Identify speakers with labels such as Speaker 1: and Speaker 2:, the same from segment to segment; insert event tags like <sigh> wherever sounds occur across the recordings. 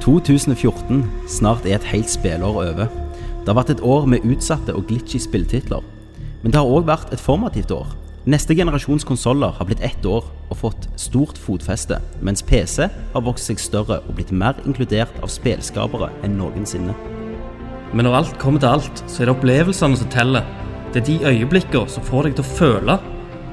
Speaker 1: 2014 snart er et helt spelår over. Det har vært et år med utsatte og glitchy spilltitler. Men det har òg vært et formativt år. Neste generasjons konsoller har blitt ett år og fått stort fotfeste, mens PC har vokst seg større og blitt mer inkludert av spelskapere enn noensinne.
Speaker 2: Men når alt kommer til alt, så er det opplevelsene som teller. Det er de øyeblikkene som får deg til å føle,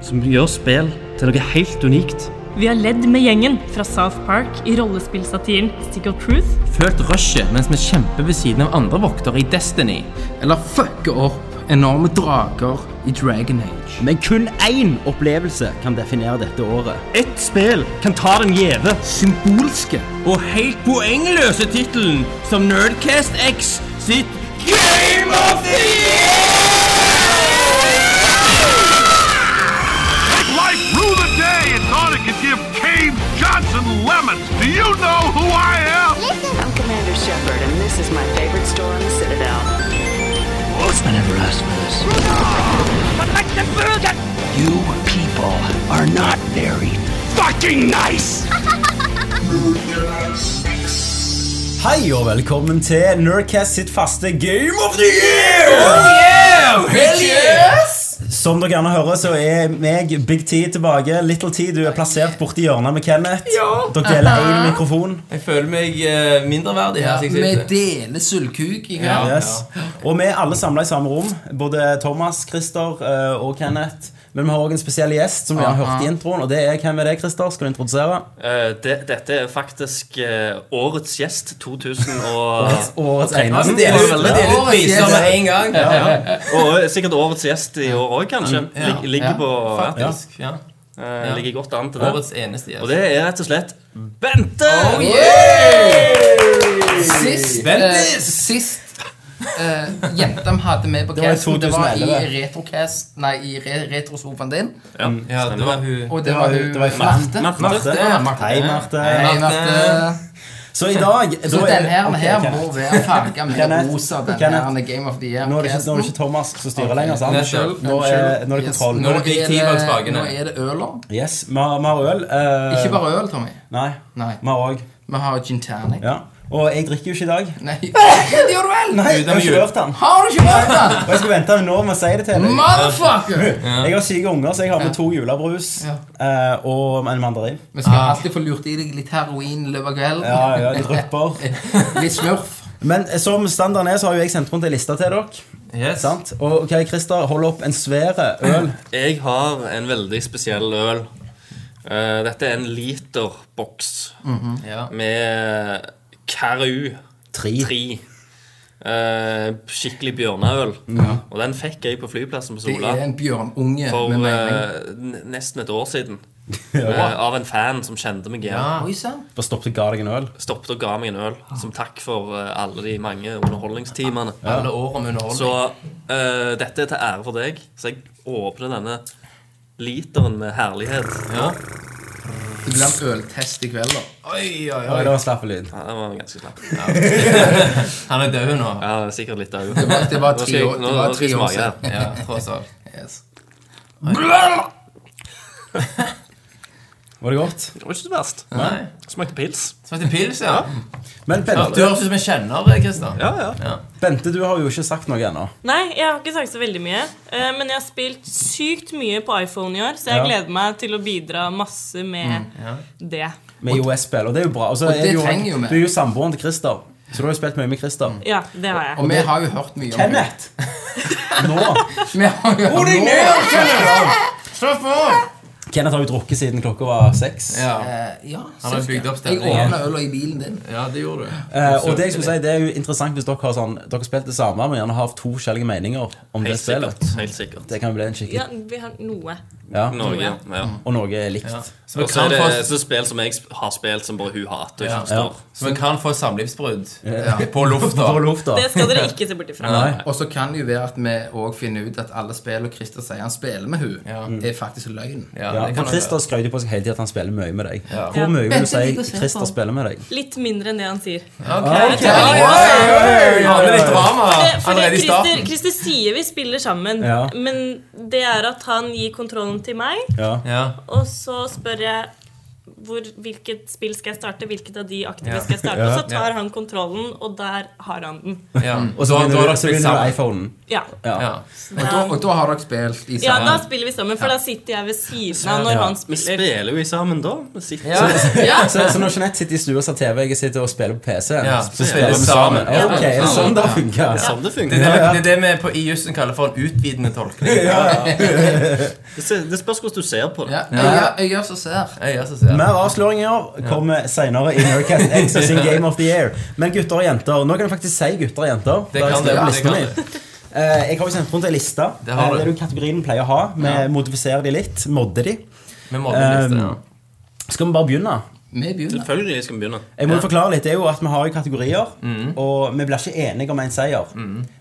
Speaker 2: som gjør spill til noe helt unikt.
Speaker 3: Vi har ledd med gjengen fra South Park i rollespillsatiren Stick of Truth.
Speaker 4: Følt rushet mens vi kjemper ved siden av andre voktere i Destiny. Eller fucke opp enorme drager i Dragon Age.
Speaker 1: Men kun én opplevelse kan definere dette året.
Speaker 2: Ett spill kan ta den gjeve.
Speaker 4: Symbolske.
Speaker 5: og helt poengløse tittelen som Nerdcast X sitt Game of the Year!
Speaker 6: Life rue the day and thought it could give Cave Johnson lemons. Do you know who I am?
Speaker 7: I'm Commander Shepard, and this is my favorite store in the Citadel.
Speaker 8: Postman never asked for this. You people are not very fucking nice!
Speaker 1: Hei og velkommen til Nerdcast sitt faste Game of the Year! Som dere gjerne hører, så er meg, Big T, tilbake. Little T, du er plassert borti hjørnet med Kenneth. Dere deler én mikrofon.
Speaker 5: Jeg føler meg eh, mindreverdig her. siden jeg
Speaker 4: Vi
Speaker 5: sitter.
Speaker 4: deler sølvkuk i gang.
Speaker 1: Yes. Og vi er alle samla i samme rom. Både Thomas, Christer eh, og Kenneth. Men vi har òg en spesiell gjest, som vi har hørt i introen. Og det er hvem er det, Christer? Skal du introdusere?
Speaker 2: Eh, dette er faktisk eh, årets gjest <laughs> 2000 og,
Speaker 1: Årets eneste.
Speaker 5: Vi deler ut- vi deler ut
Speaker 4: Årets
Speaker 5: priser med
Speaker 4: gjest.
Speaker 5: en gang.
Speaker 2: sikkert årets gjest i år òg, kanskje.
Speaker 4: Mm,
Speaker 2: ligger på eh,
Speaker 5: Faktisk. Ja.
Speaker 2: Ligger godt an til det.
Speaker 5: Årets eneste gjest.
Speaker 2: Og det er rett og slett Bente!
Speaker 4: Sist,
Speaker 5: Ventis!
Speaker 4: eh, sist eh, jenta vi hadde med på
Speaker 1: var i
Speaker 4: casten, det var i
Speaker 1: 2011.
Speaker 4: Retrocast, nei, i re retrosofaen din.
Speaker 2: Ja,
Speaker 5: Ja, det var hun.
Speaker 4: Og det var
Speaker 1: var-
Speaker 4: hun
Speaker 1: det var
Speaker 4: Marte.
Speaker 2: Marte.
Speaker 4: Ja, Marte.
Speaker 1: Hei, Marte.
Speaker 4: Hei, Marte.
Speaker 1: Så i dag
Speaker 4: Eh, Så
Speaker 1: da er-
Speaker 4: den her,
Speaker 1: Ok,
Speaker 4: her
Speaker 1: Kenneth.
Speaker 4: må være farga med
Speaker 1: Kenneth.
Speaker 4: rosa, den
Speaker 1: Kenneth.
Speaker 4: her Game of the Year.
Speaker 1: Nå er det ikke, nå er det ikke Thomas som styrer lenger, sant?
Speaker 5: Nei, selv.
Speaker 1: Nå er, nå er det kontroll.
Speaker 5: Nå er det Big T bak spakene.
Speaker 4: Nå er det øler.
Speaker 1: Yes, vi har, vi har øl. eh,
Speaker 4: Ikke bare øl, Tommy.
Speaker 1: Nei,
Speaker 4: Nei.
Speaker 1: vi har òg.
Speaker 4: Vi har gin tonic.
Speaker 1: Ja. Og jeg drikker jo ikke i dag.
Speaker 4: Nei, <laughs> det gjør du vel!
Speaker 1: Nei, jeg
Speaker 5: det
Speaker 1: har
Speaker 5: må
Speaker 1: ikke
Speaker 5: gjøre.
Speaker 1: rørt den.
Speaker 4: Har du ikke hørt
Speaker 1: <laughs>
Speaker 4: den?
Speaker 1: Og jeg skal vente nå med å si det til deg.
Speaker 4: Motherfucker!
Speaker 1: Jeg har syke unger, så jeg har med to julebrus
Speaker 4: Ja.
Speaker 1: eh, og en mandarin.
Speaker 4: Vi skal alltid få lurt i deg litt heroin i løpet av kvelden.
Speaker 1: Ja, ja, litt rupper.
Speaker 4: <laughs> Litt smurf.
Speaker 1: Men eh, som standarden er, så har jo jeg sendt rundt ei liste til dere.
Speaker 5: Yes.
Speaker 1: Sant? Og ok, Christer, hold opp en svær øl.
Speaker 2: Jeg har en veldig spesiell øl. Eh, dette er en literboks
Speaker 4: Mhm.
Speaker 5: Ja.
Speaker 2: med Karu
Speaker 1: Tre. <laughs>
Speaker 2: 3. Eh, skikkelig bjørneøl. Og den fikk jeg på flyplassen på
Speaker 4: Det
Speaker 2: Sola
Speaker 4: er en bjørnunge
Speaker 2: for
Speaker 4: med mening.
Speaker 2: eh, n- nesten et år siden. Eh, av en fan som kjente meg igjen.
Speaker 5: eh,
Speaker 4: Oi sann.
Speaker 1: Bare stoppet og ga deg en øl.
Speaker 2: Stoppet og ga meg en øl som takk for eh, alle de mange underholdningstimene.
Speaker 4: Alle år om underholdning.
Speaker 2: Så eh, dette er til ære for deg. Så jeg åpner denne literen med herlighet.
Speaker 5: Ja.
Speaker 4: Det blir en øltest i kveld, da.
Speaker 5: Oi, oi,
Speaker 1: Oi,
Speaker 5: oi.
Speaker 1: det var slapp lyd.
Speaker 2: Ja, den var ganske slapp.
Speaker 5: Han er død nå.
Speaker 2: Ja, det er sikkert litt av
Speaker 4: Det var, det var
Speaker 2: Nå
Speaker 4: tre
Speaker 2: skal jeg-
Speaker 4: år,
Speaker 2: nå-
Speaker 4: det var
Speaker 2: nå skal
Speaker 4: tre
Speaker 2: jeg
Speaker 4: år
Speaker 2: smake
Speaker 4: siden.
Speaker 5: Ja, tross alt.
Speaker 4: Yes.
Speaker 1: Var det godt?
Speaker 2: Det var ikke så verst.
Speaker 5: Nei.
Speaker 2: Smakte pils.
Speaker 5: Smakte pils, ja.
Speaker 1: Men
Speaker 5: ja. Du
Speaker 1: Bente,
Speaker 5: høres ut som en kjenner, eh, Christer.
Speaker 2: Ja, ja.
Speaker 1: Bente, du har jo ikke sagt noe ennå.
Speaker 3: Nei, jeg har ikke sagt så veldig mye. eh, Men jeg har spilt sykt mye på iPhone i år, så jeg
Speaker 1: Ja.
Speaker 3: gleder meg til å bidra masse med det.
Speaker 1: Med IOS-spill, og det er jo bra. Og så er
Speaker 4: det
Speaker 1: du jo-
Speaker 4: trenger jo vi.
Speaker 1: Du er jo samboeren til Christer, så du har jo spilt mye med Christer.
Speaker 3: Ja, det har jeg.
Speaker 4: Og vi har jo hørt mye om det.
Speaker 1: Kenneth! Nå!
Speaker 4: Vi har jo hørt mye om Slapp av!
Speaker 1: Kenneth har jo drukket siden klokka var seks.
Speaker 5: Ja.
Speaker 4: Eh, Ja,
Speaker 5: Han har bygd opp
Speaker 4: Jeg
Speaker 5: stemningen.
Speaker 4: åpna øla i bilen din.
Speaker 5: Ja, det gjorde du.
Speaker 1: Eh, og det jeg skulle si, det er jo interessant hvis dere har sånn Dere har spilt det samme, men gjerne har to forskjellige meninger om det
Speaker 2: Helt
Speaker 1: spillet.
Speaker 2: sikkert. Helt sikkert.
Speaker 1: Det kan bli en skikkelig
Speaker 3: Ja, vi har noe.
Speaker 1: ja.
Speaker 2: Norge, ja. ja.
Speaker 1: Og noe er likt.
Speaker 5: Så vi
Speaker 2: Og så
Speaker 5: kan
Speaker 2: er
Speaker 5: få,
Speaker 2: det så spill som jeg sp- har spilt, som bare hun hater. og ikke
Speaker 1: Ja.
Speaker 2: forstår.
Speaker 5: så vi kan få samlivsbrudd <laughs> på lufta.
Speaker 1: På lufta.
Speaker 3: Det skal dere ikke se bort ifra.
Speaker 4: Og så kan det jo være at vi òg finner ut at alle spill og Christer sier han spiller med hun er faktisk løgn.
Speaker 5: Ja,
Speaker 1: Ja,
Speaker 5: det
Speaker 1: for
Speaker 5: kan
Speaker 1: Christer skrøt jo på seg hele tiden at han spiller mye med deg.
Speaker 3: Ja.
Speaker 1: Hvor mye vil du
Speaker 4: Vent, jeg liker å
Speaker 1: si
Speaker 4: se på
Speaker 1: Christer
Speaker 4: han.
Speaker 1: spiller med deg?
Speaker 3: Litt mindre enn det han sier.
Speaker 5: Ok.
Speaker 1: Ja,
Speaker 5: Alle litt drama
Speaker 3: Fordi
Speaker 5: allerede i
Speaker 3: Christer,
Speaker 5: starten.
Speaker 3: Christer sier vi spiller sammen,
Speaker 1: Ja.
Speaker 3: men det er at han gir kontrollen til meg,
Speaker 1: Ja.
Speaker 5: Ja.
Speaker 3: og så spør jeg hvor, hvilket spill skal jeg starte, hvilket av de aktive skal jeg starte. Og så tar han kontrollen, og der har han den.
Speaker 5: Ja.
Speaker 1: Mm. Og så
Speaker 5: Da- da
Speaker 1: vinner
Speaker 5: har
Speaker 1: du,
Speaker 5: dere
Speaker 1: så
Speaker 5: spilt
Speaker 1: vinner du
Speaker 5: sammen.
Speaker 1: iPhonen.
Speaker 3: Ja.
Speaker 5: Ja.
Speaker 4: Og da, og da har dere spilt i
Speaker 3: ja, da
Speaker 4: sammen.
Speaker 3: spiller vi sammen, for da sitter jeg ved siden av når han
Speaker 2: Vi
Speaker 3: spiller.
Speaker 2: spiller jo i sammen da. Vi sitter
Speaker 5: Ja.
Speaker 1: Så, så når Jeanette sitter i stua og ser TV, jeg sitter og spiller på PC
Speaker 5: Ja,
Speaker 1: så
Speaker 5: så spiller vi sammen.
Speaker 1: Ja, ok, er det sånn det funker?
Speaker 2: sånn det
Speaker 5: Det er
Speaker 2: funker.
Speaker 5: det, det, er det vi på, i jussen kaller for en utvidende tolkning.
Speaker 2: Det se- Det spørs hvordan du ser på det.
Speaker 4: Ja, jeg, gjør- jeg gjør så sær.
Speaker 5: Jeg gjør som ser.
Speaker 1: Mer avsløringer kommer senere i Nerdcast X og <laughs> sin Game of the Year. Men gutter og jenter, nå kan jeg faktisk si gutter og jenter.
Speaker 5: Det
Speaker 1: da jeg
Speaker 5: kan
Speaker 1: skrev
Speaker 5: det,
Speaker 1: på
Speaker 5: det
Speaker 1: listen
Speaker 5: kan
Speaker 1: min. Eh, Jeg har jo sendt rundt en liste.
Speaker 5: Det har
Speaker 1: Eh,
Speaker 5: du.
Speaker 1: det er jo kategorien vi pleier å ha. Vi modifiserer de litt, modder de.
Speaker 5: Vi mobber liste, ja.
Speaker 1: Skal vi bare begynne?
Speaker 4: Vi begynner.
Speaker 2: Selvfølgelig skal vi begynne.
Speaker 1: Jeg må jo forklare litt, det er jo at Vi har jo kategorier,
Speaker 5: Mm.
Speaker 1: og vi blir ikke enige om en seier.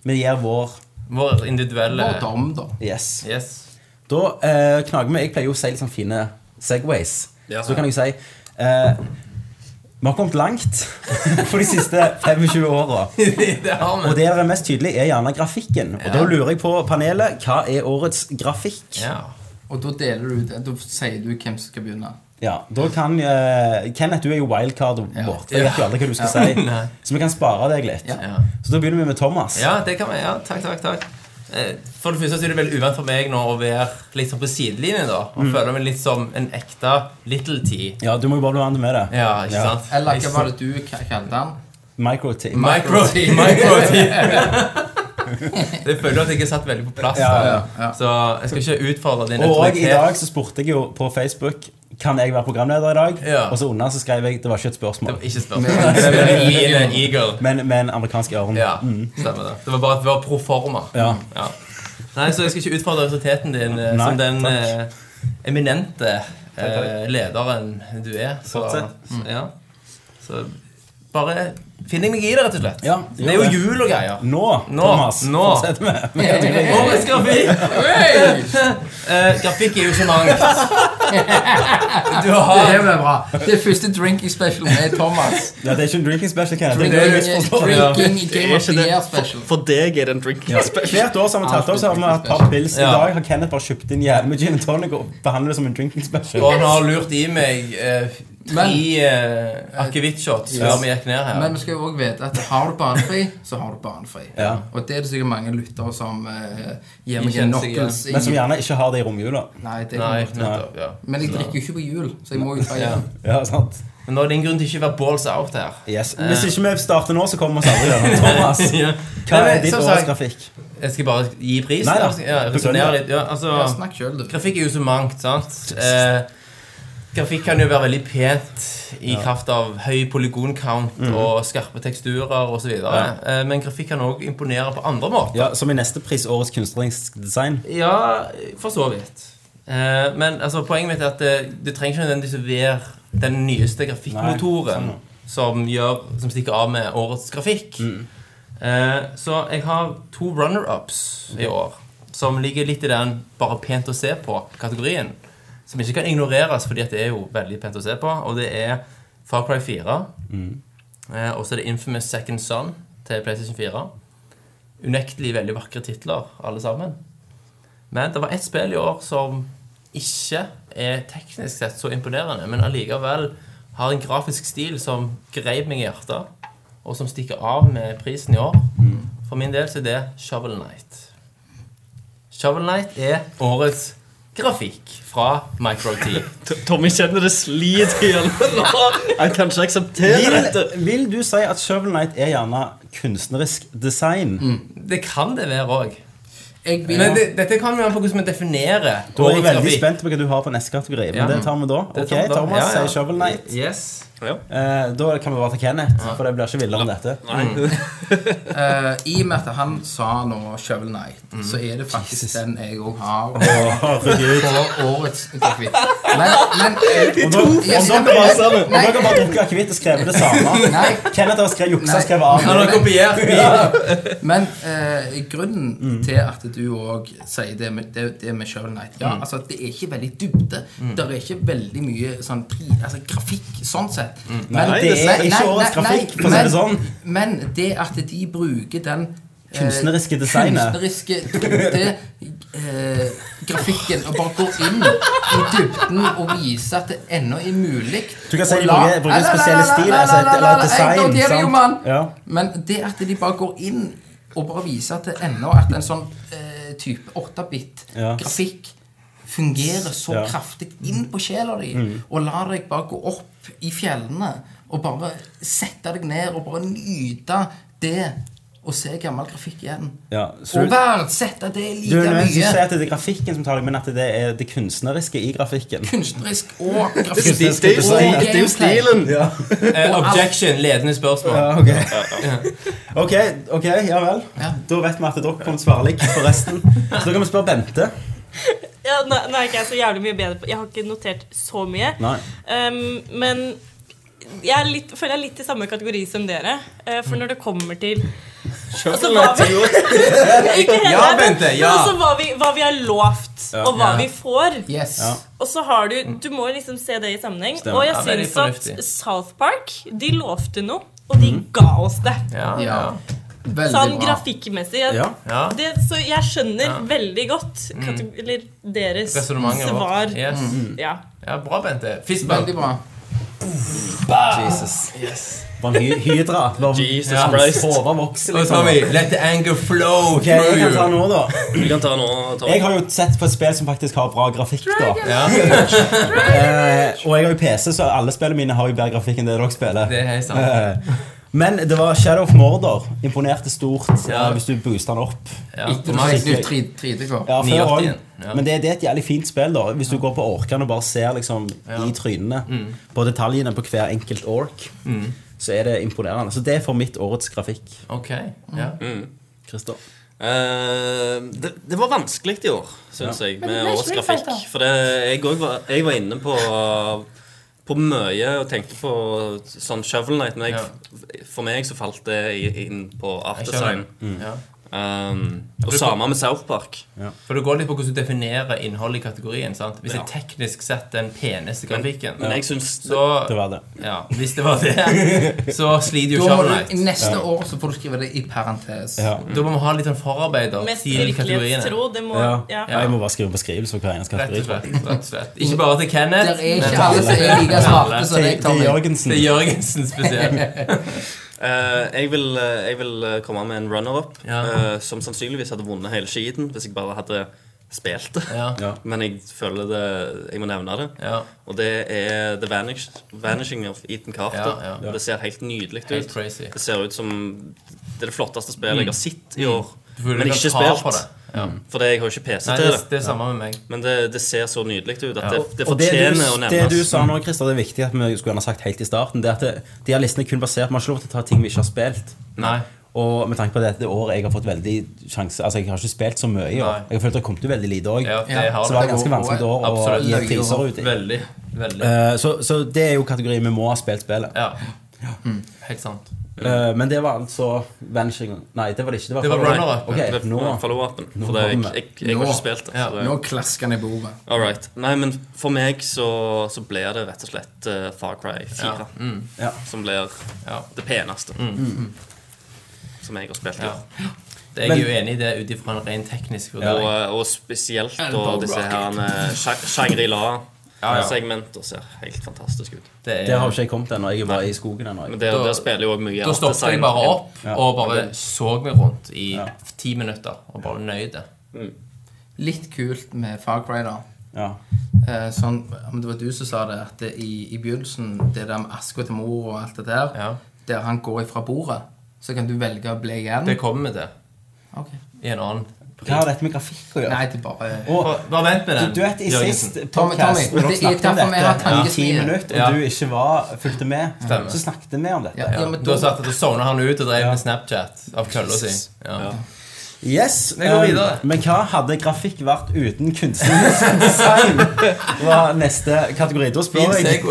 Speaker 1: Vi gir vår
Speaker 5: Vår individuelle
Speaker 4: Og dom, da.
Speaker 1: yes.
Speaker 5: Yes.
Speaker 1: Da eh, knager vi. Jeg pleier jo å si litt sånn fine segways.
Speaker 2: Ja.
Speaker 1: så da kan jeg si eh, Vi har kommet langt <laughs> for de siste 25 åra.
Speaker 5: det har
Speaker 1: Og <laughs>
Speaker 5: vi.
Speaker 1: det der er mest tydelig, er gjerne grafikken. Og da lurer jeg på panelet, hva er årets grafikk?
Speaker 5: Ja.
Speaker 4: Og da deler du det. Da sier du hvem som skal begynne.
Speaker 1: Ja, da kan eh, Kenneth, du er jo wildcardet
Speaker 4: Ja.
Speaker 1: vårt. Jeg vet jo aldri hva du skal si.
Speaker 5: <laughs> Nei.
Speaker 1: Så vi kan spare deg litt.
Speaker 4: Ja.
Speaker 5: Ja.
Speaker 1: Så da begynner vi med Thomas.
Speaker 5: ja, det kan vi. Ja, takk, takk, takk. Eh, For det første så er det veldig uvant for meg nå å være litt sånn på sidelinjen. da
Speaker 1: Mm.
Speaker 5: Og føle meg litt som en ekte Little T.
Speaker 1: Ja, Du må jo bare bli vant med det.
Speaker 5: Ja, ikke sant?
Speaker 4: Eller hva var det du ka- kalte han?
Speaker 1: Microteam.
Speaker 5: Micro T. Micro
Speaker 1: <laughs>
Speaker 5: T. Jeg føler at jeg ikke satt veldig på plass.
Speaker 1: Ja,
Speaker 5: da.
Speaker 1: ja,
Speaker 4: ja.
Speaker 5: Så jeg skal ikke utfordre din
Speaker 1: Og i
Speaker 5: autoritet.
Speaker 1: dag så spurte jeg jo på Facebook Kan jeg være programleder i dag.
Speaker 5: Ja.
Speaker 1: Og så under så skrev jeg det var ikke et spørsmål.
Speaker 5: Det var ikke spørsmål. Det
Speaker 1: <laughs>
Speaker 5: var Line Eagle.
Speaker 1: Men med en amerikansk ørn.
Speaker 5: Ja, stemmer det. Det var bare at vi var pro forma.
Speaker 1: Ja.
Speaker 5: Ja. Nei, så jeg skal ikke utfordre autoriteten din eh,
Speaker 1: Nei,
Speaker 5: som den
Speaker 1: takk.
Speaker 5: eh, eminente eh, lederen du er. Så,
Speaker 1: Fortsett. Mm.
Speaker 5: så- ja. så bare finner jeg meg i det, rett og slett.
Speaker 1: Ja,
Speaker 5: det er jo
Speaker 1: gjør det.
Speaker 5: jul og greier.
Speaker 1: Nå,
Speaker 5: Nå,
Speaker 1: Thomas,
Speaker 5: nå.
Speaker 1: fortsetter vi.
Speaker 5: Årets grafikk!
Speaker 4: Hey!
Speaker 5: Eh, grafikk er jo så mangt. Du har
Speaker 4: Det ble bra. Det er første drinking special med Thomas.
Speaker 1: Ja, det er ikke en drinking special, Kenneth. <laughs> Det er det jeg misforstår.
Speaker 4: Drinking
Speaker 2: Det
Speaker 4: Game
Speaker 2: er
Speaker 4: of
Speaker 2: ikke
Speaker 4: the
Speaker 2: det.
Speaker 4: Year
Speaker 2: For,
Speaker 4: special.
Speaker 2: for deg er det en drink.
Speaker 1: Hvert år så har vi tatt opp, så har vi hatt et par pils. I
Speaker 5: Ja.
Speaker 1: dag har Kenneth bare kjøpt inn jævlig med gin and tonic og behandler det som en drinking
Speaker 5: Og
Speaker 1: special.
Speaker 5: han har lurt i meg eh, tre eh, akevittshots før vi gikk ned her.
Speaker 4: Men vi skal jo også vite at har du barnefri, så har du barnefri.
Speaker 1: Ja.
Speaker 4: Og det er det sikkert mange lyttere som eh, gir
Speaker 5: Ikke
Speaker 4: meg en
Speaker 5: kjenner seg
Speaker 4: knuckles i
Speaker 1: Men som gjerne ikke har det i romjula.
Speaker 4: Nei, det
Speaker 5: Nei,
Speaker 4: er ikke
Speaker 5: nettopp, ja.
Speaker 4: Men jeg drikker jo ikke på jul, så jeg må jo ta igjen.
Speaker 1: Ja, sant?
Speaker 5: Men nå er det ingen grunn til ikke å være balls out her.
Speaker 1: Yes. Hvis ikke vi starter nå, så kommer vi oss aldri gjennom.
Speaker 5: <laughs>
Speaker 1: Thomas, hva
Speaker 5: Nei,
Speaker 1: er
Speaker 5: men,
Speaker 1: ditt
Speaker 5: som
Speaker 1: årets
Speaker 5: sagt-
Speaker 1: grafikk?
Speaker 5: Jeg skal bare gi pris.
Speaker 1: Nei da.
Speaker 5: Ja, resonnere litt. Ja,
Speaker 4: Ja,
Speaker 5: altså,
Speaker 4: Snakk sjøl, du.
Speaker 5: grafikk er jo så mangt, sant? Eh, grafikk kan jo være veldig pent i kraft av høy polygoncount og skarpe teksturer osv. videre Eh, men grafikk kan òg imponere på andre måter.
Speaker 1: Ja, Som i neste pris, årets kunstnerisk design.
Speaker 5: Ja, for så vidt. Eh, men altså, poenget mitt er at det, det trenger ikke nødvendigvis å være den nyeste grafikkmotoren
Speaker 1: Nei,
Speaker 5: som, gjør, som stikker av med årets grafikk. Eh, så jeg har to runner-ups i år som ligger litt i den bare pent å se på-kategorien. Som ikke kan ignoreres, fordi at det er jo veldig pent å se på. Og det er Far Cry 4. Eh, og så er det Infamous Second Son til PlayStation 4. Unektelig veldig vakre titler, alle sammen. Men det var ett spill i år som ikke er teknisk sett så imponerende, men allikevel har en grafisk stil som greip meg i hjertet, og som stikker av med prisen i år.
Speaker 1: Mm.
Speaker 5: For min del så er det Shovel Night. Shovel Night er årets grafikk fra
Speaker 1: <laughs>
Speaker 5: Micro-T.
Speaker 2: Tommy kjenner det sliter i hjelmen. Han kan ikke akseptere
Speaker 1: Vil,
Speaker 2: dette.
Speaker 1: vil du si at Shovel Knight er gjerne kunstnerisk design?
Speaker 5: Det kan det være òg.
Speaker 4: Jeg
Speaker 5: Men
Speaker 4: begynner.
Speaker 5: det, dette kan vi ha på hvordan vi definerer
Speaker 1: Da er jeg
Speaker 5: årets
Speaker 1: veldig
Speaker 5: grafikk.
Speaker 1: spent på hva du har på neste kategori. Men
Speaker 5: Ja.
Speaker 1: det tar vi da.
Speaker 5: Det
Speaker 1: Ok,
Speaker 5: tar vi da.
Speaker 1: Thomas
Speaker 5: Ja, ja.
Speaker 1: sier Shovel Knight.
Speaker 5: Yes.
Speaker 1: Eh, da kan vi bare ta Kenneth, for det blir ikke villere enn dette.
Speaker 4: eh, I og med at han sa nå Shovel Night, så er det faktisk den jeg òg har. På årets grafikk. Men, men eh,
Speaker 1: <laughs> Om dere om
Speaker 4: Yes,
Speaker 1: dere
Speaker 4: ja,
Speaker 1: bare om
Speaker 4: men-
Speaker 1: dere bare drukker akevitt og skrevet det samme
Speaker 4: Nei.
Speaker 1: Kenneth har skrevet juksa
Speaker 4: Nei.
Speaker 1: og skrevet av.
Speaker 5: Han har kopiert
Speaker 4: Men eh, grunnen til at du òg sier det med, det, det med Shovel Knight Ja,
Speaker 1: Mm.
Speaker 4: altså Det er ikke veldig dybde. Det er ikke veldig mye sånn pri, altså, grafikk sånn sett. Men,
Speaker 1: Mm. Nei, det er
Speaker 4: men-
Speaker 1: ikke
Speaker 4: nei,
Speaker 1: årets
Speaker 4: nei,
Speaker 1: grafikk,
Speaker 4: nei,
Speaker 1: for å si det
Speaker 4: men-
Speaker 1: sånn.
Speaker 4: Men det at de bruker den eh,
Speaker 1: Kunstneriske designet.
Speaker 4: Kunstneriske dybde eh, grafikken og bare går inn i dybden og viser at det ennå er mulig.
Speaker 1: Du kan si
Speaker 4: Og
Speaker 1: de
Speaker 4: la-
Speaker 1: bruker- bruker en
Speaker 4: la- la-
Speaker 1: spesiell
Speaker 4: la-
Speaker 1: stil,
Speaker 4: la-
Speaker 1: altså,
Speaker 4: la- la-
Speaker 1: eller
Speaker 4: la- la-
Speaker 1: design,
Speaker 4: Jeg tar det
Speaker 1: sant?
Speaker 4: jo, mann.
Speaker 1: Ja.
Speaker 4: Men det at de bare går inn og bare viser at det ennå at en sånn eh, type 8-bit
Speaker 1: Ja.
Speaker 4: grafikk fungerer så
Speaker 1: Ja. Mm.
Speaker 4: kraftig inn på sjela di, og lar deg bare gå opp i fjellene og bare sette deg ned og bare nyte det å se gammel grafikk igjen.
Speaker 1: Ja, så
Speaker 4: og
Speaker 1: du-
Speaker 4: verdsette det
Speaker 1: Du
Speaker 4: like
Speaker 1: er nødt til å si
Speaker 4: mye.
Speaker 1: at det er grafikken som tar deg, men at det er det kunstneriske i
Speaker 4: <laughs>
Speaker 1: grafikken.
Speaker 4: Kunstnerisk og grafikk.
Speaker 1: Det er jo stil- det er jo
Speaker 4: og
Speaker 1: stil-
Speaker 4: gameplay.
Speaker 2: Det er jo stilen!
Speaker 1: Ja. <laughs>
Speaker 5: Eh, objection. Ledende spørsmål.
Speaker 1: Ja, ok. ok, ok, ja vel.
Speaker 4: Ja.
Speaker 1: Da vet vi at dere kommer til å svare likt på resten. Så da kan vi spørre Bente.
Speaker 3: Ja, nå, nå er ikke jeg så jævlig mye bedre på Jeg har ikke notert så mye.
Speaker 1: Nei.
Speaker 3: Um, men jeg er litt, føler jeg er litt i samme kategori som dere. eh, for når det kommer til Altså, hva vi, <laughs> ikke hele,
Speaker 5: Ja,
Speaker 3: men-
Speaker 5: Bente, ja.
Speaker 3: men altså, hva, vi, hva vi er lovt, og hva vi får.
Speaker 4: Yes.
Speaker 1: Ja.
Speaker 3: Og så har du Du må liksom se det i sammenheng.
Speaker 1: Stemmer.
Speaker 3: Og jeg
Speaker 5: Ja, det er litt
Speaker 3: syns at
Speaker 5: fornuftig.
Speaker 3: South Park De lovte noe, og de ga oss det.
Speaker 5: Ja, ja.
Speaker 4: Ja. Veldig
Speaker 3: Sånn
Speaker 4: bra.
Speaker 3: grafikkmessig. jeg-
Speaker 1: Ja.
Speaker 5: ja.
Speaker 3: Det, så jeg skjønner veldig godt kate- eller deres
Speaker 5: Resonnementet
Speaker 3: svar.
Speaker 5: vårt. Yes.
Speaker 4: Mm.
Speaker 3: Ja.
Speaker 5: Ja, bra, Bente. Fistbump.
Speaker 4: Veldig bra.
Speaker 1: Jesus. Var en hy hydra. Var
Speaker 2: Jesus
Speaker 5: Ja.
Speaker 2: Christ.
Speaker 1: overvokser,
Speaker 5: Og
Speaker 1: liksom.
Speaker 5: Tommy, let the anger flow
Speaker 1: Ok, jeg
Speaker 5: through
Speaker 1: kan ta
Speaker 5: you.
Speaker 1: nå, da.
Speaker 2: Du kan ta nå, Tom.
Speaker 1: Jeg har jo sett på et spill som faktisk har bra grafikk, da.
Speaker 5: Ja,
Speaker 1: Eh, og jeg har jo PC, så alle spillene mine har jo bedre grafikk enn det dere spiller.
Speaker 5: det er helt sant.
Speaker 1: Eh, Men det var Shadow of Mordor. Imponerte stort
Speaker 5: Ja.
Speaker 1: eh, hvis du booster den opp.
Speaker 5: Ja.
Speaker 4: Etter du fikk nytt 3D-kort.
Speaker 1: Ja, før
Speaker 5: 89
Speaker 1: også.
Speaker 5: igjen. Ja.
Speaker 1: Men det, det er et jævlig fint spill, da. Hvis du går på orkene og bare ser liksom, i trynene
Speaker 5: Mm.
Speaker 1: på detaljene på hver enkelt ork, så er det imponerende. Så det er for mitt årets grafikk.
Speaker 5: Ok, ja.
Speaker 1: Christer.
Speaker 2: Eh, det, det var vanskelig i år, syns jeg, med årets grafikk. For det, jeg, også var, jeg var inne på På mye og tenkte på sånn Shovel Night, men jeg, for meg så falt det i- inn på art
Speaker 5: Jeg
Speaker 2: design.
Speaker 5: skjønner. Ja.
Speaker 2: Um, og samme med South Park.
Speaker 5: For det går litt på hvordan du definerer innholdet i kategorien. sant? Hvis det er teknisk sett den peneste grafikken,
Speaker 2: Men jeg syns
Speaker 5: så
Speaker 1: Det var det.
Speaker 5: ja, Hvis det var det, så sliter jo
Speaker 4: Da må
Speaker 5: Shovel
Speaker 4: du,
Speaker 5: Knight.
Speaker 4: neste år så får du skrive det i parentes.
Speaker 1: Ja.
Speaker 5: Da må vi ha litt sånn forarbeider
Speaker 3: Mest
Speaker 5: til kategoriene.
Speaker 3: virkelighetstro. Det må
Speaker 1: Ja.
Speaker 3: ja.
Speaker 1: Ja, Jeg må bare skrive beskrivelse på hver eneste
Speaker 5: Rett og
Speaker 1: kategori.
Speaker 5: slett. rett og slett. Ikke bare til
Speaker 4: Det
Speaker 5: Kenneth,
Speaker 4: er ikke alle som er like smarte som
Speaker 1: Til
Speaker 4: deg,
Speaker 1: til
Speaker 4: Tommy.
Speaker 1: Jørgensen.
Speaker 5: til Jørgensen spesielt.
Speaker 2: Eh, jeg, vil, eh, jeg vil eh, komme med en runner-up
Speaker 5: Ja.
Speaker 2: eh, som sannsynligvis hadde vunnet hele skiten hvis jeg bare hadde spilt det.
Speaker 5: Ja.
Speaker 1: Ja.
Speaker 2: <laughs> Men jeg føler det Jeg må nevne det.
Speaker 5: Ja.
Speaker 2: Og det er The Vanish, Vanishing of Ethan Carter.
Speaker 5: Ja, ja.
Speaker 2: Og Det ser helt nydelig ut.
Speaker 5: Helt crazy. Mm.
Speaker 2: Det ser ut som Det er det flotteste spillet jeg har sett i år.
Speaker 5: Du føler
Speaker 2: Men
Speaker 5: du
Speaker 2: ikke
Speaker 5: kan ta på
Speaker 2: spilt.
Speaker 5: det. Ja.
Speaker 2: Fordi jeg har ikke PC
Speaker 5: Nei,
Speaker 2: til
Speaker 5: det,
Speaker 2: det.
Speaker 5: det er samme med meg.
Speaker 2: Men det, det ser så nydelig ut at det, det
Speaker 1: Og det
Speaker 2: fortjener å
Speaker 1: du,
Speaker 2: nevnes.
Speaker 1: det du sa nå, Christer, det er viktig at vi skulle gjerne ha sagt helt i starten, det er at det, de her listene er kun basert Man har ikke lov til å ta ting vi ikke har spilt.
Speaker 5: Nei.
Speaker 1: Og med tanke på at dette året jeg har fått veldig sjanse Altså, jeg har ikke spilt så mye i år.
Speaker 5: Nei.
Speaker 1: Jeg har følt det har kommet ut veldig lite òg.
Speaker 5: Ja, det
Speaker 4: Ja.
Speaker 5: har
Speaker 1: Så det var
Speaker 5: det.
Speaker 1: et ganske vanskelig år å
Speaker 5: Absolutt.
Speaker 1: gi priser ut i.
Speaker 5: Veldig. veldig.
Speaker 1: Eh, så, så det er jo kategorien vi må ha spilt spillet.
Speaker 5: Ja. Mm. Helt sant.
Speaker 1: Eh, men det var altså Vanishing Nei, det var det ikke. Det var,
Speaker 5: Det var
Speaker 1: Follow-
Speaker 5: runner-up.
Speaker 1: Ok,
Speaker 2: Det-
Speaker 1: nå.
Speaker 2: Follow-upen.
Speaker 1: Nå
Speaker 2: For det, jeg,
Speaker 1: kommer-
Speaker 2: jeg, jeg har
Speaker 4: Nå.
Speaker 2: ikke spilt det.
Speaker 5: Ja,
Speaker 2: så det-
Speaker 4: Nå klasker han i bordet.
Speaker 2: All right. Nei, men for meg så, så blir det rett og slett eh, Far Cry 4
Speaker 5: Ja. Mm.
Speaker 1: Ja. Mm,
Speaker 2: som blir
Speaker 5: Ja. Mm.
Speaker 2: det peneste. Som jeg har spilt i.
Speaker 5: Ja.
Speaker 2: år.
Speaker 5: Jeg er jo enig i det ut ifra en ren teknisk
Speaker 2: Og,
Speaker 5: vurdering.
Speaker 2: eh, og spesielt da
Speaker 4: Elbow
Speaker 2: disse
Speaker 4: rocket.
Speaker 2: her eh,
Speaker 5: Ja, ja.
Speaker 2: Shangri-La-segmenter ser helt fantastisk ut.
Speaker 5: Det
Speaker 1: Der har
Speaker 5: er,
Speaker 1: ikke jeg kommet ennå. Jeg er bare i skogen ennå.
Speaker 2: Men
Speaker 1: jeg.
Speaker 2: der,
Speaker 5: Da-
Speaker 2: der spiller jo også mye
Speaker 5: da
Speaker 2: art
Speaker 5: stoppet jeg
Speaker 2: design
Speaker 5: bare
Speaker 2: inn.
Speaker 5: opp og bare så meg rundt i ti minutter og bare nøyd det.
Speaker 1: Mm.
Speaker 4: Litt kult med Far Cry, da.
Speaker 1: Ja.
Speaker 4: Eh, sånn, om det var du som sa det, at det, i, i begynnelsen, det der med aska til mor og alt det der,
Speaker 5: Ja.
Speaker 4: der han går ifra bordet, så kan du velge å bli igjen.
Speaker 5: Det kommer vi til
Speaker 4: Ok.
Speaker 5: i en annen
Speaker 1: Hva har dette med grafikk å gjøre?
Speaker 4: Nei, det er bare
Speaker 1: Og,
Speaker 5: Bare bare vent med den.
Speaker 1: du vet, I
Speaker 5: Jørgensen.
Speaker 1: sist
Speaker 4: Tommy,
Speaker 1: podcast
Speaker 4: Tommy,
Speaker 1: når
Speaker 4: det
Speaker 1: dere
Speaker 4: er
Speaker 1: snakket om
Speaker 4: derfor vi har
Speaker 1: dette i ti
Speaker 4: tangesmien.
Speaker 1: minutter,
Speaker 5: Ja.
Speaker 1: og du ikke var, fulgte med,
Speaker 5: Stemmer.
Speaker 1: så snakket vi om
Speaker 4: ja,
Speaker 1: dette.
Speaker 4: ja, men
Speaker 5: Du
Speaker 4: da,
Speaker 5: har sagt at du sovna han ut og drev
Speaker 1: Ja.
Speaker 5: med Snapchat av kølla si. Ja.
Speaker 1: Yes,
Speaker 5: Vi går
Speaker 1: eh,
Speaker 5: videre.
Speaker 1: Men hva hadde grafikk vært uten kunstig
Speaker 5: <laughs>
Speaker 1: design? var neste kategori. Da spør jeg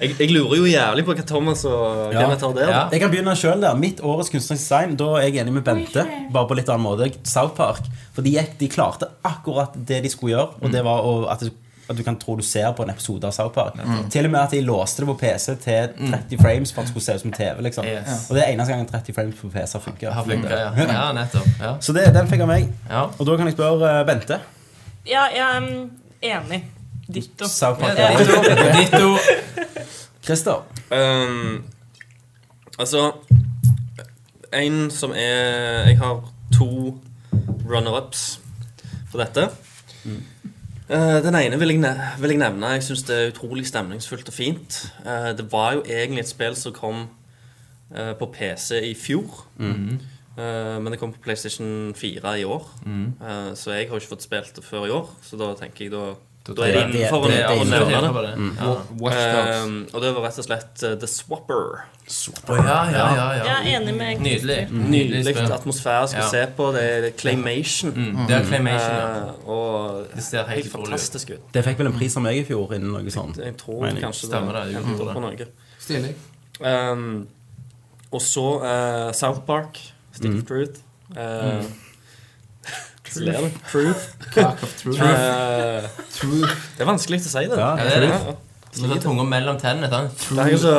Speaker 2: Jeg, jeg lurer jo jævlig på hva Thomas og
Speaker 1: Ja.
Speaker 2: Kenneth har der.
Speaker 5: Ja.
Speaker 1: Jeg kan begynne selv der. Mitt årets kunstnerisk design, da er jeg enig med Bente. Bare på litt annen måte. South Park. For de, gikk, de klarte akkurat det de skulle gjøre. Og det var å, at, du, at du kan tro du ser på en episode av South Park. Til og med at de låste det på PC til 30 frames for at det skulle se ut som TV. liksom
Speaker 5: Yes.
Speaker 1: Og det er eneste gangen 30 frames på PC har funket.
Speaker 5: Har funka, ja. ja. Nettopp. Ja.
Speaker 1: Så det, den fikk jeg av meg.
Speaker 5: Ja.
Speaker 1: Og da kan jeg spørre eh, Bente.
Speaker 3: Ja, jeg er mm, enig. Ditto.
Speaker 1: South Park.
Speaker 3: Ja.
Speaker 5: Ditto.
Speaker 1: Christer.
Speaker 2: Ehm, altså En som er Jeg har to runner-ups for dette. Eh, den ene vil jeg, ne vil jeg nevne. Jeg syns det er utrolig stemningsfullt og fint. Eh, det var jo egentlig et spill som kom eh, på PC i fjor. Eh, men det kom på PlayStation 4 i år. Eh, så jeg har jo ikke fått spilt det før i år. Så da tenker jeg da, da er det innenfor å-
Speaker 5: Det er
Speaker 2: å
Speaker 5: absolutt
Speaker 2: nevne
Speaker 5: helt
Speaker 2: det.
Speaker 5: på det. Ja.
Speaker 4: Watchdogs.
Speaker 2: Ehm, og det var rett og slett eh, The Swapper.
Speaker 5: Å, ja, ja, ja,
Speaker 3: Jeg
Speaker 5: ja.
Speaker 3: er enig med Mm.
Speaker 5: Nydelig.
Speaker 2: Nydelig
Speaker 5: spill.
Speaker 2: atmosfærisk
Speaker 5: Ja.
Speaker 2: å se på. Det er claymation.
Speaker 5: Mm, Det er Claymation. ja.
Speaker 2: Eh, og
Speaker 5: Det ser helt
Speaker 2: helt
Speaker 5: utrolig ut.
Speaker 2: fantastisk ut.
Speaker 1: Det fikk vel en pris av meg i fjor innen noe sånt.
Speaker 2: Jeg tror
Speaker 1: Mener jeg.
Speaker 2: kanskje
Speaker 5: Stemmer det,
Speaker 2: det
Speaker 5: jeg
Speaker 2: endte
Speaker 5: tror
Speaker 2: opp på noe.
Speaker 4: Stilig.
Speaker 2: Ehm, og så eh, South Park, Stick
Speaker 5: Mm.
Speaker 2: of Truth. Eh, <laughs> ler du? Truth.
Speaker 4: Crack of truth. <laughs>
Speaker 2: Eh,
Speaker 4: Truth.
Speaker 2: det er vanskelig å si det.
Speaker 1: Ja,
Speaker 5: det er det.
Speaker 2: Ja, ja.
Speaker 5: Du må ta tunga mellom tennene. sånn. da.
Speaker 2: Det er jo så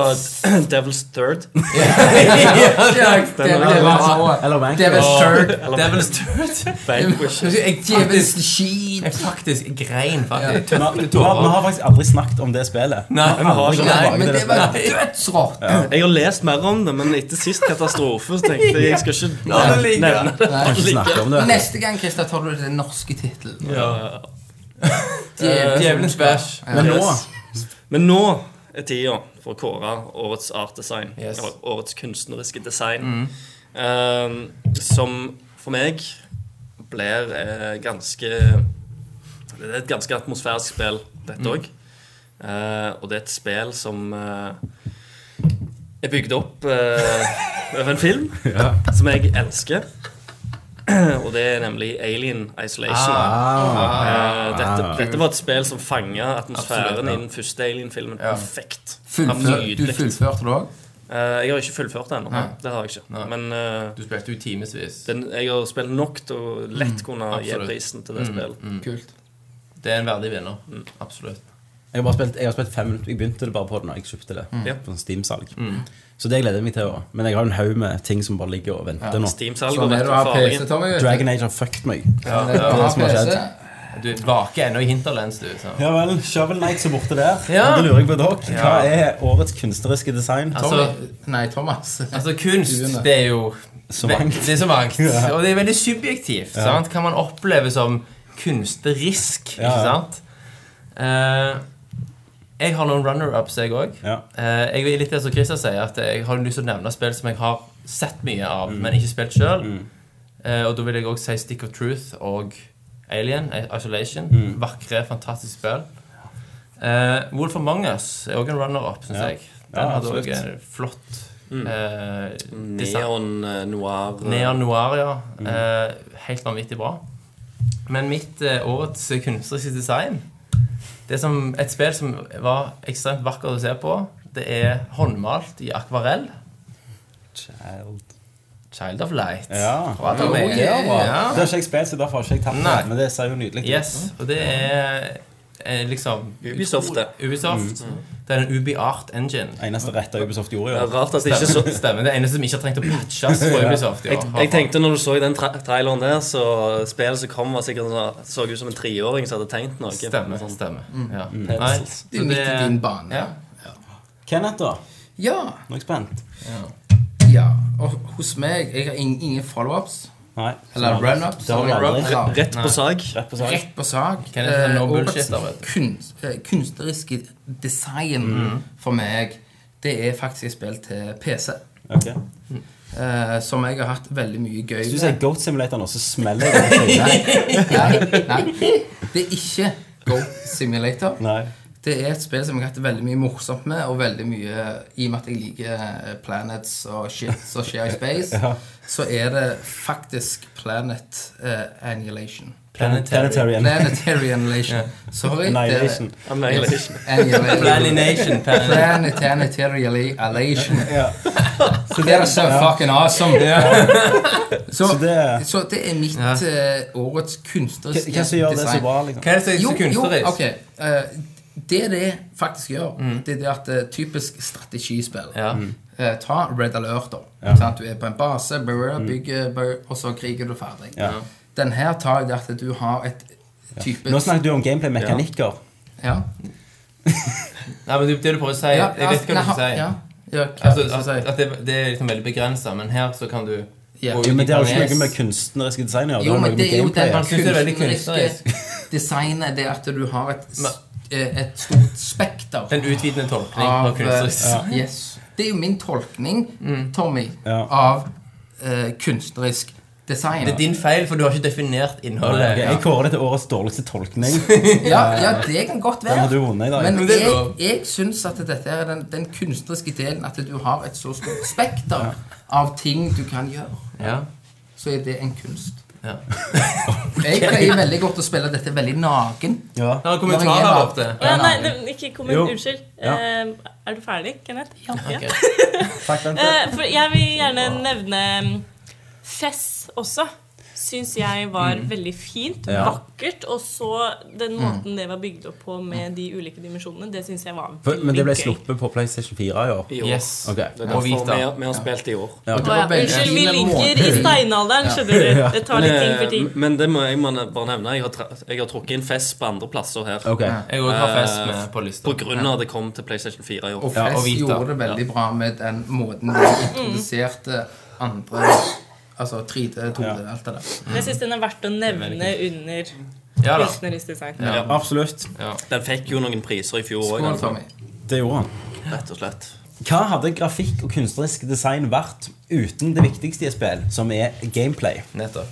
Speaker 2: <clears throat> Devil's
Speaker 5: <laughs>
Speaker 2: Third.
Speaker 4: Det er vel- det er vel så-
Speaker 1: Eller Vank.
Speaker 4: det er vel third.
Speaker 5: Devil's Dirt.
Speaker 2: Vanquishes.
Speaker 4: Jeg djevelens skit.
Speaker 5: Jeg faktisk grein, faktisk.
Speaker 1: Vi har,
Speaker 5: Tøfte
Speaker 1: vi har vi
Speaker 5: tårer.
Speaker 1: har faktisk aldri snakket om det spillet.
Speaker 5: Nei,
Speaker 1: Vi har aldri
Speaker 5: nei,
Speaker 1: gått tilbake til
Speaker 4: Men
Speaker 1: det
Speaker 4: det var
Speaker 1: spillet.
Speaker 4: dødsrått.
Speaker 2: Jeg har lest mer om det, men etter sist katastrofe så tenkte jeg jeg skal ikke
Speaker 5: det ligge.
Speaker 2: nevne det.
Speaker 1: Vi har ikke snakket om det.
Speaker 4: Neste gang Christa, tar du den norske tittelen.
Speaker 5: Ja.
Speaker 4: Djevelens-
Speaker 5: Djevelens bæsj.
Speaker 1: Men nå
Speaker 2: Men nå er tida for å kåre årets artdesign.
Speaker 5: Yes. Mm.
Speaker 2: Eller årets kunstneriske design. eh, som for meg blir eh, ganske Det er et ganske atmosfærisk spill, dette
Speaker 5: Mm.
Speaker 2: òg. og det er et spill som eh, er bygd opp eh, over en film som jeg elsker. <clears throat> Og det er nemlig Alien Isolation.
Speaker 4: Ah.
Speaker 2: Eh, dette, dette var et spill som fanga atmosfæren
Speaker 5: Absolutt, ja.
Speaker 2: i den første Alien-filmen perfekt.
Speaker 4: Fullfør,
Speaker 2: Nydelig.
Speaker 4: du fullførte det òg?
Speaker 2: Eh, jeg har ikke fullført det ennå.
Speaker 4: Nei.
Speaker 2: Det har jeg ikke.
Speaker 5: Nei.
Speaker 2: Men eh,
Speaker 5: Du spilte jo i timevis.
Speaker 2: den, jeg har spilt nok til å lett
Speaker 4: Mm.
Speaker 2: kunne gi
Speaker 5: absolutt.
Speaker 2: prisen til det spillet.
Speaker 1: Mm.
Speaker 4: Kult.
Speaker 5: Det er en verdig vinner. Mm, Absolutt.
Speaker 1: Jeg har, bare spilt, jeg har spilt fem minutter. Jeg begynte det bare på det når jeg kjøpte det.
Speaker 2: Ja.
Speaker 1: På sånn Steam-salg. Så det gleder jeg meg til òg. Men jeg har en haug med ting som bare ligger og venter nå.
Speaker 2: Steam-salg og
Speaker 4: Sånn
Speaker 2: vet
Speaker 4: er det
Speaker 2: du
Speaker 4: å ha PC,
Speaker 2: fargen.
Speaker 4: Tommy. vet du.
Speaker 1: Dragon Age har fucked meg.
Speaker 4: Sånn er det å
Speaker 1: det
Speaker 4: ha
Speaker 1: som har
Speaker 4: PC.
Speaker 1: skjedd.
Speaker 5: Du vaker ennå i hinterlands, du. Så.
Speaker 1: Ja vel. Shovel Knight så borte der.
Speaker 5: Ja.
Speaker 1: Det lurer jeg på dere. Hva
Speaker 5: Ja.
Speaker 1: er årets kunstneriske design?
Speaker 5: Altså,
Speaker 4: Tommy. Nei, Thomas.
Speaker 5: altså, kunst, det er jo
Speaker 1: Så mangt.
Speaker 5: Det er så mangt.
Speaker 1: Ja.
Speaker 5: Og det er veldig subjektivt. Sant? Kan man oppleve som kunstnerisk,
Speaker 1: Ja,
Speaker 5: ikke
Speaker 1: ja.
Speaker 5: sant? Eh, jeg har noen runner-ups, jeg òg.
Speaker 1: Ja.
Speaker 5: Eh, jeg er litt det som Christer sier, at jeg har lyst til å nevne spill som jeg har sett mye av,
Speaker 1: Mm.
Speaker 5: men ikke spilt sjøl. og da vil jeg òg si Stick of Truth og Alien, eh, Isolation.
Speaker 1: Mm.
Speaker 5: Vakre, fantastiske spill. Eh, Wolf Among Us er òg en runner-up, syns
Speaker 1: Ja.
Speaker 5: jeg. Den
Speaker 1: Ja,
Speaker 5: hadde
Speaker 1: absolutt.
Speaker 5: òg en flott eh, design.
Speaker 2: Neon eh, noir. eh,
Speaker 5: Neon Noir, ja. Eh, helt vanvittig bra. Men mitt eh, årets kunstneriske design Det er som et spill som var ekstremt vakkert å se på. Det er håndmalt i akvarell.
Speaker 1: Child.
Speaker 5: Child of Light.
Speaker 1: Ja.
Speaker 5: Bra, Tommy.
Speaker 1: Det er bra.
Speaker 5: Ja.
Speaker 1: Det har ikke jeg spilt, så derfor har ikke jeg tatt
Speaker 5: Nei.
Speaker 1: det. Men det ser jo nydelig ut.
Speaker 5: Yes, og det er eh, liksom
Speaker 2: Ubisoft, det. Mm.
Speaker 5: Ubisoft. Det er en UbiArt engine.
Speaker 1: Eneste rette Ubisoft gjorde.
Speaker 2: Det
Speaker 1: Ja.
Speaker 2: er Rart at det ikke så
Speaker 4: <laughs>
Speaker 5: Stemmer. Det er eneste som ikke har trengt å patches for Ubisoft. i
Speaker 2: jeg,
Speaker 5: år.
Speaker 2: jeg tenkte når du så i den tra traileren der, så spillet som kom, var sikkert sånn, så ut som en treåring som hadde tegnet noe.
Speaker 5: Stemmer. stemmer. Ja. Nei,
Speaker 2: Pencils.
Speaker 5: så
Speaker 4: Det er midt i din bane.
Speaker 5: Ja.
Speaker 1: Kenneth, da?
Speaker 4: Ja.
Speaker 1: Nå er jeg spent.
Speaker 4: ja. Og hos meg Jeg har ingen, ingen follow-ups.
Speaker 1: Nei. Sånn.
Speaker 4: Eller run-ups.
Speaker 1: Det har vi aldri.
Speaker 4: Eller-
Speaker 2: Rett på sak.
Speaker 1: Rett på sak.
Speaker 4: Rett på sak.
Speaker 5: Kan jeg ta no
Speaker 4: Eh,
Speaker 5: bullshit
Speaker 4: årets
Speaker 5: da, vet du?
Speaker 4: kunst, eh, kunstneriske design for meg, det er faktisk et spill til PC.
Speaker 1: Ok.
Speaker 4: eh, som jeg har hatt veldig mye gøy
Speaker 1: Hvis du sier Goat Simulator nå, så smeller det. i trynet.
Speaker 4: <laughs> Nei, nei. Det er ikke Goat Simulator.
Speaker 1: Nei.
Speaker 4: Det er et spill som jeg har hatt det veldig mye morsomt med, og veldig mye I og med at jeg liker eh, planets og shit som skjer i
Speaker 1: <laughs>
Speaker 4: space, så er det faktisk Planet eh, Annihilation.
Speaker 1: Planetarian.
Speaker 4: Planetary Annihilation. Sorry.
Speaker 1: Annihilation.
Speaker 4: det
Speaker 2: Annihilation.
Speaker 4: er- Annihilation.
Speaker 5: Planlination. Plan
Speaker 1: <laughs>
Speaker 4: Planetary Annihilation.
Speaker 1: Ja.
Speaker 4: Så det er så fucking awesome. <laughs> Så,
Speaker 1: Så det-
Speaker 4: så det er mitt eh, årets
Speaker 1: Hva
Speaker 4: kunstneriske
Speaker 1: hva som gjør det så
Speaker 4: design.
Speaker 1: bra, liksom?
Speaker 5: Hva er det som er
Speaker 4: Jo,
Speaker 5: så kunstnerisk?
Speaker 4: jo, ok. Eh, det det faktisk gjør, det er det at det er typisk strategispill.
Speaker 5: Mm. Ja.
Speaker 1: Mm.
Speaker 4: Eh, ta Red Alert, da. Sant? Du er på en
Speaker 1: Mm.
Speaker 4: base, brr, bygger, brr, og så kriger du ferdig. Den her tar jo det at du har et type
Speaker 1: Nå snakket du om gameplay-mekanikker.
Speaker 4: Ja.
Speaker 5: Nei, men det, det du prøver å si
Speaker 4: Ja, altså,
Speaker 5: Jeg vet hva du
Speaker 4: nei,
Speaker 5: skal si.
Speaker 4: Ja, ja, hva
Speaker 5: Altså,
Speaker 4: skal jeg
Speaker 5: at, at det, det er liksom veldig begrensa, men her så kan du
Speaker 4: Ja.
Speaker 5: gå ut
Speaker 4: Jo,
Speaker 1: Men
Speaker 5: i
Speaker 1: det har jo ikke
Speaker 5: Paris.
Speaker 1: noe med kunstneriske design å gjøre.
Speaker 4: Jo,
Speaker 1: det har
Speaker 4: men
Speaker 1: noe med
Speaker 4: det er jo
Speaker 1: gameplay å
Speaker 4: den
Speaker 1: gjøre.
Speaker 5: Han synes det er veldig
Speaker 4: kunstneriske designet, det at du har et, s- eh, et stort spekter
Speaker 5: Den utvidende tolkning av
Speaker 4: av
Speaker 5: kunstnerisk Mm.
Speaker 4: eh, yes. Det er jo min tolkning, Tommy,
Speaker 1: Ja.
Speaker 4: av eh, kunstnerisk design.
Speaker 5: Det er din feil, for du har ikke definert innholdet.
Speaker 1: Ok, Jeg kårer det til årets dårligste
Speaker 4: <laughs>
Speaker 1: tolkning.
Speaker 4: ja, ja, det kan godt
Speaker 1: Den
Speaker 4: være.
Speaker 1: har du vunnet i dag.
Speaker 4: Men
Speaker 5: Men det er
Speaker 4: jeg,
Speaker 5: lov.
Speaker 4: jeg syns at dette er den, den kunstneriske delen, at du har et så stort spekter av ting du kan gjøre.
Speaker 5: Ja.
Speaker 4: Så er det en kunst.
Speaker 5: Ja.
Speaker 4: Jeg pleier veldig godt å spille dette veldig naken.
Speaker 1: ja.
Speaker 5: Det var kommentarer der borte.
Speaker 3: Å ja, nei, det, ikke kom
Speaker 1: Jo.
Speaker 3: Unnskyld.
Speaker 1: Ja.
Speaker 3: Eh, er du ferdig, Kenneth? Ja.
Speaker 1: Takk, Bente.
Speaker 3: Eh, for jeg vil gjerne nevne Fess også. Syns jeg var veldig fint.
Speaker 1: Ja.
Speaker 3: Vakkert. Og så den måten det var bygd opp på med de ulike dimensjonene, det syns jeg var
Speaker 1: For-
Speaker 3: veldig
Speaker 1: Men det ble
Speaker 3: gøy.
Speaker 1: sluppet på PlayStation 4 i år.
Speaker 2: I år.
Speaker 5: Yes.
Speaker 1: Ok.
Speaker 2: Det er
Speaker 5: Og
Speaker 2: derfor vi
Speaker 5: hvit, da.
Speaker 2: har- vi har spilt i år.
Speaker 4: Og det
Speaker 3: Å
Speaker 4: var
Speaker 3: ja,
Speaker 4: veldig
Speaker 3: unnskyld, vi
Speaker 4: fine
Speaker 3: ligger i
Speaker 4: måter.
Speaker 3: steinalderen, skjønner du. Det tar litt ting
Speaker 2: Men, eh,
Speaker 3: for ting.
Speaker 2: men det må jeg må bare nevne. Jeg har, tra- jeg har trukket inn Fest på andre plasser her.
Speaker 1: Ok.
Speaker 5: Jeg òg har fest med Eh, på lista.
Speaker 2: På grunn av det kom til PlayStation 4 i år.
Speaker 4: Og
Speaker 5: Ja, og
Speaker 4: Fest
Speaker 5: Vita.
Speaker 4: gjorde det veldig bra med den måten de
Speaker 5: Mm.
Speaker 4: introduserte andre Altså 3D, 2D,
Speaker 1: Ja.
Speaker 4: alt det der.
Speaker 3: Men Jeg syns den er verdt å nevne under
Speaker 5: Ja da.
Speaker 3: kunstnerisk design.
Speaker 1: Absolutt.
Speaker 2: Den fikk jo noen priser i fjor
Speaker 4: Skål,
Speaker 2: òg,
Speaker 4: Tommy.
Speaker 1: Det gjorde han.
Speaker 2: rett og slett.
Speaker 1: Hva hadde grafikk og kunstnerisk design vært uten det viktigste i et spill, som er gameplay?
Speaker 5: Nettopp.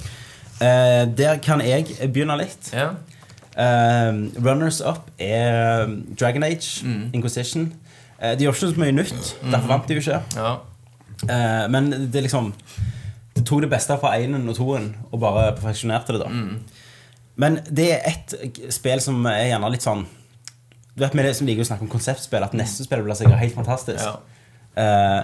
Speaker 1: Eh, der kan jeg begynne litt.
Speaker 5: Ja.
Speaker 1: Eh, runners up er um, Dragon Age, Inquisition. Eh, de gjør ikke så mye nytt, derfor vant de jo ikke.
Speaker 5: ja.
Speaker 1: Eh, men det er liksom Det tok det beste fra enen og toen og bare perfeksjonerte det, da.
Speaker 5: Mm.
Speaker 1: Men det er ett spill som er gjerne litt sånn Du vet med det som liker å snakke om konseptspill, at neste spill blir sikkert helt fantastisk.
Speaker 5: Ja.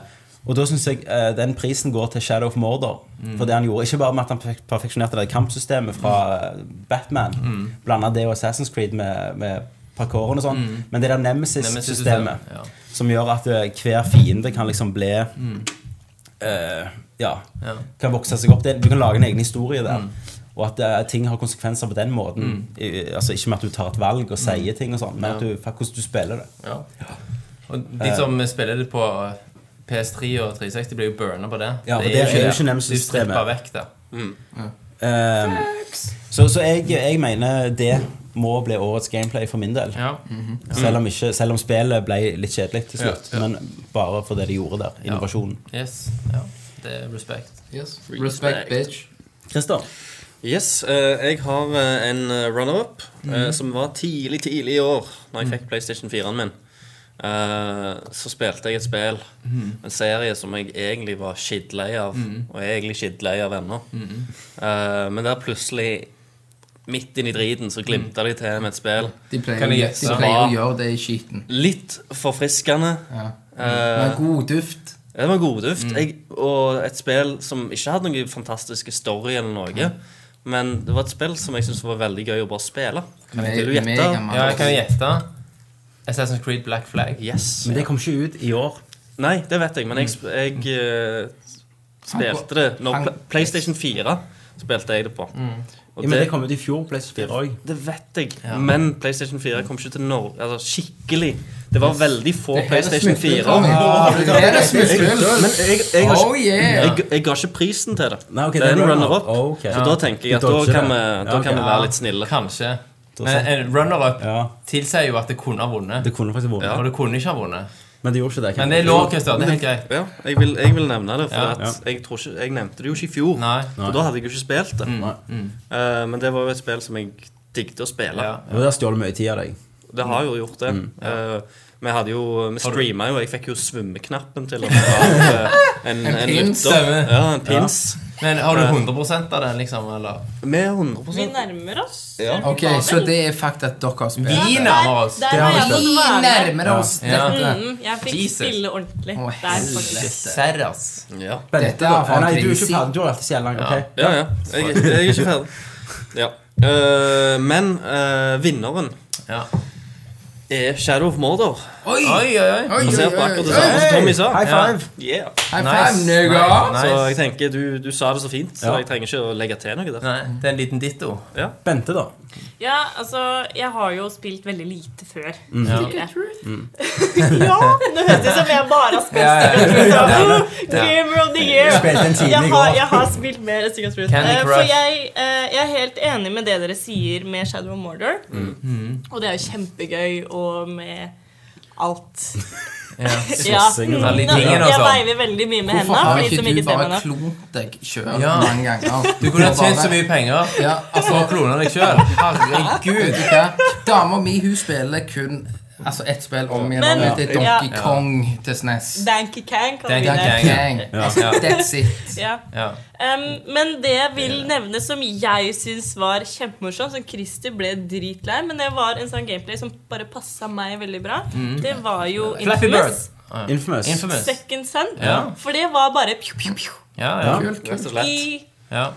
Speaker 1: Eh, og da syns jeg eh, den prisen går til Shadow of Mordor.
Speaker 5: Mm.
Speaker 1: For det han gjorde, Ikke bare med at han perf- perfeksjonerte det kampsystemet fra
Speaker 5: Mm.
Speaker 1: eh, Batman, blanda det og Assassin's Creed med, med parkouren og sånn, men det der
Speaker 5: Mm. Nemesis-systemet,
Speaker 1: Nemesis-systemet
Speaker 5: ja.
Speaker 1: som gjør at eh, hver fiende kan liksom bli eh, ja,
Speaker 5: Ja. Mm.
Speaker 1: kan vokse seg opp. Det, du kan lage en egen historie der. Og at eh, ting har konsekvenser på den måten. I- altså Ikke med at du tar et valg og sier
Speaker 5: Mm.
Speaker 1: ting, og sånn men at du, fa- hvordan du spiller det.
Speaker 5: ja. Og de som spiller det på PS3 og 360, blir jo burna på det.
Speaker 1: Ja, for det er jo ikke Nemesis
Speaker 5: De stripper
Speaker 1: systemet.
Speaker 5: vekk det.
Speaker 1: Ehm, så så jeg, jeg mener det må bli årets gameplay for min del.
Speaker 5: Ja.
Speaker 1: Selv, om ikke, selv om spillet ble litt kjedelig til slutt,
Speaker 5: Mm. Ja, ja.
Speaker 1: men bare for det de gjorde der. Innovasjonen.
Speaker 5: Yes. Ja. Det er respekt.
Speaker 4: Yes.
Speaker 2: Respect.
Speaker 4: Respect, bitch.
Speaker 1: Christer,
Speaker 2: Yes, eh, jeg har eh, en eh, runner-up eh, som var tidlig, tidlig i år, når jeg fikk PlayStation 4-en min. Eh, så spilte jeg et spill, en serie som jeg egentlig var skittlei av, og jeg er egentlig skittlei av ennå. Eh, men der plutselig, midt inni driten, så glimta de til med et spill.
Speaker 4: De pleier,
Speaker 5: Kan jeg
Speaker 4: de
Speaker 5: gjette?
Speaker 4: pleier å gjøre det i skiten.
Speaker 2: Litt forfriskende.
Speaker 4: Ja.
Speaker 2: Eh,
Speaker 4: Med god duft.
Speaker 2: Ja, Det var godduft.
Speaker 1: Mm.
Speaker 2: Jeg, og et spill som ikke hadde noen fantastiske story eller noe.
Speaker 1: Mm.
Speaker 2: Men det var et spill som jeg syntes var veldig gøy å bare spille.
Speaker 4: Meg-
Speaker 2: Vil du gjette?
Speaker 4: megamann.
Speaker 5: Ja, jeg kan jo gjette. Assassin's Creed Black Flag.
Speaker 2: Yes.
Speaker 1: men det kom ikke ut i år.
Speaker 2: Nei, det vet jeg, men jeg, sp- jeg
Speaker 1: Mm.
Speaker 2: eh, spilte det når
Speaker 4: Han-
Speaker 2: Pla- PlayStation 4 spilte jeg det på. Og
Speaker 1: Mm. Ja, men det
Speaker 2: det,
Speaker 1: kom ut i fjor. PlayStation 4 òg.
Speaker 2: det vet jeg. Men PlayStation 4 kom ikke til Norge altså, skikkelig. Det var veldig få PlayStation
Speaker 4: <laughs>
Speaker 2: 4.
Speaker 4: Tommy. Det her er
Speaker 2: Men
Speaker 4: smutthull.
Speaker 2: jeg, jeg, har
Speaker 4: Oh
Speaker 2: ikke,
Speaker 4: yeah!
Speaker 2: jeg, jeg ga ikke prisen til det.
Speaker 1: Nei, ok,
Speaker 2: det er en runner-up.
Speaker 1: Ok.
Speaker 2: Så da tenker jeg at
Speaker 1: Du
Speaker 2: da
Speaker 1: dodger
Speaker 2: kan,
Speaker 1: det.
Speaker 2: vi, da
Speaker 1: Ja,
Speaker 2: kan
Speaker 1: ok.
Speaker 2: vi være litt snille.
Speaker 5: Kanskje.
Speaker 1: Da
Speaker 5: Men
Speaker 1: sant.
Speaker 5: en runner-up
Speaker 1: Ja,
Speaker 5: tilsier jo at det kunne ha vunnet.
Speaker 1: det kunne faktisk vært.
Speaker 5: Og det kunne ikke ha vunnet.
Speaker 1: Men det gjorde ikke det.
Speaker 5: Men det er lov, Christer. Det er helt greit.
Speaker 2: Ja, jeg vil, jeg vil nevne det, for
Speaker 5: Ja.
Speaker 2: at jeg, tror ikke, jeg nevnte det jo ikke i fjor.
Speaker 5: Nei.
Speaker 2: For da hadde jeg jo ikke spilt det.
Speaker 1: Nei.
Speaker 2: Eh, men det var jo et spill som jeg digget å spille.
Speaker 5: Ja.
Speaker 1: Det har stjålet mye tid av deg.
Speaker 2: Det har jo gjort det. Eh, vi hadde jo, vi streama jo, og jeg fikk jo svømmeknappen til og med. av, eh, En, en,
Speaker 4: pins,
Speaker 2: lytter.
Speaker 5: stemmer.
Speaker 2: Ja, en pins.
Speaker 5: Men har du 100 av den, liksom? Eller?
Speaker 2: Med
Speaker 3: Vi
Speaker 2: 100
Speaker 3: nærmer oss.
Speaker 4: Ok, så det er fakta at dere har spilt.
Speaker 5: Vi
Speaker 3: Der-
Speaker 5: nærmer oss.
Speaker 3: Der har jeg
Speaker 4: Vi
Speaker 3: fått være med.
Speaker 4: nærmer oss
Speaker 5: Ja.
Speaker 4: dette.
Speaker 3: Mm, jeg fikk
Speaker 5: Jesus.
Speaker 3: spille ordentlig.
Speaker 4: Å,
Speaker 3: Der, faktisk.
Speaker 5: Serr, ass.
Speaker 2: Ja.
Speaker 4: Dette er faen
Speaker 1: Nei, du er
Speaker 4: krise.
Speaker 1: ikke ferdig. Du har alltid så jævlig lang. ok?
Speaker 2: Ja, ja. Jeg, jeg er ikke ferdig. Ja. Eh, men eh, vinneren
Speaker 5: Ja.
Speaker 2: er Shadow of Mordor.
Speaker 4: Å, Oi!
Speaker 5: Oi, oi, oi.
Speaker 4: Oi,
Speaker 2: Basert på
Speaker 4: oi,
Speaker 2: akkurat det
Speaker 4: oi.
Speaker 2: samme som Tommy sa.
Speaker 1: High five!
Speaker 2: Yeah.
Speaker 4: High
Speaker 5: Nice.
Speaker 4: five, nigga.
Speaker 5: Nice.
Speaker 2: Så jeg tenker, du, du sa det så fint, så
Speaker 1: Ja.
Speaker 2: jeg trenger ikke å legge til noe der.
Speaker 5: Nei, det er en liten ditto.
Speaker 1: Bente, da.
Speaker 3: Ja, altså, jeg har jo spilt veldig lite før.
Speaker 5: Ja.
Speaker 3: tidligere. "Hmm." <laughs> ja! Nå høres det ut som jeg bare har spilt <laughs>
Speaker 4: Ja, ja.
Speaker 3: Secret Truth. Oh, Gamer of the year.
Speaker 1: Spilte en time i
Speaker 3: Jeg har,
Speaker 1: går.
Speaker 3: jeg har spilt mer enn Secret Truth.
Speaker 5: Candy
Speaker 3: Eh,
Speaker 5: Crush.
Speaker 3: For jeg, eh, jeg er helt enig med det dere sier med Shadow of Mordor. Og det er jo kjempegøy, og med alt.
Speaker 5: Ja.
Speaker 3: Ja.
Speaker 1: Slåssing og
Speaker 5: sånn.
Speaker 3: Nå,
Speaker 5: Tingene og
Speaker 3: Jeg
Speaker 5: sånn.
Speaker 3: veiver veldig mye med
Speaker 4: Hvorfor
Speaker 3: hendene.
Speaker 4: har
Speaker 3: for de
Speaker 4: ikke
Speaker 3: som
Speaker 4: du
Speaker 3: ikke ser
Speaker 4: bare
Speaker 3: meg nå.
Speaker 4: klont deg sjøl
Speaker 5: Ja.
Speaker 4: mange ganger?
Speaker 5: Du kunne ha
Speaker 4: Bare-
Speaker 5: tjent så mye penger
Speaker 4: Ja, altså,
Speaker 5: for å klone deg sjøl. Herregud.
Speaker 4: Vet du hva? Dama mi hun spiller kun altså, ett spill om igjen.
Speaker 3: Men-
Speaker 4: og det er
Speaker 3: Ja.
Speaker 4: Donkey Kong til E SNES.
Speaker 3: Danky Kang, kaller
Speaker 5: Danky
Speaker 3: vi
Speaker 5: Kang.
Speaker 3: det.
Speaker 4: Donkey Kong. Altså, That's it.
Speaker 3: Ja.
Speaker 5: Ja.
Speaker 3: Em, men det jeg vil nevne som jeg syns var kjempemorsomt, som Christer ble dritlei, men det var en sånn gameplay som bare passa meg veldig bra, det var jo
Speaker 5: Flappy
Speaker 3: Infamous.
Speaker 1: Mm. Infamous.
Speaker 5: Infamous.
Speaker 3: Second Son.
Speaker 5: Ja.
Speaker 3: For det var bare pju, pju, pju,
Speaker 5: Ja, ja.
Speaker 4: Kult, kult.
Speaker 2: Rett og slett.
Speaker 3: i
Speaker 5: ja.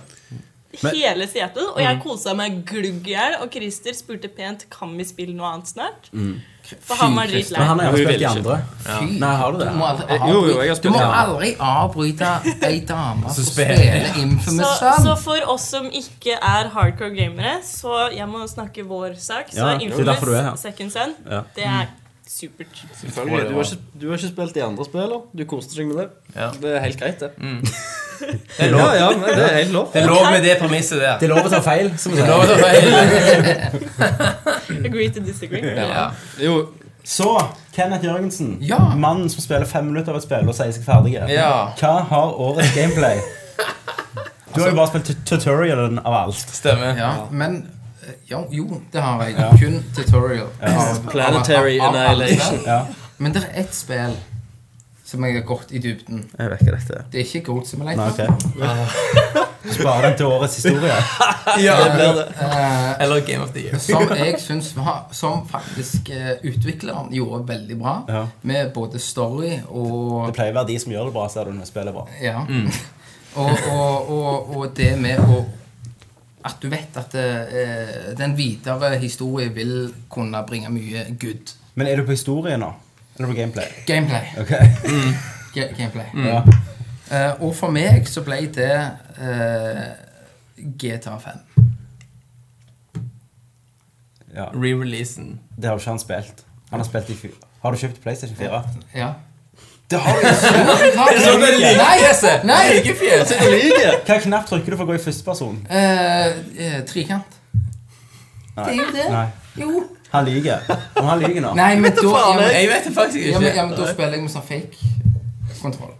Speaker 3: hele Seattle. Og
Speaker 1: Mm.
Speaker 3: jeg kosa meg glugg i hjel, og Christer spurte pent kan vi spille noe annet snart.
Speaker 1: Mm.
Speaker 3: For han var
Speaker 4: Fy, Christer.
Speaker 1: Men han
Speaker 3: dritlei.
Speaker 1: har jo
Speaker 2: Hun
Speaker 1: spilt
Speaker 2: vil
Speaker 1: de
Speaker 2: ikke.
Speaker 1: andre.
Speaker 4: Fy.
Speaker 1: Nei, har du det?
Speaker 4: Du må aldri
Speaker 2: Jo, jo, jeg har
Speaker 4: avbryte, du
Speaker 2: spilt
Speaker 4: må
Speaker 2: det.
Speaker 4: aldri avbryte ei dame som
Speaker 5: spiller.
Speaker 4: spiller Infamous
Speaker 3: Så,
Speaker 4: Son.
Speaker 3: så for oss som ikke er hardcore gamere, så jeg må snakke vår sak. Så
Speaker 1: Ja, det er derfor du er her.
Speaker 3: Infamous Second Son,
Speaker 1: Ja. Mm.
Speaker 3: det er supert.
Speaker 2: Selvfølgelig. Du har, ikke, du har ikke spilt de andre spillene. Du koste deg med det.
Speaker 5: Ja. Mm.
Speaker 2: Det er helt greit, det. <laughs>
Speaker 5: Det er lov,
Speaker 2: Ja, men det er helt lov.
Speaker 5: det er lov med det premisset der.
Speaker 1: Det er lov å ta feil. Som
Speaker 5: Det er lov å ta feil.
Speaker 3: Agree to disagree.
Speaker 5: Ja.
Speaker 2: Jo,
Speaker 1: Så, Kenneth Jørgensen.
Speaker 4: Ja.
Speaker 1: Mannen som spiller fem minutter av et spill og sier seg ferdig.
Speaker 5: ja.
Speaker 1: Hva har årets gameplay? Du har jo bare spilt tu- tutorialen av alt.
Speaker 5: Stemmer.
Speaker 4: Ja, men eh, jo, jo, det har jeg. Kun tutorial. Av-
Speaker 2: Planetary
Speaker 4: av- av- av-
Speaker 2: Annihilation.
Speaker 1: Ja.
Speaker 4: Men det er ett spill som jeg har gått i dybden.
Speaker 1: Jeg vet ikke dette.
Speaker 4: Det er ikke Goat Simulator.
Speaker 1: Nei, ok. Spar den til årets historie.
Speaker 5: det blir det.
Speaker 4: Eh,
Speaker 5: Eller Game of the Year.
Speaker 4: som jeg syns var Som faktisk eh, utvikleren gjorde veldig bra.
Speaker 1: Ja.
Speaker 4: Med både story
Speaker 1: Det
Speaker 4: og
Speaker 1: pleier å være de som gjør det Mm. bra, ser du når spillet er bra.
Speaker 4: Ja. <laughs> og, og, og, og det med å At du vet at eh, den videre historien vil kunne bringe mye good
Speaker 1: Men er du på historie nå? Eller på gameplay?
Speaker 4: gameplay.
Speaker 1: Ok.
Speaker 4: Ga- gameplay.
Speaker 1: Ja.
Speaker 4: Eh, og for meg så ble det eh, GTA 5.
Speaker 1: ja.
Speaker 5: Re-releasen.
Speaker 1: Det har jo ikke han spilt. Han har spilt i fjor. Har du kjøpt PlayStation 4?
Speaker 4: Ja.
Speaker 1: Det har du ikke!
Speaker 5: Så det er
Speaker 4: Nei!
Speaker 5: likefjeset!
Speaker 4: Nei!
Speaker 5: Likefjes!
Speaker 1: Hva knapp trykker du for å gå i førsteperson?
Speaker 4: Eh, eh, trikant. Det er jo det.
Speaker 1: Nei.
Speaker 4: Jo.
Speaker 1: Han lyver. Om han lyver nå.
Speaker 4: Nei, men da ja, men,
Speaker 5: Jeg vet det faktisk
Speaker 4: ja, men, ja,
Speaker 5: ikke.
Speaker 4: men da spiller jeg med sånn fake kontroll.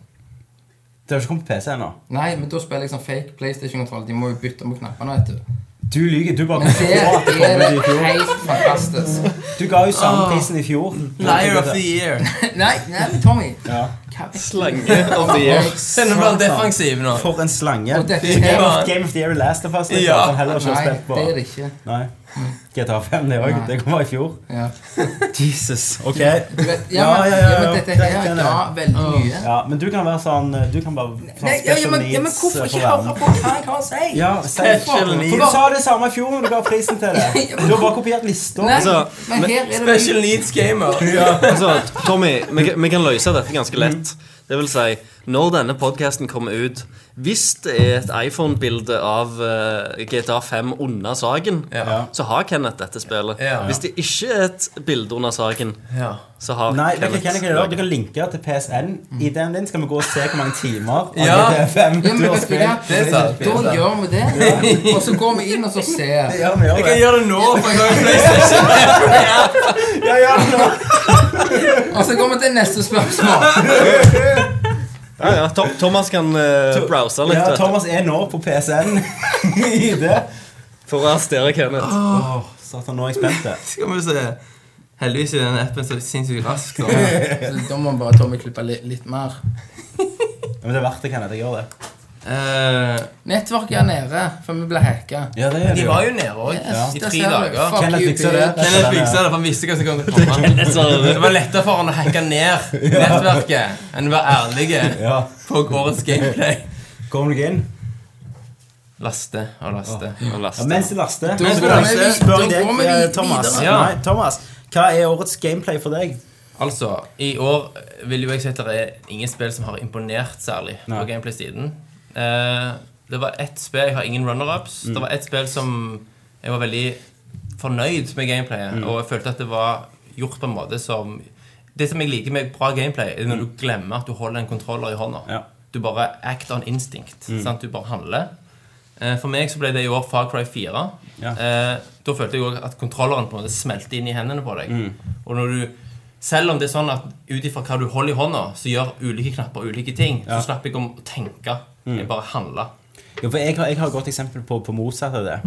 Speaker 1: Det har ikke kommet på PC ennå.
Speaker 4: Nei, men da spiller jeg sånn fake PlayStation-kontroll. De må jo bytte med knappene, vet du.
Speaker 1: Du lyver. Du bare
Speaker 4: Men det
Speaker 1: Ja, det kom
Speaker 4: er
Speaker 1: ut i
Speaker 4: det
Speaker 1: fjor.
Speaker 4: helt fantastisk.
Speaker 1: Du ga jo samme prisen i fjor.
Speaker 5: Liar of the Year.
Speaker 4: Nei, nei, men Tommy.
Speaker 1: Ja.
Speaker 4: Hva
Speaker 2: slange of the year.
Speaker 5: Den er bare defensiv nå.
Speaker 1: For en slange.
Speaker 4: Og dette
Speaker 1: Game
Speaker 4: er
Speaker 1: of, Game of the Year Last of Us. Det
Speaker 5: Ja.
Speaker 1: ja. han heller ikke har
Speaker 4: Nei,
Speaker 1: spilt på.
Speaker 4: det er det ikke.
Speaker 1: Nei. GTA 5, det òg.
Speaker 4: Nei.
Speaker 1: Det kom bare i fjor.
Speaker 4: Ja.
Speaker 1: Jesus. Ok.
Speaker 4: Du vet, ja, men, ja, men dette her
Speaker 1: Den- den er-
Speaker 4: ga veldig mye.
Speaker 1: Ja, men du kan være sånn Du kan bare sånn eh,
Speaker 4: Nei, ja, ja, men, ja, men hvorfor ikke høre på hva jeg har å si?
Speaker 1: Ja,
Speaker 5: Special
Speaker 1: special needs.
Speaker 5: needs.
Speaker 1: For du sa det samme i fjor når du ga prisen
Speaker 4: <laughs>
Speaker 1: til det. Du har bare kopiert lista.
Speaker 4: Nei,
Speaker 2: Altså,
Speaker 4: men her er det
Speaker 5: Special needs gamer.
Speaker 2: Altså, Tommy, vi, vi kan løse dette ganske lett. Det vil si, når denne podkasten kommer ut Hvis det er et iPhone-bilde av eh, GTA 5 under saken,
Speaker 5: Ja.
Speaker 2: så har Kenneth dette spillet.
Speaker 5: Ja.
Speaker 2: Hvis det ikke er et bilde under saken,
Speaker 5: Ja.
Speaker 2: så har
Speaker 1: Nei, vet du hva jeg kan gjøre? Du kan linke til PSN. I den din skal vi gå og se hvor mange timer av
Speaker 5: Ja.
Speaker 1: GTA5 du
Speaker 4: Ja, men
Speaker 1: har
Speaker 4: vet du hva?
Speaker 1: spilt.
Speaker 5: Det er sant.
Speaker 4: Da gjør vi det. Og så går vi inn og så ser.
Speaker 1: Ja, vi
Speaker 5: Jeg
Speaker 1: gjør
Speaker 5: kan
Speaker 1: det.
Speaker 5: gjøre det nå. for jeg har jo PlayStation.
Speaker 1: Ja, ja, ja.
Speaker 4: Og så går vi til neste spørsmål.
Speaker 2: Ja, ja, Tom, Thomas kan eh, browse litt
Speaker 1: ja,
Speaker 2: vet du,
Speaker 1: Thomas er nå på PSN <laughs> i det.
Speaker 2: for å arrestere Kenneth.
Speaker 1: Åh, satan, nå er jeg spent. det.
Speaker 5: <laughs> Skal vi se. Heldigvis er den appen så sinnssykt rask. nå.
Speaker 4: Så Da må bare Tommy klippe litt, litt mer.
Speaker 1: Ja, Men det er verdt det, Kenneth. Jeg gjør det.
Speaker 5: Eh,
Speaker 4: Nettverket er nede, for vi ble hacka.
Speaker 1: Ja, det
Speaker 5: De var jo nede òg. I
Speaker 4: Der
Speaker 5: tre
Speaker 4: ser du.
Speaker 5: dager.
Speaker 4: Fuck
Speaker 1: Kenneth
Speaker 4: you,
Speaker 1: fikser
Speaker 4: bitch.
Speaker 1: det.
Speaker 5: Kenneth fiksa det, for han visste hva som kom til å komme. Det var lettere for han å hacke ned nettverket enn å være ærlig
Speaker 1: Ja.
Speaker 5: på årets gameplay.
Speaker 1: Kommer du inn?
Speaker 5: Laste og laste og
Speaker 1: Ja,
Speaker 5: laste.
Speaker 1: mens de laster.
Speaker 4: Da
Speaker 5: Men
Speaker 4: går
Speaker 5: spør
Speaker 4: vi
Speaker 5: jeg-
Speaker 4: vid-
Speaker 1: Spør
Speaker 4: da
Speaker 1: deg,
Speaker 4: går vi
Speaker 1: eh,
Speaker 4: vid-
Speaker 1: Thomas.
Speaker 4: videre.
Speaker 5: Ja.
Speaker 1: Nei, Thomas, hva er årets gameplay for deg?
Speaker 5: Altså, i år vil jo jeg si at det er ingen spill som har imponert særlig på
Speaker 1: Nei.
Speaker 5: Gameplay-siden. Eh, det var ett spill Jeg har ingen runner-ups. Det var ett spill som jeg var veldig fornøyd med gameplayet, og jeg følte at det var gjort på en måte som Det som jeg liker med bra gameplay, er når du glemmer at du holder en kontroller i hånda.
Speaker 1: Ja. Mm.
Speaker 5: Du bare act on instinct. Sant? Du bare handler. Eh, For meg så ble det i år Far Cry 4.
Speaker 1: Ja.
Speaker 5: Eh, da følte jeg òg at kontrolleren på en måte smelte inn i hendene på deg.
Speaker 1: Mm.
Speaker 5: Og når du selv om det er sånn at ut ifra hva du holder i hånda, så gjør ulike knapper ulike ting, så slapp jeg om å tenke.
Speaker 1: Mm.
Speaker 5: Jeg bare handla.
Speaker 1: Ja, for jeg har, jeg har et godt eksempel på, på motsatt av det.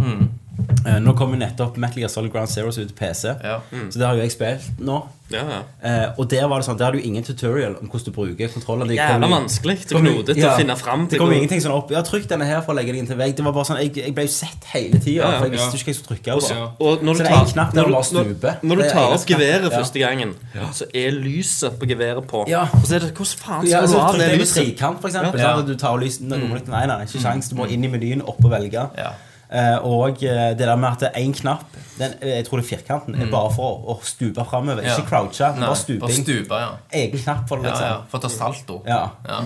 Speaker 1: Eh, nå kom jo nettopp Metal Gear Solid Ground Zeros ut til PC,
Speaker 5: Ja.
Speaker 1: så det har jo jeg spilt nå.
Speaker 2: Ja, ja.
Speaker 1: Eh, og der var det sånn, der hadde du ingen tutorial om hvordan du bruker kontrollene. Det kom
Speaker 2: Jævla
Speaker 1: jo-
Speaker 2: vanskelig og
Speaker 1: kom jo-
Speaker 2: knodete
Speaker 1: ja.
Speaker 2: å finne fram
Speaker 1: Det
Speaker 2: til.
Speaker 1: kom
Speaker 2: hvor-
Speaker 1: ingenting sånn opp Ja, trykk denne her for å legge deg inn til vegg. Det var bare sånn, Jeg, jeg ble jo sett hele tida.
Speaker 2: ja,
Speaker 1: for jeg
Speaker 5: ja.
Speaker 1: visste jo ikke hva jeg skulle trykke på.
Speaker 5: Ja.
Speaker 2: Og når
Speaker 1: Så
Speaker 2: du
Speaker 1: det er en
Speaker 2: tar,
Speaker 1: knapp der
Speaker 2: når
Speaker 1: du bare
Speaker 2: du, når,
Speaker 1: snuper.
Speaker 2: når du
Speaker 1: Det er
Speaker 2: tar opp
Speaker 1: eneste
Speaker 2: geværet
Speaker 1: knappen. Ja.
Speaker 2: første gangen, så er lyset på geværet på.
Speaker 1: Ja.
Speaker 2: Og så er det Hvordan faen
Speaker 1: Ja,
Speaker 2: skal du
Speaker 1: så
Speaker 2: ha
Speaker 1: trykker
Speaker 2: det
Speaker 1: jeg på
Speaker 2: lyset?
Speaker 1: trikant, for eksempel.
Speaker 5: Ja.
Speaker 1: Ja. Du tar og lyser Nei, nei, nei, ikke sjans. Du må inn i menyen, opp og velge.
Speaker 5: Ja.
Speaker 1: Eh, og eh, det der med at det er én knapp den, eh, Jeg tror det er firkanten.
Speaker 2: Mm.
Speaker 1: Er bare for å, å stupe framover.
Speaker 5: Ja.
Speaker 1: Ikke crouche, men
Speaker 5: Nei,
Speaker 1: bare
Speaker 5: Bare
Speaker 1: stuping.
Speaker 5: stupe, ja.
Speaker 1: Egen knapp for det,
Speaker 5: Ja,
Speaker 1: liksom.
Speaker 5: ja. For å ta salto.
Speaker 1: Ja.
Speaker 5: Ja.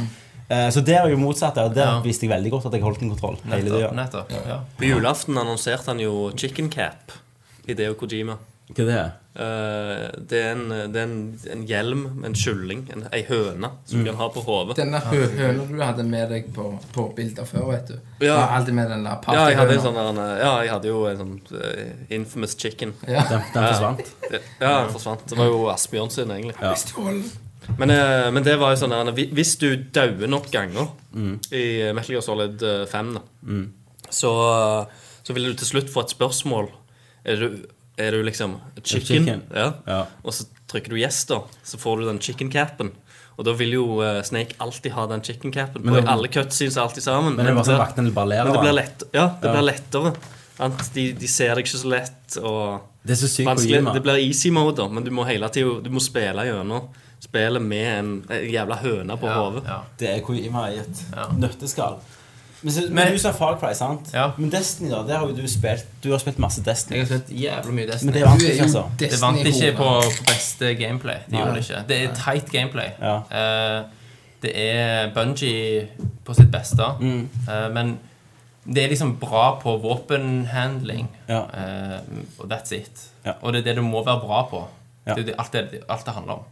Speaker 1: Eh, Så det er jo motsatt. Der, der
Speaker 5: Ja.
Speaker 1: visste jeg veldig godt at jeg holdt en kontroll. hele
Speaker 5: Nettopp.
Speaker 1: tiden.
Speaker 5: nettopp. Ja.
Speaker 2: På julaften annonserte han jo Chicken Cap. Hideo Kojima.
Speaker 1: Hva er det?
Speaker 2: Eh, det er en, det er en, en hjelm, en kylling, en, ei høne, som du
Speaker 1: Mm.
Speaker 2: kan ha på hodet.
Speaker 4: Denne hø høna du hadde med deg på, på bilder før, vet du.
Speaker 2: Ja.
Speaker 4: Du har Alltid med den der
Speaker 2: Ja, jeg hadde, en
Speaker 4: partyhøna.
Speaker 2: sånn der, en, eh, ja, jeg hadde jo en sånn eh, infamous chicken.
Speaker 1: Den, den forsvant.
Speaker 2: Det- Ja, den forsvant. Det var jo Asbjørn sin, egentlig.
Speaker 4: Pistol.
Speaker 2: Men, eh, men det var jo sånn der, hvi- Hvis du dauer nok ganger
Speaker 1: Mm.
Speaker 2: i Metal Gear Solid eh, 5, da, så, så vil du til slutt få et spørsmål. Er du, er du liksom chicken?
Speaker 1: chicken.
Speaker 2: Ja.
Speaker 1: Ja.
Speaker 2: Og så trykker du yes, da. Så får du den chicken capen. Og da vil jo eh, Snake alltid ha den chicken capen.
Speaker 1: Men
Speaker 2: på
Speaker 1: det-
Speaker 2: i alle cutscenes alltid sammen.
Speaker 1: Men det var sånn
Speaker 2: blir-
Speaker 1: vaktene bare ler
Speaker 2: men det
Speaker 1: av
Speaker 2: blir
Speaker 1: han.
Speaker 2: lett, ja, det
Speaker 1: Ja.
Speaker 2: blir lettere. sant? De, de ser deg ikke så lett. og...
Speaker 1: Det er så sykt
Speaker 2: Vanskelig,
Speaker 1: Kojima.
Speaker 2: det blir easy mode, da, men du må hele tiden, du må spille gjennom. Spille med en, en jævla høne på hodet.
Speaker 5: Ja.
Speaker 1: Det er Kojima i et
Speaker 5: Ja.
Speaker 1: nøtteskall. Men, så, men,
Speaker 5: Men-
Speaker 1: du sa Far Cry, sant?
Speaker 5: Ja.
Speaker 1: Men Destiny, da? Det har jo du spilt. Du har spilt masse Destiny.
Speaker 5: Jeg har spilt jævlig mye
Speaker 1: Men
Speaker 5: Destiny.
Speaker 1: det vant
Speaker 4: Du er
Speaker 1: ikke, altså.
Speaker 4: jo
Speaker 5: Det vant ikke på,
Speaker 4: Destiny-hore.
Speaker 5: på beste gameplay. Det gjorde det ikke. Det er tight gameplay.
Speaker 1: Ja.
Speaker 5: Eh, det er Bungie på sitt beste. Eh, men det er liksom bra på våpenhandling.
Speaker 1: Ja.
Speaker 5: Eh, og that's it.
Speaker 1: Ja.
Speaker 5: Og det er det du må være bra på.
Speaker 1: Ja.
Speaker 5: Det er det, alt, det, alt det handler om.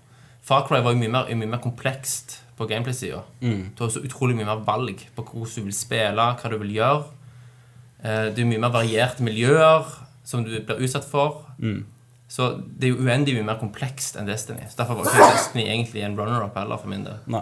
Speaker 5: Far Cry var jo mye mer, mye mer komplekst på gameplay-sida.
Speaker 1: Mm.
Speaker 5: Du har så utrolig mye mer valg på hvordan du vil spille, hva du vil gjøre. Eh, Det er mye mer varierte miljøer som du blir utsatt for.
Speaker 1: Mm.
Speaker 5: Så det er jo uendelig mye mer komplekst enn Destiny. Så Derfor var ikke Destiny egentlig en runner-up heller, for min del.
Speaker 1: Nei.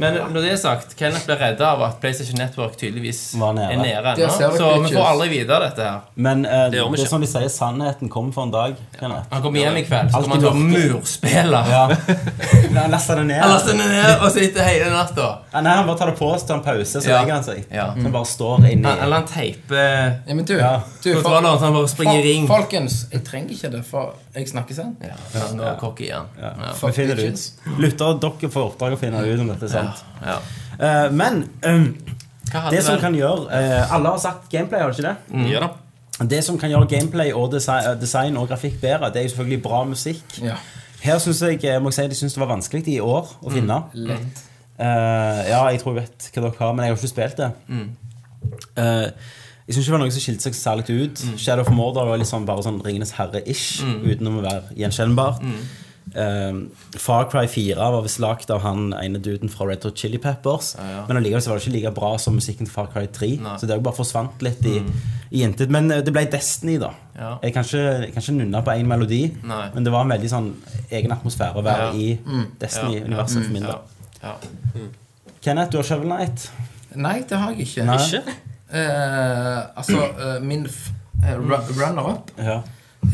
Speaker 5: Men når det er sagt, Kenneth ble redda av at PlayStation Network tydeligvis
Speaker 1: Var nede.
Speaker 5: er nede ennå.
Speaker 4: Der ser dere
Speaker 5: Så vi
Speaker 4: bitches.
Speaker 5: får aldri vite dette her.
Speaker 1: Men eh, det,
Speaker 2: gjør vi
Speaker 1: er
Speaker 2: ikke.
Speaker 1: som de sier, sannheten kommer for en dag. Kenneth.
Speaker 5: Han kommer hjem i kveld, så
Speaker 1: Alt
Speaker 5: kommer han til å
Speaker 1: i
Speaker 5: murspille.
Speaker 1: <laughs> Ja. La- Lasta det ned.
Speaker 5: Han laster den ned og sitter hele natta.
Speaker 1: Ja, Nei, han bare tar det på og tar en pause, så
Speaker 5: Ja.
Speaker 1: legger han seg.
Speaker 5: Ja.
Speaker 1: Så han bare står inni
Speaker 5: Eller han teiper
Speaker 4: Ja, men du,
Speaker 1: Ja.
Speaker 4: du fol-
Speaker 5: kontrolleren så han bare springer i ring.
Speaker 4: fol- Folkens, jeg trenger ikke det, for jeg snakker sant.
Speaker 5: Ja, nå er cocky igjen. Ja.
Speaker 1: Vi finner det ut. Lyttere, dere får oppdrag å finne ut om dette er sant.
Speaker 5: Ja.
Speaker 1: Eh, men eh,
Speaker 5: Hva
Speaker 1: det som
Speaker 5: hadde Mm.
Speaker 1: kan
Speaker 5: vel
Speaker 1: gjøre eh, Alle har sagt gameplay, har de ikke det?
Speaker 2: Ja da.
Speaker 1: Det som kan gjøre gameplay og design, design og grafikk bedre, det er jo selvfølgelig bra musikk.
Speaker 4: Ja.
Speaker 1: Her synes jeg, jeg må jeg si, de synes det var vanskelig i år
Speaker 5: Mm.
Speaker 1: å finne.
Speaker 4: Lett.
Speaker 1: Eh, ja, jeg tror jeg vet hva dere har, men jeg har ikke spilt det.
Speaker 5: Mm.
Speaker 1: Eh, jeg synes ikke det var noe som skilte seg særlig ut.
Speaker 5: Mm.
Speaker 1: Shadow of Mordor var liksom bare sånn Ringenes herre-ish, utenom å være gjenkjennbart.
Speaker 5: Mm.
Speaker 1: Eh, Far Cry 4 var visst lagd av han ene duden fra Red Hot Chili Peppers. Men allikevel så var det ikke like bra som musikken til Far Cry 3. Så det er jo bare forsvant litt i, i intet. Men eh, det ble Destiny, da.
Speaker 5: Mm. Ja.
Speaker 1: Jeg kan ikke, jeg kan ikke nunne på én melodi,
Speaker 5: Nei.
Speaker 1: men det var en veldig sånn egen atmosfære å være
Speaker 5: Ja.
Speaker 1: i Destiny-universet for min del.
Speaker 5: Ja. Mm. Ja.
Speaker 1: Kenneth, du har Shovel Knight.
Speaker 4: Nei, det har jeg ikke.
Speaker 1: Nei.
Speaker 2: Ikke?
Speaker 4: Eh, altså, eh, min f- eh, ru- runner-up
Speaker 1: Ja.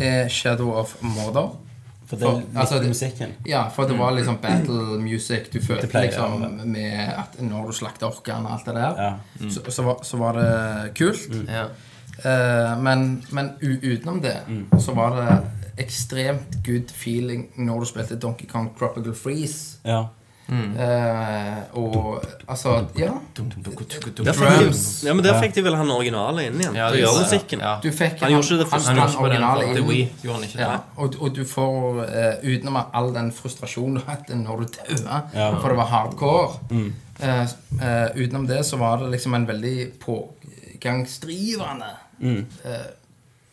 Speaker 4: er Shadow of Mordor.
Speaker 1: For det er
Speaker 4: For-
Speaker 1: litt
Speaker 4: altså, det-
Speaker 1: musikken.
Speaker 4: Ja, for det var liksom battle music du følte
Speaker 1: Det pleier,
Speaker 4: liksom
Speaker 1: Mm. ja.
Speaker 4: med at når du slakter orkene og alt det der,
Speaker 1: Ja. Mm.
Speaker 4: så, så, var, så var det kult.
Speaker 5: Ja.
Speaker 4: Eh, men men u utenom det
Speaker 1: Mm.
Speaker 4: så var det ekstremt good feeling når du spilte Donkey Kong Tropical Freeze.
Speaker 1: Ja.
Speaker 4: Eh, og altså Ja.
Speaker 5: Drums.
Speaker 2: Ja, men Der fikk de vel han originale inn igjen.
Speaker 5: Ja,
Speaker 2: til å
Speaker 5: det-
Speaker 2: gjøre musikken.
Speaker 5: ja.
Speaker 4: Du fikk
Speaker 2: Han gjorde ikke det første.
Speaker 5: Han gjorde
Speaker 4: han
Speaker 5: ikke på den
Speaker 4: originale
Speaker 5: for The
Speaker 4: inn.
Speaker 5: Wii. Gjorde han ikke
Speaker 4: Ja,
Speaker 5: det?
Speaker 4: og, og du får, eh, utenom all den frustrasjonen du hadde når du daua, for det var hardcore eh, eh, Utenom det så var det liksom en veldig pågangsdrivende eh,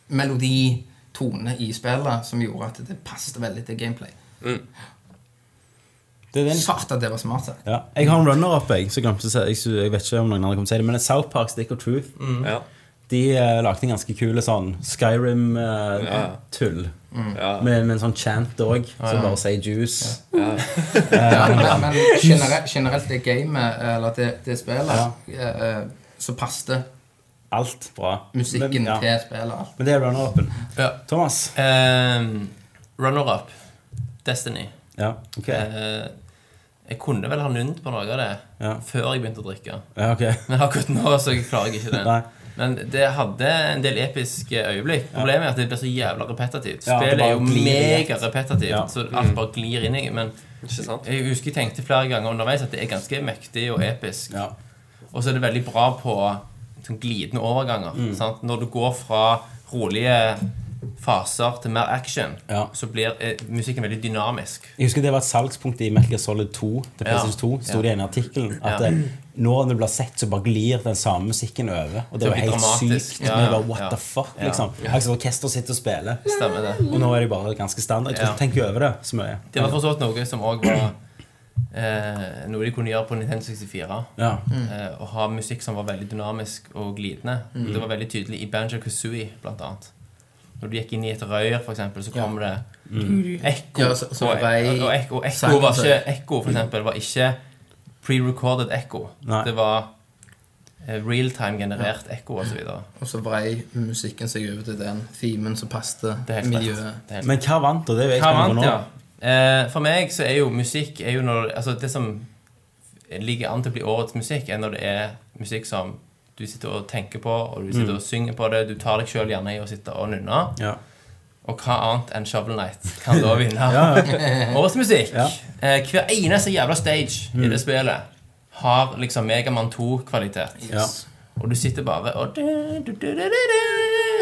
Speaker 4: melodi, tone, i spillet som gjorde at det passet veldig til gameplay.
Speaker 1: Det er den.
Speaker 4: Svart at det var smart sagt.
Speaker 1: Ja. Jeg har en runner-up, jeg. Så jeg glemte å si, jeg, sy- jeg vet ikke om noen andre kommer til å si det, men South Park Stick of Truth
Speaker 2: Ja.
Speaker 1: De eh, lagde en ganske kul sånn Skyrim-tull.
Speaker 2: Ja.
Speaker 1: med, med en sånn chant òg, som bare sier juice.
Speaker 4: Men, men generelt, generelt det gamet, eller det, det spillet, eh, eh, så passet
Speaker 1: Alt bra.
Speaker 4: musikken
Speaker 1: men, ja.
Speaker 4: til spillet.
Speaker 1: men det er runner-upen.
Speaker 5: Ja.
Speaker 1: Thomas?
Speaker 5: Ehm, Runner-up. Destiny.
Speaker 1: Ja, ok.
Speaker 5: Eh, jeg kunne vel ha nunt på noe av det
Speaker 1: Ja.
Speaker 5: før jeg begynte å drikke.
Speaker 1: Ja, ok. <laughs>
Speaker 5: Men akkurat nå så klarer jeg ikke
Speaker 1: Nei.
Speaker 5: det. Men det hadde en del episke øyeblikk. Problemet er at det blir så jævla repetitivt.
Speaker 1: Ja, det
Speaker 5: Spillet
Speaker 1: bare
Speaker 5: er jo
Speaker 1: glir i ett.
Speaker 5: megarepetitivt,
Speaker 1: Ja.
Speaker 5: så alt bare glir inn i. Men
Speaker 2: Ikke sant?
Speaker 5: jeg husker jeg tenkte flere ganger underveis at det er ganske mektig og episk.
Speaker 1: Ja.
Speaker 5: Og så er det veldig bra på sånn glidende overganger.
Speaker 1: Mm.
Speaker 5: Sant? Når du går fra rolige faser til mer action,
Speaker 1: Ja.
Speaker 5: så blir eh, musikken veldig dynamisk.
Speaker 1: Jeg husker det var et salgspunkt i Metal Gear Solid 2 til
Speaker 5: Ja.
Speaker 1: PlayStation 2. Sto det i en artikkel at
Speaker 5: Ja.
Speaker 1: eh, nå når det blir sett, så bare glir den samme musikken over. Og det
Speaker 5: Det
Speaker 1: var
Speaker 5: blir
Speaker 1: helt
Speaker 5: dramatisk.
Speaker 1: sykt.
Speaker 5: Ja,
Speaker 1: men det
Speaker 5: ja,
Speaker 1: var what
Speaker 5: ja.
Speaker 1: the fuck,
Speaker 5: Ja.
Speaker 1: liksom. Akkurat som orkester sitter og spiller.
Speaker 5: Stemmer det.
Speaker 1: Og nå er de bare ganske standard. Jeg tror
Speaker 5: Ja.
Speaker 1: ikke tenker jeg over det så mye.
Speaker 5: Det var for så vidt noe som òg var eh, noe de kunne gjøre på Nintendo 64.
Speaker 1: Ja.
Speaker 4: Mm.
Speaker 5: Eh, å ha musikk som var veldig dynamisk og glidende.
Speaker 4: Mm.
Speaker 5: Det var veldig tydelig i Banjo Kazooie, blant annet. Når du gikk inn i et røyr, for eksempel, så kom det
Speaker 1: Mm.
Speaker 5: ekko.
Speaker 4: Ja, så- så
Speaker 5: og,
Speaker 4: vei-
Speaker 5: og, og ekko, ekko
Speaker 4: Silent
Speaker 5: var ikke
Speaker 4: Hill.
Speaker 5: ekko, for eksempel, var ikke pre-recorded ekko.
Speaker 1: Nei.
Speaker 5: Det var eh, real-time generert ekko og så videre.
Speaker 4: Og så vrei musikken seg over til den themen som passet
Speaker 5: Det er helt
Speaker 4: miljøet.
Speaker 5: rett. Det er helt
Speaker 1: Men hva vant, da? Det er jo jeg
Speaker 5: Hva
Speaker 1: spent på
Speaker 5: vant,
Speaker 1: nå.
Speaker 5: ja? Eh, for meg så er jo musikk er jo når, altså Det som ligger an til å bli årets musikk, er når det er musikk som du sitter og tenker på, og du sitter og synger på det. Du tar deg sjøl gjerne i å sitte og nynne.
Speaker 1: Ja.
Speaker 5: Og hva annet enn Shovel Night kan da vinne? Årets musikk.
Speaker 1: Ja.
Speaker 5: Eh, hver eneste jævla stage i det spillet har liksom Megaman 2-kvalitet.
Speaker 1: Ja.
Speaker 5: Og du sitter bare og du, du, du, du, du, du,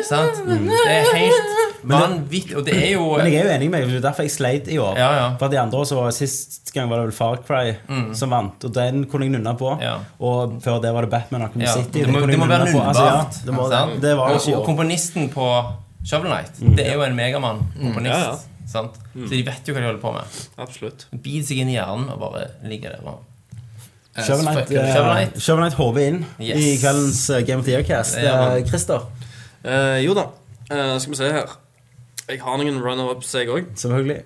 Speaker 5: Sant? Det er helt vanvittig. Og det er jo
Speaker 1: Men jeg er jo enig med deg. Det er derfor jeg sleit i år.
Speaker 5: Ja, ja. Mm.
Speaker 1: For de andre år så var Sist gang var det vel Far Cry som vant, og den kunne jeg nunne på.
Speaker 5: Ja.
Speaker 1: Og før det var det Batman Arkham
Speaker 5: Ja,
Speaker 1: City.
Speaker 5: det
Speaker 1: den
Speaker 5: må,
Speaker 1: kunne
Speaker 5: det
Speaker 1: jeg
Speaker 5: må
Speaker 1: nunne
Speaker 5: være
Speaker 1: på. Altså, ja,
Speaker 5: nunnbart.
Speaker 1: det, må,
Speaker 5: sant?
Speaker 1: det, det var jo ikke Mm. i
Speaker 5: og, og
Speaker 1: år.
Speaker 5: komponisten på Shovel Knight, det er jo en
Speaker 1: Mm.
Speaker 5: Megamann-komponist.
Speaker 2: Ja, ja.
Speaker 5: Sant? Så de vet jo hva de holder på med.
Speaker 2: Absolutt.
Speaker 5: Biter seg inn i hjernen og bare ligger der. Og.
Speaker 4: Eh,
Speaker 1: Shovel Knight,
Speaker 4: spøker.
Speaker 1: eh,
Speaker 5: Shovel Knight.
Speaker 1: Shovel Knight HV inn i
Speaker 5: Yes.
Speaker 1: kveldens eh, Game of the Year-cast.
Speaker 5: Ja, man.
Speaker 1: Eh, Christer,
Speaker 2: Eh, jo da, Eh, skal vi se her. Jeg har noen runner-ups, jeg òg,
Speaker 1: selvfølgelig.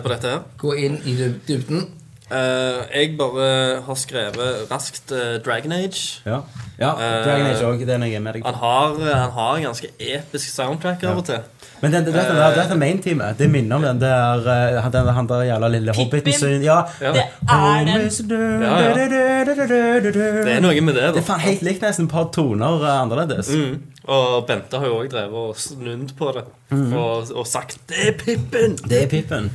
Speaker 2: på dette her.
Speaker 4: Gå inn i dyb- dybden.
Speaker 2: Eh, jeg bare har skrevet raskt eh, Dragon Age.
Speaker 1: Ja, ja
Speaker 2: Eh,
Speaker 1: Dragon Age òg. Den er jeg med deg på.
Speaker 2: Han har, eh, han har en ganske episk soundtrack av og til.
Speaker 1: Men den, det, det, det,
Speaker 2: Eh,
Speaker 1: det, det main-teamet, det minner om den der eh, han- den, han der jævla lille hobbiten sin. Ja.
Speaker 2: Ja.
Speaker 3: Det er den.
Speaker 2: ja. Det er noe med det.
Speaker 1: Det er
Speaker 2: da
Speaker 1: faen helt likt nesten et par toner eh, annerledes.
Speaker 2: mm. Og Bente har jo òg drevet og snudd på det.
Speaker 1: Mhm.
Speaker 2: Og, og sagt 'Det er Pippen!'
Speaker 1: Det er Pippen.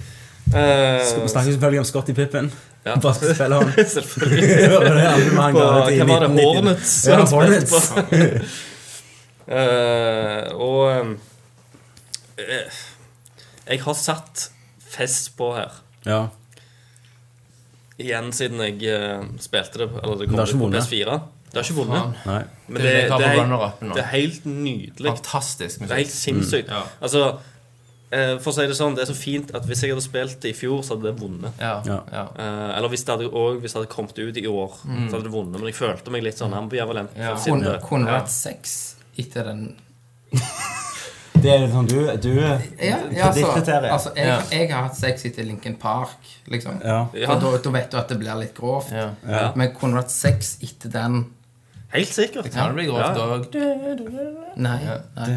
Speaker 2: Eh,
Speaker 1: Vi snakker selvfølgelig om Scotty Pippen.
Speaker 2: Ja. <laughs>
Speaker 1: Basketspilleren.
Speaker 2: Selvfølgelig.
Speaker 1: Det var det albumet han
Speaker 2: På,
Speaker 1: ga ut i
Speaker 2: hva var det?
Speaker 1: 1990.
Speaker 2: Hornets?
Speaker 1: Ja,
Speaker 2: <laughs>
Speaker 1: Hornets.
Speaker 2: Eh, og eh, Jeg har satt fest på her.
Speaker 1: Ja.
Speaker 2: Igjen siden jeg eh, spilte det. Eller
Speaker 1: Men det
Speaker 2: det kom
Speaker 1: har
Speaker 2: ut
Speaker 1: ikke
Speaker 2: på
Speaker 1: vunnet.
Speaker 2: PS4. Det har ikke vunnet.
Speaker 1: Nei.
Speaker 2: Men
Speaker 5: Det
Speaker 2: det,
Speaker 5: er det jeg tar
Speaker 2: det,
Speaker 5: på
Speaker 2: er,
Speaker 5: runner-upen nå.
Speaker 2: det er helt nydelig.
Speaker 5: Fantastisk
Speaker 2: Det er helt
Speaker 5: musikk.
Speaker 2: sinnssykt.
Speaker 5: Mm. Ja.
Speaker 2: Altså, eh, for å si det sånn, det er så fint at hvis jeg hadde spilt det i fjor, så hadde det vunnet.
Speaker 5: Ja, ja.
Speaker 1: Ja.
Speaker 5: ja.
Speaker 2: Eh, eller hvis det hadde, og hvis det hadde kommet ut i år, så hadde det vunnet. Men jeg følte meg litt sånn ambivalent.
Speaker 5: Mm. Ja.
Speaker 2: siden
Speaker 4: Kunne,
Speaker 2: det-
Speaker 4: kunne vært seks etter den
Speaker 1: Det er litt sånn du, du
Speaker 4: Ja, ja altså,
Speaker 1: Predikteterie.
Speaker 4: altså jeg,
Speaker 5: Ja.
Speaker 4: jeg har hatt sex etter Lincoln Park, liksom.
Speaker 1: Ja.
Speaker 2: Ja.
Speaker 4: Og da, da vet du at det blir litt grovt.
Speaker 2: Ja.
Speaker 4: Men kunne vært sex etter den
Speaker 2: Helt sikkert.
Speaker 5: Kan det bli grovt
Speaker 2: Ja.
Speaker 5: og-
Speaker 4: Nei. nei.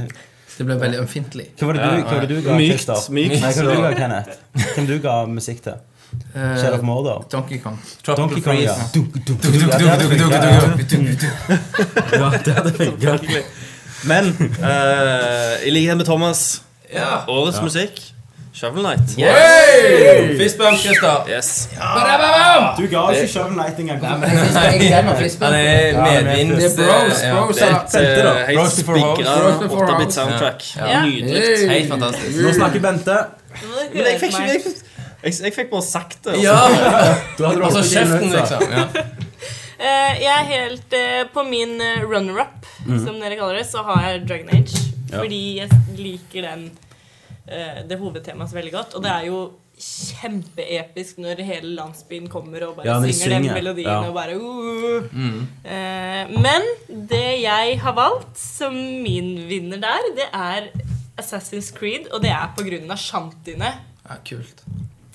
Speaker 4: Det blir veldig ømfintlig.
Speaker 1: Hva var det du, hva var det du ga,
Speaker 2: Mykt,
Speaker 1: Christer?
Speaker 2: mykt.
Speaker 1: Nei, hva var det du ga, Kenneth? Hvem du ga musikk til?
Speaker 4: Eh,
Speaker 1: Shadow of Mordor?
Speaker 4: Donkey Kong.
Speaker 1: Donkey Kong, ja.
Speaker 5: Freeze.
Speaker 1: Dunk, dunk, dunk, dunk, ja, det hadde funket,
Speaker 4: <laughs>
Speaker 1: ja. Ja, det hadde funket.
Speaker 2: Men eh, i likhet med Thomas,
Speaker 5: Ja.
Speaker 2: årets musikk Shovel Knight.
Speaker 5: Fist bump, Christer.
Speaker 2: Yes.
Speaker 4: Ba-da-ba-bam!
Speaker 1: Du ga jo ikke Shovel Knight engang.
Speaker 4: Ja, men jeg synes jeg glemmer
Speaker 5: Han
Speaker 4: frisbee.
Speaker 5: er medvind.
Speaker 4: Det er bros,
Speaker 5: Ja,
Speaker 4: bros.
Speaker 5: det er-
Speaker 4: altså.
Speaker 1: Tenkte da.
Speaker 2: Eh, Helt
Speaker 5: Roast before house.
Speaker 2: spigra
Speaker 4: Roast before
Speaker 2: 8-bit
Speaker 4: house.
Speaker 2: soundtrack.
Speaker 3: Ja.
Speaker 2: Nydelig.
Speaker 4: Hey.
Speaker 5: Helt fantastisk.
Speaker 1: Nå snakker Bente.
Speaker 2: Men jeg fikk ikke jeg, fikk- jeg, jeg fikk bare sagt det. altså. og så-
Speaker 5: Ja!
Speaker 1: Du hadde
Speaker 5: <laughs>
Speaker 1: holdt på
Speaker 5: Altså
Speaker 1: i
Speaker 5: kjeften,
Speaker 1: minutter.
Speaker 5: liksom. Ja.
Speaker 3: Eh, jeg er helt eh, på min eh, runner-up,
Speaker 1: Mhm.
Speaker 3: som dere kaller det, så har jeg Dragon Age. Fordi jeg liker den, eh, det hovedtemaet så veldig godt. Og det er jo kjempeepisk når hele landsbyen kommer og bare
Speaker 1: Ja, når de
Speaker 3: synger den
Speaker 1: synger.
Speaker 3: melodien.
Speaker 1: Ja. Mhm.
Speaker 3: Og bare, uh. Eh, men det jeg har valgt som min vinner der, det er Assassin's Creed. Og det er på grunn av shantiene
Speaker 4: Ja, kult.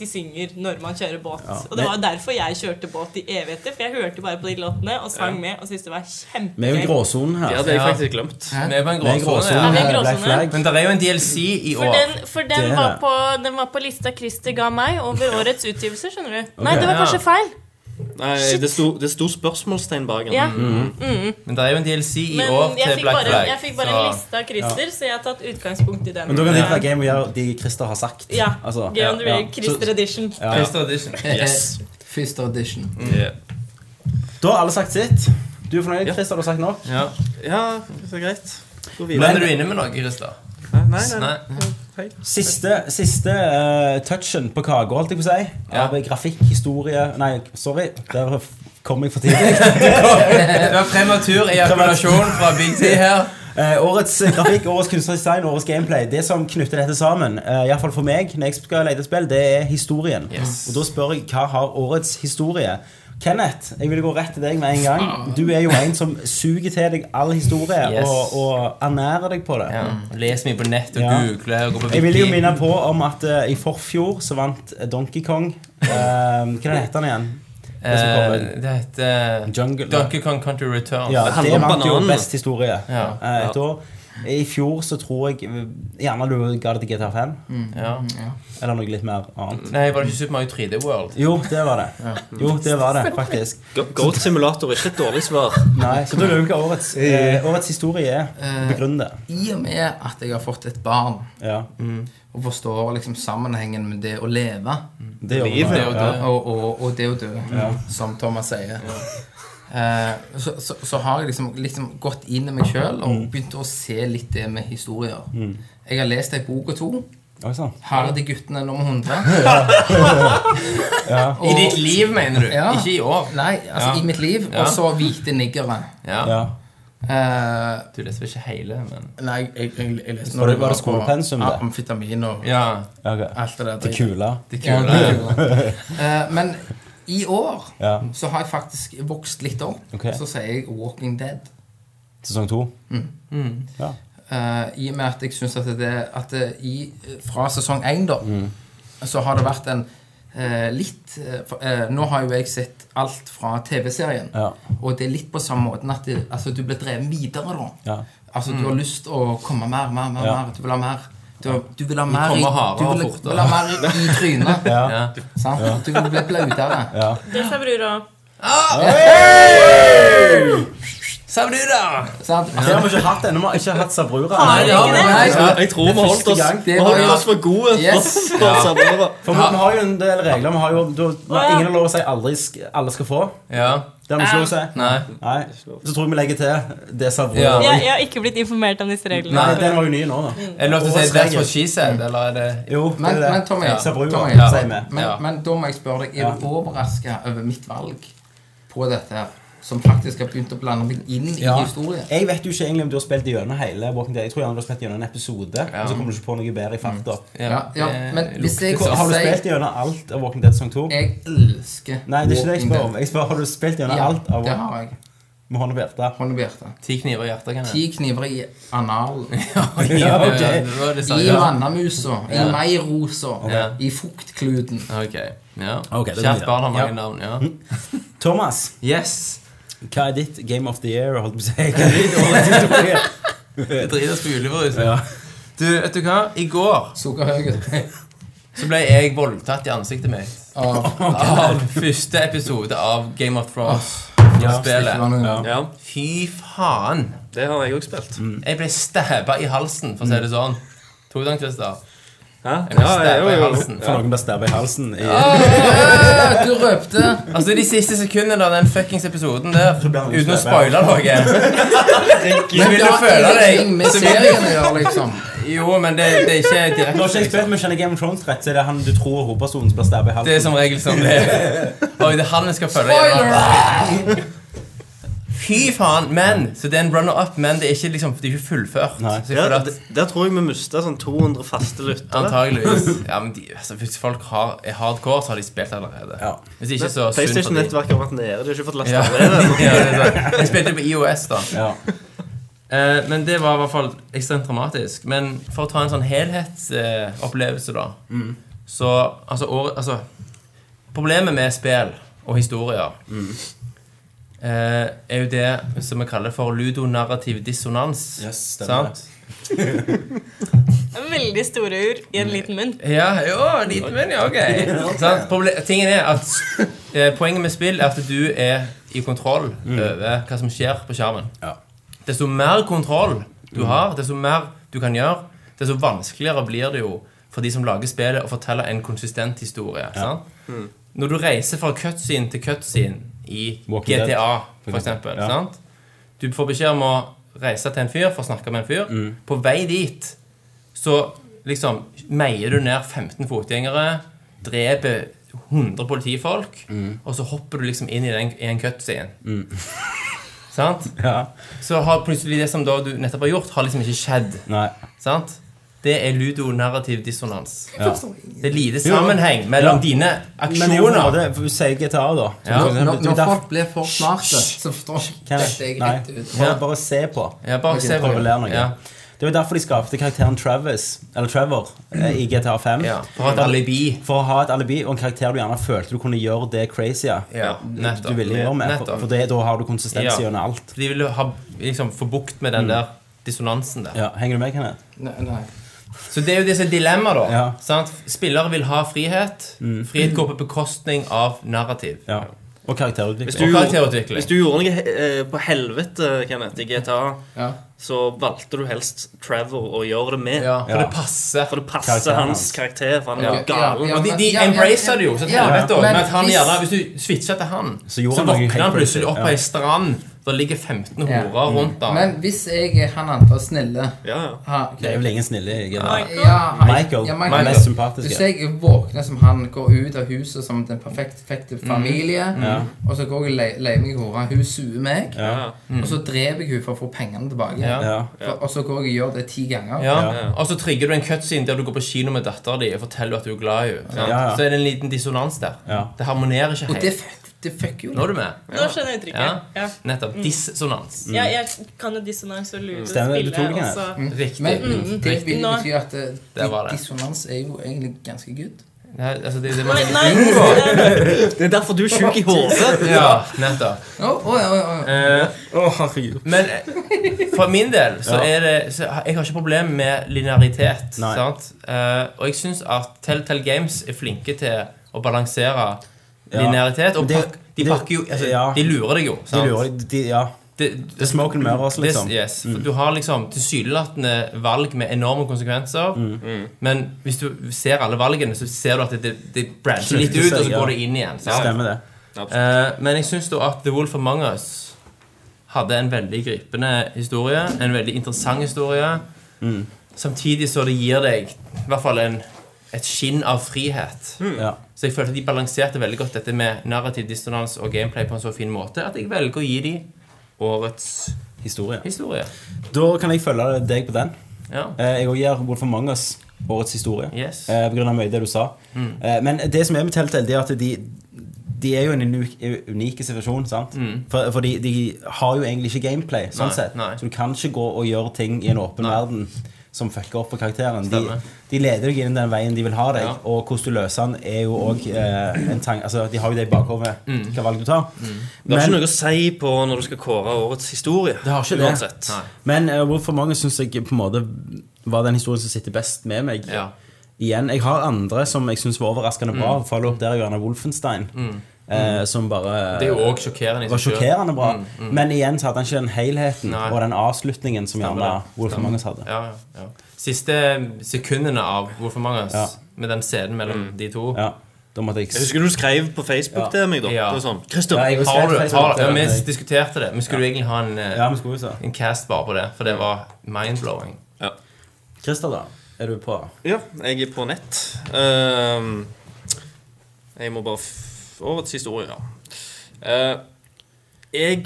Speaker 3: de synger når man kjører båt.
Speaker 1: Ja,
Speaker 3: og det var jo derfor jeg kjørte båt i evigheter, for jeg hørte bare på de låtene og sang med og syntes det var
Speaker 1: Vi er jo i
Speaker 3: kjempegøy.
Speaker 1: gråsonen her.
Speaker 2: Det hadde jeg
Speaker 5: Ja.
Speaker 2: faktisk glemt.
Speaker 5: Vi er på en
Speaker 1: Vi er i
Speaker 5: gråsone.
Speaker 1: gråsonen
Speaker 5: ja.
Speaker 3: vi er i
Speaker 1: her. Black
Speaker 3: gråsonen.
Speaker 1: flag.
Speaker 5: Men det er jo en DLC i
Speaker 3: For
Speaker 5: år.
Speaker 3: den, for den,
Speaker 1: Det er
Speaker 3: var
Speaker 1: det.
Speaker 3: på, den var på lista Christer ga meg over årets utgivelse, skjønner du. Nei,
Speaker 1: Ok.
Speaker 3: det var kanskje feil.
Speaker 2: Nei,
Speaker 3: Shit.
Speaker 2: det sto, det sto spørsmålstegn bak den.
Speaker 3: Ja.
Speaker 5: Men det er jo en DLC i
Speaker 3: Men
Speaker 5: år
Speaker 3: jeg
Speaker 5: til
Speaker 3: fikk
Speaker 5: Black
Speaker 3: bare,
Speaker 5: Flag.
Speaker 3: jeg fikk bare en liste av Christer, så jeg har tatt utgangspunkt i den.
Speaker 1: Men da kan de fra
Speaker 3: Ja.
Speaker 1: Game gjøre de Christer har sagt.
Speaker 3: Ja.
Speaker 1: Altså,
Speaker 3: Game on the
Speaker 1: ja.
Speaker 3: Real, Christer Edition.
Speaker 5: Så, Crystal Edition.
Speaker 2: Yes.
Speaker 4: Fister edition.
Speaker 2: Yeah.
Speaker 1: Da har alle sagt sitt. Du er fornøyd? Christer, du har sagt nok?
Speaker 5: <laughs> Ja.
Speaker 2: Ja, det er greit. Gå
Speaker 5: Men
Speaker 2: videre.
Speaker 5: er du inne med noe, Christer?
Speaker 2: Nei, nei, nei.
Speaker 5: Nei.
Speaker 1: Siste, siste eh, touchen på kaka, holdt jeg på å si.
Speaker 5: Ja.
Speaker 1: Av grafikk, historie Nei, sorry. Der kom jeg for tidlig. <laughs>
Speaker 5: Det var prematur ejakulasjon fra Big T
Speaker 1: <laughs>
Speaker 5: her.
Speaker 1: Eh, årets grafikk, årets kunstnerisk design, årets gameplay. Det som knytter dette sammen, uh, iallfall for meg, når jeg skal lete spill, det er historien.
Speaker 5: Yes.
Speaker 1: Og da spør jeg hva har årets historie? Kenneth, jeg vil gå rett til deg med en gang. Du er jo en som suger til deg all historie
Speaker 5: Yes.
Speaker 1: og, og ernærer deg på det.
Speaker 5: Ja. Mm. Les mye på nett og
Speaker 1: Ja.
Speaker 5: google og gå på
Speaker 1: Jeg vil jo
Speaker 5: Wiki.
Speaker 1: minne på om at eh, i forfjor så vant Donkey Kong eh, Hva heter han igjen? Det som
Speaker 5: Eh,
Speaker 1: kommer.
Speaker 5: Det heter eh,
Speaker 1: Jungle-
Speaker 5: Donkey Kong Country Returns.
Speaker 1: Ja,
Speaker 2: handler
Speaker 1: det
Speaker 2: om
Speaker 1: vant jo
Speaker 2: bananen.
Speaker 1: best historie
Speaker 5: Ja.
Speaker 1: eh, et år. I fjor så tror jeg eh, Gjerne du ga det til GTA 5.
Speaker 5: Ja.
Speaker 1: Eller noe litt mer annet.
Speaker 5: Nei, var det ikke Super Mario 3D World?
Speaker 1: Jo, det var det. Jo, det var det, faktisk.
Speaker 2: Go- Goat Simulator er ikke et dårlig svar.
Speaker 1: Nei, så da lurer jeg på hva årets, eh, årets historie er. Begrunn det.
Speaker 4: Eh, I og med at jeg har fått et barn,
Speaker 1: Ja.
Speaker 4: og forstår liksom sammenhengen med det å leve
Speaker 1: Det gjør vi nå.
Speaker 5: Det er jo
Speaker 1: Ja.
Speaker 5: det.
Speaker 4: og, og, og det å dø, som Thomas sier, eh, så, så, så har jeg liksom, liksom gått inn i meg sjøl og begynt å se litt det med historier. Jeg har lest ei bok og to.
Speaker 1: Oi sånn. sann.
Speaker 4: Her er de guttene nummer 100.
Speaker 5: I ditt liv, mener du?
Speaker 4: Ja.
Speaker 5: Ikke i år.
Speaker 4: Nei, altså
Speaker 5: Ja.
Speaker 4: i mitt liv.
Speaker 5: Ja.
Speaker 4: Og så hvite niggere.
Speaker 5: Ja.
Speaker 1: Ja.
Speaker 4: Eh,
Speaker 5: Du leser vel ikke hele, men
Speaker 4: nei, jeg, jeg, jeg leste
Speaker 1: Var det- var det
Speaker 4: på
Speaker 1: skolepensum, det?
Speaker 4: Amfetamin og
Speaker 5: Ja.
Speaker 1: Ja, ok.
Speaker 4: alt det der.
Speaker 1: Det kule.
Speaker 5: Det er
Speaker 4: Ja,
Speaker 5: kult.
Speaker 4: det er kule. <laughs> Eh, Men i år
Speaker 1: Ja.
Speaker 4: så har jeg faktisk vokst litt opp.
Speaker 1: Ok.
Speaker 4: Så sier jeg Walking Dead.
Speaker 1: Sesong to. Ja.
Speaker 4: Eh, I og med at jeg syns at det at det i, Fra sesong én, da, så har det vært en eh, litt eh, for- eh, Nå har jo jeg sett alt fra TV-serien,
Speaker 1: Ja.
Speaker 4: og det er litt på samme måten at det, altså, du blir drevet videre da.
Speaker 1: Ja.
Speaker 4: Altså,
Speaker 5: Mm.
Speaker 4: du har lyst å komme mer, mer, mer.
Speaker 1: Ja.
Speaker 4: mer. Du vil ha mer. Du, du vil ha mer,
Speaker 5: kommer
Speaker 4: i, du
Speaker 5: hardere og
Speaker 4: vil,
Speaker 5: fortere.
Speaker 4: vil ha mer i, i trynet.
Speaker 5: Ja.
Speaker 4: Sant? Du vil bli blautere.
Speaker 3: Det sa bror òg.
Speaker 5: Sa du da?
Speaker 4: Sant?
Speaker 1: Det har vi ikke hatt ennå. Vi har ikke hatt Sabrura.
Speaker 5: Nei, det har du.
Speaker 4: Nei,
Speaker 2: Jeg tror vi
Speaker 1: Det er
Speaker 2: holdt
Speaker 1: første
Speaker 2: oss,
Speaker 1: gang.
Speaker 4: Det
Speaker 2: vi
Speaker 4: var
Speaker 2: holdt
Speaker 4: jo-
Speaker 2: oss for gode. <laughs>
Speaker 4: Yes.
Speaker 2: for å samarbeide.
Speaker 1: For vi- vi har jo en del regler. Vi har jo, da,
Speaker 3: ja.
Speaker 1: Ingen har lov å si aldri sk alle skal få.
Speaker 5: Ja.
Speaker 1: Det har vi ikke lov å si.
Speaker 5: Nei.
Speaker 1: Nei. Så tror jeg vi legger til det Sabrura.
Speaker 5: Ja.
Speaker 3: Jeg, jeg har ikke blitt informert om disse reglene.
Speaker 1: Nei, den var jo ny nå, da.
Speaker 5: Er det lov til å si
Speaker 1: Årets
Speaker 5: 'that's
Speaker 1: regel.
Speaker 5: what she said'?
Speaker 1: Mm.
Speaker 5: Eller er det
Speaker 1: Jo, det
Speaker 4: Men,
Speaker 1: er det.
Speaker 4: men Tommy,
Speaker 5: Ja.
Speaker 1: Sabrura,
Speaker 4: Tommy,
Speaker 5: Ja.
Speaker 1: sier vi.
Speaker 4: men,
Speaker 5: Ja.
Speaker 4: men da må jeg spørre deg, er du overraska over mitt valg på dette her? Som faktisk har begynt å blande meg inn
Speaker 1: Ja.
Speaker 4: i historien?
Speaker 1: Jeg vet jo ikke egentlig om du har spilt gjennom hele Walking Dead. Jeg tror gjerne du har spilt gjennom en episode, og så kommer du ikke på noe
Speaker 4: Mm.
Speaker 1: bedre i farta.
Speaker 4: Ja, ja,
Speaker 5: Eh,
Speaker 4: men hvis jeg
Speaker 1: Hvor- Har du
Speaker 4: sier-
Speaker 1: spilt gjennom alt av Walking Dead sesong 2?
Speaker 4: Jeg elsker
Speaker 1: Nei, det er ikke det jeg
Speaker 4: Walking
Speaker 1: spør om.
Speaker 4: Dead.
Speaker 1: Jeg spør, Har du spilt gjennom
Speaker 4: Ja,
Speaker 1: alt av
Speaker 4: det har jeg.
Speaker 1: med hånda på hjertet?
Speaker 4: Hånd over hjertet.
Speaker 5: ti kniver i hjertet? kan
Speaker 4: Ti
Speaker 5: jeg?
Speaker 4: kniver i analen.
Speaker 1: <laughs> Ja, ok.
Speaker 5: det var det sa
Speaker 4: I
Speaker 5: jeg.
Speaker 4: mannamusa. I meirosa.
Speaker 5: Ja.
Speaker 4: I fuktkluten.
Speaker 5: Ok. Ja.
Speaker 1: Ok, det er
Speaker 5: Kjært
Speaker 1: mye.
Speaker 5: barn har mange
Speaker 1: Ja.
Speaker 5: navn. ja
Speaker 1: Thomas,
Speaker 5: Yes.
Speaker 1: hva er ditt Game of the Year? Holdt på å si. Hva er
Speaker 4: <laughs>
Speaker 1: ditt årets historie?
Speaker 5: Driter oss på julebrus.
Speaker 1: Ja.
Speaker 5: Du, vet du hva? I går
Speaker 1: <laughs>
Speaker 4: Sukkerhaugen.
Speaker 5: så ble jeg voldtatt i ansiktet mitt
Speaker 4: Ah,
Speaker 5: av første episode av Game of Thrones. spillet.
Speaker 2: Ja,
Speaker 5: Fy faen!
Speaker 2: det har jeg òg spilt.
Speaker 5: Jeg ble stabba i halsen, for å si det sånn. Tok den, Christer?
Speaker 2: Hæ?
Speaker 5: må
Speaker 2: Ja,
Speaker 5: stabbe
Speaker 2: jo,
Speaker 5: i
Speaker 2: jo.
Speaker 5: halsen.
Speaker 1: For noen blir stabba i halsen. I,
Speaker 4: Ah. Du røpte.
Speaker 5: Altså, de siste sekundene av den fuckings episoden der,
Speaker 1: blir han
Speaker 5: uten å
Speaker 1: stabba.
Speaker 5: spoile
Speaker 1: <laughs>
Speaker 5: noe Så vil
Speaker 4: Det
Speaker 5: du
Speaker 4: har
Speaker 5: føle
Speaker 4: ingenting
Speaker 5: deg
Speaker 4: med serien å gjøre, liksom.
Speaker 5: Jo, men det, det er ikke
Speaker 1: Nå har ikke jeg
Speaker 5: direkte.
Speaker 1: spilt, men kjenner Game of Thrones rett, så er det han du tror er hovedpersonen som blir stabba i
Speaker 5: Det er
Speaker 1: halsen.
Speaker 5: som regel som det er. Oi, det er han vi skal følge. Fy faen, men Så det er en runner-up, men det er ikke liksom, det er ikke fullført.
Speaker 1: Nei.
Speaker 5: Så jeg
Speaker 2: Ja,
Speaker 5: føler at
Speaker 2: d- der tror jeg vi mista sånn 200 faste lyttere.
Speaker 5: Antageligvis. Ja, men de, altså, hvis folk har, er hardcore, så har de spilt allerede.
Speaker 1: Ja.
Speaker 5: Hvis ikke, så synd for de.
Speaker 2: PlayStation-nettverket har vært nede. De har ikke fått lasta
Speaker 5: Ja.
Speaker 2: ned det.
Speaker 5: ja, det er sant. Jeg spilte på IOS, da.
Speaker 1: Ja.
Speaker 5: Eh, men det var i hvert fall ekstremt dramatisk. Men for å ta en sånn helhetsopplevelse, eh, opplevelse da Så altså, år, altså Problemet med spill og historier eh, er jo det som vi kaller for ludonarrativ dissonans.
Speaker 1: Yes, stemmer
Speaker 5: sant?
Speaker 3: Veldig store ur i
Speaker 1: Mm.
Speaker 3: en liten munn.
Speaker 5: Ja, jo, liten venn, ja, ok. Sant? Proble tingen er at eh, Poenget med spill er at du er i kontroll over hva som skjer på skjermen.
Speaker 1: Ja.
Speaker 5: Desto mer kontroll du har, desto mer du kan gjøre, desto vanskeligere blir det jo for de som lager spillet, å fortelle en konsistent historie. Sant? Når du reiser fra cutscene til cutscene i
Speaker 1: Walking Dead,
Speaker 5: GTA,
Speaker 1: for
Speaker 5: for
Speaker 1: eksempel,
Speaker 5: eksempel,
Speaker 1: ja.
Speaker 5: sant? Du får beskjed om å reise til en fyr for å snakke med en fyr.
Speaker 1: Mm.
Speaker 5: På vei dit så liksom meier du ned 15 fotgjengere, dreper 100 politifolk,
Speaker 1: Mm.
Speaker 5: og så hopper du liksom inn i, den, i en cutscene. sant?
Speaker 1: Ja.
Speaker 5: Så har plutselig det som da du nettopp har gjort, har liksom ikke skjedd.
Speaker 1: Nei.
Speaker 5: Sant? Det er ludonarrativ dissonans.
Speaker 1: Ja.
Speaker 5: Det er lite sammenheng mellom
Speaker 1: Ja.
Speaker 5: dine
Speaker 1: Men jo,
Speaker 5: aksjoner.
Speaker 1: det, for du sier GTA, da.
Speaker 5: Ja.
Speaker 1: Så-
Speaker 4: Når,
Speaker 1: du-
Speaker 4: når
Speaker 1: der-
Speaker 4: folk blir for smarte, så forstår ikke
Speaker 1: Kan
Speaker 4: dette
Speaker 1: jeg?
Speaker 4: jeg
Speaker 1: Nei.
Speaker 4: rett ut.
Speaker 1: Bare,
Speaker 5: Ja.
Speaker 1: bare se på.
Speaker 5: Ja, bare se på
Speaker 1: Prøv å lære noe.
Speaker 5: Ja.
Speaker 1: Det var derfor de skapte karakteren Travis, eller Trevor eh, i GTA 5.
Speaker 5: Ja. For et alibi.
Speaker 1: For å ha et alibi og en karakter du gjerne følte du kunne gjøre det crazy
Speaker 5: Ja, nettopp.
Speaker 1: du ville gjøre med. For,
Speaker 5: Nettopp.
Speaker 1: for det, da har du konsistens
Speaker 5: Ja.
Speaker 1: gjennom alt.
Speaker 5: De ville ha, liksom, få bukt med den der dissonansen der.
Speaker 1: Mm. Ja, Henger du med, Kenneth?
Speaker 4: Nei, nei.
Speaker 5: Så det er jo det som er dilemmaet, da.
Speaker 1: Ja. Mm.
Speaker 5: Sant? Spillere vil ha frihet. Frihet går på bekostning av narrativ.
Speaker 1: Ja. Og karakterutvikling.
Speaker 2: Hvis
Speaker 5: Og
Speaker 2: du, gjorde,
Speaker 5: karakterutvikling.
Speaker 2: hvis du gjorde noe he- eh, på helvete, Kenneth, i GTA,
Speaker 4: Ja.
Speaker 2: så valgte du helst Trevor å gjøre det med.
Speaker 5: Ja, for
Speaker 1: Ja.
Speaker 5: det passer.
Speaker 2: For det passer
Speaker 1: Karakteren
Speaker 2: hans
Speaker 1: hans.
Speaker 2: karakter, for han er jo
Speaker 4: Ja, ja,
Speaker 2: galen.
Speaker 4: ja.
Speaker 5: Og de, de
Speaker 4: Ja, ja,
Speaker 5: embracer
Speaker 4: ja.
Speaker 5: det jo. Så
Speaker 4: Ja,
Speaker 5: helvete også,
Speaker 4: men
Speaker 5: men at han
Speaker 4: hvis-
Speaker 5: gjerne, Hvis du switcher til han,
Speaker 1: Så
Speaker 5: så,
Speaker 1: gjorde han noe
Speaker 5: våkner
Speaker 1: helt
Speaker 5: han plutselig
Speaker 1: crazy.
Speaker 5: opp på
Speaker 1: Ja.
Speaker 5: ei strand. Der ligger 15
Speaker 4: Ja. Mm.
Speaker 5: horer rundt han.
Speaker 4: Men hvis jeg er han andre snille
Speaker 2: Ja, ja.
Speaker 4: ha,
Speaker 1: Det er vel ingen snille i GTA.
Speaker 4: ja, han-
Speaker 1: Michael,
Speaker 4: ja,
Speaker 1: den mest sympatiske.
Speaker 4: Hvis jeg våkner som han, går ut av huset som den perfekte perfekte
Speaker 5: Mm.
Speaker 4: familie,
Speaker 1: Mm.
Speaker 4: og så går jeg og le- leier meg i hora, hun suer meg, og så dreper jeg hun for å få pengene tilbake.
Speaker 5: Mm. Ja.
Speaker 1: Ja.
Speaker 4: For, og så går jeg og gjør det ti ganger.
Speaker 5: Ja.
Speaker 1: Ja.
Speaker 5: Og så trigger du en cutscene der du går på kino med dattera di og forteller at du er glad i henne. sant?
Speaker 1: Ja, ja.
Speaker 5: Så er det en liten dissonans der.
Speaker 1: Ja.
Speaker 5: Det harmonerer ikke
Speaker 4: Og det,
Speaker 5: helt.
Speaker 4: fuck- det fucker jo
Speaker 5: Nå
Speaker 4: litt.
Speaker 5: er du med.
Speaker 3: Nå skjønner jeg uttrykket. Ja.
Speaker 5: Nettopp.
Speaker 4: Mm.
Speaker 5: Dissonans.
Speaker 3: Ja, jeg kan jo dissonans og lure og
Speaker 1: Stemmer, du tok den
Speaker 3: spille
Speaker 1: her.
Speaker 3: også.
Speaker 5: Riktig.
Speaker 4: Mm.
Speaker 5: Mm,
Speaker 4: Men det
Speaker 5: Riktig.
Speaker 4: vil
Speaker 3: Nå-
Speaker 4: bety at eh,
Speaker 5: Det var det.
Speaker 4: dissonans er jo egentlig ganske good.
Speaker 5: Nei, altså, det, det,
Speaker 3: Nei,
Speaker 5: man-
Speaker 3: nei, eh,
Speaker 2: Det er derfor du er sjuk i hodet.
Speaker 5: Ja, nettopp.
Speaker 4: Å, å, å, å, å.
Speaker 5: Eh, men eh, for min del så er det så har- Jeg har ikke problem med linearitet.
Speaker 1: Nei.
Speaker 5: Sant? Eh, og jeg syns at Telltale Games er flinke til å balansere
Speaker 1: Ja.
Speaker 5: linearitet. Og
Speaker 1: Men det-
Speaker 5: pak, de
Speaker 1: det-
Speaker 5: pakker jo altså,
Speaker 1: ja.
Speaker 5: De lurer deg jo.
Speaker 1: De
Speaker 5: sant?
Speaker 1: lurer deg. de- Ja.
Speaker 5: Det,
Speaker 1: er smoke and mirrors,
Speaker 5: This-
Speaker 1: liksom.
Speaker 5: yes. For Du har liksom tilsynelatende valg med enorme konsekvenser.
Speaker 1: Mm.
Speaker 5: Men hvis du ser alle valgene, så ser du at det, det, det brancher litt
Speaker 1: Slutter
Speaker 5: ut, og
Speaker 1: seg,
Speaker 5: så
Speaker 1: ja.
Speaker 5: går det inn igjen. sant?
Speaker 1: Stemmer det.
Speaker 5: Eh, men jeg syns da at The Wolf Among Us hadde en veldig gripende historie. En veldig interessant historie.
Speaker 1: Mm.
Speaker 5: Samtidig så det gir deg i hvert fall en, et skinn av frihet.
Speaker 1: Ja.
Speaker 5: Så jeg følte de balanserte veldig godt dette med narrativ dissonans og gameplay på en så fin måte at jeg velger å gi de årets
Speaker 1: Historie.
Speaker 5: historie.
Speaker 1: Da kan jeg følge deg på den.
Speaker 5: Ja.
Speaker 1: Eh, Jeg òg gir Wolf Among Us årets historie.
Speaker 5: Yes. Mm.
Speaker 1: Eh, På grunn av mye av det du sa. Eh, Men det som er med Telltale, det er at de de er jo i en unik, unik situasjon. sant? For, for de, de har jo egentlig ikke gameplay. sånn
Speaker 5: Mm. Nei,
Speaker 1: sett.
Speaker 5: nei.
Speaker 1: Så du kan ikke gå og gjøre ting i en åpen verden som fucker opp på karakteren. De,
Speaker 5: Stemmer.
Speaker 1: de leder deg inn den veien de vil ha deg,
Speaker 5: Ja.
Speaker 1: og hvordan du løser den, er jo òg eh, en tanke altså, De har jo det i bakhodet,
Speaker 5: Mm.
Speaker 1: hva valg du tar.
Speaker 2: Det har ikke noe å si på når du skal kåre årets historie. Det
Speaker 1: har ikke det.
Speaker 2: Uansett.
Speaker 5: Nei.
Speaker 1: Men eh, hvorfor mange syns jeg på en måte var den historien som sitter best med meg.
Speaker 5: Ja.
Speaker 1: Igjen, Jeg har andre som jeg syns var overraskende bra. Follow up der er jo gjerne Wolfenstein. eh, som bare
Speaker 5: Det er jo òg sjokkerende. i
Speaker 1: var
Speaker 5: seg selv.
Speaker 1: sjokkerende bra. Men igjen så hadde han ikke den helheten
Speaker 5: Nei.
Speaker 1: og den avslutningen som
Speaker 5: Stemmer
Speaker 1: gjerne
Speaker 5: det.
Speaker 1: Wolf
Speaker 5: Stemmer.
Speaker 1: Magnus hadde.
Speaker 5: Ja, ja, ja. Siste sekundene av Wolf Among Us,
Speaker 1: Ja. Mm.
Speaker 5: med den scenen mellom de to
Speaker 1: Ja. Da måtte jeg
Speaker 2: Jeg husker du skrev på Facebook til meg, da.
Speaker 5: Ja.
Speaker 2: Det var sånn, Christer,
Speaker 1: Ja, jeg var
Speaker 5: Har du,
Speaker 1: skrevet
Speaker 5: har,
Speaker 1: Facebook,
Speaker 5: ja,
Speaker 1: det
Speaker 5: Vi
Speaker 1: vet jeg.
Speaker 5: diskuterte det. Vi skulle jo egentlig ha en, eh,
Speaker 1: Ja, vi skulle jo se.
Speaker 5: en cast bare på det, for det var mind-blowing.
Speaker 1: Christer, da? Er du på?
Speaker 2: Ja, jeg er på nett. Ehm, jeg må bare f Årets historie, ja. Eh, jeg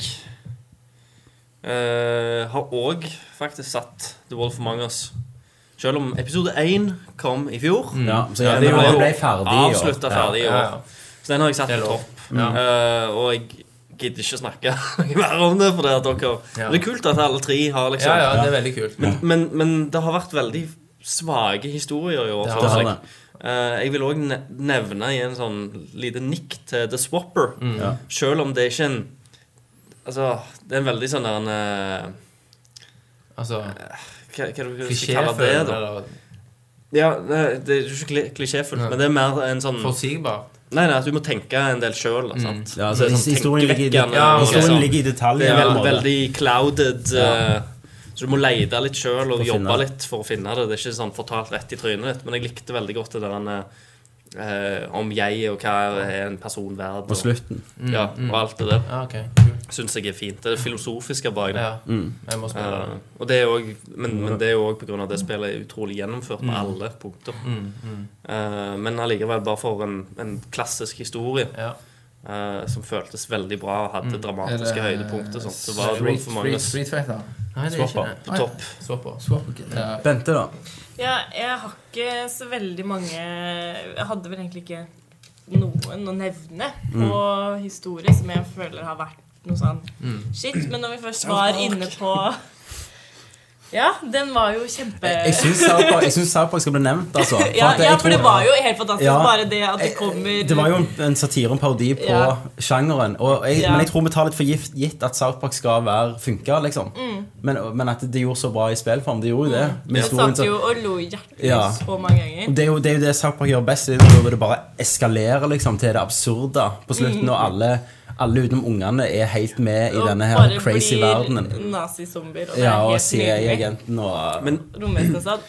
Speaker 2: eh, har òg faktisk satt The Wolf Among Us. Selv om episode én kom i fjor.
Speaker 1: Ja, Mm. så
Speaker 2: Ja,
Speaker 1: jeg,
Speaker 2: det
Speaker 1: men
Speaker 2: var
Speaker 1: jeg
Speaker 2: jo
Speaker 1: ble ferdig i år.
Speaker 2: Avslutta ferdig i
Speaker 5: Ja, ja.
Speaker 2: år. Så den har jeg satt
Speaker 5: Det er
Speaker 2: på
Speaker 5: lov.
Speaker 2: topp. Eh, og jeg gidder ikke snakke <laughs> mer om det, for det, at dere,
Speaker 5: Ja.
Speaker 2: det er kult at alle tre har liksom
Speaker 5: Ja, ja, det er veldig kult.
Speaker 2: men, men det har vært veldig svake historier i år.
Speaker 5: Det har
Speaker 2: synes
Speaker 1: det.
Speaker 2: jeg. Eh, jeg vil òg nevne i en sånn lite nikk til The Swapper.
Speaker 5: Mm.
Speaker 2: Selv om det er ikke en Altså, det er en veldig sånn der en eh,
Speaker 5: Altså,
Speaker 2: Hva, hva, hva skal jeg kalle det,
Speaker 5: Klisjéfull
Speaker 2: da? Mm.
Speaker 5: eller
Speaker 2: Ja, det, det er jo ikke kli- klisjéfullt, men det er mer en sånn Nei,
Speaker 5: forutsigbar.
Speaker 2: nei, at du må tenke en del sjøl. sant?
Speaker 1: Ja,
Speaker 2: Det er
Speaker 1: så
Speaker 2: sånn
Speaker 1: historien ligger, i det-
Speaker 2: tankevekkende,
Speaker 5: Mm. Ja,
Speaker 2: og
Speaker 1: historien
Speaker 2: liksom-
Speaker 1: ligger i
Speaker 2: Det
Speaker 1: detalj.
Speaker 2: er
Speaker 1: på en
Speaker 2: vel,
Speaker 1: måte.
Speaker 2: veldig clouded. eh, så du må lete litt sjøl og
Speaker 1: For å finne
Speaker 2: jobbe
Speaker 1: det.
Speaker 2: litt for å finne det. Det er ikke sånn fortalt rett i trynet ditt. Men jeg likte veldig godt det der eh, eh, om jeg og hva er en person verd.
Speaker 1: På slutten.
Speaker 2: Ja,
Speaker 1: Mm,
Speaker 2: og alt det der
Speaker 5: Ja, ok. Kult.
Speaker 2: syns jeg er fint. Det er det filosofiske bak det.
Speaker 5: Ja. Jeg må spille
Speaker 2: Eh,
Speaker 5: det.
Speaker 2: og det er også, men, men det er jo òg pga. at det spillet er utrolig gjennomført
Speaker 1: Mm.
Speaker 2: på alle punkter. Eh, men allikevel bare for en, en klassisk historie
Speaker 5: Ja.
Speaker 2: eh, som føltes veldig bra og
Speaker 1: Mm.
Speaker 2: hadde
Speaker 4: Er det,
Speaker 2: dramatiske høydepunkter. Sånn. Så var det
Speaker 4: Street,
Speaker 2: Wolf Among
Speaker 4: Street,
Speaker 2: Us
Speaker 4: Street Fighter.
Speaker 5: Nei, det er ikke det.
Speaker 2: på topp.
Speaker 5: Swapper.
Speaker 4: Swap, ok. Ja.
Speaker 1: Bente, da?
Speaker 3: Ja, jeg har ikke så veldig mange Jeg hadde vel egentlig ikke noen å nevne
Speaker 1: Mm.
Speaker 3: på historie som jeg føler har vært noe sånn
Speaker 1: Mm.
Speaker 3: shit. Men når vi først var inne på Ja, den var jo kjempe...
Speaker 1: Jeg syns South Park- jeg syns South Park skal bli nevnt,
Speaker 3: <laughs>
Speaker 1: altså. For
Speaker 3: Ja,
Speaker 1: at jeg
Speaker 3: ja, for
Speaker 1: tror-
Speaker 3: det var jo helt fantastisk.
Speaker 1: Ja.
Speaker 3: Bare det at det kommer
Speaker 1: Det var jo en- en satire og en parodi på
Speaker 3: Ja.
Speaker 1: sjangeren. Og jeg,
Speaker 3: Ja.
Speaker 1: Men jeg tror vi tar litt for gift, gitt at South Park skal være funke, liksom.
Speaker 3: Mm.
Speaker 1: Men, men at det gjorde så bra i spillform. Det gjorde jo det. Med
Speaker 3: Jeg
Speaker 1: historien
Speaker 3: Mm.
Speaker 1: så-
Speaker 3: satt jo og lo hjertelig
Speaker 1: Ja.
Speaker 3: så mange ganger.
Speaker 1: det er, jo, det er jo det South Park gjør best. Det er jo hvor det bare eskalerer liksom, til det absurde på slutten, og alle, alle utenom ungene er helt med i
Speaker 3: Mm. Og
Speaker 1: denne her
Speaker 3: bare
Speaker 1: crazy
Speaker 3: blir
Speaker 1: verdenen.
Speaker 3: Nazizombier. Og det er
Speaker 1: Ja, og
Speaker 3: helt nydelig.
Speaker 1: CIA-agenten og
Speaker 2: Men,
Speaker 3: Romestad.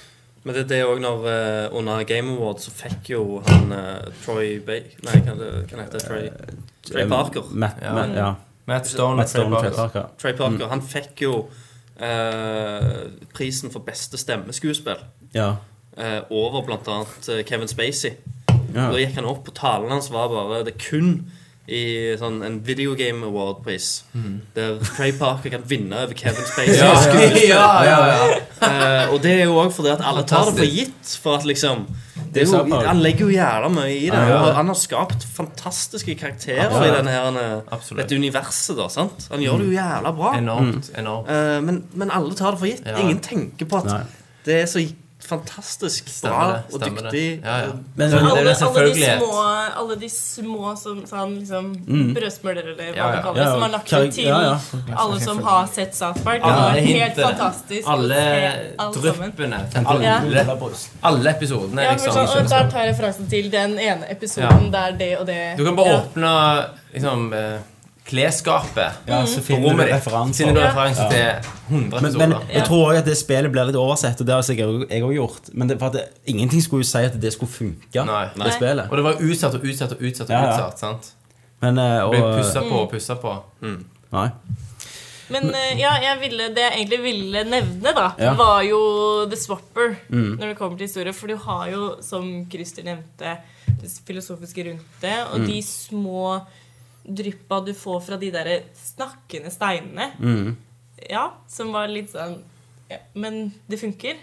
Speaker 2: men det, det er òg når eh, under Game Awards så fikk jo han eh, Troy Bay... Nei, hva det- hva heter det?
Speaker 5: Eh,
Speaker 2: Troy, Trey Parker.
Speaker 1: eh, Matt,
Speaker 5: Ja.
Speaker 1: Matt, ja.
Speaker 5: Matt Stone
Speaker 1: Matt
Speaker 5: og Trey
Speaker 1: Stone og Trey
Speaker 5: Parker.
Speaker 1: Parker.
Speaker 2: Trey
Speaker 5: Mm.
Speaker 2: Parker han fikk jo eh, prisen for beste stemmeskuespill
Speaker 1: Ja.
Speaker 2: eh, over blant annet eh, Kevin Spacey.
Speaker 1: Ja.
Speaker 2: Da gikk han opp, og talen hans var bare Det er kun i sånn, en Video Game Award-pris der Trey Parker kan vinne over
Speaker 5: <laughs>
Speaker 2: Kevin Spacey.
Speaker 5: Mm. Ja, ja, <laughs> ja, ja.
Speaker 2: Eh, og det er jo òg fordi at alle tar det for gitt. For at liksom det er jo,
Speaker 1: South Park.
Speaker 2: Han legger jo jævla mye i det.
Speaker 1: Han gjør det.
Speaker 2: Og han har skapt fantastiske karakterer i denne her, eh,
Speaker 5: Absolutt. Mm.
Speaker 2: dette universet. da, sant? Han gjør det jo jævla bra.
Speaker 5: Enormt. enormt.
Speaker 2: Eh, men, men alle tar det for gitt.
Speaker 5: Ja.
Speaker 2: Ingen tenker på at
Speaker 1: Nei.
Speaker 2: det er så fantastisk
Speaker 5: Stemmer
Speaker 2: bra
Speaker 5: det.
Speaker 2: og
Speaker 5: stemmer
Speaker 2: dyktig.
Speaker 5: det. Ja, ja.
Speaker 1: Men,
Speaker 5: Så-
Speaker 3: Alle,
Speaker 5: det er jo en
Speaker 3: alle, de
Speaker 5: selvfølgelighet. Mm.
Speaker 3: små, alle de små som sånn, liksom, brødsmuler, eller hva
Speaker 5: Ja, ja.
Speaker 3: man kaller det,
Speaker 1: Ja, ja.
Speaker 3: som har lagt det til
Speaker 1: Ja, ja.
Speaker 3: alle som har sett South Park. Det
Speaker 5: Alle
Speaker 3: var helt
Speaker 5: hintet.
Speaker 3: fantastisk. å
Speaker 5: Alle
Speaker 3: se alt sammen.
Speaker 5: dryppene. Alle, alle episodene,
Speaker 3: Ja, for
Speaker 5: liksom.
Speaker 3: sånn, og der tar jeg referansen til den ene episoden der det og det
Speaker 5: Du kan bare
Speaker 3: Ja.
Speaker 5: åpne liksom, eh, klesskapet
Speaker 1: ja, så
Speaker 5: på
Speaker 1: finner du
Speaker 5: rommet ditt.
Speaker 1: referanser.
Speaker 5: Finner du referanser til 100
Speaker 1: Men, men
Speaker 5: episoder.
Speaker 1: jeg tror også at det spillet blir litt oversett, og det har sikkert jeg òg gjort. Men det, for at det, ingenting skulle jo si at det skulle funke,
Speaker 5: Nei.
Speaker 1: det spillet.
Speaker 5: Og det var utsatt og utsatt og utsatt. og
Speaker 1: Ja, ja.
Speaker 5: utsatt, sant?
Speaker 1: Men, eh,
Speaker 5: Ble
Speaker 1: og, eh,
Speaker 5: pussa på og pussa på.
Speaker 1: nei.
Speaker 3: Men eh, ja, jeg ville, det jeg egentlig ville nevne, da,
Speaker 1: Ja.
Speaker 3: var jo The Swapper. Når det kommer til historie. For du har jo, som Christer nevnte, det filosofiske rundt det. Og de små dryppa du får fra de derre snakkende steinene. Ja, som var litt sånn ja, Men det funker.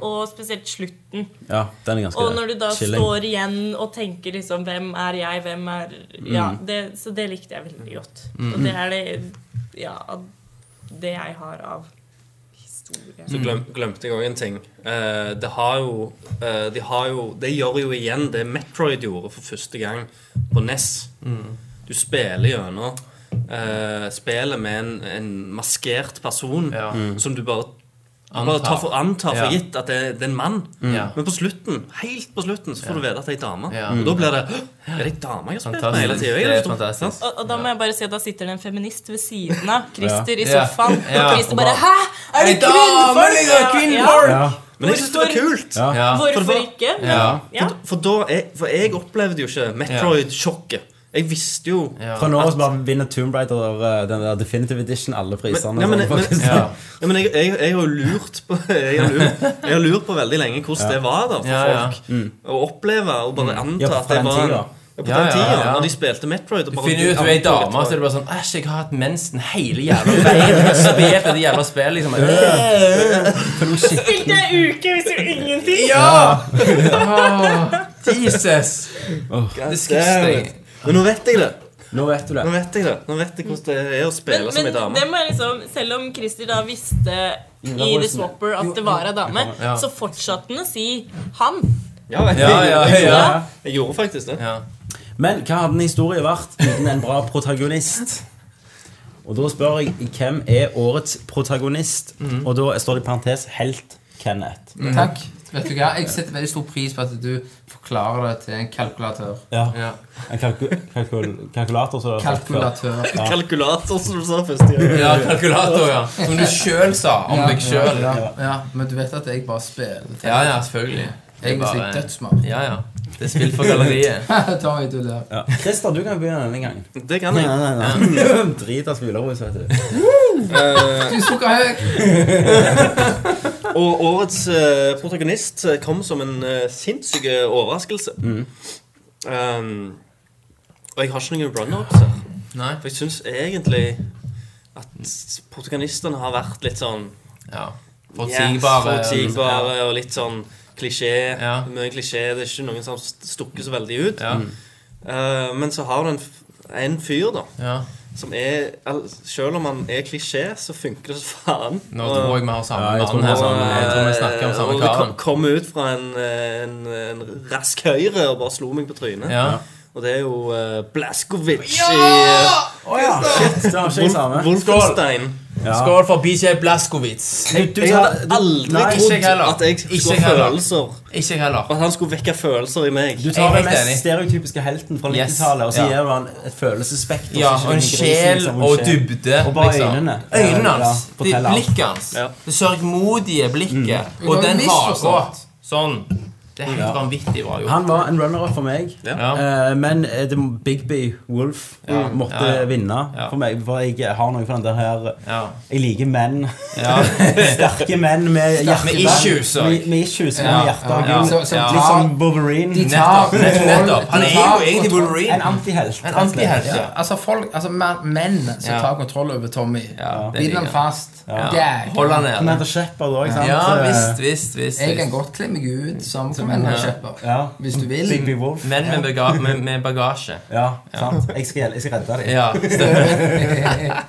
Speaker 3: Og spesielt slutten.
Speaker 1: Ja, den er ganske
Speaker 3: Og når du da
Speaker 1: chilling.
Speaker 3: står igjen og tenker liksom Hvem er jeg, hvem er Ja,
Speaker 5: Mm.
Speaker 3: det, så det likte jeg veldig godt. Og det er det Ja, av det jeg har av historie.
Speaker 5: Mm.
Speaker 2: Så glem, glemte jeg òg en ting. Eh, det har jo, eh, de har jo Det gjør jo igjen det Metroid gjorde for første gang på NES.
Speaker 5: Mm.
Speaker 2: Du spiller gjennom eh, spillet med en, en maskert person
Speaker 5: Ja.
Speaker 2: som du bare Bare ta for, anta
Speaker 5: Antar.
Speaker 2: for
Speaker 5: Ja.
Speaker 2: gitt at det, det er en mann.
Speaker 5: Ja.
Speaker 2: Men på slutten, helt på slutten så får du vite at det er ei dame.
Speaker 5: Ja.
Speaker 2: Og da blir det «Hå! Er det ei dame jeg har spilt med hele
Speaker 5: Fantastisk.
Speaker 2: tida?
Speaker 5: Det er fantastisk.
Speaker 3: Og, og da må jeg bare si at da sitter det en feminist ved siden av Christer i
Speaker 5: Ja.
Speaker 3: sofaen.
Speaker 5: Ja.
Speaker 3: Og Christer bare Hæ! Er det
Speaker 5: Ei dame, liksom,
Speaker 3: kvinnfolk?! Ja.
Speaker 1: Ja.
Speaker 2: Men jeg syns det var kult.
Speaker 5: Ja.
Speaker 3: Hvorfor
Speaker 2: For-
Speaker 3: ikke? Men,
Speaker 5: Ja.
Speaker 3: ja.
Speaker 2: For, da jeg, for jeg opplevde jo ikke Metroid-sjokket. Jeg visste jo
Speaker 5: Ja.
Speaker 1: Fra nå av så bare vinner Tomb Raider eh, den der Definitive Edition alle prisene.
Speaker 2: Men, nei, men, men,
Speaker 1: sånn,
Speaker 2: ja.
Speaker 5: Ja.
Speaker 2: men jeg, jeg, jeg har jo lurt på Jeg har lurt, jeg har lurt på veldig lenge hvordan det var da for
Speaker 5: Ja, ja.
Speaker 2: folk å oppleve og bare anta
Speaker 1: Mm. Ja, fra
Speaker 2: at det
Speaker 1: den
Speaker 2: var
Speaker 1: tida.
Speaker 2: Ja, på
Speaker 5: Ja,
Speaker 2: den
Speaker 5: ja,
Speaker 2: tida,
Speaker 5: ja.
Speaker 2: når de spilte Metroid. Og
Speaker 5: Du
Speaker 2: bare
Speaker 5: finner ut du er ei
Speaker 2: antok at det
Speaker 5: dæme,
Speaker 2: var-
Speaker 5: så er det bare sånn Æsj, jeg har hatt mensen hele jævla veien. Jeg har spilt dette jævla spillet, liksom.
Speaker 1: <laughs>
Speaker 5: Øh.
Speaker 3: Spilte jeg uke, visste jo ingenting!
Speaker 5: Jesus! Det skrester jeg.
Speaker 2: Men nå vet jeg det.
Speaker 1: Nå vet du det.
Speaker 2: Nå vet jeg det Nå vet jeg hvordan det er å spille som ei dame.
Speaker 3: det må jeg liksom, selv om Christer da visste i The Swapper at det var ei dame,
Speaker 5: Ja.
Speaker 3: så fortsatte han å si han.
Speaker 2: Ja, jeg,
Speaker 5: Ja, ja,
Speaker 2: jeg,
Speaker 5: ja.
Speaker 2: jeg gjorde faktisk det.
Speaker 5: ja.
Speaker 1: Men hva hadde en historie vært uten en bra protagonist? Og da spør jeg hvem er årets protagonist? Og da står det i parentes helt Kenneth.
Speaker 4: Takk. Vet du hva? Jeg setter veldig stor pris på at du forklarer det til en kalkulatør.
Speaker 1: Ja.
Speaker 5: Ja.
Speaker 1: En kalku kalkul kalkulator, så det var sagt før.
Speaker 4: Kalkulatør.
Speaker 2: Kalkulator, som du sa først.
Speaker 1: <laughs>
Speaker 2: Ja.
Speaker 5: ja, kalkulator, ja. Som du sjøl sa om deg sjøl.
Speaker 4: Ja, ja, ja, men du vet at jeg bare spiller til.
Speaker 5: Ja, ja, selvfølgelig. Det er
Speaker 4: Jeg er
Speaker 5: bare-
Speaker 4: så <laughs> dødssmart.
Speaker 5: Ja, ja. Det er spill for galleriet.
Speaker 4: Ta meg til det.
Speaker 1: Ja. Christer, du kan begynne denne gangen.
Speaker 2: Det kan jeg.
Speaker 1: <laughs> Drit av smulerus, vet du.
Speaker 4: Du sukker høy!
Speaker 2: Og årets eh, protagonist eh, kom som en uh, sinnssyk eh, overraskelse. Um, og jeg har ikke noen run-ups her.
Speaker 5: Nei?
Speaker 2: For jeg syns egentlig at protagonistene har vært litt sånn
Speaker 5: Ja.
Speaker 2: ja,
Speaker 5: Forutsigbare.
Speaker 2: forutsigbare og litt sånn klisjé.
Speaker 5: Ja.
Speaker 2: Mye klisjé. Det er ikke noen som st- stukker så veldig ut.
Speaker 5: Ja.
Speaker 2: Eh, men så har du en, f- en fyr, da,
Speaker 5: ja.
Speaker 2: som er al- Selv om han er klisjé, så funker det så faen.
Speaker 5: Nå
Speaker 2: Og-
Speaker 5: tror jeg vi har samme
Speaker 1: Ja, jeg tror
Speaker 5: mann her. Eh,
Speaker 1: vi har-
Speaker 5: Sammen. Sånn, Jeg tror vi snakker om
Speaker 2: eh, og
Speaker 5: samme
Speaker 2: det kom,
Speaker 5: karen.
Speaker 2: kom ut fra en, en, en rask høyre og bare slo meg på trynet.
Speaker 5: Ja.
Speaker 2: Og det er jo uh, Blaskovic i
Speaker 1: Å ja! Shit, det har ikke jeg
Speaker 2: uh,
Speaker 1: samme.
Speaker 2: Wolfenstein.
Speaker 1: Ja.
Speaker 5: Skål for BJ Blaskowitz.
Speaker 1: Du- du-
Speaker 2: Jeg hadde
Speaker 1: du-
Speaker 2: aldri
Speaker 5: Nei, ikke jeg
Speaker 2: trodd
Speaker 5: heller.
Speaker 2: at jeg
Speaker 5: Ikke
Speaker 2: skulle
Speaker 5: jeg
Speaker 2: ha
Speaker 5: heller.
Speaker 2: følelser.
Speaker 5: Ikke jeg heller.
Speaker 2: At han skulle vekke følelser i meg.
Speaker 1: Du
Speaker 5: Jeg
Speaker 1: tar
Speaker 5: er
Speaker 1: den
Speaker 5: helt enig.
Speaker 1: mest stereotypiske helten fra
Speaker 5: Yes.
Speaker 1: 90-tallet, og så
Speaker 5: Ja.
Speaker 1: gir du han et følelsesspekter.
Speaker 5: Ja,
Speaker 1: som
Speaker 5: og en
Speaker 1: ikke er grisen,
Speaker 5: sjel
Speaker 1: liksom, en
Speaker 5: og
Speaker 1: sjel.
Speaker 5: dybde. liksom.
Speaker 1: Og bare øynene.
Speaker 5: Øynene
Speaker 1: Ja,
Speaker 5: hans.
Speaker 1: fortell
Speaker 5: det
Speaker 1: alt.
Speaker 5: blikket hans.
Speaker 2: Ja.
Speaker 5: Det sørgmodige blikket. Og
Speaker 4: har
Speaker 5: den hagen.
Speaker 4: misforstått.
Speaker 5: Sånn. Det er helt vanvittig bra gjort.
Speaker 1: Han var en runner-up for meg.
Speaker 5: Ja.
Speaker 1: Eh, men eh, det må- Big B Wolf måtte
Speaker 5: Ja, ja.
Speaker 1: vinne
Speaker 5: Ja.
Speaker 1: for meg, for jeg har noe for den der her eh,
Speaker 5: Ja.
Speaker 1: Jeg liker menn.
Speaker 5: Ja.
Speaker 1: <laughs> Sterke menn med hjerte.
Speaker 5: Med issues og-
Speaker 1: Med, med issues og
Speaker 5: Ja,
Speaker 1: med hjerte.
Speaker 5: ja,
Speaker 1: Gull.
Speaker 5: så- så
Speaker 1: Litt
Speaker 4: tar-
Speaker 1: sånn Boverine.
Speaker 5: Nettopp.
Speaker 4: kontroll-
Speaker 5: nettopp. Han
Speaker 4: de
Speaker 5: er
Speaker 4: tar
Speaker 5: jo egentlig
Speaker 4: kontroll-
Speaker 5: Wolverine.
Speaker 1: En antihelt.
Speaker 5: En antihelt.
Speaker 4: Ja, altså folk, altså mer- menn som
Speaker 5: Ja.
Speaker 4: tar kontroll over Tommy.
Speaker 5: Ja, det
Speaker 4: Bind
Speaker 5: liker
Speaker 4: han
Speaker 5: jeg.
Speaker 4: fast.
Speaker 5: Ja.
Speaker 4: Gag.
Speaker 5: Hold han
Speaker 1: Han
Speaker 5: nede.
Speaker 1: heter Shepherd òg, sant? Eh,
Speaker 5: Ja
Speaker 1: Så det-
Speaker 5: visst, visst, visst.
Speaker 4: Jeg kan
Speaker 5: visst.
Speaker 4: godt kle meg ut som kommanderkjøper.
Speaker 1: Ja.
Speaker 4: Hvis du vil.
Speaker 1: Big B Wolf.
Speaker 5: Menn med, baga med, med bagasje.
Speaker 1: Ja, sant. Jeg skal, jeg skal redde deg.
Speaker 5: Ja, stemmer.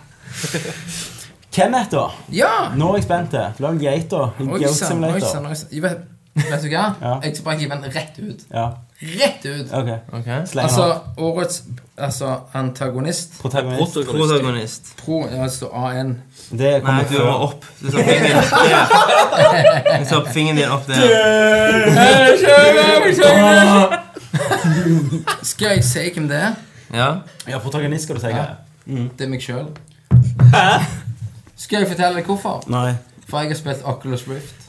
Speaker 1: Kenneth, da?
Speaker 4: Ja!
Speaker 1: Nå er jeg spent. Lag geita.
Speaker 4: Oi
Speaker 1: Goat
Speaker 4: sann, oi sann.
Speaker 1: Simulator.
Speaker 4: oi sann. Jeg Vet vet du hva?
Speaker 1: <laughs> Ja.
Speaker 4: Jeg skal bare hive den rett ut.
Speaker 1: Ja,
Speaker 4: Rett ut!
Speaker 1: ok.
Speaker 5: Ok.
Speaker 1: Sleng
Speaker 4: Altså,
Speaker 1: av.
Speaker 4: årets altså, antagonist
Speaker 1: Protagonist.
Speaker 5: Protagonist.
Speaker 4: Pro, altså, ja, det står A1.
Speaker 1: Det kommer før.
Speaker 5: opp. Du tar fingeren
Speaker 1: <laughs>
Speaker 5: Du tar fingeren din opp der.
Speaker 4: Skal jeg si hvem det er?
Speaker 5: Ja.
Speaker 1: Ja, protagonist skal du si. Ja.
Speaker 4: Det er meg sjøl. Skal jeg fortelle deg hvorfor?
Speaker 1: Nei.
Speaker 4: For jeg har spilt Oculus
Speaker 1: <laughs>
Speaker 4: Rift.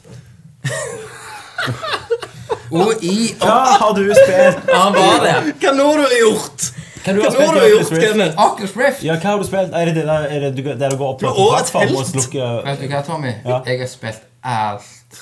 Speaker 4: Og i
Speaker 1: Hva har du spilt?
Speaker 5: Han var der.
Speaker 2: Hva nå har du gjort?
Speaker 1: Hva
Speaker 2: Hva nå har du gjort, Kenneth?
Speaker 4: Oculus Rift
Speaker 1: Ja, hva har du spilt? Er det det der, er det du- der du går opp på
Speaker 2: Du er årets
Speaker 1: plattform og
Speaker 2: helt.
Speaker 1: slukker
Speaker 4: Vet du hva, Tommy?
Speaker 1: Ja.
Speaker 4: Jeg har spilt alt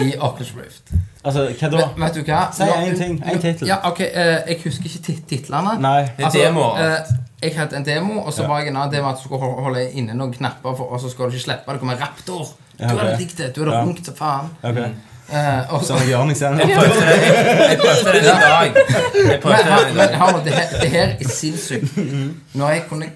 Speaker 4: i Oculus Rift.
Speaker 1: Altså, hva da?
Speaker 4: Vet, vet du hva?
Speaker 1: Si
Speaker 4: Nå-
Speaker 1: en ting, en titel.
Speaker 4: Ja, ok, eh, Jeg husker ikke tit titlene.
Speaker 1: Nei.
Speaker 5: Det er altså. demoer.
Speaker 4: eh, jeg hadde en demo, og så var jeg en annen demo at du skulle hol- holde inne noen knapper, for, og så skal du ikke slippe. Det kommer en raptor. Du
Speaker 1: Ja, ok.
Speaker 4: hadde digg det. Du hadde
Speaker 1: Ja.
Speaker 4: runkt som faen.
Speaker 1: Ok. <laughs>
Speaker 4: Eh, og
Speaker 1: Mm. Så
Speaker 4: så, <laughs>
Speaker 1: er det Jørgen igjen.
Speaker 5: Prøvde den i dag. Jeg prøvde
Speaker 4: men
Speaker 5: den i
Speaker 4: men,
Speaker 5: dag.
Speaker 4: men Harald, det, her- det her er sinnssykt.
Speaker 1: Mm-hmm.
Speaker 4: Når jeg kunne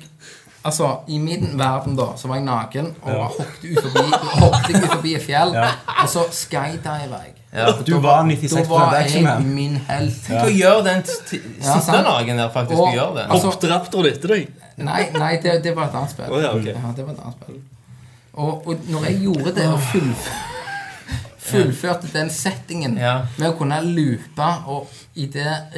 Speaker 4: Altså, I min verden da, så var jeg naken og hoppet ut forbi, hoppet jeg ut forbi et fjell. Og så skydiver jeg.
Speaker 1: Du var 96
Speaker 4: Da var jeg
Speaker 1: Action-Man.
Speaker 4: min helt.
Speaker 5: Tenk å gjøre den t- t-
Speaker 4: Ja,
Speaker 5: siste
Speaker 4: sant.
Speaker 5: dagen der, faktisk.
Speaker 4: Og-
Speaker 5: å gjøre det.
Speaker 4: altså-
Speaker 2: Hoppet raptoren etter deg?
Speaker 4: Nei, nei det, det var et annet spill.
Speaker 2: Å ja, ok.
Speaker 4: ja, det var et annet spill. Og, og når jeg gjorde det og fullf fullførte den settingen
Speaker 5: Ja.
Speaker 4: med å kunne loope og idet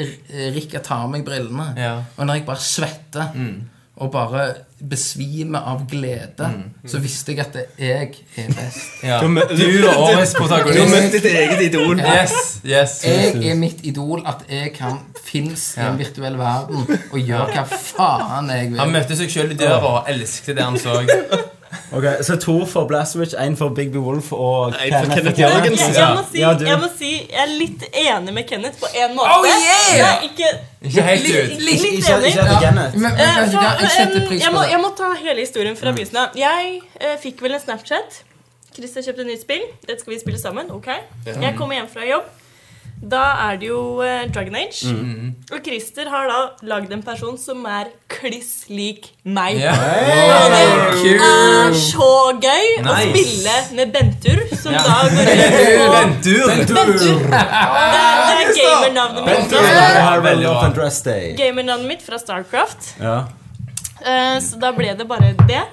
Speaker 4: Rikka tar av meg brillene,
Speaker 5: Ja.
Speaker 4: og når jeg bare svetter og bare besvimer av glede, så visste jeg at det jeg er best. <laughs>
Speaker 5: Ja. Du er årets protagonist.
Speaker 2: ditt eget idol.
Speaker 5: Yes, yes.
Speaker 4: Jeg er mitt idol, at jeg kan finnes i en virtuell verden og gjøre hva faen jeg
Speaker 5: Han
Speaker 4: vil.
Speaker 5: møtte seg sjøl i døra og elsket det han så.
Speaker 1: Ok, Så to for Blaswich, én for Big Bee Wolf og
Speaker 2: En for Kenneth
Speaker 1: Jørgensen.
Speaker 2: Jørgensen.
Speaker 3: Jeg, jeg, må si,
Speaker 1: Ja, du.
Speaker 3: jeg må si jeg er litt enig med Kenneth på en måte.
Speaker 4: Oh, yeah!
Speaker 3: Jeg er ikke,
Speaker 5: Ikke helt
Speaker 3: litt,
Speaker 5: ut.
Speaker 3: litt
Speaker 1: Ikke- ikke-
Speaker 3: enig.
Speaker 1: ikke at det er Kenneth.
Speaker 4: Men, men,
Speaker 3: Eh,
Speaker 4: vet du
Speaker 3: så,
Speaker 4: hva, jeg setter
Speaker 3: eh,
Speaker 4: pris
Speaker 3: jeg,
Speaker 4: på
Speaker 3: må,
Speaker 4: det.
Speaker 3: jeg må ta hele historien fra begynnelsen av. Jeg eh, fikk vel en Snapchat. Christer kjøpte nytt spill. Dette skal vi spille sammen. ok? Jeg kommer hjem fra jobb. Da er det jo eh, Dragon Age. Og Christer har da lagd en person som er kliss lik meg.
Speaker 5: Ja.
Speaker 3: Og det er så gøy å
Speaker 5: Nice.
Speaker 3: spille med Bentur, som
Speaker 5: Ja.
Speaker 3: da går rundt og
Speaker 5: Ventur.
Speaker 3: Bentur! Det er, det er gamernavnet mitt.
Speaker 1: Vi har vel
Speaker 5: Veldig bra.
Speaker 1: Open Dress Day.
Speaker 3: Gamernavnet mitt fra Starcraft.
Speaker 1: Ja.
Speaker 3: Eh, så da ble det bare det.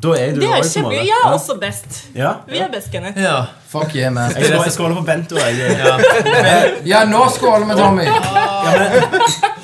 Speaker 1: Da er du
Speaker 3: Det er
Speaker 1: årets
Speaker 3: kjempegøy.
Speaker 1: måler.
Speaker 3: Jeg er også best.
Speaker 1: Ja.
Speaker 3: Vi er best, Kenneth.
Speaker 5: Ja.
Speaker 4: Fuck yeah, man.
Speaker 1: Jeg skåler- jeg skåler på Bento. Jeg.
Speaker 4: Ja, nå skåler vi, Tommy.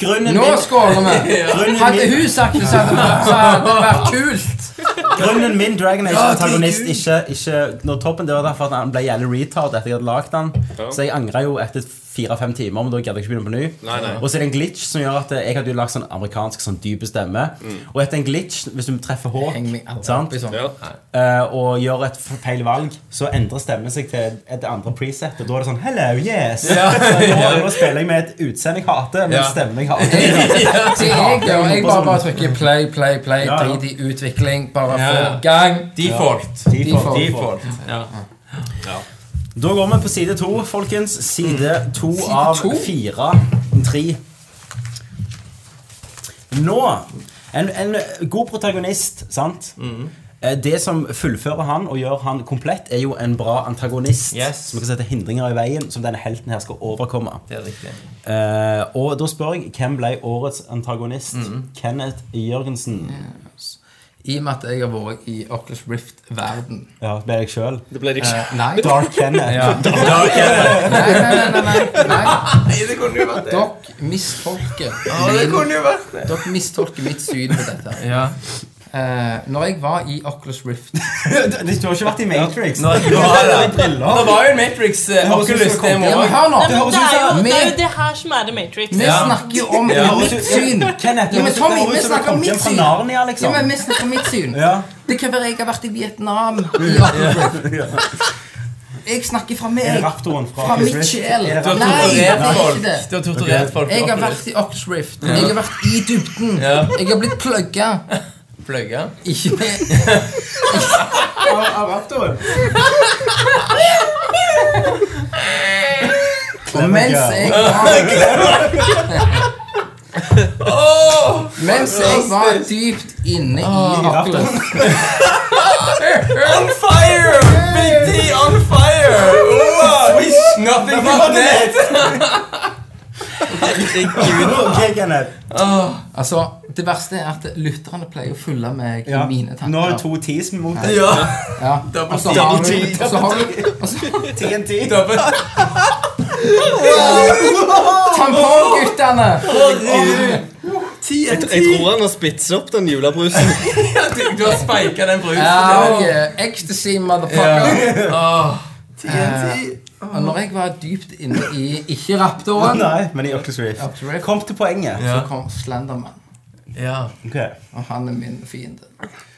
Speaker 1: Grunnen
Speaker 4: Nå
Speaker 1: min,
Speaker 4: skåler vi.
Speaker 1: grunnen
Speaker 4: Hadde
Speaker 1: min,
Speaker 4: hun sagt det, så hadde det vært- så hadde det <laughs> vært kult.
Speaker 1: grunnen min Dragon Age-antagonist ikke, ikke når toppen, det var derfor at han ble jævlig retard etter jeg hadde lagd den. Så jeg angra jo etter fire-fem timer, men da gadd jeg ikke begynne på ny.
Speaker 2: Nei, nei.
Speaker 1: Og så er det en glitch som gjør at jeg hadde jo lagd sånn amerikansk sånn dyp stemme.
Speaker 2: Mm.
Speaker 1: Og etter en glitch, hvis du treffer
Speaker 4: Heng meg
Speaker 1: Hawk,
Speaker 4: aldri
Speaker 1: sant?
Speaker 4: opp i sånn.
Speaker 2: Ja.
Speaker 1: eh, og gjør et f- feil valg, så endrer stemmen seg til et andre preset. Og da er det sånn Hello, yes! <laughs> Så nå, nå spiller jeg med et utseende jeg hater, men
Speaker 5: Ja.
Speaker 1: stemmen jeg hater.
Speaker 2: <laughs>
Speaker 4: Det jeg gjør, jeg bare, bare trykker play, play, play,
Speaker 1: sånn. Ja, ja.
Speaker 4: drit i utvikling, bare
Speaker 5: Ja, ja.
Speaker 4: få gang.
Speaker 5: Default.
Speaker 1: Default.
Speaker 5: Default. Ja.
Speaker 1: Da går vi på side to, folkens. Side to av
Speaker 4: to?
Speaker 1: fire. Tre. Nå En, en god protagonist, sant?
Speaker 5: Mm.
Speaker 1: Eh, Det som fullfører han og gjør han komplett, er jo en bra antagonist.
Speaker 5: Yes.
Speaker 1: Som kan sette hindringer i veien som denne helten her skal overkomme.
Speaker 5: Det er riktig.
Speaker 1: Eh, og da spør jeg hvem ble årets antagonist?
Speaker 5: Mm.
Speaker 1: Kenneth Jørgensen.
Speaker 4: I og med at jeg har vært i Oculus Rift-verden.
Speaker 1: Ja, ble jeg sjøl?
Speaker 2: Det ble det ikke.
Speaker 4: Nei, nei,
Speaker 1: Dark Kenneth.
Speaker 4: nei, nei, nei, nei. Dere mistolker min- Dere mistolker mitt syn på dette.
Speaker 5: Ja.
Speaker 4: Eh, Når jeg var i Oculus Rift
Speaker 1: Du du har ikke vært i Matrix?
Speaker 5: Nå, nå, nå var jo en Matrix eh,
Speaker 1: høres ut som
Speaker 5: Oculus,
Speaker 1: det kom.
Speaker 5: det
Speaker 4: Ja,
Speaker 5: må
Speaker 4: men
Speaker 5: òg.
Speaker 4: hør nå!
Speaker 3: Nei, men det, er jo,
Speaker 4: Vi,
Speaker 3: det er jo det her som er The Matrix.
Speaker 4: vi snakker jo om
Speaker 1: Ja, og
Speaker 4: mitt
Speaker 1: så-
Speaker 4: syn.
Speaker 1: Kenneth,
Speaker 4: Ja, men
Speaker 1: det høres ut-
Speaker 4: Tommy,
Speaker 1: det høres
Speaker 4: vi
Speaker 1: ut som
Speaker 4: snakker om
Speaker 1: det kom
Speaker 4: mitt
Speaker 1: fra
Speaker 4: syn.
Speaker 1: Narnia, liksom.
Speaker 4: Ja, men vi snakker om mitt syn.
Speaker 1: Ja.
Speaker 4: Det kan være jeg har vært i Vietnam. i Oculus Rift. Jeg snakker fra
Speaker 1: Er det
Speaker 4: meg.
Speaker 1: raptoren fra
Speaker 4: Fra
Speaker 1: Oculus
Speaker 4: mitt
Speaker 1: Rift?
Speaker 4: sjel.
Speaker 1: Er det
Speaker 5: Du har
Speaker 1: raptoren?
Speaker 5: torturert folk.
Speaker 4: Nei, det er ikke det.
Speaker 5: Du har torturert folk.
Speaker 4: Jeg har vært i Oculus Rift. Jeg har vært i dybden.
Speaker 5: Ja.
Speaker 4: Jeg har blitt plugga.
Speaker 5: Fløyga.
Speaker 4: Ikke med
Speaker 1: Av <laughs> raptoren?
Speaker 4: Og mens jeg Mens jeg var dypt inne i Oculus
Speaker 5: On fire! Big D on fire! Wow! Nothing but net!
Speaker 1: Ok, Kenneth.
Speaker 4: Altså, det verste er at lytterne pleier å følge meg i mine
Speaker 1: Nå har du
Speaker 4: tanker.
Speaker 1: to T's mot deg.
Speaker 5: Ja.
Speaker 4: Ja. Og så har du og så har du- og så-
Speaker 1: TNT.
Speaker 4: Tampongguttene!
Speaker 2: Jeg, jeg tror han har spitset opp den julebrusen.
Speaker 5: Du har speika den brusen.
Speaker 4: Ja, yeah. Ecstasy, motherfucker. Og når jeg var dypt inne i ikke raptoren,
Speaker 1: Nei, men i Oculus Rift.
Speaker 4: Oculus Rift,
Speaker 1: Kom til poenget.
Speaker 5: Ja.
Speaker 4: så kom Slenderman.
Speaker 5: Ja.
Speaker 1: Ok.
Speaker 4: Og han er min fiende.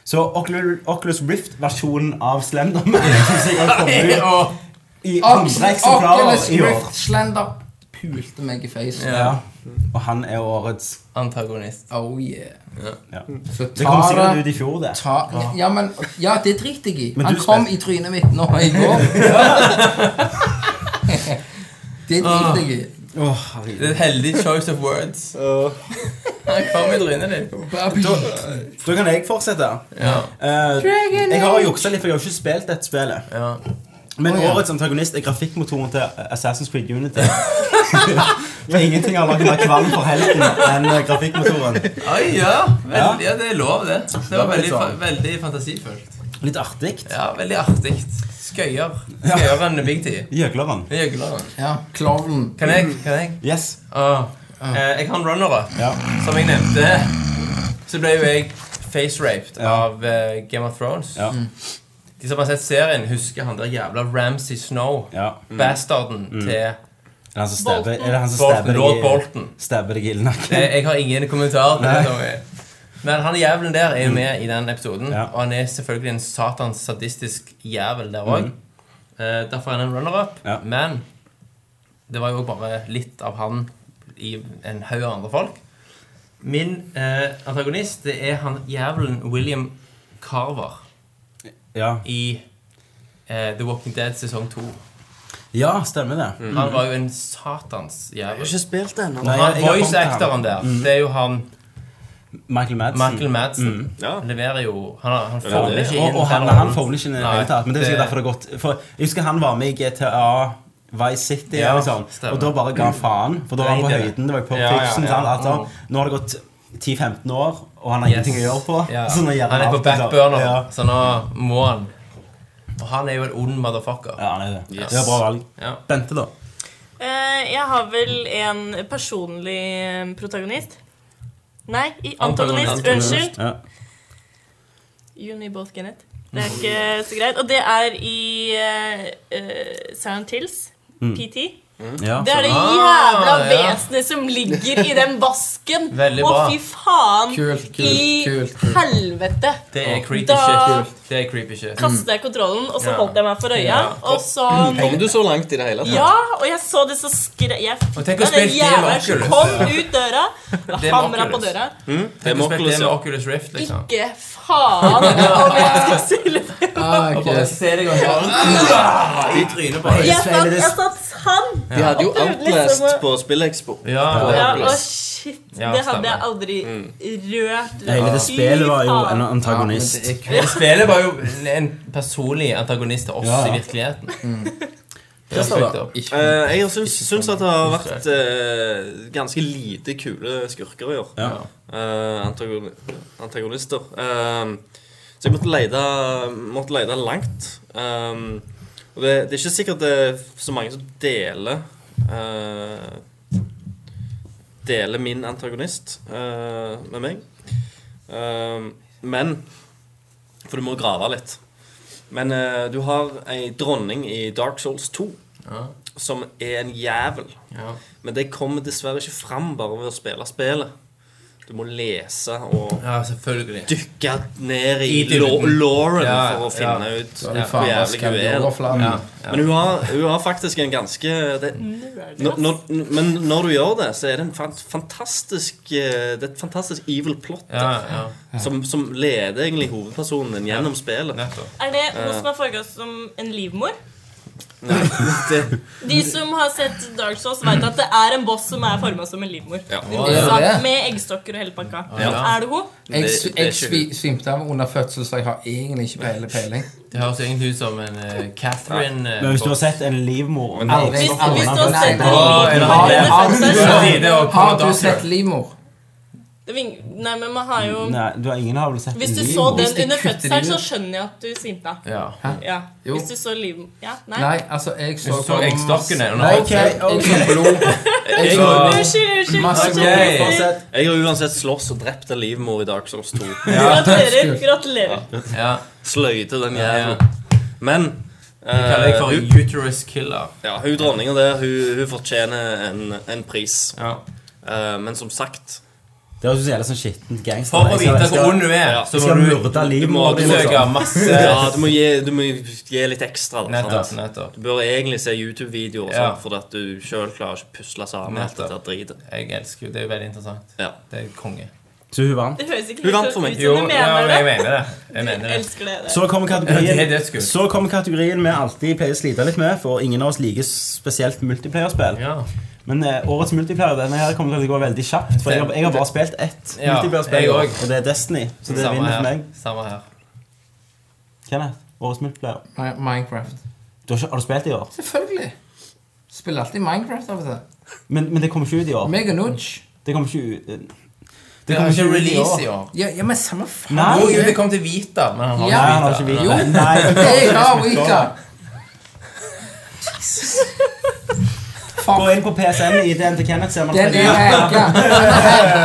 Speaker 1: Så Ocul- Oculus Rift-versjonen av
Speaker 4: <laughs>
Speaker 1: Slenderman som sikkert kommer ut
Speaker 5: Og
Speaker 1: i
Speaker 4: Oculus
Speaker 1: andre eksemplarer i år.
Speaker 4: Rift Slender pulte meg i facen.
Speaker 1: Ja. Og han er årets
Speaker 5: antagonist.
Speaker 4: Oh yeah.
Speaker 1: ja.
Speaker 4: Så
Speaker 1: Det kom
Speaker 4: ta
Speaker 1: sikkert ut
Speaker 4: det
Speaker 1: i fjor, det.
Speaker 4: ta, ja, men, ja, det driter jeg i.
Speaker 1: Men
Speaker 4: Han
Speaker 1: du
Speaker 4: kom
Speaker 1: spilte-
Speaker 4: i trynet mitt nå i
Speaker 1: <laughs>
Speaker 4: går. Det driter jeg i.
Speaker 2: Ah.
Speaker 1: Åh,
Speaker 5: Det er et heldig choice of words. <laughs> Han kom i trynet ditt.
Speaker 1: da, da kan jeg fortsette.
Speaker 5: Ja.
Speaker 1: Eh, jeg har juksa litt, for jeg har jo ikke spilt dette spillet.
Speaker 5: ja.
Speaker 1: Men
Speaker 4: Å, ja.
Speaker 1: årets antagonist er grafikkmotoren til Assassin's Creed Unity. <laughs> For Ingenting har laget mer kvalm for helten enn grafikkmotoren.
Speaker 5: Ai, ja. Vel, ja, det er lov, det. Det var
Speaker 1: var litt
Speaker 5: veldig, fa
Speaker 1: sånn.
Speaker 5: veldig fantasifullt.
Speaker 1: Litt artig.
Speaker 5: Ja, veldig artig. Skøyer. Skøyer enn Big T.
Speaker 1: Gjøgleren.
Speaker 5: Gjøgleren.
Speaker 4: Ja, Klovnen.
Speaker 5: Kan jeg? Kan jeg?
Speaker 1: Yes.
Speaker 5: Åh, eh, jeg har en runner-up,
Speaker 1: Ja.
Speaker 5: som jeg nevnte. Så ble jo jeg face-raped av eh, Game of Thrones.
Speaker 1: Ja.
Speaker 5: De som har sett serien, husker han der jævla Ramsay Snow.
Speaker 1: ja. Mm.
Speaker 5: Bastarden til
Speaker 1: Er det han som stabber, er det han som stabber
Speaker 5: Bolton,
Speaker 1: deg
Speaker 5: Lord
Speaker 1: i-
Speaker 5: Bolton.
Speaker 1: Stabber deg i
Speaker 5: Eh,
Speaker 1: nakken?
Speaker 5: Jeg har ingen kommentar til
Speaker 1: Nei. Mm.
Speaker 5: det. Tommy. Men han jævelen der er jo med i den episoden.
Speaker 1: Ja.
Speaker 5: Og han er selvfølgelig en satans sadistisk jævel der òg. Derfor er han en runner-up.
Speaker 1: Mm. Ja.
Speaker 5: Men det var jo også bare litt av han i en haug av andre folk. Min eh, antagonist det er han jævelen William Carver
Speaker 1: Ja.
Speaker 5: i eh, The Walking Dead sesong 2.
Speaker 1: ja, stemmer det.
Speaker 5: Han var jo en satans jævel.
Speaker 2: Ikke spilt det ennå.
Speaker 1: Nei, Mm. jeg-
Speaker 5: Han
Speaker 1: jeg har Mm. kommet til han.
Speaker 5: Voice-actoren der, det er jo han
Speaker 1: Michael Madsen.
Speaker 5: Michael Madsen.
Speaker 1: Mm.
Speaker 2: Ja.
Speaker 5: Han leverer jo Han, har- han
Speaker 2: Ja,
Speaker 5: får
Speaker 2: det-
Speaker 5: ikke inn
Speaker 1: Og, og han,
Speaker 5: den
Speaker 1: han
Speaker 5: rollen.
Speaker 1: får den ikke inn i det
Speaker 5: Nei,
Speaker 1: hele tatt. Men det er sikkert
Speaker 5: det-
Speaker 1: derfor det er godt. For jeg husker han var med i GTA Vice City,
Speaker 5: Ja,
Speaker 1: eller sånn,
Speaker 5: stemmer.
Speaker 1: og da bare ga han faen. For da var han på
Speaker 5: Nei, det-
Speaker 1: høyden. Det var på
Speaker 5: Ja, ja,
Speaker 1: pipsen,
Speaker 5: ja. Mm.
Speaker 1: sant? Altså, Nå har det gått 10-15 år, og han har
Speaker 5: Yes.
Speaker 1: ingenting å gjøre på.
Speaker 5: Ja.
Speaker 1: så nå gjør
Speaker 5: Han er på
Speaker 1: alt, liksom.
Speaker 5: backburner,
Speaker 1: Ja.
Speaker 5: så nå må han. Og han er jo en ond motherfucker.
Speaker 1: Ja, han er det.
Speaker 2: Yes.
Speaker 1: Det er bra valg.
Speaker 5: Ja.
Speaker 1: Bente, da?
Speaker 3: Eh, jeg har vel en personlig eh, protagonist. Nei, i antagonist.
Speaker 5: Antagonist.
Speaker 3: Unnskyld.
Speaker 1: Ja.
Speaker 3: You need both, Kenneth. Det er ikke så greit. Og det er i eh, eh, Silent Hills. PT.
Speaker 1: Ja.
Speaker 3: Det er det jævla
Speaker 5: Ah, ja.
Speaker 3: vesenet som ligger i den vasken.
Speaker 5: Veldig
Speaker 3: Og
Speaker 5: bra.
Speaker 3: fy faen
Speaker 4: Kult, kult,
Speaker 3: i
Speaker 4: kult, kult.
Speaker 3: helvete.
Speaker 5: Det er creepy
Speaker 3: Da-
Speaker 5: shit. Det er creepy shit.
Speaker 3: Kastet jeg kontrollen, og så
Speaker 5: Ja.
Speaker 3: holdt jeg meg for øya.
Speaker 5: Ja.
Speaker 3: Og så
Speaker 2: Kom du så langt i det hele tatt?
Speaker 3: Ja, og jeg så det så skre... Jeg fikk
Speaker 5: Og
Speaker 3: meg
Speaker 5: tenk å
Speaker 3: den
Speaker 5: spille det
Speaker 3: jævla
Speaker 5: med
Speaker 3: som
Speaker 5: Oculus.
Speaker 3: kom ut døra.
Speaker 5: Det er
Speaker 3: Hamra
Speaker 5: med
Speaker 3: på
Speaker 5: Oculus.
Speaker 3: døra.
Speaker 2: Det er
Speaker 5: Tenk å spille
Speaker 2: Oculus,
Speaker 5: det med
Speaker 2: ja.
Speaker 5: Oculus Rift, liksom.
Speaker 3: Ikke faen om jeg skal spille det.
Speaker 2: <laughs>
Speaker 4: Ah,
Speaker 5: Og bare
Speaker 4: ok.
Speaker 5: se deg og I trynet på deg.
Speaker 3: Jeg satt, jeg satt sånn. sann.
Speaker 2: De hadde jo
Speaker 3: Og prøvde
Speaker 2: Outlast
Speaker 3: liksom å-
Speaker 2: på SpillExpo.
Speaker 3: Ja,
Speaker 5: Ja, ja.
Speaker 3: å shit.
Speaker 5: Ja,
Speaker 3: Det hadde jeg
Speaker 5: stemmer. Mm.
Speaker 3: aldri rørt.
Speaker 1: Hele det
Speaker 3: Fy
Speaker 1: spillet var jo
Speaker 3: faen.
Speaker 1: en
Speaker 4: Ja, men
Speaker 1: antagonist.
Speaker 4: det er kult.
Speaker 5: Spillet var jo en personlig antagonist til oss
Speaker 1: Ja. Mm.
Speaker 5: i virkeligheten. Det
Speaker 1: Christer,
Speaker 5: er
Speaker 1: da?
Speaker 5: fucked up.
Speaker 2: Eh, jeg syns, syns at det har vært eh, ganske lite kule skurker i år.
Speaker 1: Ja.
Speaker 2: Eh, antagoni antagonister. Eh, så jeg måtte lete, måtte lete langt. Eh, og det, det er ikke sikkert det er så mange som deler eh, Deler min antagonist eh, med meg. Eh, men For du må grave litt. Men eh, du har ei dronning i Dark Souls 2
Speaker 5: Ja.
Speaker 2: som er en jævel.
Speaker 5: Ja.
Speaker 2: Men det kommer dessverre ikke fram bare ved å spille spillet. Du må lese og
Speaker 5: ja, selvfølgelig.
Speaker 2: dykke ned i,
Speaker 5: I dybden.
Speaker 2: law- lauren
Speaker 5: Ja,
Speaker 2: for å
Speaker 5: ja.
Speaker 2: finne ut
Speaker 4: Da er det
Speaker 2: hvor
Speaker 4: faen meg
Speaker 2: jævlig hun er. da.
Speaker 4: skalloverflaten.
Speaker 5: Ja. Ja.
Speaker 2: Men hun har, hun har faktisk en ganske Mm, det, når, når, Men når du gjør det, så er det en fan- fantastisk eh, Det er et fantastisk evil plot
Speaker 5: Ja,
Speaker 2: der,
Speaker 5: ja.
Speaker 2: Som, som leder egentlig hovedpersonen din gjennom spillet.
Speaker 5: Nettopp.
Speaker 3: Er det hun som har foregått som en livmor?
Speaker 2: Det,
Speaker 3: De som har sett Dark Souls, vet at det er en boss som er forma som en livmor.
Speaker 2: ja.
Speaker 4: Er det det?
Speaker 3: Satt med eggstokker og hele pakka.
Speaker 5: Ja.
Speaker 3: Er det hun?
Speaker 4: Jeg,
Speaker 2: Det-
Speaker 4: sv-
Speaker 2: det er
Speaker 4: jeg
Speaker 2: ikke
Speaker 4: svi- svimte av under fødsel, så jeg har egentlig ikke peile peiling.
Speaker 5: Det høres jo egentlig ut som en eh, Catherine eh,
Speaker 1: Men hvis du har
Speaker 5: boss.
Speaker 1: sett en livmor og en
Speaker 4: Aldri-
Speaker 3: Hvis,
Speaker 4: aldri-
Speaker 3: hvis du har
Speaker 4: Nei,
Speaker 3: sett
Speaker 4: nei,
Speaker 3: en
Speaker 5: Åh, er det
Speaker 3: livmor
Speaker 5: det?
Speaker 3: under
Speaker 4: Har du-
Speaker 3: fødselen,
Speaker 5: På
Speaker 3: så-
Speaker 5: tide å komme
Speaker 4: Har du
Speaker 5: tilbake.
Speaker 4: sett livmor?
Speaker 3: Det ving- Nei, men man har jo
Speaker 1: Nei, du har ingen har vel sett
Speaker 3: Hvis
Speaker 1: en
Speaker 3: du så
Speaker 1: livmor?
Speaker 3: den
Speaker 4: Hvis de
Speaker 3: under
Speaker 4: kutter
Speaker 3: fødselen,
Speaker 4: de
Speaker 3: så
Speaker 4: ut.
Speaker 3: skjønner jeg at du svimte av.
Speaker 5: Ja.
Speaker 3: Ja.
Speaker 4: Jo.
Speaker 3: Hvis du så livmor Ja, nei.
Speaker 4: Nei, altså, jeg så
Speaker 5: Du så eggstokkene under
Speaker 4: Nei,
Speaker 5: alt.
Speaker 1: Ok,
Speaker 4: Jeg så blod. Jeg så
Speaker 3: Unnskyld, unnskyld.
Speaker 4: masse
Speaker 5: Ok.
Speaker 4: blod.
Speaker 1: Fortsett.
Speaker 2: Jeg har uansett slåss og drept en livmor i Dark Souls 2.
Speaker 3: Gratulerer. Gratulerer.
Speaker 5: Ja.
Speaker 2: Sløyte den
Speaker 5: ja.
Speaker 2: jævelen. Men
Speaker 5: Kaller jeg for
Speaker 2: eh, hun,
Speaker 5: en uterus killer.
Speaker 2: ja, hun dronninga der, hun, hun fortjener en, en pris.
Speaker 5: Ja.
Speaker 2: Eh, men som sagt
Speaker 1: Det høres ut som en jævla sånn skitten gangster.
Speaker 5: For å
Speaker 1: Jeg skal-
Speaker 5: vite
Speaker 1: jeg skal-
Speaker 5: hvor ond du er,
Speaker 2: Ja,
Speaker 5: så
Speaker 1: Jeg
Speaker 5: må
Speaker 1: skal
Speaker 5: du
Speaker 1: myrde livmor
Speaker 2: du
Speaker 1: din.
Speaker 2: må
Speaker 5: søke
Speaker 1: liksom.
Speaker 5: masse
Speaker 2: Ja, du må gi, du må gi litt ekstra. Da,
Speaker 5: Nettopp.
Speaker 2: sant?
Speaker 5: nettopp
Speaker 2: Du bør egentlig se YouTube-videoer
Speaker 5: Ja.
Speaker 2: sånn, fordi at du sjøl klarer ikke å pusle sammen alt dette
Speaker 5: Nettopp.
Speaker 2: dritet.
Speaker 5: Jeg elsker jo Det er jo veldig interessant.
Speaker 2: Ja.
Speaker 5: Det er konge.
Speaker 1: Så hun vant.
Speaker 3: Det høres ikke
Speaker 2: Hun vant
Speaker 3: helt
Speaker 2: for
Speaker 3: ut
Speaker 2: meg.
Speaker 3: som du
Speaker 5: ja, men jeg
Speaker 3: mener det.
Speaker 5: mener det. Jeg mener det.
Speaker 3: Elsker det.
Speaker 1: Så kommer
Speaker 5: Ja, det er
Speaker 1: kategorien
Speaker 5: dødskult.
Speaker 1: Så kommer kategorien vi alltid pleier å slite litt med, for ingen av oss liker spesielt multiplayerspill.
Speaker 5: Ja.
Speaker 1: Men eh, årets multiplayer denne her kommer til å gå veldig kjapt, for jeg har, jeg har bare spilt ett
Speaker 5: Ja,
Speaker 1: multiplayerspill,
Speaker 5: jeg
Speaker 1: i år,
Speaker 5: også.
Speaker 1: og det er Destiny. Så det
Speaker 5: Samme
Speaker 1: vinner for
Speaker 5: her.
Speaker 1: meg.
Speaker 5: Samme her.
Speaker 1: Kenneth, årets multiplayer.
Speaker 4: Nei, Minecraft.
Speaker 1: Du har, ikke, har du spilt i år?
Speaker 4: Selvfølgelig. Spiller alltid Minecraft av og til.
Speaker 1: Men, men det kommer ikke ut i år.
Speaker 4: Mega Nudge.
Speaker 1: Det kommer ikke ut eh,
Speaker 5: Det kommer ikke release i år.
Speaker 4: Ja, ja men samme faen.
Speaker 1: Nei,
Speaker 5: Jo, jo, det kom til Vita, men han har
Speaker 4: Ja.
Speaker 1: Nei, han
Speaker 5: ikke
Speaker 1: har
Speaker 5: Vita.
Speaker 1: ikke vita.
Speaker 4: Jo,
Speaker 1: Nei,
Speaker 4: det er Hard Weaker.
Speaker 1: Gå inn på PSN i den til Kenneth, ser man
Speaker 4: Den er hacka.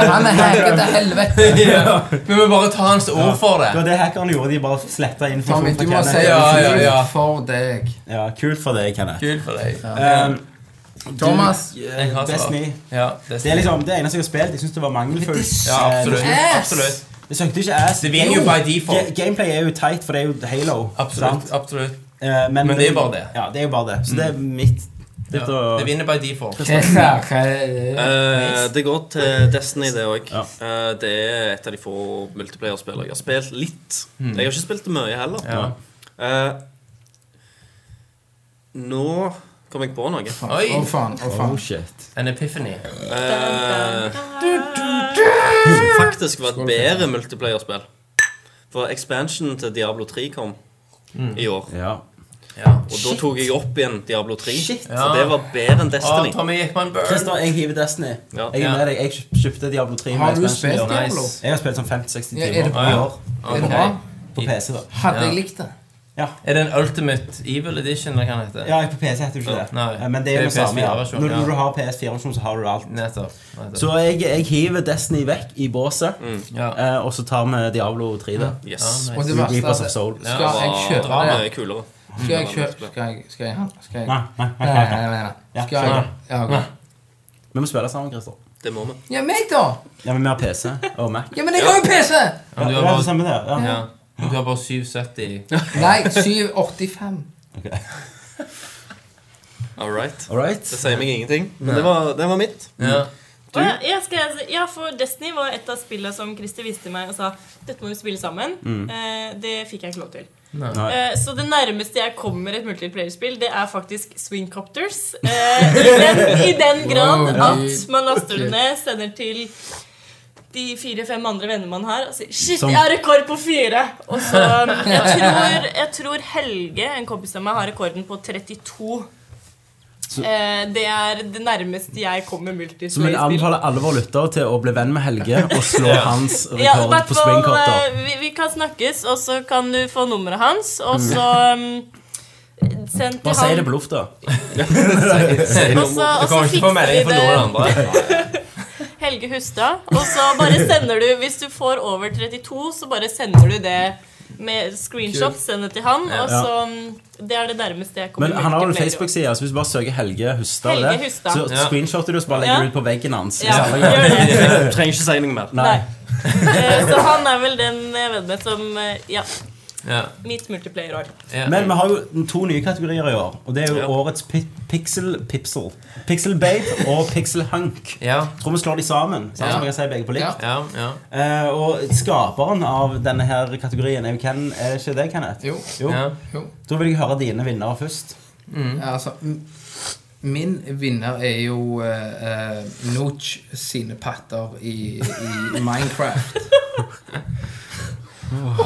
Speaker 4: Han er hacka til helvete.
Speaker 5: Ja. Vi må bare ta hans ord for
Speaker 1: Det var
Speaker 5: det.
Speaker 1: det hackerne gjorde. De bare sletta
Speaker 4: Tommy,
Speaker 1: informasjon
Speaker 4: du
Speaker 1: fra
Speaker 4: må si
Speaker 1: Kenneth.
Speaker 5: Ja, ja, ja.
Speaker 4: for deg.
Speaker 1: Ja, kult for deg, Kenneth.
Speaker 5: Kult for deg.
Speaker 1: Um,
Speaker 4: Thomas.
Speaker 5: Jeg har
Speaker 1: Destiny.
Speaker 5: svart. Ja, Destiny.
Speaker 1: det er liksom det eneste jeg har spilt. Jeg syns det var mangelfullt.
Speaker 5: Ja, absolutt.
Speaker 1: Eh,
Speaker 4: Ass.
Speaker 5: absolutt.
Speaker 1: Det søkte ikke ass.
Speaker 5: Det vinner jo by default.
Speaker 1: Ga- Gameplay er jo teit, for det er jo Halo. sant?
Speaker 5: Absolutt. absolutt.
Speaker 1: Eh, men,
Speaker 5: Men det er jo bare det. Mm.
Speaker 1: Ja, det er jo bare det. Så det er mitt det
Speaker 5: Ja.
Speaker 1: er å-
Speaker 5: Det vinner by default.
Speaker 4: Hva er det? Hva er det?
Speaker 2: Eh, det går til Destiny, det òg.
Speaker 1: Ja.
Speaker 2: det er et av de få multiplayer-spillene jeg har spilt litt. Jeg har ikke spilt det mye heller.
Speaker 5: Ja.
Speaker 2: Eh, nå kom jeg på noe.
Speaker 5: Oi!
Speaker 4: Å, faen. Å,
Speaker 1: Oh
Speaker 4: faen.
Speaker 1: shit.
Speaker 5: En epiphany.
Speaker 2: Eh, som faktisk var et bedre multiplayer-spill. For expansionen til Diablo 3 kom i år.
Speaker 1: Ja.
Speaker 5: Ja.
Speaker 2: Og da tok jeg opp igjen Diablo 3.
Speaker 1: Shit.
Speaker 2: Så det var bedre enn
Speaker 5: Ah,
Speaker 2: Destiny.
Speaker 5: Tommy Ekman Burn.
Speaker 1: Christer, jeg hiver Destiny.
Speaker 2: Ja.
Speaker 1: Jeg er med deg. Jeg kjøp- kjøpte Diablo 3. med
Speaker 4: Har du
Speaker 1: expansion i
Speaker 4: spilt
Speaker 1: år.
Speaker 4: Diablo?
Speaker 5: nice.
Speaker 1: Jeg har spilt sånn 50-60
Speaker 4: Ja, er
Speaker 1: timer
Speaker 4: det
Speaker 1: i år
Speaker 4: Er det bra?
Speaker 1: på PC. da
Speaker 4: Hadde
Speaker 5: Ja.
Speaker 4: jeg likt det?
Speaker 5: Er det en Ultimate Evil Edition, eller hva den heter?
Speaker 1: Ja, på PC heter det ikke det.
Speaker 5: Nei.
Speaker 1: Eh, Men det er jo det samme. Ja.
Speaker 5: PS4-versjon,
Speaker 1: Når,
Speaker 5: ja.
Speaker 1: når du har PS4-versjon, så har du alt.
Speaker 5: Nettopp. Nettopp.
Speaker 1: Så jeg, jeg hiver Destiny vekk i båset,
Speaker 5: ja.
Speaker 1: eh, og så tar vi Diablo 3, da.
Speaker 2: Yes.
Speaker 5: Ja,
Speaker 4: Og
Speaker 5: nice.
Speaker 4: det verste
Speaker 1: Reapers
Speaker 4: er
Speaker 1: of
Speaker 4: at-
Speaker 1: Soul.
Speaker 4: Skal jeg kjøpe
Speaker 2: Drama
Speaker 4: det?
Speaker 2: er kulere.
Speaker 4: Skal jeg kjøpe Skal jeg Skal jeg Skal jeg
Speaker 1: Nei, nei, nei,
Speaker 4: Nei,
Speaker 1: nei,
Speaker 4: nei,
Speaker 1: nei.
Speaker 4: nei, nei.
Speaker 1: Ja,
Speaker 4: Skal jeg Ja, ok.
Speaker 1: Vi må spille sammen, Christer.
Speaker 2: Det må vi.
Speaker 4: Ja, meg, da?
Speaker 1: Ja, men vi har PC og Mac.
Speaker 4: Ja, men jeg har jo PC!
Speaker 5: Men du
Speaker 1: Ja,
Speaker 5: har
Speaker 1: det er
Speaker 5: bare,
Speaker 1: det samme der. Ja.
Speaker 5: ja. Men Du har bare 770.
Speaker 4: Nei, 785.
Speaker 1: Ok.
Speaker 2: All right.
Speaker 1: All right.
Speaker 2: Det sier meg ingenting, men det var, det var mitt.
Speaker 5: Ja.
Speaker 2: Du?
Speaker 3: Å, ja, jeg skal, si- ja, for Destiny var et av spillene som Christer viste meg og sa dette må vi spille sammen.
Speaker 2: Mm.
Speaker 3: Eh, det fikk jeg ikke lov til.
Speaker 1: Nei.
Speaker 3: Eh, så det nærmeste jeg kommer et multiplayer-spill, det er faktisk Swingcopters. Eh, i, den, I den grad at man laster det ned, sender til de fire-fem andre venner man har, og sier 'Shit, jeg har rekord på fire!' Og så Jeg tror, jeg tror Helge, en kompis av meg, har rekorden på 32. Eh, det er det nærmeste jeg kommer
Speaker 1: Så vi
Speaker 3: multiplayer-spill.
Speaker 1: anbefaler alle våre lyttere til å bli venn med Helge og slå hans
Speaker 3: Ja, i
Speaker 1: rekord
Speaker 3: hvert
Speaker 1: på
Speaker 3: fall
Speaker 1: springkorter.
Speaker 3: eh, vi, vi kan snakkes, og så kan du få nummeret hans, og så um, Send til
Speaker 1: Bare si Mm. det
Speaker 3: han,
Speaker 1: på lufta.
Speaker 3: og så,
Speaker 5: Du
Speaker 3: og så
Speaker 5: kommer ikke til å få
Speaker 3: fikser vi
Speaker 5: melding fra noen
Speaker 3: det.
Speaker 5: andre.
Speaker 3: Helge Hustad. Og så bare sender du Hvis du får over 32, så bare sender du det med screenshot. Send det til han, og
Speaker 1: Ja.
Speaker 3: så um, Det er det nærmeste jeg kommer.
Speaker 1: Men han har jo en
Speaker 3: multiplayer.
Speaker 1: Facebook-side, så hvis du bare søker Helge Hustad,
Speaker 3: Helge
Speaker 1: der,
Speaker 3: Hustad.
Speaker 1: så
Speaker 5: Ja.
Speaker 1: screenshotter du og så bare
Speaker 3: Ja.
Speaker 1: legger du ut på veggen hans.
Speaker 3: Ja,
Speaker 1: Så alle-
Speaker 3: gjør det.
Speaker 2: Trenger ikke si noe mer.
Speaker 3: Nei. Eh, Så han er vel den jeg vet med som eh, Ja,
Speaker 5: Ja.
Speaker 3: mitt multiplayer-år.
Speaker 5: Ja.
Speaker 1: Men vi har jo to nye kategorier i år, og det er jo
Speaker 2: Ja.
Speaker 1: årets pi Pixel Pipsel. Pixel Babe og Pixel Hunk.
Speaker 5: Ja.
Speaker 1: Jeg tror vi slår de sammen, sånn
Speaker 5: Ja.
Speaker 1: som vi kan si begge på likt.
Speaker 4: Ja.
Speaker 5: Ja. ja.
Speaker 1: Eh, og skaperen av denne her kategorien er jo Ken, er det ikke det, Kenneth?
Speaker 4: Jo.
Speaker 5: ja.
Speaker 4: Jo.
Speaker 1: Da vil jeg høre dine vinnere først.
Speaker 4: Ja, altså m- Min vinner er jo eh, eh, Nooch sine patter i, i Minecraft.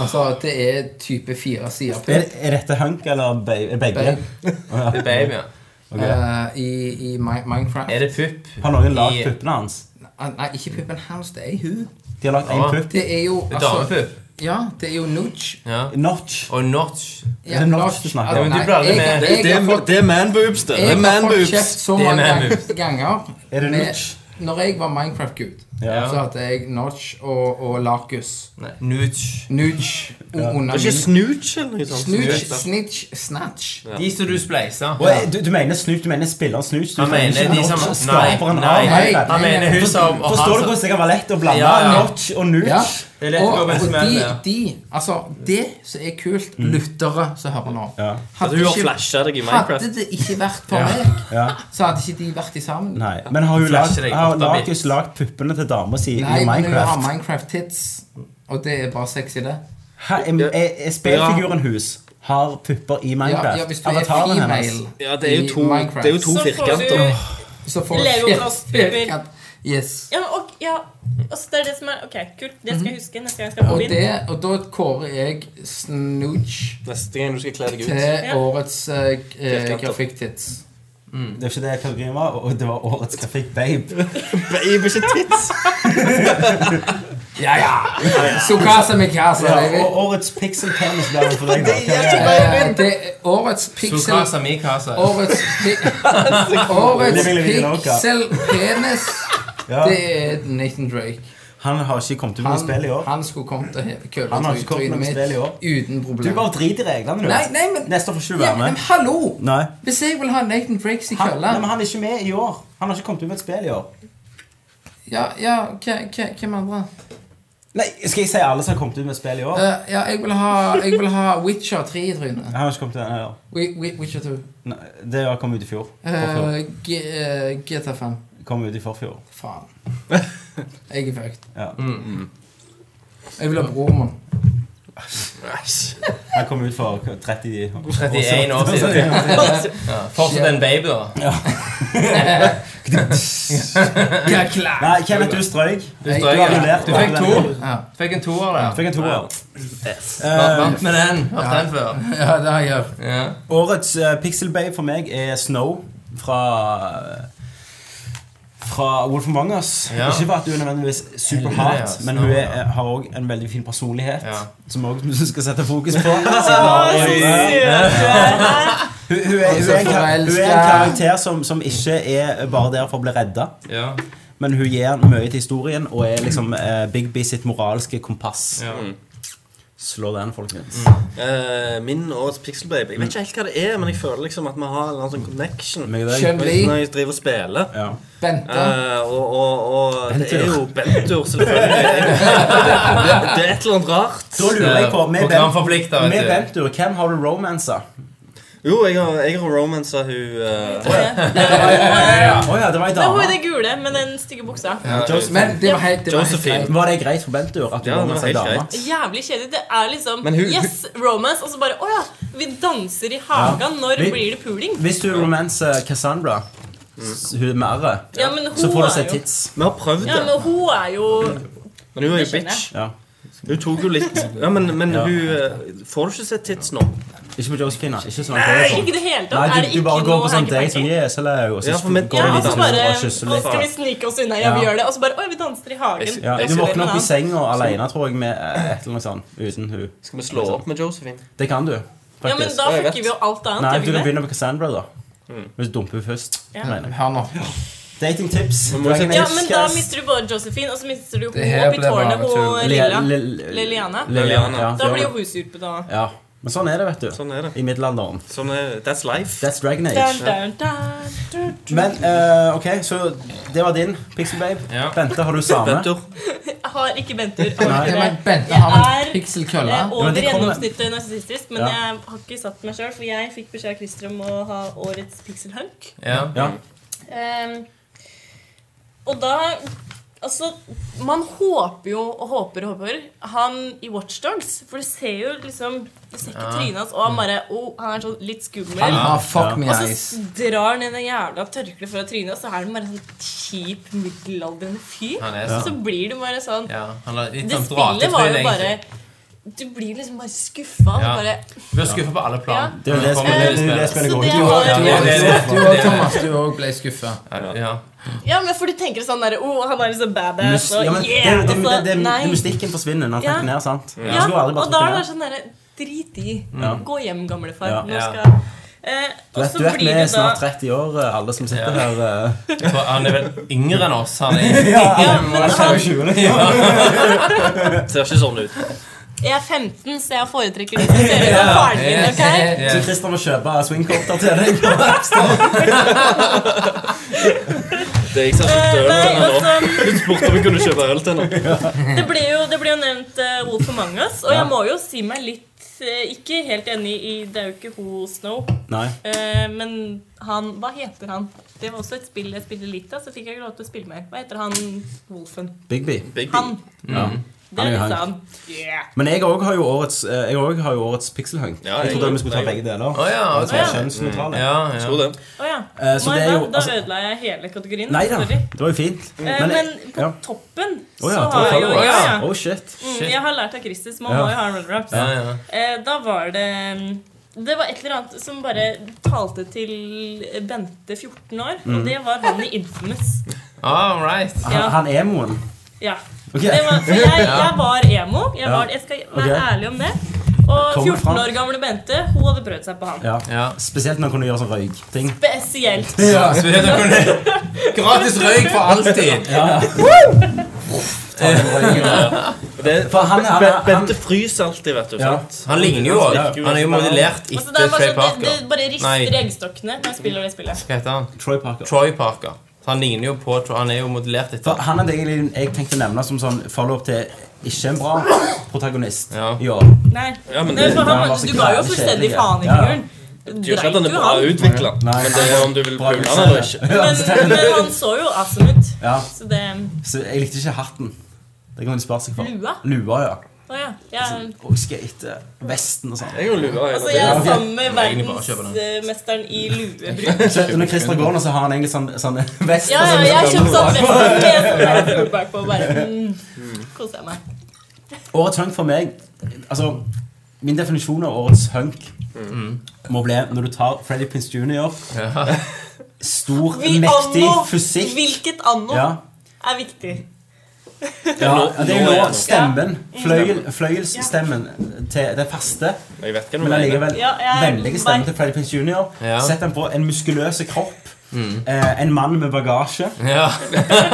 Speaker 4: altså, det er type fire sider på.
Speaker 1: Er, er dette Hunk eller Babe? Begge? <laughs>
Speaker 4: Babe.
Speaker 5: Det er Babe, ja.
Speaker 1: Ok.
Speaker 4: eh, I, i Mi- Minecraft.
Speaker 5: Er det pupp?
Speaker 1: Har noen lagd
Speaker 5: I-
Speaker 1: puppene hans?
Speaker 4: Ah, Nei, ikke puppen hans, det er hun.
Speaker 1: De har lagd én
Speaker 5: Ja.
Speaker 1: pupp.
Speaker 4: Det er jo altså,
Speaker 5: Damepupp?
Speaker 4: Ja, det er jo Nooch.
Speaker 5: Ja.
Speaker 1: Notch.
Speaker 5: Og notch.
Speaker 1: Er det Nooch du snakker om?
Speaker 5: men du
Speaker 4: Altså, nei,
Speaker 5: blir aldri
Speaker 4: jeg-
Speaker 5: med.
Speaker 4: jeg har fått-
Speaker 2: er man boobs, det.
Speaker 4: Jeg har fått kjeft så
Speaker 5: Det er
Speaker 4: mange
Speaker 5: man
Speaker 4: gang- <laughs> ganger.
Speaker 1: Er det
Speaker 4: med-
Speaker 1: Notch?
Speaker 4: Når jeg var Minecraft-gud,
Speaker 1: Ja.
Speaker 4: så hadde jeg Notch og, og Larkus.
Speaker 5: Nei. Nooch.
Speaker 4: Nooch un- under
Speaker 2: Ikke
Speaker 4: min-
Speaker 2: snooch eller noe sånt.
Speaker 4: Snitch, snitch, snatch.
Speaker 5: De som du spleisa.
Speaker 1: Og, eh, du, du mener Snoop? Du mener spilleren Snoop? Du
Speaker 5: Han
Speaker 1: mener
Speaker 5: mener
Speaker 1: ikke
Speaker 5: de
Speaker 1: Notch,
Speaker 5: som-
Speaker 1: skaperen
Speaker 5: Nei,
Speaker 1: av
Speaker 5: nei.
Speaker 1: Minecraft?
Speaker 5: Han mener hun som og
Speaker 1: Forstår du
Speaker 5: han
Speaker 1: hvordan det
Speaker 5: som-
Speaker 1: kan være lett å blande
Speaker 5: Ja, ja.
Speaker 1: Notch og Nooch?
Speaker 4: Ja.
Speaker 5: Det er lett å
Speaker 4: Og,
Speaker 5: gå på en
Speaker 4: og
Speaker 5: smell,
Speaker 4: de,
Speaker 5: ja.
Speaker 4: de, altså Det som er kult, lyttere som hører nå
Speaker 1: Mm. Ja.
Speaker 2: At hun Altså, har flasha deg i
Speaker 4: hadde
Speaker 2: Minecraft.
Speaker 4: det ikke vært for meg,
Speaker 1: Ja.
Speaker 4: så hadde ikke de vært i sammen.
Speaker 1: Nei. Men har hun
Speaker 5: Flasher
Speaker 1: lagd-
Speaker 5: deg
Speaker 1: har
Speaker 5: åtte bit.
Speaker 1: Larkus lagd puppene til dama si i
Speaker 4: Nei, men hun har
Speaker 1: Minecraft?
Speaker 4: Minecraft-tits, og det er bare sexy, det.
Speaker 1: Hæ, Er, er, er spillfiguren hus har pupper i
Speaker 4: Ja,
Speaker 1: Minecraft?
Speaker 4: ja, hvis du er
Speaker 1: Avataren
Speaker 4: female
Speaker 2: Ja, det er jo
Speaker 4: i
Speaker 2: to,
Speaker 4: Minecraft,
Speaker 2: det er jo to
Speaker 3: Så får du
Speaker 2: firkanter.
Speaker 4: så får du
Speaker 3: Lego-plastpupper.
Speaker 4: <laughs> firkant. Yes.
Speaker 3: Ja, men ok, ja. Altså, det er det som er Ok, kult. Det skal jeg
Speaker 1: Mhm.
Speaker 3: huske neste gang jeg skal på
Speaker 4: Og,
Speaker 3: byen.
Speaker 4: det, og da kårer jeg Snooch
Speaker 2: Neste gang du skal kle deg ut.
Speaker 4: til årets uh,
Speaker 2: Firkanter.
Speaker 4: grafikk-tits.
Speaker 1: Det er ikke det
Speaker 5: <laughs>
Speaker 1: kategorien var, og det var årets grafikk Babe.
Speaker 2: Babe, ikke tits.
Speaker 4: Ja, ja. Sukasa Mikasa,
Speaker 1: Ja,
Speaker 4: baby.
Speaker 1: og årets pixel penis blir det for deg,
Speaker 4: <laughs>
Speaker 1: da.
Speaker 4: Eh, Det er årets pixel...
Speaker 5: Sukasa Mikasa.
Speaker 4: Årets,
Speaker 1: <laughs>
Speaker 4: pi- årets
Speaker 1: Living Living Loca.
Speaker 4: pixel penis,
Speaker 1: Ja.
Speaker 4: det er Nathan Drake.
Speaker 1: Han har ikke kommet ut med noe
Speaker 4: Han,
Speaker 1: spill i år.
Speaker 4: han skulle kommet til å heve
Speaker 1: Han
Speaker 4: kølla
Speaker 1: har
Speaker 4: i
Speaker 1: ikke kommet
Speaker 4: trynet
Speaker 1: med noe spill i år.
Speaker 4: mitt uten
Speaker 1: Du
Speaker 4: problem.
Speaker 1: bare driter i reglene, du.
Speaker 4: Nei, nei, men
Speaker 1: Neste år får ikke du
Speaker 4: Ja,
Speaker 1: være
Speaker 4: men
Speaker 1: med.
Speaker 4: hallo!
Speaker 1: Nei.
Speaker 4: Hvis jeg vil ha Nathan Drakes i
Speaker 1: Han, nei,
Speaker 4: kølla
Speaker 1: men han er ikke med i år. Han har ikke kommet ut med et spill i år.
Speaker 4: Ja, ja, hva- hva- hvem andre?
Speaker 1: Nei, Skal jeg si alle som har kommet ut med et spill i år?
Speaker 4: Eh, ja, jeg vil, ha, jeg vil ha Witcher 3 i trynet.
Speaker 1: Han har ikke kommet ut nei, ja.
Speaker 4: Wi- Wi- Witcher 2.
Speaker 1: Nei, Det har kommet ut i fjor. Forfjor.
Speaker 4: Eh, G- eh, GTA 5.
Speaker 1: Kom ut i forfjor.
Speaker 4: Faen. Jeg er fucked.
Speaker 1: Ja.
Speaker 4: Jeg vil ha broren min.
Speaker 1: Han kom ut for 30 år.
Speaker 5: 31 år siden. Ja, Fortsatt en baby, da.
Speaker 4: Ja, klar.
Speaker 1: Nei, Kenneth, du strøyk.
Speaker 5: Du strøk, ja.
Speaker 1: annullert.
Speaker 5: Du fikk to.
Speaker 4: Ja.
Speaker 5: Du fikk en toer der.
Speaker 1: Fikk en toer.
Speaker 5: Vant- Vant med den. Hørt den før.
Speaker 4: ja, det har jeg gjort.
Speaker 5: Ja.
Speaker 1: Årets eh, Pixel Bay for meg er Snow fra fra Wolf Among Us.
Speaker 5: Ja.
Speaker 1: Ikke for at hun er nødvendigvis super
Speaker 5: Helvete,
Speaker 1: hard,
Speaker 5: ja,
Speaker 1: men
Speaker 5: Snow,
Speaker 1: hun er, eh,
Speaker 5: ja.
Speaker 1: har òg en veldig fin personlighet.
Speaker 5: Ja.
Speaker 1: Som også vi skal sette fokus
Speaker 5: <laughs>
Speaker 1: på. Siden hun har- Hun hun er hun er en kar- hun er en karakter som, som ikke er bare der for å bli redda,
Speaker 5: Ja.
Speaker 1: men hun gir mye til historien og er liksom eh, Big B sitt moralske kompass.
Speaker 5: Ja. Mm.
Speaker 1: Slå den, folkens.
Speaker 2: Eh, min årets Pixel Baby. Jeg vet ikke helt hva det er, men jeg føler liksom at vi har en eller annen sånn connection.
Speaker 1: Meg og deg.
Speaker 4: Kjøp-
Speaker 2: Når jeg- Når jeg driver og spiller.
Speaker 1: Ja.
Speaker 4: Bente.
Speaker 2: Eh, og, og, og det
Speaker 1: Bentur.
Speaker 2: er jo Bentur, <laughs> selvfølgelig. Det er et eller annet rart.
Speaker 1: Da lurer jeg på med Bent-
Speaker 5: Programforplikta,
Speaker 1: Med
Speaker 5: vet du.
Speaker 1: Bentur, hvem har du romansa?
Speaker 2: Jo, jeg har, jeg har romansa hun eh,
Speaker 1: Å ja, det var ei
Speaker 3: Det er hun i
Speaker 1: dame.
Speaker 3: det gule med den stygge buksa.
Speaker 4: Men det var helt, det var helt
Speaker 2: Josephine.
Speaker 4: greit.
Speaker 1: Var det greit for Bentur at du
Speaker 2: Ja,
Speaker 1: var
Speaker 2: det
Speaker 1: med
Speaker 2: var
Speaker 1: seg
Speaker 2: helt
Speaker 1: dame?
Speaker 2: greit.
Speaker 3: Jævlig kjedelig. Det er liksom
Speaker 2: Men hun-
Speaker 3: Yes, romance, og så bare Å ja, vi danser i hagen. Når
Speaker 1: Vi-
Speaker 3: blir det puling?
Speaker 1: Hvis du romanser Cassandra,
Speaker 2: Mm.
Speaker 1: s- hun med arret,
Speaker 3: Ja, men hun
Speaker 1: så får du se
Speaker 3: er jo
Speaker 1: tits.
Speaker 2: Vi har prøvd
Speaker 3: Ja,
Speaker 2: det.
Speaker 3: men hun er jo
Speaker 2: Men hun er jo
Speaker 3: det skjønner
Speaker 2: bitch.
Speaker 1: Ja.
Speaker 2: Hun tok jo litt Ja, Men, men hun eh, Får du ikke sett tits nå?
Speaker 1: Ikke på Josephine. Ikke sånn at det er
Speaker 3: Ikke i
Speaker 1: sånn.
Speaker 3: det hele
Speaker 1: Nei,
Speaker 3: tatt.
Speaker 1: du,
Speaker 3: Er det
Speaker 1: du
Speaker 3: ikke
Speaker 1: bare går
Speaker 3: noe
Speaker 1: på sånn date sånn
Speaker 3: hanky-panky?
Speaker 1: yes, hello, og så
Speaker 2: Ja, for mitt-
Speaker 1: går
Speaker 3: Ja,
Speaker 1: du
Speaker 3: og
Speaker 1: litt
Speaker 3: så
Speaker 1: sånn
Speaker 3: bare
Speaker 1: og
Speaker 3: Å,
Speaker 1: kysser litt.
Speaker 3: skal vi snike oss unna? Ja, vi
Speaker 1: Ja.
Speaker 3: gjør det. Og så bare Å, vi danser i hagen.
Speaker 1: Ja,
Speaker 2: Jeg
Speaker 1: du
Speaker 2: ser
Speaker 1: våkner opp i
Speaker 3: det.
Speaker 1: senga alene, tror jeg, med eh, et eller annet sånt. Uten hun.
Speaker 2: Skal vi slå opp med Josephine?
Speaker 1: Det kan du,
Speaker 3: Ja, men
Speaker 1: faktisk.
Speaker 3: da
Speaker 2: Ja, jeg
Speaker 3: fucker
Speaker 2: vet.
Speaker 3: vi jo alt annet.
Speaker 1: Nei,
Speaker 3: gjør
Speaker 1: du kan
Speaker 3: vi ikke det?
Speaker 1: begynne med Cassandra, da.
Speaker 2: Mm.
Speaker 1: Hvis du dumper hun først. mener jeg.
Speaker 4: Hør nå.
Speaker 1: Datingtips.
Speaker 2: må jo
Speaker 1: Dragon
Speaker 3: Ja,
Speaker 1: Age
Speaker 3: men da
Speaker 1: Cast.
Speaker 3: mister du bare Josephine, og så mister du
Speaker 4: Det
Speaker 3: hun
Speaker 4: her
Speaker 3: oppi
Speaker 4: ble bare
Speaker 3: tårnet på
Speaker 4: tull.
Speaker 3: Lilla.
Speaker 1: Le- le-
Speaker 3: Liliana.
Speaker 1: Liliana. Ja,
Speaker 3: Da
Speaker 1: det
Speaker 3: blir jo
Speaker 1: var-
Speaker 3: hun sur på da.
Speaker 1: ja. Men sånn er det, vet du.
Speaker 2: Sånn er det.
Speaker 1: I middelalderen.
Speaker 2: Sånn er, that's life.
Speaker 1: That's Dragon Age.
Speaker 3: Dun, dun, dun, dun, dun.
Speaker 1: Men eh, ok, så det var din, Pixel Babe.
Speaker 5: Ja.
Speaker 1: Bente, har du samme?
Speaker 2: Bentur.
Speaker 3: Jeg har ikke Bentur.
Speaker 4: Ja,
Speaker 3: Jeg
Speaker 4: men Bente har en
Speaker 3: er
Speaker 4: pikselkølle.
Speaker 3: eh,
Speaker 1: men
Speaker 3: over
Speaker 1: det kommer-
Speaker 3: gjennomsnittet narsissistisk, men
Speaker 1: Ja.
Speaker 3: jeg har ikke satt meg sjøl, for jeg fikk beskjed av Christer om å ha årets pixelhunk.
Speaker 5: Ja.
Speaker 1: Ja.
Speaker 3: Ehm, og da Altså, man håper jo og håper og håper han i Watchdogs, for du ser jo liksom Du ser ikke trynet hans, og han bare oh, Han er sånn litt skummel.
Speaker 4: Han har fuck me
Speaker 3: Og så
Speaker 4: eyes.
Speaker 3: s- drar han ned det jævla tørkleet fra trynet, og så er han bare en sånn kjip, middelaldrende fyr.
Speaker 5: Han er
Speaker 3: Og
Speaker 5: sånn.
Speaker 3: Altså, så blir du bare sånn
Speaker 5: Ja, han har litt
Speaker 3: Det
Speaker 5: sånn
Speaker 3: spillet var jo
Speaker 5: dratetryne,
Speaker 3: bare
Speaker 5: egentlig.
Speaker 3: Du blir liksom bare skuffa.
Speaker 5: Ja.
Speaker 3: Bare,
Speaker 5: Vi er skuffa på alle plan.
Speaker 1: Det er jo det spillet- det er jo det spillet
Speaker 3: så
Speaker 1: går
Speaker 3: det
Speaker 1: ut i.
Speaker 3: har,
Speaker 5: Ja, det er det.
Speaker 4: Du og Thomas, du òg ble skuffa.
Speaker 5: Ja.
Speaker 3: ja, men for du tenker sånn derre oh, han er liksom badass,
Speaker 1: Mus-
Speaker 3: og
Speaker 1: ja, men det,
Speaker 3: yeah!
Speaker 1: det,
Speaker 3: Og så
Speaker 1: det, det,
Speaker 3: nei.
Speaker 1: det mystikken forsvinner når han
Speaker 3: Ja.
Speaker 1: trekker ned, sant?
Speaker 3: Ja,
Speaker 1: Du skulle aldri
Speaker 3: og
Speaker 1: bare
Speaker 3: da
Speaker 1: trekke
Speaker 3: er det
Speaker 1: ned.
Speaker 3: sånn derre Drit i.
Speaker 1: Ja.
Speaker 3: Gå hjem, gamlefar.
Speaker 1: Ja.
Speaker 3: Nå
Speaker 5: Ja.
Speaker 3: skal eh,
Speaker 1: Du
Speaker 3: Og
Speaker 1: vet,
Speaker 3: så
Speaker 1: du vet vi
Speaker 3: blir
Speaker 1: er
Speaker 3: det
Speaker 1: snart
Speaker 3: da
Speaker 1: 30 år, eh, alle som sitter
Speaker 5: Ja.
Speaker 1: her. eh.
Speaker 5: Jeg tror Han er vel yngre enn oss. Han er
Speaker 1: <laughs> Ja,
Speaker 3: Ja, men han,
Speaker 1: 20, liksom.
Speaker 2: Ser ikke sånn ut.
Speaker 3: jeg er 15, så jeg
Speaker 1: <laughs>
Speaker 3: foretrekker de som ser ut som faren min. ok?
Speaker 1: Så Christer må kjøpe swingkorter til <laughs> deg.
Speaker 2: Det er jeg som
Speaker 3: Eh,
Speaker 2: kjøpte øl til
Speaker 3: Nei,
Speaker 2: henne nå.
Speaker 3: altså
Speaker 2: Hun spurte om jeg kunne kjøpe øl til henne.
Speaker 3: Det ble jo, det ble jo nevnt uh, Wolf Among Us, og jeg må jo si meg litt eh, ikke helt enig i Det er jo ikke hun Snow,
Speaker 1: Nei.
Speaker 3: eh, men han Hva heter han? Det var også et spill jeg spilte litt av, så fikk jeg ikke lov til å spille mer. Hva heter han Wolfen?
Speaker 1: Big B.
Speaker 2: Big
Speaker 3: Han.
Speaker 2: B.
Speaker 1: Ja. er
Speaker 3: Det er
Speaker 1: jo
Speaker 3: liksom
Speaker 1: han.
Speaker 3: han. Yeah.
Speaker 1: Men jeg òg har jo årets, eh, jeg også har jo årets pixelhunk.
Speaker 2: Ja,
Speaker 1: jeg
Speaker 2: jeg
Speaker 1: trodde
Speaker 2: også.
Speaker 1: vi skulle ta
Speaker 2: Jeg
Speaker 1: begge deler.
Speaker 5: Å ja.
Speaker 1: Så er
Speaker 5: ok.
Speaker 1: kjønnsnøytrale.
Speaker 5: Ja, ja.
Speaker 2: Tror det.
Speaker 3: Å ja.
Speaker 1: Eh, så
Speaker 3: Nei,
Speaker 1: det er
Speaker 3: da,
Speaker 1: jo-
Speaker 3: da
Speaker 1: altså-
Speaker 3: ødela jeg hele kategorien.
Speaker 1: Nei da,
Speaker 3: Sorry.
Speaker 1: det var jo fint.
Speaker 3: Eh, Men, på
Speaker 1: ja.
Speaker 3: toppen
Speaker 1: Å ja, det
Speaker 3: så
Speaker 1: var
Speaker 3: har jeg jo
Speaker 5: toppen. Å
Speaker 3: ja,
Speaker 5: ja.
Speaker 3: ja.
Speaker 1: Oh shit.
Speaker 3: Mm, Jeg har lært av Christer, så man
Speaker 1: Ja.
Speaker 3: må jo ha en runner-up.
Speaker 5: Ja, ja.
Speaker 3: Eh, Da var det mm, Det var et eller annet som bare talte til Bente
Speaker 1: Mm.
Speaker 3: 14 år, og det var han i Infamous.
Speaker 5: All right.
Speaker 1: Han,
Speaker 3: Ja.
Speaker 1: han er moen.
Speaker 3: Ja. Det var, for jeg, jeg var emo. Jeg, var, jeg skal være
Speaker 1: Ok.
Speaker 3: ærlig om det. Og
Speaker 1: Kommer
Speaker 3: 14
Speaker 1: fram.
Speaker 3: år gamle Bente, hun hadde prøvd seg på han.
Speaker 1: Ja.
Speaker 5: Ja.
Speaker 1: Spesielt når man kunne gjøre sånn røykting.
Speaker 3: Spesielt.
Speaker 4: Ja.
Speaker 5: Så vet dere det.
Speaker 4: Gratis røyk for alltid!
Speaker 1: For han, han,
Speaker 2: Be-
Speaker 1: han,
Speaker 2: Bente fryser alltid, vet du.
Speaker 1: Ja.
Speaker 2: sant?
Speaker 5: Han ligner jo òg. Han er jo modellert
Speaker 3: Altså, det,
Speaker 5: etter
Speaker 3: er bare, så, det,
Speaker 5: Trey Parker.
Speaker 3: det bare rister
Speaker 5: Nei.
Speaker 3: eggstokkene når jeg spiller det spillet.
Speaker 5: Hva heter han?
Speaker 1: Troy Parker.
Speaker 5: Troy Parker. Så han ligner jo på Troy- Han er jo modellert
Speaker 1: For
Speaker 5: etter
Speaker 1: han hadde egentlig jeg tenkte å nevne som sånn follow-up til ikke en bra protagonist
Speaker 5: Ja.
Speaker 1: i år.
Speaker 3: Nei.
Speaker 2: Ja, men
Speaker 3: Nei,
Speaker 2: det
Speaker 3: for han,
Speaker 1: han var
Speaker 3: var-
Speaker 1: så
Speaker 3: du ga jo
Speaker 1: jævlig
Speaker 3: fullstendig
Speaker 1: kjedelig,
Speaker 3: faen i
Speaker 1: ja.
Speaker 3: figuren.
Speaker 2: betyr ikke at han
Speaker 3: Dreit
Speaker 2: er
Speaker 3: jo
Speaker 2: bra
Speaker 3: han.
Speaker 2: utvikla.
Speaker 1: Nei.
Speaker 2: Men det er om du vil
Speaker 1: Bra
Speaker 2: pule han
Speaker 1: utseende.
Speaker 2: eller ikke.
Speaker 1: Ja,
Speaker 3: Men, men han så jo awesome ut.
Speaker 1: Ja.
Speaker 3: Så det
Speaker 1: Så jeg likte ikke hatten. Det kan man spørre seg for.
Speaker 3: Lua?
Speaker 1: Lua, ja.
Speaker 3: Å ja. Jeg,
Speaker 1: Og skate, vesten og sånn.
Speaker 2: Jeg er jo lua.
Speaker 3: altså, jeg er sammen med
Speaker 5: egentlig bare å kjøpe
Speaker 3: verdensmesteren i luebruk.
Speaker 1: Så når Christer går nå, så har han egentlig sånn, sånn <laughs> vest
Speaker 3: Ja,
Speaker 1: og
Speaker 3: ja,
Speaker 1: sånn.
Speaker 3: jeg har kjøpt sånn mest med sånn der flue bakpå. Bare mm, koser jeg meg.
Speaker 1: Årets hunk for meg Altså, min definisjon av årets hunk må bli når du tar Freddy Prince Jr. Stor,
Speaker 3: Vi
Speaker 1: mektig
Speaker 3: anno-
Speaker 1: fysikk.
Speaker 3: Hvilket anno
Speaker 1: Ja,
Speaker 3: er viktig?
Speaker 1: ja, det er jo nå stemmen. Fløyel,
Speaker 3: Ja.
Speaker 1: fløyelsstemmen til den faste,
Speaker 2: Jeg vet ikke hva du
Speaker 1: men
Speaker 2: mener.
Speaker 1: allikevel
Speaker 3: Ja, jeg-
Speaker 1: vennlige stemmen til Freddy Prince Jr.
Speaker 5: Ja.
Speaker 1: Sett den på en muskuløs kropp. Eh, en mann med bagasje
Speaker 5: Ja.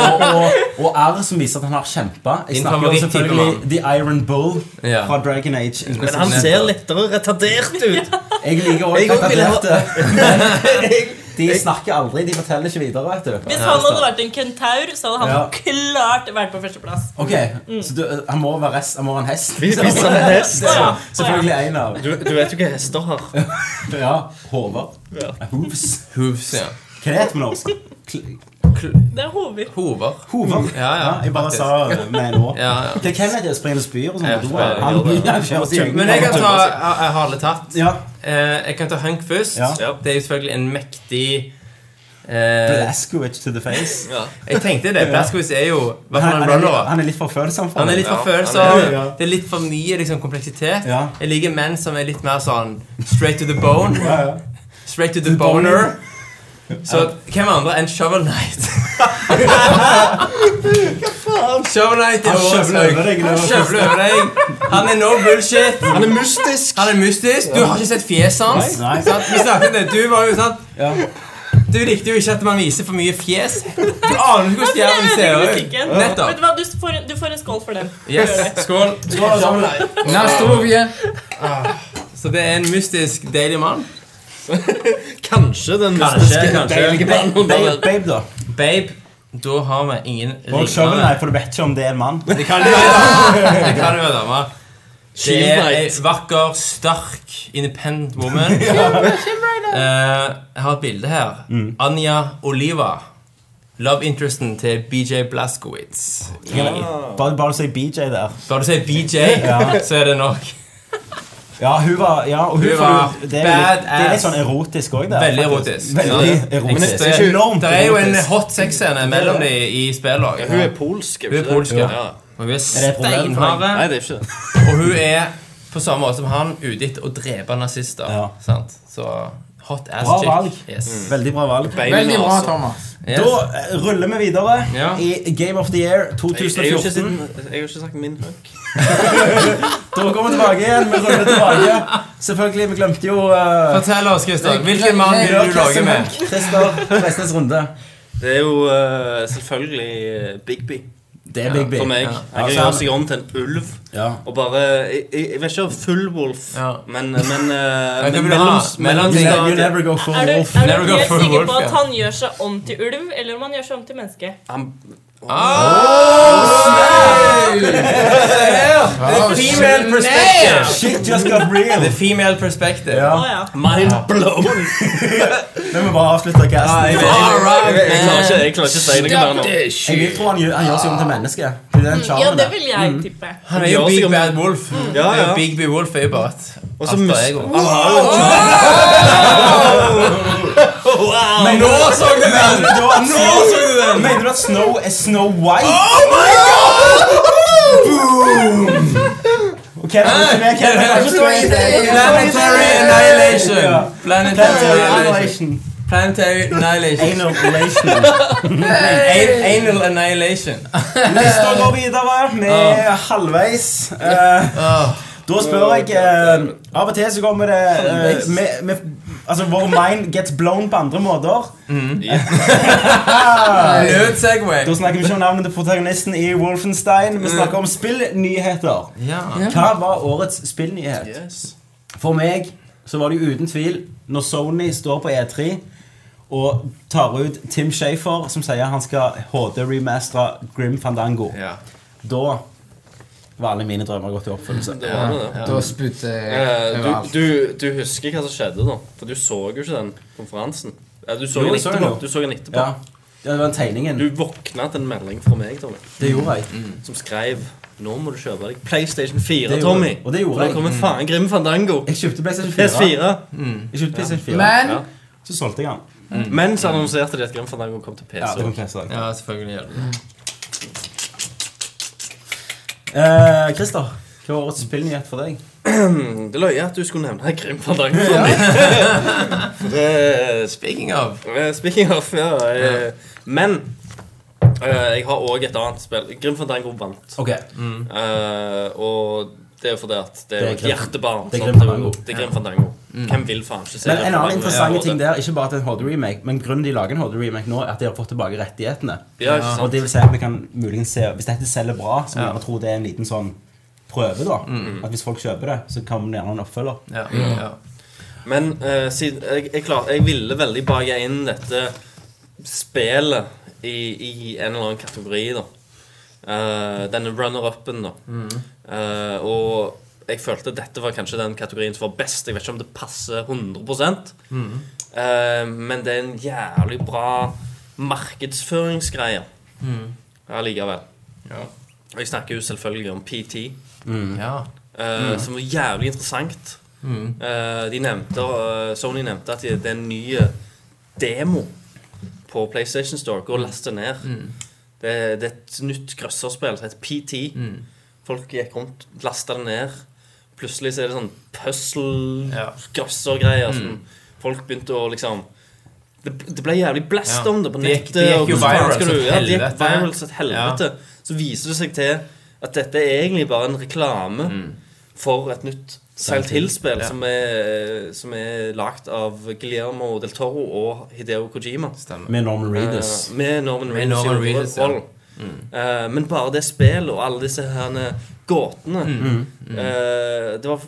Speaker 1: og, og, og R som viser at han har kjempa. Jeg
Speaker 5: Din
Speaker 1: snakker jo
Speaker 5: favoritttype mann.
Speaker 1: selvfølgelig The Iron Bull
Speaker 5: Ja.
Speaker 1: fra Dragon Age.
Speaker 2: Men han ser lettere retardert ut.
Speaker 1: Jeg liker
Speaker 2: Jeg
Speaker 1: også
Speaker 2: også ville ha-
Speaker 1: retarderte. <laughs> De snakker aldri, de forteller ikke videre, vet du.
Speaker 3: Hvis han hadde vært en kentaur, så hadde
Speaker 1: Ja.
Speaker 3: han klart vært på førsteplass.
Speaker 1: Ok, Så du, han må være rest, han må være en hest?
Speaker 2: Hvis hvis han er hest.
Speaker 3: Å ja. Å
Speaker 1: Selvfølgelig en av.
Speaker 2: Du, du vet jo hva hester har.
Speaker 1: Ja, Hover. Hooves.
Speaker 5: Hooves, ja.
Speaker 1: Hva er det på norsk? Kl-
Speaker 3: ja. Det er hover.
Speaker 5: Hover.
Speaker 1: Hover.
Speaker 5: Ja, ja,
Speaker 1: jeg bare
Speaker 5: faktisk.
Speaker 1: sa det med en år.
Speaker 5: Ja, ja.
Speaker 1: Det er Kennedy og springer og spyr og
Speaker 5: Ja,
Speaker 1: sånn.
Speaker 5: ja, ja,
Speaker 1: Han
Speaker 5: ja, ja.
Speaker 1: han kjører seg
Speaker 5: Men jeg kan ta Jeg, jeg har alle tatt.
Speaker 1: Ja.
Speaker 5: Eh, jeg kan ta Hunk først.
Speaker 1: Ja.
Speaker 5: Det er jo selvfølgelig en mektig eh,
Speaker 1: Blaskowicz to the face.
Speaker 5: Jeg tenkte det. Blaskowitz er jo i hvert fall
Speaker 1: Han, han,
Speaker 5: en
Speaker 1: er,
Speaker 5: runner
Speaker 1: litt- han er litt for følsom for
Speaker 5: Han er
Speaker 1: det.
Speaker 5: litt
Speaker 2: Ja,
Speaker 5: for følsom.
Speaker 1: ja.
Speaker 5: Det er litt for mye liksom, kompleksitet.
Speaker 1: Ja.
Speaker 5: Jeg liker menn som er litt mer sånn straight to the bone.
Speaker 1: Ja, ja.
Speaker 5: Straight to the boner. Så hvem andre enn Shovel
Speaker 1: <laughs>
Speaker 5: Knight? Shovel Knight er
Speaker 1: Han
Speaker 5: vår
Speaker 1: skjøvler
Speaker 5: søk.
Speaker 1: over deg,
Speaker 5: Han
Speaker 1: eller?
Speaker 5: skjøvler over deg. Han er no bullshit.
Speaker 2: Han er mystisk.
Speaker 5: Han er mystisk. Du har ikke sett fjeset hans.
Speaker 1: Nei. Nei.
Speaker 5: Sant? Vi snakket om det. Du var jo sant?
Speaker 1: Ja.
Speaker 5: Du likte jo ikke at man viser for mye fjes.
Speaker 1: <laughs>
Speaker 5: Du aner ikke hvordan
Speaker 3: Jeg
Speaker 5: jævelen
Speaker 3: ødelegger
Speaker 5: ser ut.
Speaker 3: musikken. Vet
Speaker 5: Nettopp.
Speaker 3: du hva, du får, du får en skål for den.
Speaker 5: Yes. Skål.
Speaker 4: Neste movie.
Speaker 5: Så det er en mystisk, deilig mann.
Speaker 2: Kanskje den
Speaker 5: Kanskje,
Speaker 2: mystiske
Speaker 5: kanskje.
Speaker 2: deilige mannen
Speaker 1: Babe,
Speaker 2: der.
Speaker 1: babe, da.
Speaker 5: Babe, da har vi ingen
Speaker 1: Og Shovel
Speaker 5: ringere.
Speaker 1: Knight, for du vet ikke om det er en mann.
Speaker 5: Det kan jo være dame. Det kan jo være dame. Det
Speaker 2: Shield
Speaker 5: er ei
Speaker 2: Knight.
Speaker 5: vakker, sterk, independent
Speaker 1: <laughs>
Speaker 5: woman. Eh, jeg har et bilde her.
Speaker 1: Mm.
Speaker 5: Anja Oliva. Love interesten til BJ Blaskowitz.
Speaker 1: Bare, bare si BJ der.
Speaker 5: Bare du sier BJ,
Speaker 1: Ja.
Speaker 5: så er det nok.
Speaker 1: Ja, hun var, ja, og hun
Speaker 5: Hun
Speaker 1: får
Speaker 5: var
Speaker 1: jo- det, er jo litt- det er litt
Speaker 5: badass.
Speaker 1: sånn erotisk òg, der.
Speaker 5: Veldig
Speaker 1: faktisk.
Speaker 5: erotisk.
Speaker 1: Veldig
Speaker 5: Ja, det-
Speaker 1: erotisk.
Speaker 5: Det
Speaker 1: Det er enormt
Speaker 5: er, det er jo en
Speaker 1: erotisk.
Speaker 5: hot sex-scene mellom de i spillet òg.
Speaker 2: Hun er polsk.
Speaker 5: Hun er polsk, ja.
Speaker 2: ja.
Speaker 5: Hun er
Speaker 1: det et problem for deg?
Speaker 5: steinharde.
Speaker 2: Nei, det er ikke det.
Speaker 5: Og hun er på samme måte som han ute etter å drepe nazister.
Speaker 1: Ja.
Speaker 5: Sant? Så hot ass
Speaker 1: Bra
Speaker 5: chick.
Speaker 1: valg.
Speaker 5: Yes.
Speaker 2: Mm.
Speaker 1: Veldig bra valg.
Speaker 2: Beina,
Speaker 4: Veldig bra,
Speaker 2: altså.
Speaker 4: Thomas.
Speaker 5: Yes.
Speaker 1: Da eh, ruller vi videre
Speaker 5: Ja.
Speaker 1: i Game of the Year
Speaker 2: Jeg, jeg, har jo ikke
Speaker 1: 2014.
Speaker 2: siden- jeg har jo ikke sagt min hunk.
Speaker 1: Da går vi tilbake igjen. Vi ruller tilbake. Selvfølgelig, vi glemte jo eh,
Speaker 5: Fortell oss, Christer. Hvilken mann
Speaker 4: jeg-
Speaker 5: vil du lage med?
Speaker 1: Christer Vestnes runde.
Speaker 2: Det er jo eh, selvfølgelig eh, Bigby
Speaker 1: Det er Big B.
Speaker 2: for meg.
Speaker 5: Ja. Altså,
Speaker 2: Han kan
Speaker 1: Ja,
Speaker 2: gjøre
Speaker 1: så-
Speaker 2: seg om til en ulv.
Speaker 1: Ja.
Speaker 2: Og bare Jeg, jeg jeg vet ikke om full wolf,
Speaker 5: Ja.
Speaker 2: men, men, eh,
Speaker 5: Jeg
Speaker 2: men
Speaker 5: vil ha
Speaker 2: mellomst-
Speaker 1: You,
Speaker 5: mellomting.
Speaker 2: mellomting.
Speaker 1: ne- you never go for
Speaker 3: Er du,
Speaker 1: wolf.
Speaker 3: er
Speaker 5: Never
Speaker 3: du
Speaker 5: go
Speaker 3: helt
Speaker 5: for
Speaker 3: sikker
Speaker 5: wolf,
Speaker 3: på at
Speaker 5: ja.
Speaker 3: han gjør seg om til ulv, eller om han gjør seg om til menneske?
Speaker 2: Han-
Speaker 5: Female perspective.
Speaker 1: Shit just got real.
Speaker 5: The female perspective.
Speaker 1: Ja.
Speaker 3: Å ja.
Speaker 2: Mind blown!
Speaker 1: Vi må bare avslutte casten.
Speaker 5: All
Speaker 2: Jeg
Speaker 5: right,
Speaker 2: klarer
Speaker 5: man.
Speaker 2: ikke, jeg klarer ikke å si noe mer nå.
Speaker 1: Jeg vil tro han gjør, han gjør seg om til menneske. Det er den
Speaker 3: ja,
Speaker 1: charmen
Speaker 3: det
Speaker 1: der.
Speaker 3: vil jeg tippe.
Speaker 5: Han er jo
Speaker 2: Ja,
Speaker 5: Big
Speaker 2: sikkert.
Speaker 5: Bad Wolf.
Speaker 2: Ja,
Speaker 5: Det er jo
Speaker 2: ja.
Speaker 5: Big B Wolf er jo bare et
Speaker 2: Og så
Speaker 5: alter
Speaker 2: mus-
Speaker 5: ego.
Speaker 2: Han har jo en
Speaker 1: Men nå
Speaker 5: Ah, så du den! Nå så du den!
Speaker 1: Mener du at Snow er Snow White? Boom! Ok, da er det ikke mer. Hvem er det som er-
Speaker 5: Planetary annihilation.
Speaker 1: Ja.
Speaker 5: Planetary
Speaker 1: Planetary
Speaker 5: annihilation.
Speaker 1: Annihilation.
Speaker 5: Planetary Annihilation.
Speaker 1: Anal relation.
Speaker 5: An- Anal Annihilation.
Speaker 1: Neste år går videre. Vi er halvveis. Eh,
Speaker 5: Ah.
Speaker 1: da spør jeg eh, Av og til så kommer det eh, med, med, Altså, vår mind gets blown på andre måter.
Speaker 5: Good Ah. segway.
Speaker 1: Da snakker vi ikke om navnet til protagonisten i Wolfenstein. Vi snakker om spillnyheter.
Speaker 5: Ja.
Speaker 1: Hva var årets spillnyhet?
Speaker 5: Yes.
Speaker 1: For meg så var det jo uten tvil når Sony står på E3 og tar ut Tim Shafer, som sier han skal HD-remastere Grim Fandango.
Speaker 5: Ja.
Speaker 1: Da var alle mine drømmer gått i oppfyllelse.
Speaker 2: Det var det, det.
Speaker 4: Da spydde jeg
Speaker 2: Eh,
Speaker 4: overalt.
Speaker 2: Du, du, du husker hva som skjedde, da? For du så jo ikke den konferansen. Eh, Du så
Speaker 1: Jo,
Speaker 2: den
Speaker 1: jeg så den
Speaker 2: etterpå.
Speaker 1: jo.
Speaker 2: Du, så den etterpå.
Speaker 1: Ja. ja, det var den tegningen.
Speaker 2: du våkna til en melding fra meg, Tommy,
Speaker 1: Det gjorde jeg.
Speaker 2: som skrev Nå må du kjøpe deg PlayStation 4,
Speaker 1: Det gjorde
Speaker 2: Tommy.
Speaker 1: jeg. Og det gjorde
Speaker 2: For
Speaker 1: jeg.
Speaker 2: nå kommer faen Grim Fandango.
Speaker 1: Jeg kjøpte PlayStation 4.
Speaker 2: PS4.
Speaker 1: Jeg kjøpte PlayStation 4.
Speaker 4: Men
Speaker 2: Ja.
Speaker 1: Så solgte jeg den.
Speaker 2: Men så annonserte de at Grim Fandango kom til
Speaker 1: Mm. Ja, det
Speaker 2: PC.
Speaker 1: kom PC.
Speaker 5: ja, selvfølgelig gjør det det.
Speaker 1: Eh, Christer, hva var årets spillnyhet for deg?
Speaker 2: det løy at du skulle nevne <laughs> Grim Fandango for meg. For det
Speaker 5: Speaking of
Speaker 2: Eh, Speaking of, ja. eh, Men eh, jeg har òg et annet spill. Grim Fandango vant.
Speaker 1: Ok,
Speaker 2: Eh, og det er jo fordi at det er
Speaker 1: Det
Speaker 2: jo
Speaker 1: er
Speaker 2: et
Speaker 1: Grim-
Speaker 2: hjertebarn.
Speaker 1: det er
Speaker 2: sant?
Speaker 1: Grim Fandango.
Speaker 2: Det er Grim Fandango. Hvem vil faen ikke se
Speaker 1: Men En
Speaker 2: Grim
Speaker 1: annen
Speaker 2: Fandango?
Speaker 1: interessant ting
Speaker 2: Ja,
Speaker 1: der, ikke bare at det er en HD-remake, men grunnen de lager en HD-remake nå, er at de har fått tilbake rettighetene.
Speaker 2: Ja, ikke
Speaker 1: Og
Speaker 2: sant?
Speaker 1: det vil si at vi kan muligens se Hvis dette selger bra, så må vi tro det er en liten sånn prøve, da. At hvis folk kjøper det, så kan det gjerne en oppfølger.
Speaker 5: Ja. ja.
Speaker 2: Men eh, siden jeg, jeg, klar, jeg ville veldig bake inn dette spillet i, i en eller annen kategori, da. Eh, denne runner-upen, da. Eh, og jeg følte dette var kanskje den kategorien som var best. Jeg vet ikke om det passer 100 Eh, men det er en jævlig bra markedsføringsgreie allikevel.
Speaker 5: Ja.
Speaker 2: Og jeg snakker jo selvfølgelig om PT.
Speaker 5: ja.
Speaker 2: Eh,
Speaker 5: Mm.
Speaker 2: Som var jævlig interessant. Eh, de nevnte, eh, Sony nevnte at det er en ny eh, demo på PlayStation Store. Gå og last det ned.
Speaker 5: Mm.
Speaker 2: Det, det er et nytt grøsserspill som heter PT.
Speaker 5: Mm.
Speaker 2: Folk gikk rundt, lasta det ned. Plutselig så er det sånn
Speaker 5: Ja. Mm.
Speaker 2: puzzle-grøsser-greier. som Folk begynte å liksom det, det ble jævlig blest
Speaker 5: Ja.
Speaker 2: om det på
Speaker 5: Det gikk-
Speaker 2: nettet.
Speaker 5: det gikk
Speaker 2: og
Speaker 5: jo
Speaker 2: hvordan faen
Speaker 5: viral
Speaker 2: skal
Speaker 5: som
Speaker 2: du- ja, det gikk
Speaker 5: helvete.
Speaker 2: viral som et helvete. Så viser det seg til at dette er egentlig bare en reklame
Speaker 5: Mm.
Speaker 2: for et nytt Silent Hill-spill
Speaker 5: Ja.
Speaker 2: som er, som er lagt av Guillermo del Toro og Hideo Kojima.
Speaker 5: Stemmer.
Speaker 1: Med Norman Reedus.
Speaker 2: Eh, med Norman Reedus. i
Speaker 5: Norman Reedus, ja. Mm.
Speaker 2: rollen. Eh, men bare det spillet og alle disse herne gåtene
Speaker 5: Mm.
Speaker 2: eh, det, var,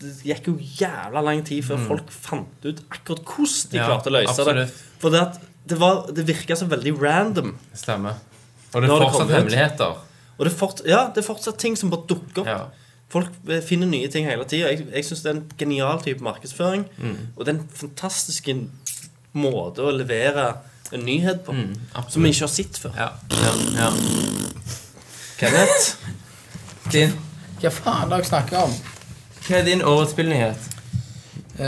Speaker 2: det gikk jo jævla lang tid før folk fant ut akkurat hvordan de
Speaker 5: Mm. Ja,
Speaker 2: klarte å løse
Speaker 5: absolutt.
Speaker 2: det. For det, at, det, var- det virka så veldig random.
Speaker 5: Stemmer. Og det
Speaker 2: Nå har
Speaker 5: er
Speaker 2: det kommet
Speaker 5: fortsatt
Speaker 2: ut.
Speaker 5: hemmeligheter.
Speaker 2: Og det er, fort, ja, det er fortsatt ting som bare dukker opp.
Speaker 5: Ja.
Speaker 2: Folk eh, finner nye ting hele tida. Jeg, jeg syns det er en genial type markedsføring.
Speaker 5: Mm.
Speaker 2: Og det er en fantastisk måte å levere en nyhet på som vi ikke har sett før.
Speaker 5: Mm. Ja. ja. ja.
Speaker 2: Kenneth?
Speaker 5: Din,
Speaker 4: hva faen er det jeg snakker om?
Speaker 5: hva er din årets spillnyhet?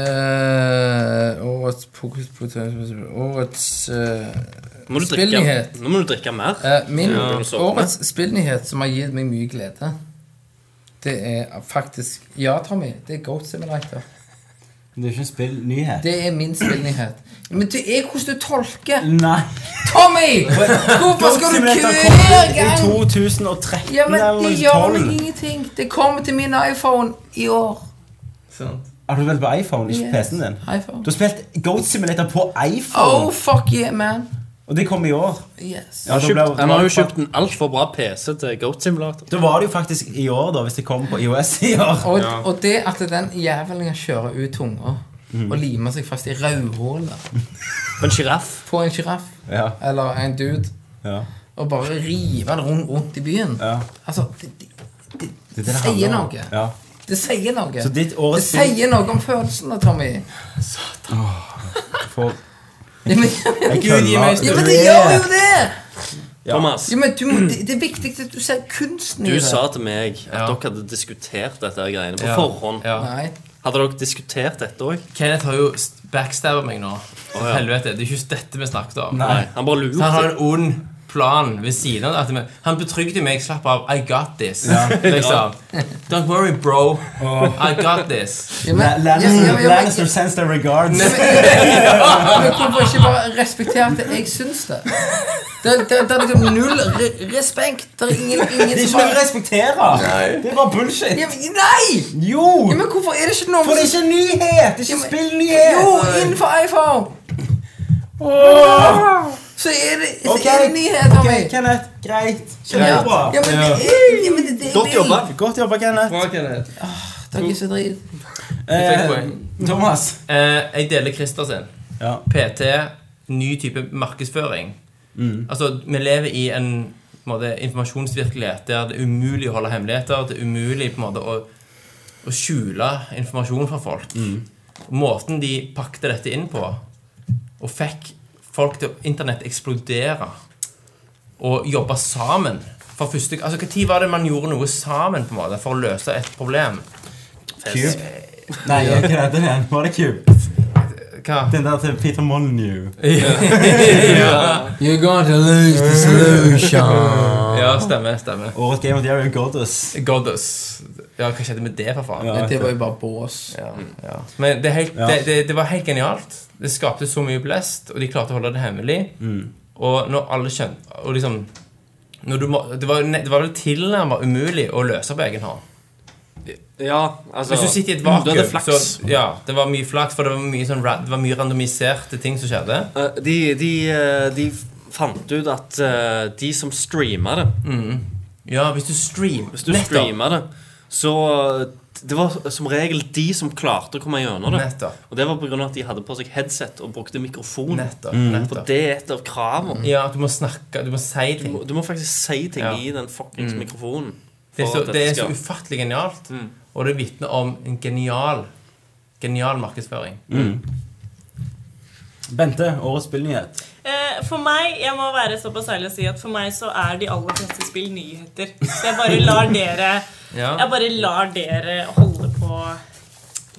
Speaker 4: Eh, årets fokus på Årets eh,
Speaker 2: Må du drikke,
Speaker 4: Spillnyhet.
Speaker 2: nå må du drikke mer.
Speaker 4: eh, Min
Speaker 2: Ja.
Speaker 4: årets spillnyhet som har gitt meg mye glede, det er faktisk Ja, Tommy, det er Goat Simulator.
Speaker 1: Det er ikke en spillnyhet.
Speaker 4: Det er min spillnyhet. Men det er hvordan du tolker.
Speaker 1: Nei.
Speaker 4: Tommy! Hvorfor skal du
Speaker 1: Simulator
Speaker 4: hver
Speaker 1: kom ut i
Speaker 4: gang
Speaker 1: 2013
Speaker 4: Ja, men det gjør
Speaker 1: eller
Speaker 4: meg
Speaker 1: 2012.
Speaker 4: ingenting. Det kommer til min iPhone i år.
Speaker 1: Har du vel på iPhone, ikke på
Speaker 4: Yes.
Speaker 1: PC-en din?
Speaker 4: iPhone.
Speaker 1: Du har spilt Goat Simulator på iPhone,
Speaker 4: Oh, fuck yeah, man.
Speaker 1: og det kom i år.
Speaker 4: Yes.
Speaker 1: Ja, da ble-
Speaker 2: Han har jo kjøpt en altfor bra PC til Goat Simulator.
Speaker 1: Da var det jo faktisk i år, da, hvis det kom på IOS i år.
Speaker 4: Og, og det at den jævelen kjører ut tunga
Speaker 1: Mm.
Speaker 4: og limer seg fast i rødhålet
Speaker 2: På en sjiraff.
Speaker 4: på en sjiraff
Speaker 1: Ja,
Speaker 4: eller en dude
Speaker 1: ja,
Speaker 4: og bare river den rundt, rundt i byen
Speaker 1: ja.
Speaker 4: Altså, det, det, det,
Speaker 1: Det er det det
Speaker 4: sier
Speaker 1: handler om.
Speaker 4: noe.
Speaker 1: Ja.
Speaker 4: Det sier noe.
Speaker 1: Så ditt
Speaker 4: det
Speaker 1: årets spill
Speaker 4: sier noe om følelsene,
Speaker 1: <laughs>
Speaker 4: Tommy.
Speaker 1: for
Speaker 4: Ja, men,
Speaker 1: Jeg
Speaker 4: ja, men det gjør jo det!
Speaker 2: Thomas,
Speaker 4: Ja, men du, må- det, det er viktig at du ser kunsten i
Speaker 2: du
Speaker 4: det.
Speaker 2: sa til meg at
Speaker 5: Ja.
Speaker 2: dere hadde diskutert dette her greiene på
Speaker 5: Ja.
Speaker 2: forhånd.
Speaker 5: Ja.
Speaker 4: Nei.
Speaker 2: Hadde dere diskutert dette òg?
Speaker 5: Kenneth har jo backstabba meg nå.
Speaker 2: ja.
Speaker 5: Helvete, Det er ikke dette vi snakket om.
Speaker 1: Nei.
Speaker 2: Han bare
Speaker 5: Så
Speaker 2: lurer.
Speaker 5: han har en ond plan ved siden av. At han betrygde meg. Slapp av. I got this. <laughs> Liksom. Don't worry, bro. I got this.
Speaker 4: Ja, men- ja, ja, ja, men-
Speaker 1: Lannister sends their regards.
Speaker 4: Men hvorfor ikke bare respektere at jeg syns det? Det, det, det er liksom null re respekt. Det er ingen, ingen
Speaker 1: Det er
Speaker 4: som
Speaker 1: ikke noe å
Speaker 4: har
Speaker 1: respektere! Det er bare bullshit.
Speaker 4: ja, men- Nei!
Speaker 1: Jo!
Speaker 4: Ja, men hvorfor er det ikke noe
Speaker 1: For det er ikke nyhet! Det er ikke spillnyhet!
Speaker 4: Jo, innenfor iPhone! Så er det, så
Speaker 1: Ok,
Speaker 4: er det nyheter
Speaker 1: ok,
Speaker 4: meg.
Speaker 1: Kenneth, greit.
Speaker 4: Ja,
Speaker 1: Kjempebra.
Speaker 4: ja, men det er ja, men det, det,
Speaker 2: Godt jobba.
Speaker 1: Godt jobba, Kenneth.
Speaker 4: Takk ikke så drit.
Speaker 5: fikk
Speaker 1: Eh,
Speaker 5: poeng.
Speaker 1: Thomas.
Speaker 5: Eh, jeg deler Christer sin.
Speaker 1: Ja.
Speaker 5: PT, ny type markedsføring. Altså, vi lever i en på en måte, informasjonsvirkelighet der det er umulig å holde hemmeligheter. Det er umulig på en måte å, å skjule informasjon fra folk. Måten de pakte dette inn på, og fikk folk til å Internett eksplodere og jobbe sammen for første, altså, Hva tid var det man gjorde noe sammen på en måte for å løse et problem?
Speaker 1: Cube. Nei, hva er den igjen? Var det Cube?
Speaker 5: Hva?
Speaker 1: Den der til Peter Molyneux.
Speaker 4: You're going to lose the solution.
Speaker 5: Ja, stemmer. stemmer
Speaker 1: Årets Game of the Year Goddess.
Speaker 5: Goddess. Ja, hva skjedde med det, for faen?
Speaker 1: Ja.
Speaker 4: Det var jo bare bås.
Speaker 5: Ja,
Speaker 2: Mm.
Speaker 5: ja. Men det, er helt,
Speaker 1: Ja.
Speaker 5: det, det, det var helt genialt. Det skapte så mye blest, og de klarte å holde det hemmelig. Og når alle skjønte og liksom, når du må, det, var, ne- det var vel tilnærmet umulig å løse på egen hånd.
Speaker 2: Ja, altså
Speaker 5: Hvis du sitter i et
Speaker 2: Da
Speaker 5: vakuum,
Speaker 2: er det flaks.
Speaker 5: så ja, det var mye flaks, for det var mye, sånn, ra- det var mye randomiserte ting som skjedde.
Speaker 2: Eh, de, de, eh, de fant ut at eh, de som streama det
Speaker 5: Ja, hvis du streamer
Speaker 2: Hvis du streama det, så eh, Det var som regel de som klarte å komme gjennom det.
Speaker 5: Nettopp.
Speaker 2: Og det var pga. at de hadde på seg headset og brukte mikrofon.
Speaker 5: Nettopp.
Speaker 2: For
Speaker 5: nettopp.
Speaker 2: Mm. det er et av kravene.
Speaker 5: Ja, at du må snakke, du må si
Speaker 2: Du
Speaker 5: ting.
Speaker 2: må, du må faktisk si ting
Speaker 5: Ja. Mm.
Speaker 2: i den fuckings mikrofonen.
Speaker 5: Det er
Speaker 2: for
Speaker 5: så,
Speaker 2: at
Speaker 5: det er
Speaker 2: dette Mm.
Speaker 5: så
Speaker 2: skal-
Speaker 5: ufattelig genialt. Og det vitner om en genial Genial markedsføring.
Speaker 1: Bente, årets spillnyhet.
Speaker 3: Eh, For meg, jeg må være såpass ærlig å si at for meg så er de aller fleste spill nyheter. Så jeg bare lar dere
Speaker 5: Ja.
Speaker 3: Jeg bare lar dere holde på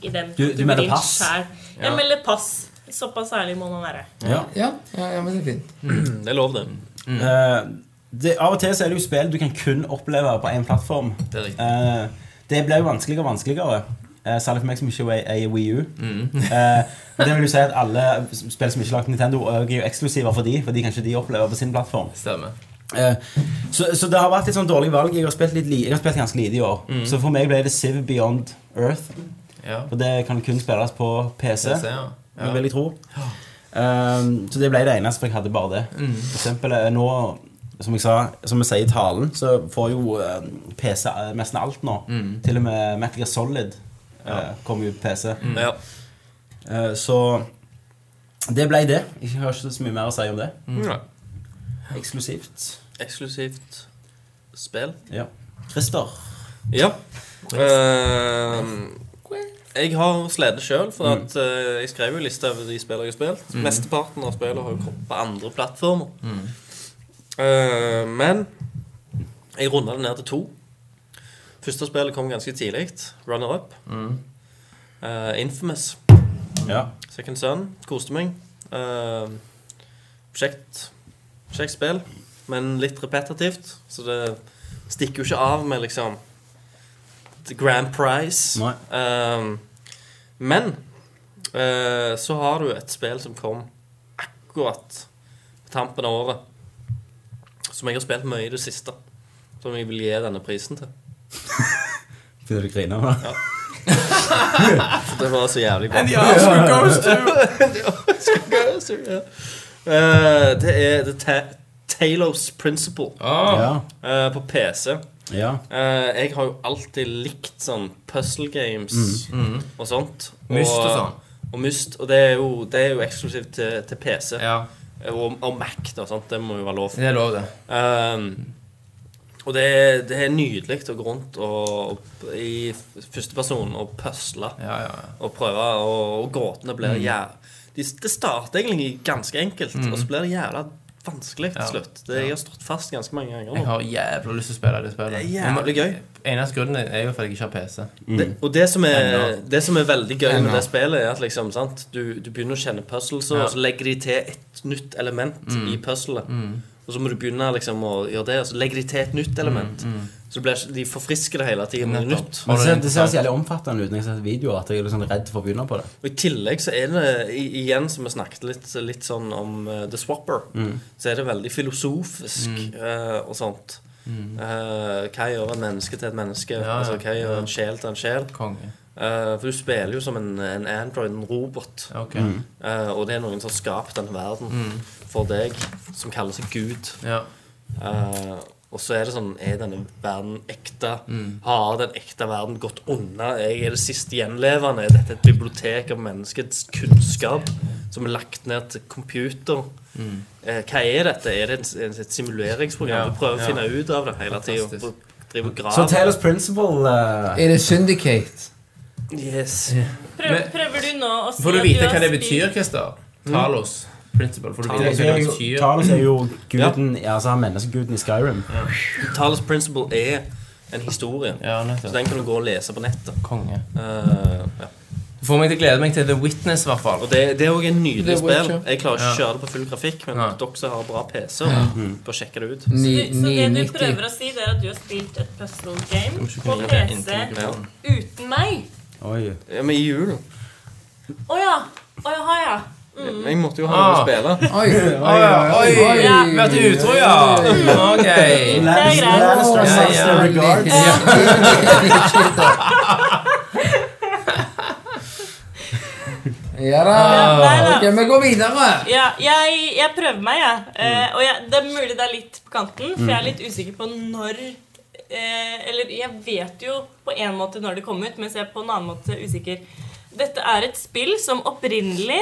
Speaker 3: i den
Speaker 1: Du- du melder
Speaker 3: kategorien
Speaker 1: pass?
Speaker 3: selv. Jeg melder pass. Såpass ærlig må man være.
Speaker 4: Ja, ja, ja, men det er fint.
Speaker 2: Det er lov, det.
Speaker 1: Eh, det, av og til så er det jo spill du kan kun oppleve på én plattform.
Speaker 5: Det er riktig.
Speaker 1: Eh, det blir jo vanskeligere og vanskeligere. Eh, særlig for meg som ikke er- er Wii U.
Speaker 5: Mm.
Speaker 1: Eh, men det vil jo si at Alle spill som ikke er lagd på Nintendo, er jo eksklusiver for de, for de kan ikke de oppleve på sin plattform.
Speaker 5: Stemmer.
Speaker 1: Eh, så, så det har vært litt sånn dårlig valg. Jeg har spilt, litt li jeg har spilt ganske lite i år.
Speaker 5: Mm.
Speaker 1: Så for meg ble det Civ Beyond Earth.
Speaker 5: Ja.
Speaker 1: For det kan kun spilles på PC,
Speaker 5: PC, ja. Ja.
Speaker 1: vil jeg tro. Ehm, så det ble det eneste, for jeg hadde bare det. For eksempel eh, nå, som jeg sa, som vi sier i talen, så får jo eh, PC nesten alt nå. Til og med Metal Gear Solid eh, kommer jo på PC.
Speaker 5: Mm.
Speaker 2: Ja.
Speaker 1: Eh, så det ble det. Jeg har ikke så mye mer å si om det.
Speaker 5: Mm.
Speaker 2: Ja.
Speaker 1: Eksklusivt.
Speaker 2: Eksklusivt spill.
Speaker 1: Ja. Christer.
Speaker 2: Ja. Ehm, jeg har slitt sjøl, for at eh, jeg skrev jo lista over de spillene jeg har spilt. Mesteparten av spillene har jo kommet på andre plattformer. Eh, men jeg runda det ned til to. Første spillet kom ganske tidlig. Runner Up. Eh, Infamous.
Speaker 1: Ja.
Speaker 2: Second Son. Koste meg. Eh, Kjekt Kjekt spill, men litt repetitivt. Så det stikker jo ikke av med liksom the grand prize.
Speaker 1: Nei.
Speaker 2: Ehm, men eh, så har du et spill som kom akkurat på tampen av året. Som jeg har spilt mye i det siste. Som jeg vil gi denne prisen til.
Speaker 1: Begynner du å grine? nå?
Speaker 2: For Det var så jævlig bra. <laughs> ja. Eh, det er The Ta Talos Principle
Speaker 5: Åh,
Speaker 1: Ja.
Speaker 2: eh, på PC.
Speaker 1: ja.
Speaker 2: Eh, jeg har jo alltid likt sånn puzzle games og sånt.
Speaker 5: Mm. Myst og sånn.
Speaker 2: Og Myst, og det er jo, det er jo eksklusivt til, til PC.
Speaker 5: ja.
Speaker 2: Og, og Mac, da, sant? det må jo være lov.
Speaker 5: Det er lov, det.
Speaker 2: Um, og det er, det er nydelig å gå rundt og, og i førsteperson og pusle
Speaker 5: Ja, ja, ja.
Speaker 2: og prøve, og, og gåtene
Speaker 5: Mm.
Speaker 2: blir jæv... De, det starter egentlig ganske enkelt, og så blir det jævla vanskelig til
Speaker 5: Ja.
Speaker 2: slutt. Det, Jeg har stått fast ganske mange ganger
Speaker 5: Jeg
Speaker 3: Oh.
Speaker 2: nå.
Speaker 5: har jævla lyst til å spille det spillet.
Speaker 2: Det er jævlig gøy.
Speaker 5: Eneste grunnen er jo fordi jeg ikke har PC.
Speaker 2: Det, og det som, er,
Speaker 5: Ennå.
Speaker 2: det som er veldig gøy med
Speaker 4: Ennå.
Speaker 2: det spillet, er at liksom, sant? Du, du begynner å kjenne puzzles, og
Speaker 5: Ja. Mm.
Speaker 2: så legger de til et nytt element i puzzlet. Og så må du begynne liksom å gjøre det, og så legger de til et nytt element.
Speaker 5: Mm.
Speaker 2: Så det blir, ikke- de forfrisker det hele tiden med noe nytt.
Speaker 1: Men det, ser- det ser så jævlig omfattende ut når jeg har sett videoer at jeg er litt sånn redd for å begynne på det.
Speaker 2: Og I tillegg så er det, i- igjen som vi snakket litt, litt sånn om eh, The Swapper,
Speaker 5: Mm.
Speaker 2: så er det veldig filosofisk eh, og sånt. Eh, hva gjør en menneske til et menneske?
Speaker 5: Mm. Ja,
Speaker 2: altså,
Speaker 5: ja,
Speaker 2: hva gjør en sjel til en sjel?
Speaker 5: Konge.
Speaker 2: Eh, for du spiller jo som en, en android, en robot.
Speaker 5: Ok.
Speaker 2: Eh, og det er noen som har skapt denne verden
Speaker 5: Mm.
Speaker 2: for deg, som kaller seg Gud.
Speaker 5: Ja.
Speaker 2: Eh, og så er det sånn Er denne verden ekte?
Speaker 5: Mm.
Speaker 2: Har den ekte verden gått unna? Jeg er det siste gjenlevende. Er dette et bibliotek av menneskets kunnskap som er lagt ned til computer?
Speaker 5: Mm.
Speaker 2: Eh, hva er dette? Er det et, et, et simuleringsprogram?
Speaker 5: Ja,
Speaker 2: du prøver å
Speaker 5: ja.
Speaker 2: finne ut av det hele
Speaker 5: Fantastisk.
Speaker 2: tida. Driver og
Speaker 1: Så
Speaker 2: graver.
Speaker 1: Taylors Principle eh,
Speaker 4: Er det Syndicate?
Speaker 2: Yes.
Speaker 3: Prøv, prøver du nå å si
Speaker 5: Får du
Speaker 3: at
Speaker 5: vite
Speaker 3: har
Speaker 5: hva det
Speaker 3: spilt- Mm.
Speaker 5: betyr, Christer? Talos principle. Får du vite
Speaker 1: det
Speaker 5: hva
Speaker 1: er
Speaker 5: det
Speaker 1: jo-
Speaker 5: betyr?
Speaker 1: Talos er jo guden ja, altså han menneskeguden i Skyrim.
Speaker 2: Talos Principle er en historie.
Speaker 5: Ja,
Speaker 2: Så
Speaker 5: nettopp.
Speaker 2: den kan du gå og lese på nettet.
Speaker 5: Konge.
Speaker 2: Eh, ja.
Speaker 5: Du får meg til å glede meg til The Witness, i hvert fall.
Speaker 2: Og det, det er òg en nydelig
Speaker 4: The
Speaker 2: spill.
Speaker 4: Witcher.
Speaker 2: Jeg klarer ikke å
Speaker 5: Ja.
Speaker 2: kjøre det på full grafikk, men
Speaker 5: Nei.
Speaker 2: dere som har bra PC, og bør sjekke det ut.
Speaker 4: Ni,
Speaker 3: Du, så det du
Speaker 4: 990.
Speaker 3: prøver å si, det er at du har spilt et puzzle game
Speaker 5: ikke
Speaker 3: på
Speaker 5: kunne gjøre det inntil
Speaker 3: PC
Speaker 5: du-
Speaker 2: Ja.
Speaker 3: uten meg.
Speaker 1: Oi.
Speaker 2: Ja, men i julen
Speaker 3: Å ja. Å jaha, ja.
Speaker 2: Jeg måtte jo ha noe å
Speaker 5: Ah.
Speaker 2: spille.
Speaker 4: Oi,
Speaker 5: Å ja, oi!
Speaker 3: Ja.
Speaker 5: Vi har vært utro, ja! Ok.
Speaker 3: Det er greit.
Speaker 1: Lannister
Speaker 5: Ja,
Speaker 1: sucks
Speaker 5: ja.
Speaker 1: the regards.
Speaker 4: Ja da.
Speaker 3: Ja, nei, da.
Speaker 4: Ok, vi går videre.
Speaker 3: Ja, jeg, jeg prøver meg, jeg. Eh, og jeg, det er mulig det er litt på kanten, for jeg er litt usikker på når eh, Eller jeg vet jo på en måte når det kom ut, mens jeg på en annen måte er usikker. Dette er et spill som opprinnelig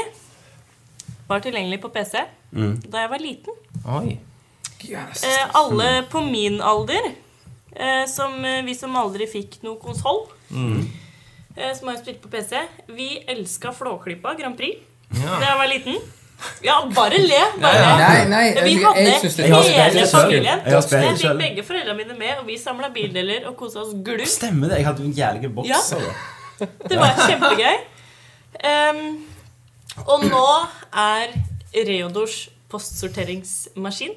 Speaker 3: var tilgjengelig på PC da jeg var liten.
Speaker 5: Oi.
Speaker 3: Eh, alle på min alder, eh, som eh, vi som aldri fikk noe konsoll, eh, som har spilt på PC, vi elska Flåklypa Grand Prix
Speaker 5: Ja.
Speaker 3: da jeg var liten. Ja, bare le! Bare le.
Speaker 4: Nei, nei,
Speaker 3: Vi
Speaker 4: jeg,
Speaker 3: hadde
Speaker 4: jeg syns det
Speaker 1: Jeg har
Speaker 4: er
Speaker 1: spilt
Speaker 3: hele
Speaker 1: det selv.
Speaker 3: familien.
Speaker 1: Jeg har
Speaker 3: Jeg,
Speaker 1: spilt det
Speaker 3: fikk
Speaker 1: selv.
Speaker 3: begge foreldrene mine med, og vi samla bildeler og kosa oss glutt.
Speaker 1: Stemmer det. Jeg hadde jo en jævlig boks. altså.
Speaker 3: Ja.
Speaker 1: av det.
Speaker 3: Det var kjempegøy. Ehm, og nå er Reodors postsorteringsmaskin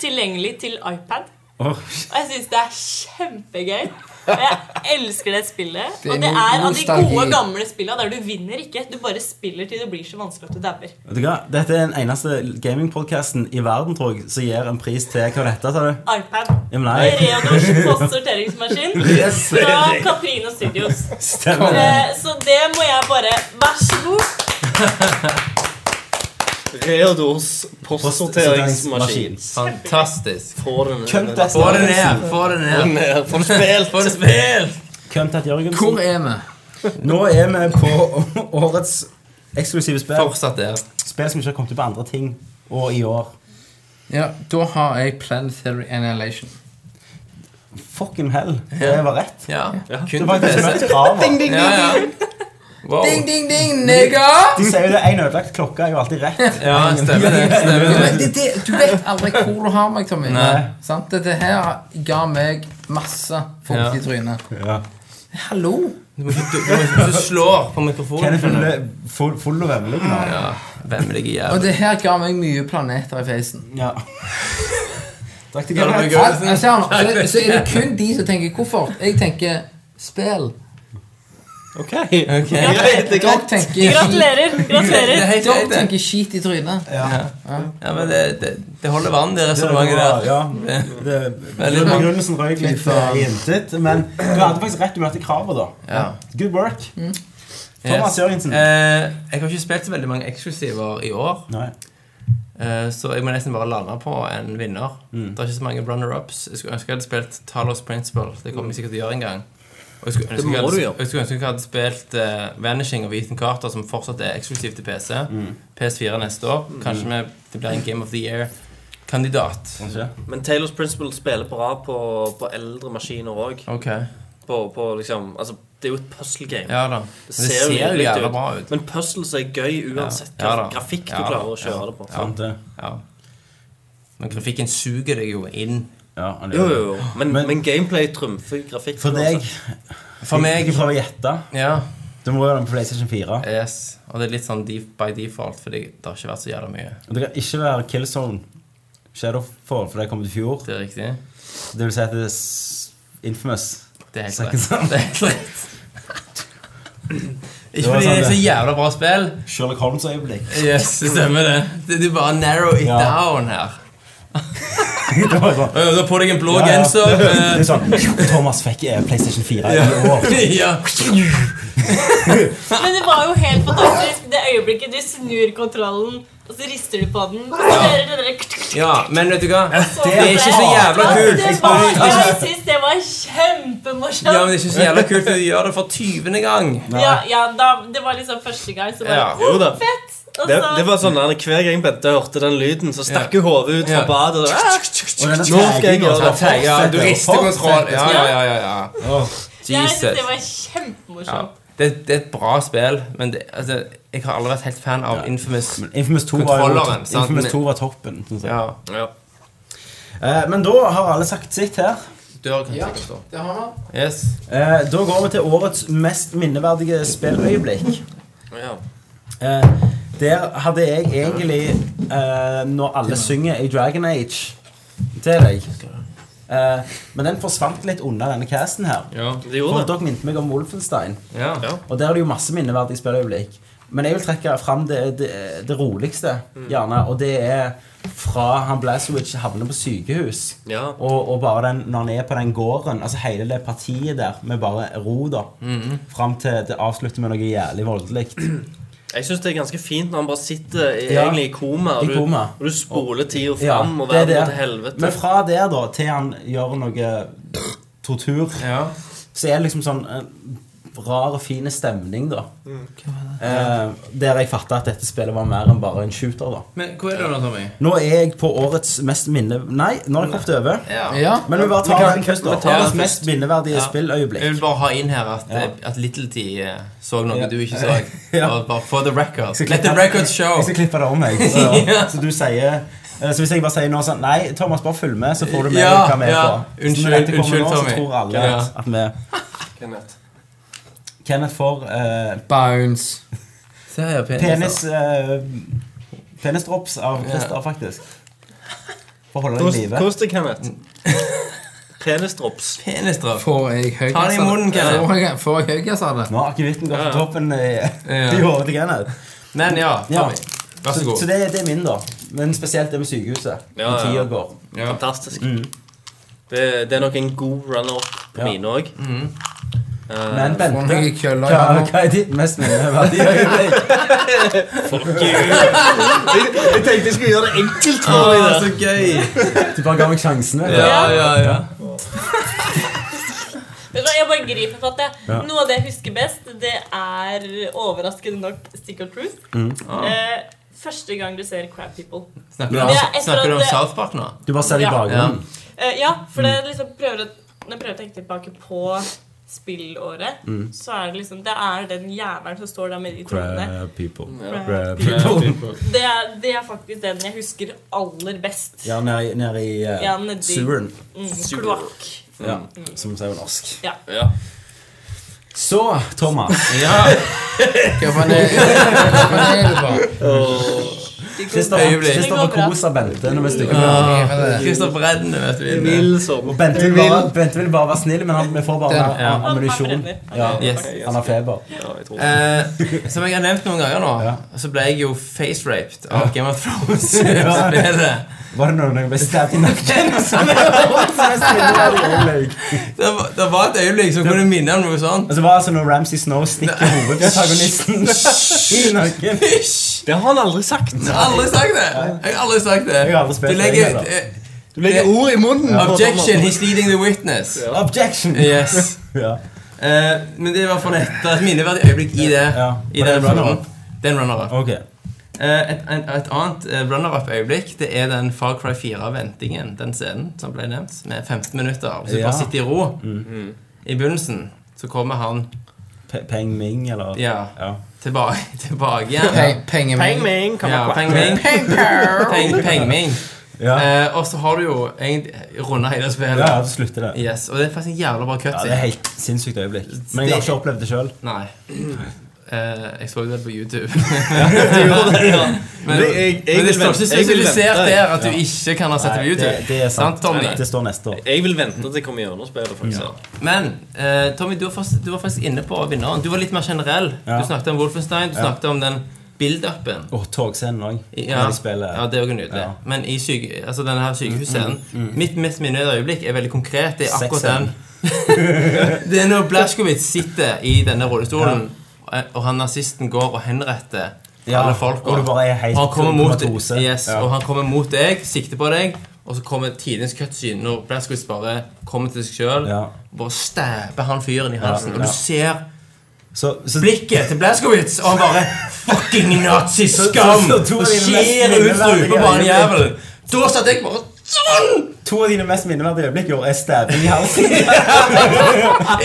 Speaker 3: tilgjengelig til iPad.
Speaker 1: Åh.
Speaker 3: Og jeg syns det er kjempegøy. Og jeg elsker det spillet.
Speaker 4: Det er
Speaker 3: Og det
Speaker 4: no-
Speaker 3: er av de
Speaker 4: nostalgi.
Speaker 3: gode, gamle spillene der du vinner ikke. Du bare spiller til det blir så vanskelig at du dauer.
Speaker 1: Vet du hva? Dette er den eneste gamingpodkasten i verden tror jeg, som gir en pris til hva det heter. sa du?
Speaker 3: iPad.
Speaker 1: Ja, men nei.
Speaker 3: Reodors postsorteringsmaskin
Speaker 1: <laughs>
Speaker 3: fra Caprino Studios.
Speaker 1: Stemmer det.
Speaker 3: Eh, Så det må jeg bare Vær så god.
Speaker 2: Reodors
Speaker 1: postsorteringsmaskin.
Speaker 2: postsorteringsmaskin.
Speaker 5: Fantastisk.
Speaker 2: Få den ned.
Speaker 1: Kønt at-
Speaker 5: Få det ned! Få det ned!
Speaker 2: ned. Få den spilt.
Speaker 5: Få det spilt!
Speaker 1: Kønt at
Speaker 4: Hvor
Speaker 1: Jørgensen.
Speaker 4: er vi?
Speaker 1: Nå er vi på <laughs> årets eksklusive spill.
Speaker 5: Fortsatt der.
Speaker 1: Spill som ikke har kommet ut på andre ting. Og i år.
Speaker 4: Ja, da har jeg Planetary Annihilation.
Speaker 1: Fucking hell. Det var rett.
Speaker 5: Ja.
Speaker 1: Det
Speaker 5: Kun
Speaker 1: var
Speaker 5: på
Speaker 1: faktisk
Speaker 5: PC.
Speaker 1: møtt kravet.
Speaker 5: Ja, ja. Wow.
Speaker 4: Ding, ding, ding, nigga!
Speaker 1: De sier jo det én ødelagt klokke er jo alltid rett.
Speaker 5: Ja, stemmer
Speaker 1: <laughs>
Speaker 5: det. Stemmer
Speaker 4: Ja,
Speaker 5: det.
Speaker 4: men det, det, du vet aldri hvor du har meg, Tommy.
Speaker 5: Nei.
Speaker 4: Sant? Dette her ga meg masse fukt
Speaker 5: Ja.
Speaker 4: i trynet.
Speaker 1: Ja.
Speaker 4: Hallo!
Speaker 5: Du må ikke du, du må ikke- du slår på mikrofonen.
Speaker 1: Kenneth Ulle, full, full og vemmelig nå.
Speaker 5: Ja, Hvem er det
Speaker 4: Og
Speaker 5: jævlig?
Speaker 4: det her ga meg mye planeter i feisen.
Speaker 1: Ja. Takk til
Speaker 5: Ja,
Speaker 1: Kenneth.
Speaker 5: det var gøy.
Speaker 4: Al- altså, ja, så, er det- så er det kun de som tenker koffert. Jeg tenker spill.
Speaker 1: Ok.
Speaker 5: Ok.
Speaker 4: Dere tenker
Speaker 3: Gratulerer.
Speaker 5: Det
Speaker 3: Gratulerer.
Speaker 5: er
Speaker 3: <laughs>
Speaker 5: helt
Speaker 4: Dere
Speaker 5: greit, det.
Speaker 4: tenker skit i trynet.
Speaker 5: Ja, men det, det, det holder vann, det resonnementet der.
Speaker 1: Ja, det,
Speaker 5: Veldig bra.
Speaker 1: begrunnelsen røyk litt eh, i intet, men du hadde faktisk rett du møtte kravet, da.
Speaker 5: Ja.
Speaker 1: Good work. Thomas Jørgensen.
Speaker 5: Eh, jeg har ikke spilt så veldig mange eksklusiver i år,
Speaker 1: Nei.
Speaker 5: eh, så jeg må nesten bare lande på en vinner.
Speaker 2: Mm.
Speaker 5: Det er ikke så mange runner-ups. Jeg skulle ønske jeg hadde spilt Talos Principle. Det kommer jeg sikkert til å gjøre en gang. Og jeg skulle ønske,
Speaker 2: må
Speaker 5: jeg
Speaker 2: du
Speaker 5: hadde,
Speaker 2: gjøre.
Speaker 5: jeg skulle ønske jeg hadde spilt eh, Vanishing av Ethan Carter, som fortsatt er eksklusiv til PC.
Speaker 2: Mm.
Speaker 5: PS4 neste år. Kanskje vi- det blir en Game of the Year-kandidat.
Speaker 2: Men Taylors Principle spiller bra på, på eldre maskiner òg.
Speaker 5: Ok.
Speaker 2: På, på liksom Altså, det er jo et puzzle game.
Speaker 5: Ja da. Det ser,
Speaker 2: jo
Speaker 5: jo
Speaker 2: litt
Speaker 5: jævla bra ut.
Speaker 2: Men puzzles er gøy uansett
Speaker 5: Ja. Ja
Speaker 2: hva
Speaker 5: da.
Speaker 2: grafikk du
Speaker 5: Ja da.
Speaker 2: klarer å
Speaker 5: Ja.
Speaker 2: kjøre det på.
Speaker 5: Ja.
Speaker 1: Sant Sånn det.
Speaker 5: Ja. Men grafikken suger deg jo inn.
Speaker 1: Ja, han
Speaker 2: Jo,
Speaker 1: gjør
Speaker 2: jo,
Speaker 1: det.
Speaker 2: jo. Men,
Speaker 1: Men-
Speaker 2: men, gameplay trumfer grafikk.
Speaker 1: For deg,
Speaker 5: For meg
Speaker 2: <laughs>
Speaker 1: ikke prøv å gjette.
Speaker 5: Ja.
Speaker 1: Du må gjøre den på PlayStation 4.
Speaker 5: Yes. Og det er litt sånn def by default, fordi det har ikke vært så jævla mye.
Speaker 1: Og det kan ikke være Killzone. Shadowfall, for det kom ut i fjor.
Speaker 5: Det er riktig.
Speaker 1: Det vil si at det er s- infamous.
Speaker 5: Det er helt
Speaker 1: Snakker
Speaker 5: rett.
Speaker 1: sant.
Speaker 5: Det er helt rett.
Speaker 1: var
Speaker 5: Ikke fordi det er
Speaker 1: sant, <laughs>
Speaker 5: så
Speaker 1: det.
Speaker 5: jævla bra spill.
Speaker 1: Sherlock Holmes-øyeblikk.
Speaker 5: Yes, <laughs> det stemmer det. Det- Du bare narrow it
Speaker 1: Ja.
Speaker 5: down her.
Speaker 1: <laughs> Det var sånn.
Speaker 5: <laughs> Øh, Du har på deg en blå
Speaker 1: <laughs> Ja, ja.
Speaker 5: genser. øh,
Speaker 1: Det er sånn Thomas fikk eh, PlayStation 4
Speaker 5: Ja.
Speaker 1: i år.
Speaker 5: <laughs> ja.
Speaker 3: Men det var jo helt fantastisk det øyeblikket du snur kontrollen, og så rister du på den, og så hører du det der kt-
Speaker 5: ja, men vet du hva?
Speaker 3: kt-
Speaker 5: Det er ikke så jævla
Speaker 3: Ja,
Speaker 5: kult.
Speaker 3: Det var, jeg synes det var kjempemorsomt.
Speaker 5: Ja, men det er ikke så jævla kult at du gjør det for 20. gang.
Speaker 3: Ja, ja da, det var liksom første gang, så bare
Speaker 5: Ja.
Speaker 2: Jo da.
Speaker 3: Fett! Og
Speaker 2: Det,
Speaker 3: så
Speaker 2: det var sånn der, Hver gang Bente hørte den lyden, så stakk hun hodet ut fra
Speaker 5: Ja.
Speaker 2: badet. Og, ah,
Speaker 1: denne altså.
Speaker 2: nå skal jeg
Speaker 1: taggingen
Speaker 2: gjøre det.
Speaker 5: Ja, du rister kontroll. Ja, ja, ja, ja, ja.
Speaker 3: Jeg
Speaker 5: Jesus.
Speaker 3: synes det var
Speaker 5: Ja.
Speaker 3: kjempemorsomt.
Speaker 5: Det, det er et bra spill, men det, altså, jeg har aldri vært helt fan av Infamous.
Speaker 1: Infamous 2 var, jo,
Speaker 5: Kontrolleren, sant?
Speaker 1: Infamous 2 var toppen. sånn synes jeg.
Speaker 5: Ja,
Speaker 2: Ja.
Speaker 1: Eh, men da har alle sagt sitt her.
Speaker 5: dør kan
Speaker 4: Ja,
Speaker 5: sikkert stå.
Speaker 4: det har vi.
Speaker 5: Yes.
Speaker 1: Eh, da går vi til årets mest minneverdige spilløyeblikk.
Speaker 2: Ja.
Speaker 1: Eh, der hadde jeg egentlig eh, Når alle synger i Dragon Age til deg. Eh, men den forsvant litt under denne casten her.
Speaker 5: Ja.
Speaker 2: Det
Speaker 1: For
Speaker 2: gjorde det.
Speaker 1: dere minte meg om Wolfenstein.
Speaker 5: Ja.
Speaker 2: Ja.
Speaker 1: Og der er det jo masse minneverdige spilløyeblikk. Men jeg vil trekke fram det, det, det roligste,
Speaker 2: Mm.
Speaker 1: gjerne. Og det er fra han Blazowicz havner på sykehus.
Speaker 2: Ja.
Speaker 1: Og, og bare den, når han er på den gården, altså hele det partiet der med bare ro, da.
Speaker 2: Mm-hmm.
Speaker 1: Fram til det avslutter med noe jævlig voldelig.
Speaker 2: Jeg syns det er ganske fint når han bare sitter i,
Speaker 1: Ja.
Speaker 2: egentlig i koma, og
Speaker 1: I
Speaker 2: du,
Speaker 1: koma.
Speaker 2: og du spoler tida
Speaker 1: Ja,
Speaker 2: fram, og
Speaker 1: det er
Speaker 2: verden går
Speaker 1: det.
Speaker 2: til helvete.
Speaker 1: Men fra der, da, til han gjør noe tortur,
Speaker 5: ja.
Speaker 1: så er det liksom sånn eh, rar og fin stemning, da.
Speaker 2: Mm.
Speaker 1: Eh, der jeg fatta at dette spillet var mer enn bare en shooter, da.
Speaker 5: Men hva er det nå, Tommy?
Speaker 1: Nå er jeg på årets mest minne... Nei, nå har det kommet over.
Speaker 4: Ja.
Speaker 1: Men vi bare tar den først. da.
Speaker 5: vi tar den
Speaker 1: Årets
Speaker 5: først.
Speaker 1: mest minneverdige
Speaker 5: Ja. Jeg
Speaker 1: spilløyeblikk.
Speaker 5: vil bare ha inn her at,
Speaker 1: Ja.
Speaker 5: at Little T eh, så noe
Speaker 1: Ja.
Speaker 5: du ikke så.
Speaker 1: <laughs> Ja.
Speaker 5: Bare- Bare for the record.
Speaker 1: skal
Speaker 5: Let the
Speaker 1: klippe-
Speaker 5: record show.
Speaker 1: Jeg skal klippe det om, jeg. Så,
Speaker 5: <laughs>
Speaker 1: så du sier eh, Så hvis jeg bare sier noe sånn Nei, Thomas, bare følg med, så får du med
Speaker 5: Ja,
Speaker 1: hva vi er
Speaker 5: ja.
Speaker 1: på. Så når
Speaker 5: Unnskyld-
Speaker 1: dette kommer
Speaker 5: unnskyld,
Speaker 1: nå,
Speaker 5: Tommy.
Speaker 1: Så tror alle
Speaker 5: Ja.
Speaker 1: at- at vi
Speaker 2: Kenneth.
Speaker 1: Kenneth får eh,
Speaker 4: Bounce.
Speaker 5: Se her, penis.
Speaker 1: penis
Speaker 5: altså.
Speaker 1: eh, Penisdrops av Christer, faktisk. For å holde deg i live.
Speaker 2: Kos deg,
Speaker 1: Mm.
Speaker 2: Kenneth. <laughs> Penisdrops.
Speaker 5: Penisdropp.
Speaker 4: Får jeg høy
Speaker 5: Ta den i munnen, Kenneth.
Speaker 4: Kenneth. Får jeg høy sa det?
Speaker 1: Nå har akevitten gått på
Speaker 2: Ja, ja.
Speaker 1: toppen i,
Speaker 5: Ja.
Speaker 1: i hodet til Kenneth.
Speaker 5: Men ja,
Speaker 1: Ja.
Speaker 5: Tommy. Vær så
Speaker 1: Så,
Speaker 5: god.
Speaker 1: så det, det er min, da. Men spesielt det med sykehuset.
Speaker 2: Ja,
Speaker 1: Når
Speaker 2: ja.
Speaker 1: tida går.
Speaker 5: Ja.
Speaker 2: Fantastisk. Det, det er nok en god runner-up på
Speaker 1: Mm. Ja. Mm.
Speaker 2: mine òg.
Speaker 1: Men
Speaker 4: Får
Speaker 1: Bente,
Speaker 4: meg i kølla i
Speaker 1: hva,
Speaker 4: hånda.
Speaker 1: hva er ditt mest minneverdige øyeblikk?
Speaker 2: Jeg tenkte jeg skulle gjøre det enkelt.
Speaker 5: Å, så gøy!
Speaker 1: Du bare ga meg sjansen. vet du.
Speaker 5: Ja, ja, ja.
Speaker 3: Vet du hva, Jeg bare griper fatt. jeg. Noe av det jeg husker best, det er overraskende nok Stick of Truth.
Speaker 2: Mm.
Speaker 3: Eh, første gang du ser Crab People.
Speaker 5: Snakker du
Speaker 1: Ja,
Speaker 5: om,
Speaker 3: etter at
Speaker 5: snakker du om
Speaker 3: det-
Speaker 5: South Park
Speaker 1: <laughs>
Speaker 5: nå?
Speaker 1: Du bare ser det i
Speaker 3: Ja.
Speaker 1: bakgrunnen.
Speaker 3: Eh, ja, for det liksom prøver å, når jeg prøver å tenke tilbake på spillåret, så er det liksom Det er den jævelen som står der med de trådene.
Speaker 1: people.
Speaker 3: Crab
Speaker 1: people.
Speaker 3: Det er, det er faktisk den jeg husker aller best.
Speaker 1: Ja, nede ned i eh,
Speaker 3: Ja, Mm. nedi.
Speaker 1: suveren.
Speaker 3: Mm, kloakk.
Speaker 1: Ja, som sier på norsk.
Speaker 3: Ja.
Speaker 2: Ja.
Speaker 1: Så, Thomas.
Speaker 4: Hva faen er hva faen er det for?
Speaker 1: Christer
Speaker 5: Øyeblikk.
Speaker 1: Christopher
Speaker 3: Det går bra.
Speaker 1: koser Bente når vi stikker.
Speaker 5: Kristoffer Bredden, vet du. inne.
Speaker 1: Og Bente vil, bare, Bente vil bare være snill, men han, vi får bare
Speaker 4: Den-
Speaker 1: am-
Speaker 3: Og
Speaker 1: ammunisjon.
Speaker 3: brenner.
Speaker 1: Ja,
Speaker 5: Yes.
Speaker 1: han har feber.
Speaker 5: Eh, som jeg har nevnt noen ganger nå, så ble jeg jo face-raped av Game of
Speaker 1: <laughs>
Speaker 5: Thrones-spillet.
Speaker 1: Var det noen som ble stabbet i nakken? Som er årets mest minneverdige øyeblikk.
Speaker 5: <laughs> Det, var- det var et øyeblikk som kunne minne om noe
Speaker 1: <laughs>
Speaker 5: sånt.
Speaker 1: Og så var det altså når Ramsay Snow stikker hovedprotagonisten
Speaker 5: <laughs>
Speaker 1: <laughs> i nakken.
Speaker 2: Det har han aldri sagt.
Speaker 5: Jeg har aldri sagt det! Jeg har aldri sagt det.
Speaker 1: Jeg har aldri spilt
Speaker 5: Du legger
Speaker 1: det heller.
Speaker 5: eh,
Speaker 2: Du legger ord i munnen. på
Speaker 5: Objection,
Speaker 2: Thomas.
Speaker 5: he's leading the witness.
Speaker 1: Objection! <laughs>
Speaker 5: Yes.
Speaker 1: Ja.
Speaker 5: Eh, men det er i hvert fall et, det er et minneverdig øyeblikk i det.
Speaker 1: Ja.
Speaker 5: I
Speaker 1: Var det
Speaker 5: den
Speaker 1: en runner-up?
Speaker 5: filmen. Det er en runner-up.
Speaker 1: Ok.
Speaker 5: Eh, Et, en- et annet eh, runner-up-øyeblikk Det er den Far Cry 4-ventingen, den scenen som ble nevnt, med 15 minutter. Hvis du
Speaker 1: Ja. Mm.
Speaker 5: bare sitter i ro i begynnelsen, så kommer han
Speaker 1: Pe- Peng Ming, eller?
Speaker 5: ja,
Speaker 1: Ja.
Speaker 5: tilbake, <laughs> tilbake igjen.
Speaker 4: Pe- Pengemeng.
Speaker 2: Peng-meng, kan
Speaker 5: Ja,
Speaker 2: man-
Speaker 5: Pengming. Peng, pengming.
Speaker 1: Ja,
Speaker 5: Eh, og så har du jo egentlig runda hele
Speaker 1: ja, ja
Speaker 5: spillet.
Speaker 1: så slutter det.
Speaker 5: Yes, og det er faktisk en jævla
Speaker 1: Ja,
Speaker 5: bra
Speaker 1: det er
Speaker 5: cutscene.
Speaker 1: helt sinnssykt øyeblikk. Men jeg har ikke opplevd det sjøl.
Speaker 5: Nei. Eh, jeg så det på YouTube. <laughs> Men, men det
Speaker 2: jeg
Speaker 5: står ikke
Speaker 2: vil
Speaker 5: spesialisert
Speaker 2: vente, jeg.
Speaker 5: der at du ikke kan ha sett det på
Speaker 1: Nei,
Speaker 5: YouTube.
Speaker 1: det, det er sant.
Speaker 5: Tommy?
Speaker 1: Det står neste år.
Speaker 2: Jeg vil vente til jeg kommer gjennom spillet. faktisk ja.
Speaker 5: Men eh, Tommy, du var, faktisk, du var faktisk inne på vinneren. Du var litt mer generell.
Speaker 1: Ja.
Speaker 5: Du snakket om Wolfenstein, du snakket om den build-upen.
Speaker 1: Og togscenen òg.
Speaker 5: Ja,
Speaker 1: Når de spiller
Speaker 5: ja, det er jo nydelig.
Speaker 1: Ja. Mm,
Speaker 5: Men i syke, altså denne her sykehusscenen Mitt mest minnøyde øyeblikk er veldig konkret. Det er akkurat den. <laughs> det er når Blashkowitz sitter i denne rullestolen, og han nazisten går og henretter
Speaker 1: Ja,
Speaker 5: alle folk.
Speaker 1: og du bare er helt
Speaker 5: han kommer mot,
Speaker 1: komatose.
Speaker 5: yes,
Speaker 1: Ja.
Speaker 5: og han kommer mot deg, sikter på deg, og så kommer tidens cutscene når Blashkowitz bare kommer til seg sjøl.
Speaker 1: Ja.
Speaker 5: Bare stabber han fyren i halsen, og
Speaker 1: Ja.
Speaker 5: du ser
Speaker 1: Så, så,
Speaker 5: blikket til Blazkowicz, og han bare Fucking naziskam!
Speaker 1: Så- så to av dine
Speaker 5: Og skjærer
Speaker 1: mest
Speaker 5: ut strupen på han
Speaker 1: minneverdige
Speaker 5: jævelen. Da satt jeg bare sånn!
Speaker 1: to av dine mest minneverdige øyeblikk i år er stabbing i
Speaker 5: <laughs>
Speaker 1: halsen.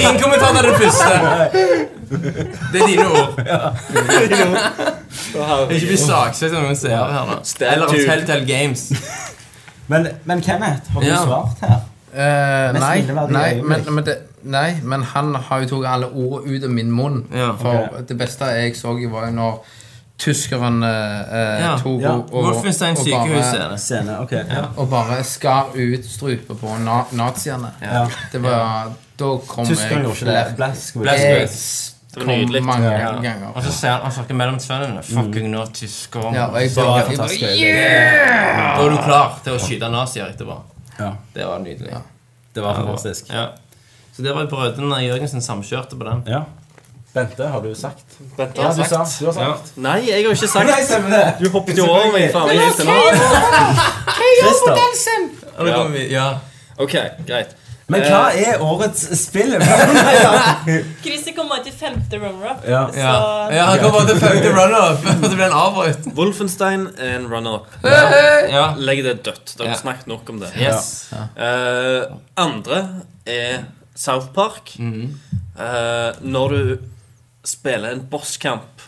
Speaker 5: Ingen kommentar til den første. Det er dine ord. Ikke bli saksøkt av noen seere her nå.
Speaker 2: Stab
Speaker 5: Eller av
Speaker 2: tube.
Speaker 5: Telltale Games.
Speaker 1: Men, men Kenneth, har du
Speaker 5: Ja.
Speaker 1: svart her?
Speaker 4: Eh,
Speaker 1: Mest
Speaker 4: nei,
Speaker 1: minneverdige
Speaker 4: nei, men,
Speaker 1: øyeblikk.
Speaker 4: men det, nei, men han har jo tatt alle ord ut av min munn.
Speaker 5: Ja.
Speaker 4: For
Speaker 1: Ok.
Speaker 4: det beste jeg så, var jo når tyskerne eh,
Speaker 5: Ja.
Speaker 4: tok
Speaker 1: Ja.
Speaker 4: og, og,
Speaker 5: Wolfenstein
Speaker 4: og bare,
Speaker 5: sykehuset.
Speaker 1: Scene, ok. Ja.
Speaker 4: og bare skar ut strupa på na naziene.
Speaker 1: Ja.
Speaker 4: Det var Da kom
Speaker 1: Tyskerne
Speaker 4: jeg
Speaker 1: gjorde ikke det. Eh,
Speaker 4: flere-
Speaker 1: Blazkowicz.
Speaker 4: Jeg
Speaker 5: Blazkowicz.
Speaker 4: kom
Speaker 2: nydelig.
Speaker 4: mange
Speaker 1: Ja.
Speaker 4: ganger.
Speaker 5: Og så ser han, han snakker mellom tvennene. Fucking naziskam.
Speaker 4: Ja, og jeg
Speaker 1: Det var
Speaker 4: bare,
Speaker 1: et
Speaker 4: jeg bare
Speaker 1: fantastisk øyeblikk.
Speaker 5: Da er du klar til å skyte nazier etterpå.
Speaker 1: Ja.
Speaker 5: Det var nydelig.
Speaker 1: Det var fantastisk.
Speaker 5: Ja. Så det var brødrene Jørgensen samkjørte på den.
Speaker 1: Ja. Bente, har du sagt?
Speaker 2: Vente,
Speaker 1: Ja,
Speaker 2: har
Speaker 1: du
Speaker 2: jeg sagt.
Speaker 1: sa. Du har sagt.
Speaker 2: Nei, jeg har ikke sagt
Speaker 1: Nei, stemmer det.
Speaker 2: Du hoppet jo over meg. faen, jeg er helt
Speaker 1: Christer.
Speaker 5: Og det
Speaker 2: Ja.
Speaker 5: kom vi- ja.
Speaker 2: Ok, greit.
Speaker 1: Men hva er årets spill? <laughs>
Speaker 3: Chrissy kom bare til femte runner-up.
Speaker 1: Ja.
Speaker 5: Ja.
Speaker 3: Så-
Speaker 5: ja, han kom bare til femte runner-up, og så ble han avbrutt.
Speaker 2: Wolfenstein and runner-up.
Speaker 5: Ja.
Speaker 2: Legg det dødt. Dere
Speaker 5: Ja.
Speaker 2: har snakket nok om det.
Speaker 5: Yes.
Speaker 2: Eh, andre er South Park.
Speaker 5: Mhm.
Speaker 2: Eh, når du spiller en bosskamp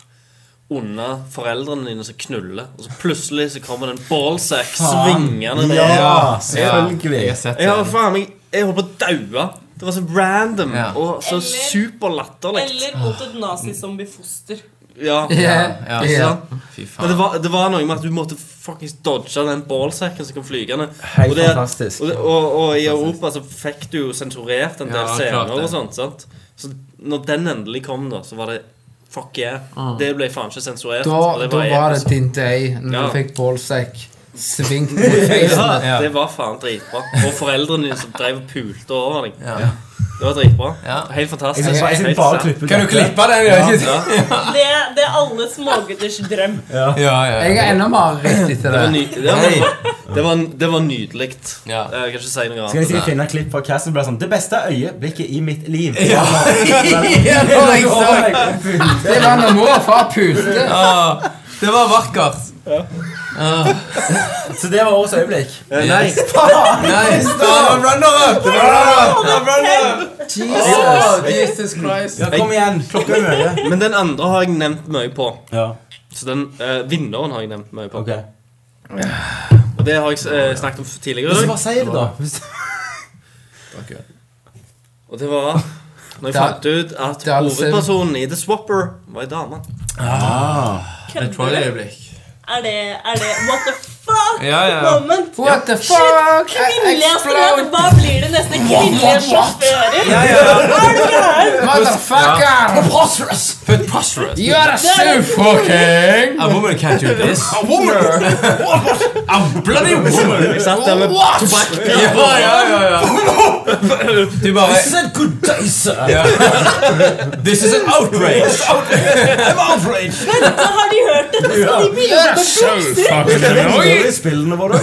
Speaker 2: under foreldrene dine som knuller, og så plutselig så kommer det en ballsack svingende ned.
Speaker 1: Ja,
Speaker 5: Jeg
Speaker 1: selvfølgelig.
Speaker 5: har sett
Speaker 2: Jeg har
Speaker 5: det.
Speaker 2: faen meg Jeg holdt på å daue. Det var så random
Speaker 5: Ja.
Speaker 2: og så
Speaker 3: Eller-
Speaker 2: superlatterlig.
Speaker 3: Eller mot et nazizombiefoster.
Speaker 2: Ja.
Speaker 5: Ja,
Speaker 2: Ikke
Speaker 5: ja.
Speaker 2: sant?
Speaker 5: Fy
Speaker 2: Men det
Speaker 5: faen.
Speaker 2: var, det var noe med at du måtte fuckings dodge den ballsacken som kom flygende.
Speaker 1: Helt
Speaker 2: Og det-
Speaker 1: fantastisk.
Speaker 2: Og, det- og, og i Europa så fikk du jo sensurert en del
Speaker 5: Ja, klart
Speaker 2: scener
Speaker 5: det.
Speaker 2: og sånt. sant? Så når den endelig kom, da, så var det fuck yeah.
Speaker 1: Mm.
Speaker 2: Det ble faen ikke sensurert.
Speaker 4: da,
Speaker 2: og
Speaker 4: da var det
Speaker 2: episk.
Speaker 4: din day når
Speaker 2: Ja.
Speaker 4: du fikk ballsekk svingt mot feisen.
Speaker 2: ja,
Speaker 5: Ja.
Speaker 2: Det var faen dritbra. Og foreldrene dine som drev og pulte over deg.
Speaker 5: Ja.
Speaker 2: Det var dritbra.
Speaker 5: Ja.
Speaker 2: Helt
Speaker 1: Jeg
Speaker 2: fantastisk.
Speaker 1: synes bare- jeg synes
Speaker 2: Helt
Speaker 1: bare
Speaker 2: sært.
Speaker 1: klippe
Speaker 5: Kan du
Speaker 1: dette.
Speaker 5: klippe den? Ja.
Speaker 3: Det, det er alle smågutters drøm.
Speaker 5: Ja, ja.
Speaker 4: Jeg er enda mer rett
Speaker 2: Det
Speaker 4: etter
Speaker 2: var,
Speaker 4: det.
Speaker 2: ny, det var, det var, det var nydelig.
Speaker 5: Ja.
Speaker 2: Jeg kan ikke si
Speaker 1: Skal
Speaker 2: noe
Speaker 1: jeg
Speaker 2: annet.
Speaker 1: sikkert finne et klipp fra Castle Blast sånn Det beste øyeblikket i mitt <laughs> liv.
Speaker 5: Ja. <laughs> Ja, det var jeg så.
Speaker 4: Det var når mor og far pulte.
Speaker 5: Ah, Det var vakkert.
Speaker 1: Så det var årets <laughs> øyeblikk.
Speaker 2: Eh, Nei,
Speaker 5: Nei, det var runner-up! Det var runner-up. Det var runner-up.
Speaker 4: Jesus, Jesus Christ.
Speaker 1: Ja, kom igjen. Klokka er mye.
Speaker 2: men den andre har jeg nevnt mye på.
Speaker 1: Ja,
Speaker 2: Så den eh, vinneren har jeg nevnt mye på.
Speaker 1: ok.
Speaker 2: Og det har jeg eh, snakket om tidligere
Speaker 1: Hvis du
Speaker 2: i dag.
Speaker 1: bare sier det, da.
Speaker 2: Og det var når jeg
Speaker 4: Da-
Speaker 2: fant ut at
Speaker 4: da-
Speaker 2: hovedpersonen i The Swapper var ei dame.
Speaker 3: Kødder du? Er det, er det What the fuck?
Speaker 5: Ja, ja.
Speaker 3: Moment.
Speaker 4: What the fuck?
Speaker 3: Kvinnelig astronaut. Hva blir det neste? Kvinnelige sjåfører?
Speaker 4: Motherfucker!
Speaker 5: Preposterous.
Speaker 4: You are so fucking
Speaker 5: A woman can't do this.
Speaker 4: a woman!
Speaker 5: <laughs> Bloody woman.
Speaker 2: Jeg satt der med tobakk.
Speaker 5: Ja, ja, ja, ja. Du bare
Speaker 1: This is a good day, sir.
Speaker 5: ja. This is an outrage.
Speaker 1: I'm outraged.
Speaker 3: Så har de hørt det. Så de
Speaker 4: You
Speaker 3: begynner
Speaker 4: are so fucking
Speaker 1: Det er noe i spillene våre.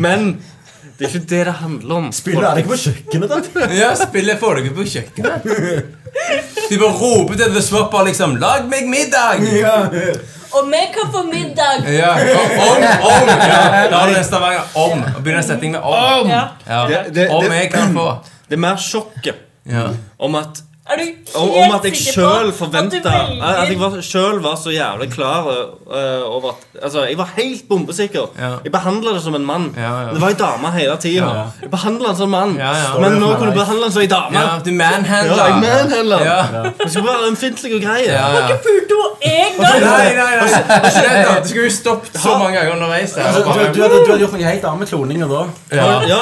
Speaker 2: Men det er ikke det det handler om.
Speaker 1: Spiller er det ikke på kjøkkenet, da?
Speaker 5: Ja, spillet får dere på kjøkkenet. De bare roper til The Swapper liksom 'Lag meg middag!' Ja,
Speaker 3: Og vi kan få middag.
Speaker 5: og Om, om! Ja, da har du neste vei. Om. Og begynner en setning med 'om'.
Speaker 3: Ja.
Speaker 5: Ja.
Speaker 2: Det- det-
Speaker 5: Om
Speaker 2: det-
Speaker 5: jeg kan få.
Speaker 2: Det er mer sjokket
Speaker 5: Ja.
Speaker 2: om at
Speaker 3: Er du
Speaker 2: Om, om at jeg
Speaker 3: helt sikker
Speaker 2: sjøl
Speaker 3: på at du
Speaker 2: forventa
Speaker 3: velger
Speaker 2: At jeg var, selv var så jævlig klar eh, over at Altså, jeg var helt bombesikker.
Speaker 5: Ja.
Speaker 2: Jeg behandla det som en mann.
Speaker 5: Ja, ja.
Speaker 2: Det var ei dame hele tida.
Speaker 5: Ja, ja.
Speaker 2: Jeg behandla den som en mann,
Speaker 5: Ja, ja.
Speaker 2: men
Speaker 1: Story
Speaker 2: nå
Speaker 1: of my
Speaker 2: kunne jeg
Speaker 1: life.
Speaker 2: behandle den som ei dame.
Speaker 5: Ja, du manhandler.
Speaker 2: Ja, jeg manhandler.
Speaker 5: Ja.
Speaker 2: Det skulle være ømfintlig og grei.
Speaker 5: Ja, ja.
Speaker 3: Pulte henne én gang!
Speaker 5: Nei, nei, nei. Det skjer da. Du skulle jo stoppet så mange ganger underveis. der.
Speaker 1: Du, du, du, hadde, du hadde gjort noe helt annet med kloninga da.
Speaker 5: Ja.
Speaker 2: Ja, jeg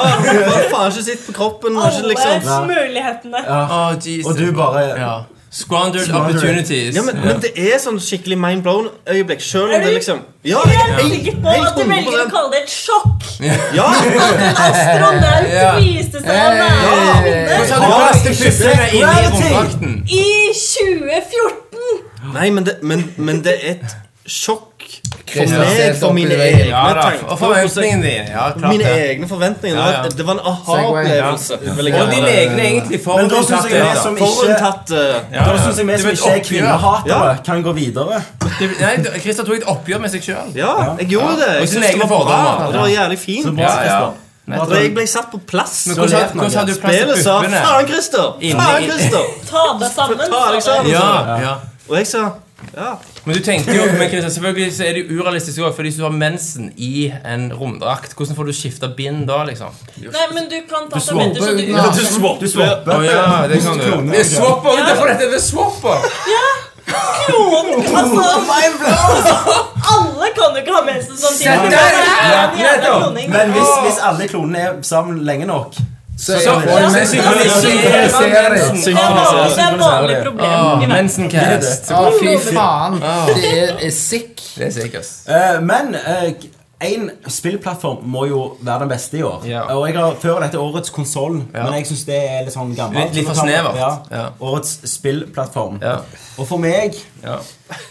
Speaker 2: har faen ikke sett på kroppen. og Ikke,
Speaker 3: Alle
Speaker 2: liksom.
Speaker 3: mulighetene.
Speaker 5: Å, Jesus.
Speaker 1: Og du bare
Speaker 5: ja. Squandered
Speaker 1: Squandered.
Speaker 5: opportunities.
Speaker 2: ja, men, men det er sånn skikkelig mind blown øyeblikk. Sjøl
Speaker 3: Er
Speaker 2: om det
Speaker 3: du
Speaker 2: liksom Ja!
Speaker 3: Helt sikker på
Speaker 2: Helt
Speaker 3: at du velger å
Speaker 2: 100%.
Speaker 3: kalle det et sjokk.
Speaker 2: ja.
Speaker 3: Astronaut
Speaker 5: Ja.
Speaker 3: viste seg å være
Speaker 5: Så
Speaker 3: kvinne
Speaker 5: hadde du plass til puppene inni
Speaker 1: Gravity.
Speaker 5: romdrakten.
Speaker 3: i 2014.
Speaker 2: Nei, men det, men, men det er et sjokk for
Speaker 4: Christian, se
Speaker 2: meg,
Speaker 4: opp
Speaker 2: for
Speaker 4: i
Speaker 2: mine
Speaker 4: veien.
Speaker 2: egne
Speaker 5: Ja da.
Speaker 2: tanker.
Speaker 5: Og forventningene dine. Ja, klart
Speaker 2: Mine
Speaker 5: det.
Speaker 2: egne forventninger.
Speaker 5: Ja, ja.
Speaker 2: Det var- Det var en aha-opplevelse. vil jeg
Speaker 5: Og
Speaker 2: kalle
Speaker 5: dine
Speaker 2: det.
Speaker 5: egne egentlig
Speaker 1: Men da synes
Speaker 5: forutinntatt.
Speaker 1: jeg vi
Speaker 5: da.
Speaker 1: som ikke
Speaker 2: Forutinntatt eh,
Speaker 1: Da synes jeg vi
Speaker 5: Det
Speaker 1: som
Speaker 5: var et
Speaker 1: ikke er
Speaker 5: oppgjør.
Speaker 1: kvinnehatere,
Speaker 2: Ja.
Speaker 1: kan gå videre.
Speaker 5: Det- Nei, du- Christer tok et oppgjør med seg sjøl.
Speaker 2: Ja, jeg gjorde det.
Speaker 5: Og
Speaker 2: Jeg
Speaker 5: sine
Speaker 2: synes det
Speaker 5: egne
Speaker 2: var bra.
Speaker 5: fordommer.
Speaker 2: og Det var jævlig fint.
Speaker 1: Bra,
Speaker 5: Ja, ja.
Speaker 1: Christer.
Speaker 2: Og Jeg ble satt på plass.
Speaker 5: Men hvordan, hvordan hadde du plass til
Speaker 2: Spillet sa
Speaker 5: puppene?
Speaker 2: 'faen, Christer'!
Speaker 5: Inni-
Speaker 2: Faen, Christer!
Speaker 3: Ta deg sammen.
Speaker 2: Ta deg
Speaker 3: sa
Speaker 2: sammen.
Speaker 3: det.
Speaker 5: Ja, ja.
Speaker 2: Og jeg sa ja.
Speaker 5: Men du tenkte jo, men Christian, selvfølgelig så er det jo urealistisk også, fordi hvis du har mensen i en romdrakt, hvordan får du skifta bind da, liksom?
Speaker 3: Nei, men du kan ta
Speaker 5: swapper
Speaker 3: tabletter så du
Speaker 4: uten å-
Speaker 3: kan
Speaker 1: Du swapper.
Speaker 5: Å ja, det kan du.
Speaker 1: Kloner.
Speaker 5: Vi swapper ut derfor dette, vi swapper!
Speaker 3: Noen, altså, alle kan jo ikke ha mensen samtidig.
Speaker 5: Sett
Speaker 3: Det er
Speaker 5: deg!
Speaker 3: en jævla
Speaker 5: Nettopp!
Speaker 3: kloning.
Speaker 1: Men hvis, hvis alle klonene er sammen lenge nok
Speaker 4: Så
Speaker 5: Så,
Speaker 4: jeg-
Speaker 5: og
Speaker 4: jeg-
Speaker 5: synkroniserer mensen.
Speaker 3: Det er vanlig- det er et vanlig problem i
Speaker 5: Åh,
Speaker 3: verden.
Speaker 5: Mensencast.
Speaker 4: Å, fy faen. Det er, er sick.
Speaker 5: Det er sikkert.
Speaker 1: Eh, Men én spillplattform må jo være den beste i år.
Speaker 5: Ja.
Speaker 1: Og jeg har før dette årets konsoll,
Speaker 5: Ja.
Speaker 1: men jeg syns det er litt sånn gammelt.
Speaker 5: Litt- litt for
Speaker 1: Så nå tar vi-
Speaker 5: snevert.
Speaker 1: Ja.
Speaker 5: Ja.
Speaker 1: Årets spillplattform.
Speaker 5: Ja.
Speaker 1: Og for meg
Speaker 5: Ja.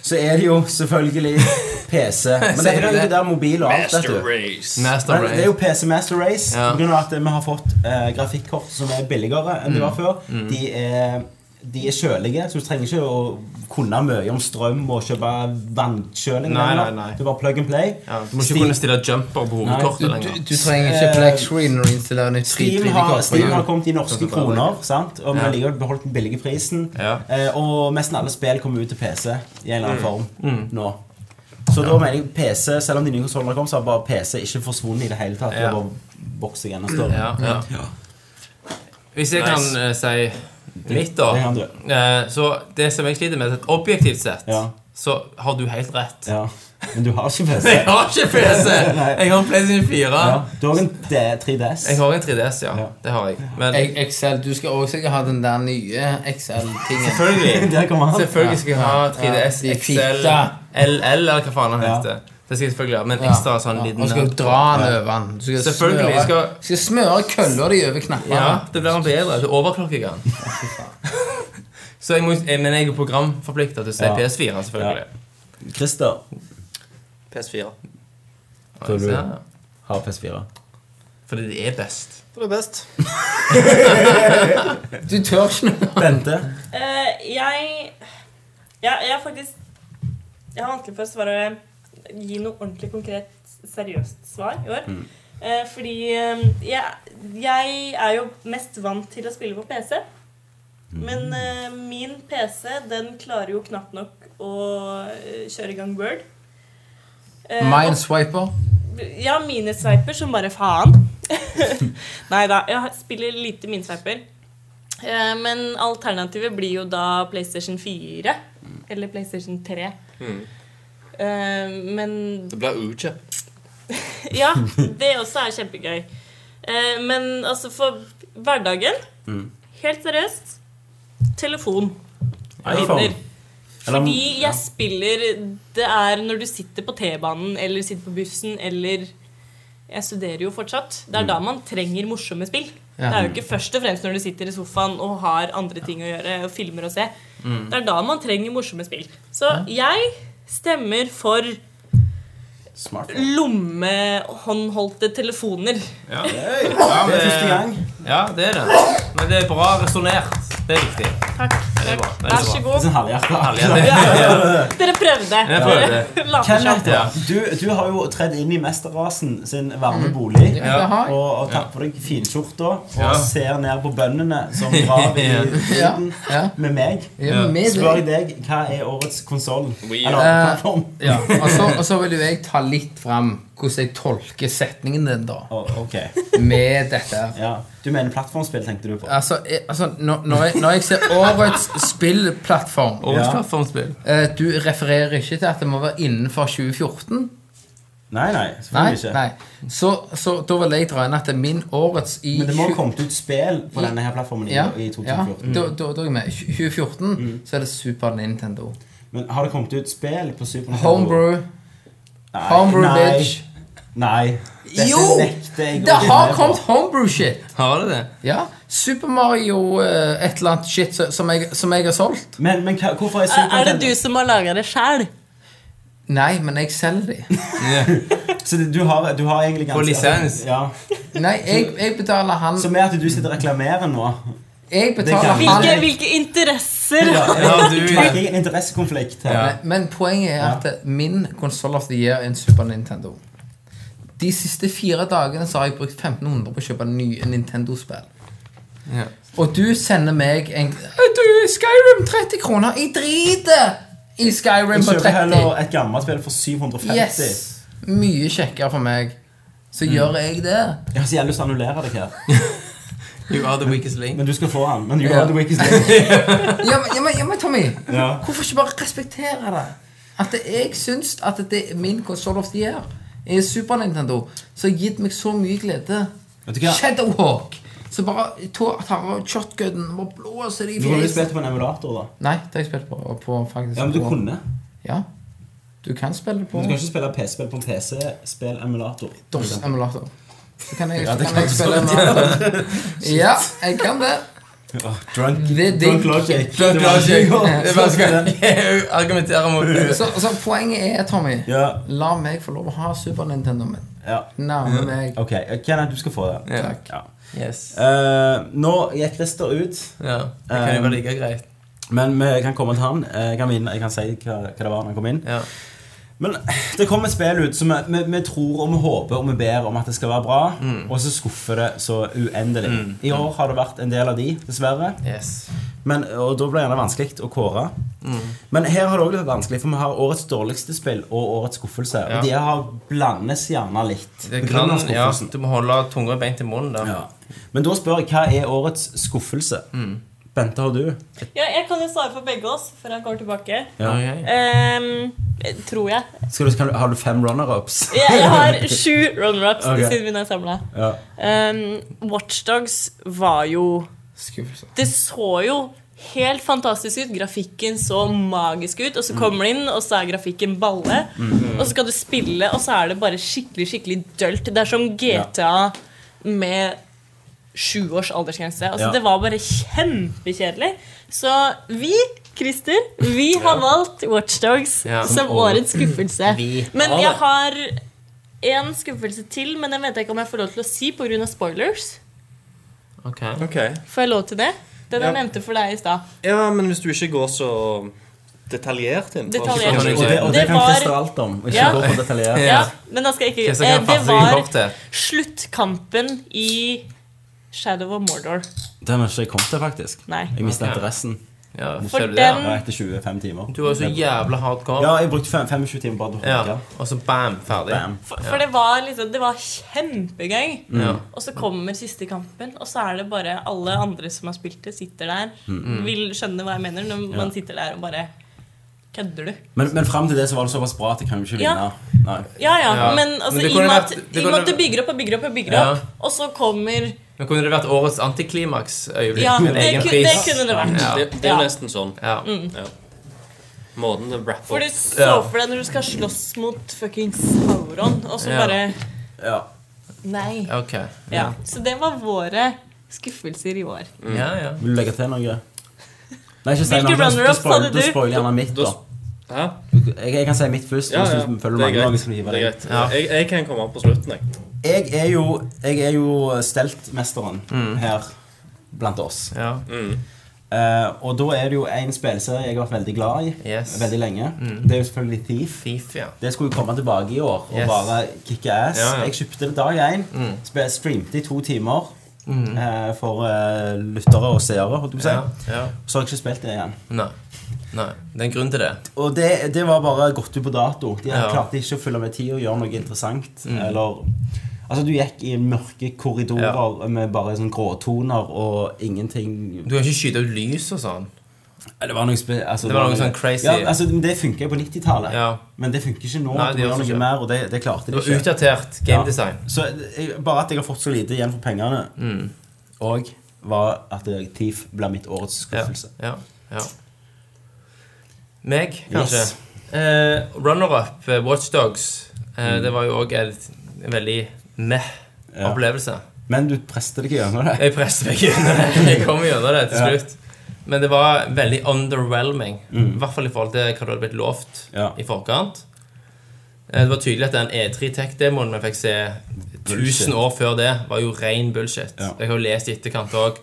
Speaker 1: så er det jo selvfølgelig
Speaker 5: <laughs>
Speaker 1: PC. Men det er jo ikke der mobil og alt, vet du.
Speaker 2: Race.
Speaker 5: Master
Speaker 1: Men det er jo
Speaker 5: Race.
Speaker 1: PC Master Race
Speaker 5: Ja.
Speaker 1: på grunn av at vi har fått eh, grafikkort som er billigere enn de
Speaker 5: Mm.
Speaker 1: var før. De, er, de er kjølige, så du trenger ikke å kunne mye om strøm og kjøpe vannkjøling.
Speaker 5: Nei,
Speaker 1: lenger.
Speaker 5: nei, nei.
Speaker 1: Du bare plug and play.
Speaker 5: Ja, du må ikke kunne stille jumper på hovedkortet
Speaker 4: Du, du,
Speaker 5: lenger.
Speaker 4: du trenger ikke black screen når du installerer nytt
Speaker 1: Steam
Speaker 4: skitbillig
Speaker 1: har,
Speaker 4: kort.
Speaker 1: Steam har kommet i norske
Speaker 4: Sånn som bare-
Speaker 1: kroner, sant? og vi
Speaker 5: Ja.
Speaker 1: har likevel beholdt den billige prisen.
Speaker 5: Ja. Mm.
Speaker 1: Eh, og nesten alle spill kommer ut til PC i en eller annen form nå. Så da mener jeg PC, selv om de nye konsollene har kommet, så har bare PC ikke forsvunnet i det hele tatt.
Speaker 5: Ja.
Speaker 1: Det bare vokser igjen og større.
Speaker 5: Ja, ja. Hvis jeg kan eh, si mitt, da
Speaker 1: Det kan du.
Speaker 5: eh, Så det som jeg sliter med, er at objektivt sett
Speaker 1: Ja.
Speaker 5: så har du
Speaker 1: <laughs>
Speaker 5: helt rett.
Speaker 1: Ja. Men du har ikke
Speaker 5: <laughs>
Speaker 1: PC.
Speaker 5: Jeg har ikke PC!
Speaker 1: Nei.
Speaker 5: Jeg har en PlayStation 4.
Speaker 1: Ja. Du har en D 3DS.
Speaker 5: Jeg har en 3DS, ja.
Speaker 1: Ja.
Speaker 5: Det har jeg. Men
Speaker 4: Jeg- Excel, Du skal også sikkert ha den der nye Excel-tingen.
Speaker 1: <laughs>
Speaker 5: selvfølgelig,
Speaker 1: Der kommer han.
Speaker 5: selvfølgelig skal jeg ha 3DS,
Speaker 4: Ja,
Speaker 5: XL,
Speaker 4: de fitte.
Speaker 5: LL, eller hva faen han
Speaker 1: Ja.
Speaker 5: heter. Det skal jeg selvfølgelig ha. Men ekstra sånn
Speaker 4: Og skal
Speaker 5: liten
Speaker 4: du dra den over den. Du skal
Speaker 5: Selvfølgelig,
Speaker 4: smøre,
Speaker 5: skal-
Speaker 4: du skal smøre kølla di over knappene.
Speaker 5: Ja, det blir han bedre. Du overklokker ikke han. <laughs> Så jeg må, jeg, men jeg er programforplikta til å si
Speaker 1: Ja.
Speaker 5: PS4, selvfølgelig.
Speaker 1: Christer
Speaker 2: PS4.
Speaker 1: Tror du-
Speaker 5: Så, ja.
Speaker 1: har PS4.
Speaker 5: Fordi det er best.
Speaker 2: Det er best.
Speaker 4: Du tør ikke noe.
Speaker 1: Bente.
Speaker 3: Eh, jeg, jeg Jeg er faktisk Jeg har vanskelig for å svare Gi noe ordentlig konkret, seriøst svar i år. Eh, fordi eh, jeg, jeg er jo mest vant til å spille på PC. Men eh, min PC den klarer jo knapt nok å eh, kjøre i gang Word. Eh, og-
Speaker 4: Mineswiper.
Speaker 3: ja, minesveiper som bare faen. <laughs> Nei da, jeg spiller lite minesveiper. Eh, Men alternativet blir jo da PlayStation 4 eller PlayStation 3. Eh, Men <laughs>
Speaker 2: Det blir Uche.
Speaker 3: ja, det også er kjempegøy. Eh, men altså, for hverdagen Helt seriøst telefon.
Speaker 1: iPhone.
Speaker 3: Vinner. Fordi jeg spiller Det er når du sitter på T-banen eller sitter på bussen eller Jeg studerer jo fortsatt. Det er da man trenger morsomme spill. Det er jo ikke først og fremst når du sitter i sofaen og har andre ting å gjøre og filmer å se. Det er da man trenger morsomme spill. Så jeg stemmer for
Speaker 1: Smartphone.
Speaker 3: lommehåndholdte telefoner.
Speaker 1: Ja, men første gang.
Speaker 5: Eh, Ja, det er det. Men det er bra resonnert. Det er viktig.
Speaker 3: Takk.
Speaker 5: er bra, det er
Speaker 3: Vær så
Speaker 5: bra.
Speaker 3: god.
Speaker 1: Sånn halvhjertet.
Speaker 5: Ja, det er-
Speaker 3: Dere prøver. prøvde.
Speaker 5: Jeg prøvde.
Speaker 3: Later som.
Speaker 1: Kenneth,
Speaker 5: Ja.
Speaker 1: du, du har jo tredd inn i mesterrasen sin varme bolig.
Speaker 4: Mm. Ja, det har jeg.
Speaker 1: Og, og tatt på deg finskjorta og
Speaker 5: Ja.
Speaker 1: ser ned på bøndene
Speaker 5: <laughs>
Speaker 1: som graver i
Speaker 5: Ja.
Speaker 1: tiden
Speaker 4: Ja.
Speaker 1: med meg.
Speaker 4: Ja, med
Speaker 1: Spør jeg
Speaker 4: det.
Speaker 1: deg, hva er årets konsoll?
Speaker 2: Wii.
Speaker 1: Eller
Speaker 4: Eh,
Speaker 1: plattform?
Speaker 4: Ja, og, så, og så vil jo jeg ta litt fram hvordan jeg tolker setningen din, da.
Speaker 1: Å, ok,
Speaker 4: Med dette. her.
Speaker 1: ja Du mener plattformspill, tenkte du på?
Speaker 4: Altså, jeg, altså når, når, jeg, når jeg ser årets spillplattform
Speaker 5: Årets plattformspill.
Speaker 4: eh, Du refererer ikke til at det må være innenfor 2014?
Speaker 1: Nei, nei.
Speaker 4: Nei?
Speaker 1: selvfølgelig ikke.
Speaker 4: nei. Så, så da vil jeg dra inn at det er min årets i
Speaker 1: Men det må ha
Speaker 4: 20
Speaker 1: kommet ut spill på denne her plattformen i,
Speaker 4: ja, Mm.
Speaker 1: i Mm.
Speaker 4: ja,
Speaker 1: 2014.
Speaker 4: da, da, da er jeg med. 2014 så er det Super Nintendo.
Speaker 1: Men har det kommet ut spill på Super Nintendo?
Speaker 4: Homebrew.
Speaker 1: Nei,
Speaker 4: Homebrew,
Speaker 1: nei,
Speaker 4: bitch.
Speaker 1: Nei. Dette
Speaker 4: Jo!
Speaker 1: nekter jeg å
Speaker 4: Det
Speaker 1: gå
Speaker 4: har
Speaker 1: med på.
Speaker 4: kommet homebrew-shit!
Speaker 5: Har du det?
Speaker 4: Ja, Super Mario eh, et eller annet shit så- som jeg, som jeg har solgt.
Speaker 1: Men, men hva- hvorfor er Super
Speaker 3: Er det
Speaker 1: Nintendo
Speaker 3: du som har laga det sjæl?
Speaker 4: Nei, men jeg selger de.
Speaker 1: Så det, du, har, du har egentlig ganske
Speaker 5: På lisens.
Speaker 1: Ja.
Speaker 4: Nei, jeg, jeg betaler han
Speaker 1: Som er at du sitter og reklamerer nå.
Speaker 4: Jeg betaler
Speaker 1: Det kan-
Speaker 4: han
Speaker 3: Hvilke, hvilke interesser
Speaker 5: Ja,
Speaker 1: Det
Speaker 5: du
Speaker 1: er en interessekonflikt her.
Speaker 5: Ja.
Speaker 4: Nei, Men poenget er at eh, min Console of the year er en Super Nintendo. De siste fire dagene så har jeg brukt 1500 på å kjøpe nye Nintendo-spill.
Speaker 5: Ja.
Speaker 4: Og du sender meg en Du, Skyrim 30 kroner! Jeg driter i Skyrim
Speaker 1: Du
Speaker 4: på
Speaker 1: kjøper
Speaker 4: 30!
Speaker 1: heller et gammelt spill for 750.
Speaker 4: Yes! Mm. Mye kjekkere for meg. Så gjør jeg det.
Speaker 1: Jeg har så jævlig lyst til å annullere deg her.
Speaker 5: You are the weakest link.
Speaker 1: Men du skal få han. Men you
Speaker 4: Ja.
Speaker 1: are the weakest link.
Speaker 4: <laughs> Ja, men, ja, men, ja, men Tommy,
Speaker 1: Ja.
Speaker 4: hvorfor ikke bare respektere det? At det- jeg syns at det er min konsol of the year er Super Nintendo, som har gitt meg så mye glede.
Speaker 1: Vet du hva?
Speaker 4: Shadowhawk! Så bare ta- tar av shotgunen og blåser det i
Speaker 1: Du kunne jo
Speaker 4: fjeset.
Speaker 1: spilt på en emulator, da.
Speaker 4: Nei, det har jeg spilt på, på faktisk.
Speaker 1: Ja, men du
Speaker 4: på-
Speaker 1: kunne.
Speaker 4: Ja. Du kan spille på
Speaker 1: Men Du kan ikke spille PC-spill på en PC-spill-emulator.
Speaker 4: DOS-emulator. Så kan jeg,
Speaker 1: Ja,
Speaker 4: så
Speaker 1: det
Speaker 4: kan
Speaker 1: kan
Speaker 4: jeg
Speaker 1: du
Speaker 4: spille emulator. Ja, jeg kan det.
Speaker 1: Drunk,
Speaker 4: Det er
Speaker 1: drunk
Speaker 4: digg.
Speaker 1: logic.
Speaker 5: Drunk
Speaker 1: <laughs>
Speaker 5: logic. Det er <laughs>
Speaker 1: Ja.
Speaker 5: vanskelig å argumentere
Speaker 9: <laughs>
Speaker 5: mot det.
Speaker 4: Så, så poenget er, Tommy,
Speaker 1: Ja.
Speaker 4: la meg få lov å ha Super Nintendo min.
Speaker 1: ja.
Speaker 4: Nærme meg.
Speaker 1: Ok, Kenneth, du skal få det.
Speaker 5: Ja.
Speaker 4: Takk.
Speaker 1: Ja.
Speaker 5: Yes.
Speaker 1: Eh, nå gikk Christer ut,
Speaker 5: Ja, det kan jo være like greit.
Speaker 1: men vi kan komme til han. Eh, Jeg kan, vinne, jeg kan si hva, hva det var når han kom inn.
Speaker 5: Ja.
Speaker 1: Men eh, det kommer et spill ut som eh, vi, vi, vi tror og vi håper og vi ber om at det skal være bra,
Speaker 5: Mm.
Speaker 1: og så skuffer det så uendelig. I år har det vært en del av de, dessverre.
Speaker 5: Yes.
Speaker 1: Men, eh, og da blir det gjerne vanskelig å kåre.
Speaker 5: Mm.
Speaker 1: Men her har det også vært vanskelig, for vi har årets dårligste spill og årets skuffelse.
Speaker 5: Ja.
Speaker 1: Og de her blandes gjerne litt.
Speaker 5: Det
Speaker 1: på
Speaker 5: kan,
Speaker 1: grunn av
Speaker 5: ja,
Speaker 1: skuffelsen.
Speaker 5: du må holde tunga beint i munnen der.
Speaker 1: Ja. Men da spør jeg, hva er årets skuffelse?
Speaker 5: Mm.
Speaker 1: Bente, har du?
Speaker 3: Ja, jeg kan jo svare for begge oss før han kommer tilbake.
Speaker 1: Ja.
Speaker 5: Ok.
Speaker 3: Ehm, tror jeg.
Speaker 1: Skal du, kan du, har du fem runner-ups?
Speaker 3: Jeg, jeg har sju runner-ups
Speaker 1: Ok.
Speaker 3: siden vi er samla.
Speaker 1: Ja.
Speaker 3: Watchdogs var jo
Speaker 4: Skuffelse.
Speaker 3: Det så jo helt fantastisk ut. Grafikken så magisk ut, og så kommer det inn, og så er grafikken balle. Og så skal du spille, og så er det bare skikkelig skikkelig dølt. Det er som GTA med sju års aldersgrense. Altså,
Speaker 1: Ja.
Speaker 3: Det var bare kjempekjedelig. Så vi, Christer, vi har valgt Watchdogs
Speaker 5: Ja.
Speaker 3: som årets skuffelse. Men
Speaker 2: har
Speaker 3: jeg
Speaker 2: det.
Speaker 3: har en skuffelse til, men den vet jeg ikke om jeg får lov til å si pga. spoilers.
Speaker 5: Ok.
Speaker 2: Ok.
Speaker 3: Får jeg lov til det? Den jeg
Speaker 2: Ja.
Speaker 3: nevnte for deg i stad.
Speaker 2: Ja, men hvis du ikke går så detaljert inn på-
Speaker 3: Detaljert.
Speaker 1: Og det, og det,
Speaker 3: Det
Speaker 1: kan
Speaker 3: var-
Speaker 1: Christer alt om. og Ikke
Speaker 3: Ja.
Speaker 1: gå for detaljert.
Speaker 5: Ja.
Speaker 3: Ja, men da skal jeg ikke
Speaker 5: Hva som
Speaker 3: eh,
Speaker 5: kan
Speaker 3: Det
Speaker 5: passe i
Speaker 3: var
Speaker 5: kortet?
Speaker 3: sluttkampen i Shadow of Mordor.
Speaker 1: Den har ikke jeg kommet til, faktisk.
Speaker 3: Nei.
Speaker 1: Jeg mistet
Speaker 5: Ok.
Speaker 1: interessen.
Speaker 5: Ja,
Speaker 3: For
Speaker 5: ser du det?
Speaker 1: Ja,
Speaker 3: den
Speaker 1: etter 25 timer.
Speaker 5: Du var jo så jævla
Speaker 1: Ja,
Speaker 5: hardcore.
Speaker 1: jeg brukte fem- 25 timer bare til å
Speaker 5: Ja.
Speaker 1: hooke.
Speaker 5: Og så bam, ferdig.
Speaker 1: Bam.
Speaker 3: For, for det var liksom Det var kjempegøy.
Speaker 5: Ja.
Speaker 3: Og så kommer siste kampen, og så er det bare alle andre som har spilt det, sitter der. Vil skjønne hva jeg mener når man sitter der og bare Kødder du?
Speaker 1: Men, men fram til det så var det såpass bra at jeg kan jo ikke vinne.
Speaker 3: Ja.
Speaker 1: Nei.
Speaker 3: Ja ja,
Speaker 5: Ja.
Speaker 3: men altså,
Speaker 5: Men
Speaker 3: i og
Speaker 5: det kunne
Speaker 3: med at,
Speaker 5: vært-
Speaker 3: i
Speaker 5: det
Speaker 3: og med
Speaker 5: kunne-
Speaker 3: at du bygger opp og bygger opp og bygger
Speaker 5: Ja.
Speaker 3: opp, og så kommer
Speaker 5: Men kunne det vært årets antiklimaksøyeblikk?
Speaker 3: Ja,
Speaker 5: med en
Speaker 3: det,
Speaker 5: egen
Speaker 3: ku-
Speaker 5: pris?
Speaker 3: det kunne Mm. det vært.
Speaker 5: Ja.
Speaker 2: Det, det er
Speaker 3: Ja.
Speaker 2: jo nesten sånn.
Speaker 5: Ja.
Speaker 2: Måten det rapper
Speaker 3: For du
Speaker 2: opp
Speaker 3: så
Speaker 5: Ja.
Speaker 3: for deg når du skal slåss mot fuckings Sauron, og så
Speaker 5: Ja.
Speaker 3: bare
Speaker 1: Ja.
Speaker 3: Nei.
Speaker 5: Ok.
Speaker 3: Ja, så det var våre skuffelser i år.
Speaker 1: Mm.
Speaker 5: Ja, ja.
Speaker 1: Vil du legge til noe? Nei, ikke si
Speaker 3: Hvilke
Speaker 1: noe. da- da
Speaker 3: runner-ups
Speaker 1: spoil-
Speaker 3: hadde
Speaker 1: Da
Speaker 3: du?
Speaker 1: spoiler gjerne mitt, da.
Speaker 2: da- Hæ?
Speaker 1: Jeg, jeg kan si mitt først.
Speaker 2: Ja,
Speaker 1: hvis du
Speaker 2: ja.
Speaker 1: føler
Speaker 2: Det er
Speaker 1: mange ganger
Speaker 2: greit.
Speaker 1: skal du hive
Speaker 2: Det er
Speaker 1: deg.
Speaker 2: greit. Jeg, jeg kan komme opp på slutten, jeg.
Speaker 1: Jeg er jo, jeg er jo steltmesteren her blant oss.
Speaker 5: ja.
Speaker 1: Eh, Eh, og da er det jo en spillserie jeg har vært veldig glad i Mm.
Speaker 5: Yes. Mm.
Speaker 1: veldig lenge. Det er jo selvfølgelig Thief.
Speaker 5: Thief, ja.
Speaker 1: Det skulle jo komme tilbake i år og
Speaker 5: Yes.
Speaker 1: bare kicke ass.
Speaker 5: Ja, Mm. ja.
Speaker 1: Jeg kjøpte det dag én. spe- Streamte i to timer eh, for eh, lyttere og seere, holdt jeg på å si.
Speaker 5: Mm. Ja, ja.
Speaker 1: Så har jeg ikke spilt det igjen.
Speaker 5: Nei. Nei. Det er en grunn til det.
Speaker 1: Og det, det var bare gått ut på dato. De
Speaker 5: Ja. Mm.
Speaker 1: klarte ikke å følge med tida og gjøre noe interessant. Eller Altså, du gikk i mørke korridorer med bare sånn gråtoner og ingenting
Speaker 5: Du kan ikke skyte ut lys og sånn.
Speaker 1: Ja, Det var noe, spe altså,
Speaker 5: Det var noe sånn crazy-
Speaker 1: ja, altså, men Det funker jo på 90-tallet.
Speaker 5: Ja.
Speaker 1: Men det funker ikke nå.
Speaker 5: Nei,
Speaker 1: det
Speaker 5: det
Speaker 1: må
Speaker 5: gjør
Speaker 1: gjøre
Speaker 5: ikke.
Speaker 1: noe mer, og det, det klarte
Speaker 5: Det
Speaker 1: de
Speaker 5: var
Speaker 1: ikke.
Speaker 5: utdatert gamedesign.
Speaker 1: Ja. Så jeg, bare at jeg har fått så lite igjen for pengene,
Speaker 5: Mm.
Speaker 1: og var at eh, Thief ble mitt årets
Speaker 5: Ja.
Speaker 1: skuffelse.
Speaker 5: ja. ja. Meg, kanskje.
Speaker 1: Yes.
Speaker 5: Eh, Runner-up, eh, Watch Dogs. Eh, Det var jo òg en veldig
Speaker 1: Mm. Ja.
Speaker 5: meh-opplevelse.
Speaker 1: Men du prestet deg gjennom det.
Speaker 5: <laughs> Jeg presser meg gjennom det. <laughs> Jeg kom gjennom det til slutt. Men det var veldig underwhelming. I hvert fall i forhold til hva du hadde blitt lovt
Speaker 1: Mm. Ja.
Speaker 5: i forkant. Eh, Det var tydelig at den E3 Tech-demoen vi fikk se
Speaker 1: Bullshit.
Speaker 5: 1000 år før det, var jo ren bullshit.
Speaker 1: Ja.
Speaker 5: Jeg har jo lest i etterkant òg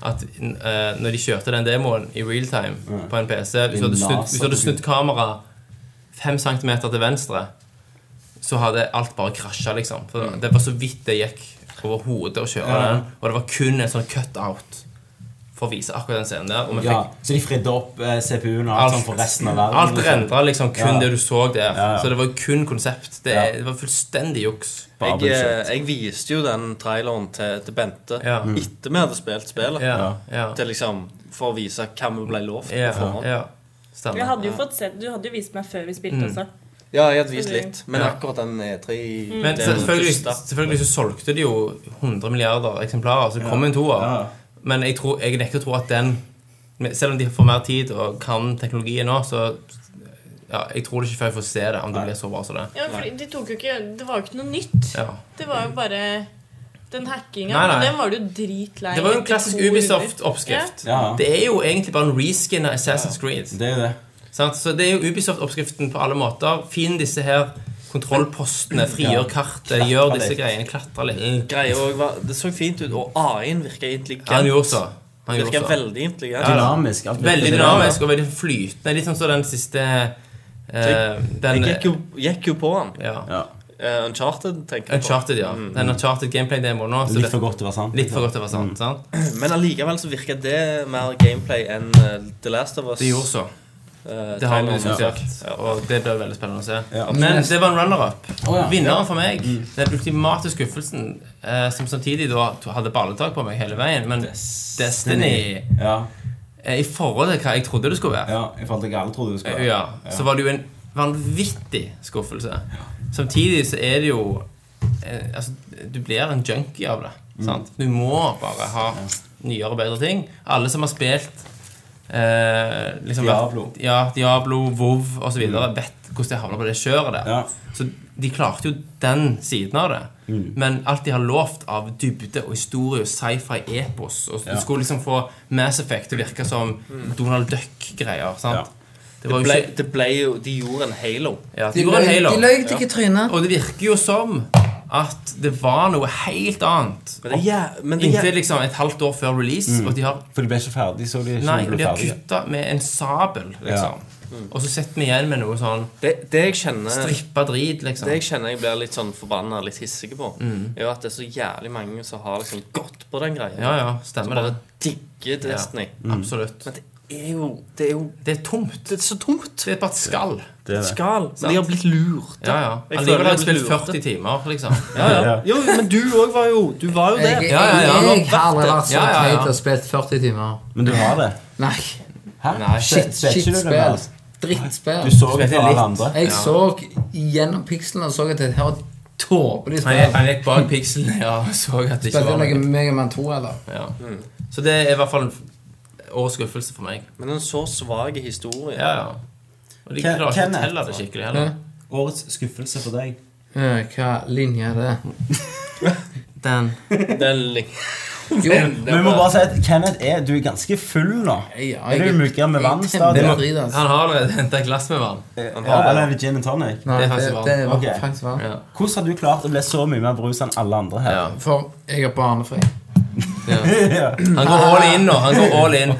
Speaker 5: at eh, når de kjørte den demoen i real time på en PC Hvis du hadde snudd, hvis du hadde snudd kameraet fem centimeter til venstre, så hadde alt bare krasja, liksom. For
Speaker 1: Mm.
Speaker 5: Det var så vidt det gikk over hodet å kjøre den. Og det var kun en sånn cut-out for å vise akkurat den scenen der. Og vi
Speaker 1: Ja,
Speaker 5: fikk
Speaker 1: så de fridde opp eh, CPU-en og alt, sånn for resten av verden.
Speaker 5: alt rendra liksom kun
Speaker 1: Ja.
Speaker 5: det du så der.
Speaker 1: ja.
Speaker 5: Så det var kun konsept. Det,
Speaker 1: Ja.
Speaker 5: det var fullstendig juks.
Speaker 1: Bare
Speaker 2: Jeg, eh,
Speaker 1: bullshit.
Speaker 2: jeg viste jo den traileren til, til Bente
Speaker 5: Ja. Mm.
Speaker 2: etter vi hadde spilt spillet.
Speaker 5: Ja, ja.
Speaker 2: Til liksom, for å vise hva vi ble lovt
Speaker 5: Ja,
Speaker 2: på forhånd.
Speaker 5: ja.
Speaker 3: Jeg
Speaker 5: Stemmer.
Speaker 3: hadde jo fått sett, Du hadde jo vist meg før vi spilte
Speaker 5: Mm.
Speaker 3: også.
Speaker 2: Ja, jeg hadde vist litt, men
Speaker 5: Ja.
Speaker 2: akkurat den E3
Speaker 5: Men
Speaker 2: det er den
Speaker 5: selvfølgelig,
Speaker 2: første.
Speaker 5: selvfølgelig så solgte de jo 100 milliarder eksemplarer, så det kom en toer.
Speaker 1: Ja.
Speaker 5: Men jeg, tror, jeg nekter å tro at den men Selv om de får mer tid og kan teknologien nå, så ja, Jeg tror det ikke før jeg får se det, om det blir så bra som det.
Speaker 3: Ja, men fordi de tok jo ikke, Det var jo ikke noe nytt.
Speaker 5: Ja.
Speaker 3: Det var jo bare den hackinga.
Speaker 5: Nei, nei.
Speaker 3: men Den var du dritlei
Speaker 5: Det var jo en
Speaker 3: etter to
Speaker 5: klassisk
Speaker 3: runder.
Speaker 5: Ubisoft-oppskrift.
Speaker 1: Ja.
Speaker 5: Det er jo egentlig bare en reskin av Assassin's Creed.
Speaker 1: Det er det.
Speaker 5: Sant? Så det er jo Ubisoft-oppskriften på alle måter. Finn disse her kontrollpostene, frigjør kartet, gjør disse
Speaker 1: litt.
Speaker 5: greiene, klatre litt.
Speaker 2: Greia også var, Det så fint ut, og AI-en virka intelligent.
Speaker 5: Han gjorde så. Han gjorde
Speaker 2: Virka
Speaker 5: så.
Speaker 2: veldig intelligent.
Speaker 1: Dynamisk. alt
Speaker 5: Veldig
Speaker 1: virker-
Speaker 5: dynamisk og veldig flytende. Litt sånn som den siste eh,
Speaker 2: Jeg
Speaker 5: den,
Speaker 2: gikk jo, gikk jo på han.
Speaker 5: ja.
Speaker 1: Ja.
Speaker 2: Eh, Uncharted, tenker jeg på.
Speaker 5: Uncharted, ja. Den Uncharted gameplay-demoen nå. så
Speaker 1: Litt
Speaker 5: det-
Speaker 1: for godt Mm. til å være sant.
Speaker 5: Litt for godt til å være sant. sant?
Speaker 2: Men allikevel så virka det mer gameplay enn eh, The Last of Us.
Speaker 5: Det gjorde så.
Speaker 2: eh,
Speaker 5: Det har vi
Speaker 2: traileren.
Speaker 5: diskutert, og det blir veldig spennende å se.
Speaker 1: Ja.
Speaker 5: Men det var en runner-up.
Speaker 1: ja. Mm.
Speaker 5: Vinneren for meg, den ultimate skuffelsen, eh, som samtidig da hadde balletak på meg hele veien, men Destiny
Speaker 1: Ja,
Speaker 5: eh, I forhold til hva jeg trodde det skulle være,
Speaker 1: ja, i forhold til hva alle trodde du skulle
Speaker 5: Eh, ja, så var det jo en vanvittig skuffelse. Samtidig så er det jo eh, altså, Du blir en junkie av det.
Speaker 1: Mm.
Speaker 5: Sant? Du må bare ha nyere og bedre ting. Alle som har spilt eh, liksom,
Speaker 1: Diablo. Mm.
Speaker 5: Ja, Diablo, Vov osv., videre vet hvordan de havner på det kjøret der.
Speaker 1: Ja.
Speaker 5: Så de klarte jo den siden av det.
Speaker 1: Mm.
Speaker 5: Men alt de har lovt av dybde og historie og sci-fi epos og Du
Speaker 1: Ja.
Speaker 5: skulle liksom få Mass Effect til å virke som Donald Duck-greier. sant?
Speaker 1: Ja.
Speaker 5: Det
Speaker 2: Det
Speaker 5: var jo
Speaker 2: ble,
Speaker 5: ikke
Speaker 2: det ble jo De gjorde en halo.
Speaker 5: ja, De
Speaker 9: De
Speaker 5: gjorde en
Speaker 9: løy
Speaker 5: halo.
Speaker 9: de løy deg i trynet.
Speaker 5: Og det virker jo som at det var noe helt annet.
Speaker 2: Men det, er jæ- men det, er
Speaker 5: Inntil
Speaker 2: jæ-
Speaker 5: liksom et halvt år før release, og de har
Speaker 1: For de ble ikke ferdig, så de ikke
Speaker 5: Nei, og
Speaker 1: ble
Speaker 5: de har
Speaker 1: ferdige.
Speaker 5: kutta med en sabel, liksom.
Speaker 2: Mm.
Speaker 5: Og så sitter vi igjen med noe sånn
Speaker 2: det, det jeg kjenner
Speaker 5: strippa drit, liksom.
Speaker 2: det jeg kjenner jeg blir litt sånn forbanna litt hissig på, er jo at det er så jævlig mange som har liksom gått på den greia.
Speaker 5: Mm. Ja, ja, stemmer det.
Speaker 2: Bare digger Destiny.
Speaker 5: Ja, absolutt.
Speaker 2: Men det er jo Det er jo
Speaker 5: Det er tomt. Det er så tomt. Det er bare et skall.
Speaker 1: Det er det.
Speaker 2: skal. Men de har blitt lurt.
Speaker 5: Ja, ja.
Speaker 2: Jeg føler
Speaker 5: Allikevel har jeg
Speaker 2: jeg
Speaker 5: spilt
Speaker 2: blir lurt.
Speaker 5: 40 timer,
Speaker 2: <laughs>
Speaker 5: liksom.
Speaker 2: Ja, ja. Jo, men du òg var jo Du var jo
Speaker 9: Jeg,
Speaker 2: det.
Speaker 5: Ja, ja, ja.
Speaker 9: jeg har aldri vært så
Speaker 5: Ja, ja, ja.
Speaker 9: teit og spilt 40 timer.
Speaker 1: Men du har det.
Speaker 9: Nei.
Speaker 1: Hæ?
Speaker 5: Nei,
Speaker 1: Shit,
Speaker 9: Shit,
Speaker 1: spilte du det med
Speaker 9: spill.
Speaker 1: oss? Du
Speaker 9: Drittspill.
Speaker 1: så
Speaker 5: Spilte
Speaker 1: for
Speaker 5: litt.
Speaker 1: alle andre.
Speaker 9: Jeg så gjennom pikslene og så at det her var tåpelig
Speaker 5: Han gikk-
Speaker 9: spill.
Speaker 5: Han gikk bak pikselen ja, og så at det
Speaker 9: Spilte
Speaker 5: ikke var
Speaker 9: noe
Speaker 5: noe.
Speaker 9: Megaman 2, eller?
Speaker 5: Ja.
Speaker 2: Mm.
Speaker 5: Så det er i hvert fall årets skuffelse for meg.
Speaker 2: Men en så svak historie.
Speaker 5: Ja, ja. Og de
Speaker 1: Ken-
Speaker 5: klarer ikke å
Speaker 1: Kenneth.
Speaker 5: fortelle det skikkelig heller.
Speaker 1: Årets skuffelse for deg.
Speaker 9: Eh, Hva linje
Speaker 1: <laughs>
Speaker 9: er det?
Speaker 5: Mm. Den.
Speaker 2: Det er litt-
Speaker 9: Jo,
Speaker 1: Men vi må bare si at Kenneth er Du er ganske full nå.
Speaker 9: Ja,
Speaker 1: Er
Speaker 9: jeg-
Speaker 1: du mugger med vann
Speaker 9: jeg-
Speaker 1: stadig? Eh,
Speaker 9: Det må- Drit, altså.
Speaker 5: Han har allerede henta glass med vann.
Speaker 1: Ja, eller er det gin and tonic?
Speaker 9: Nei,
Speaker 5: Det er
Speaker 9: det,
Speaker 5: faktisk
Speaker 9: det,
Speaker 5: vann.
Speaker 9: var
Speaker 1: Ok.
Speaker 9: faktisk vann.
Speaker 5: Ja.
Speaker 1: Hvordan har du klart å bli så mye mer brus enn alle andre her?
Speaker 5: Ja.
Speaker 9: For jeg er barnefri.
Speaker 5: Han går all in nå. Han går all in.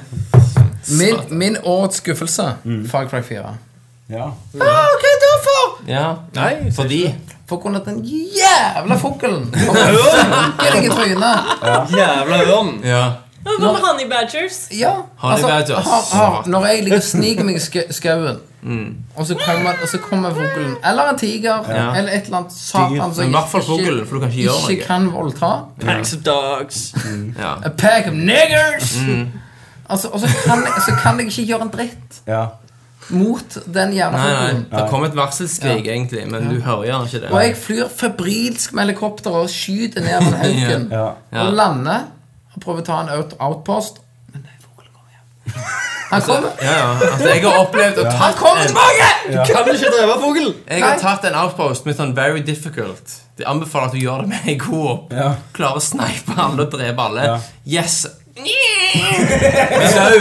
Speaker 4: Min, min årets skuffelse
Speaker 5: Mm.
Speaker 4: Far Cry 4.
Speaker 1: <laughs> Ja.
Speaker 4: Ah, hva er det for?
Speaker 5: Ja. Nei, fordi
Speaker 4: For grunn av den jævla fuglen!
Speaker 5: <laughs>
Speaker 4: Og den funker deg i trynet.
Speaker 2: Jævla ørn!
Speaker 5: ja.
Speaker 3: Hva med Honey Badgers?
Speaker 4: Ja.
Speaker 5: Har
Speaker 1: Altså,
Speaker 5: de vært oss?
Speaker 4: har- har- når jeg
Speaker 5: <laughs>
Speaker 4: ligger og sniker meg i sk- skauen,
Speaker 5: Mm.
Speaker 4: og så kommer, og så kommer fuglen Eller en tiger, eller et eller annet satan som
Speaker 5: Men i hvert fall
Speaker 4: ikke-
Speaker 5: fuglen, for du kan ikke gjøre noe.
Speaker 4: ikke kan voldta.
Speaker 2: Packs of dogs.
Speaker 5: ja.
Speaker 4: A pack of niggers!
Speaker 5: Mm.
Speaker 4: Altså, og så kan, jeg- så kan jeg ikke gjøre en dritt
Speaker 1: ja.
Speaker 4: mot den jævla
Speaker 5: Nei, nei.
Speaker 4: fuglen.
Speaker 5: Det kom et varselskrig, egentlig, men du hører gjerne ikke det.
Speaker 4: Og jeg flyr febrilsk med helikopter og skyter ned den <laughs> hauken.
Speaker 1: Ja.
Speaker 5: Ja.
Speaker 4: Og lander og prøver å ta en out outpost. Men nei, fuglen kommer hjem.
Speaker 5: Ja, ja. Altså, jeg har opplevd å ta
Speaker 4: Han kommer, han kommer tilbake!
Speaker 2: Kan vel ikke drepe fugl?
Speaker 5: Jeg har tatt en outpost med sånn very difficult. Jeg anbefaler at du gjør det med en god
Speaker 1: Ja.
Speaker 5: Klarer å snipe alle og drepe alle.
Speaker 1: Ja.
Speaker 5: <laughs> Yes! Sau!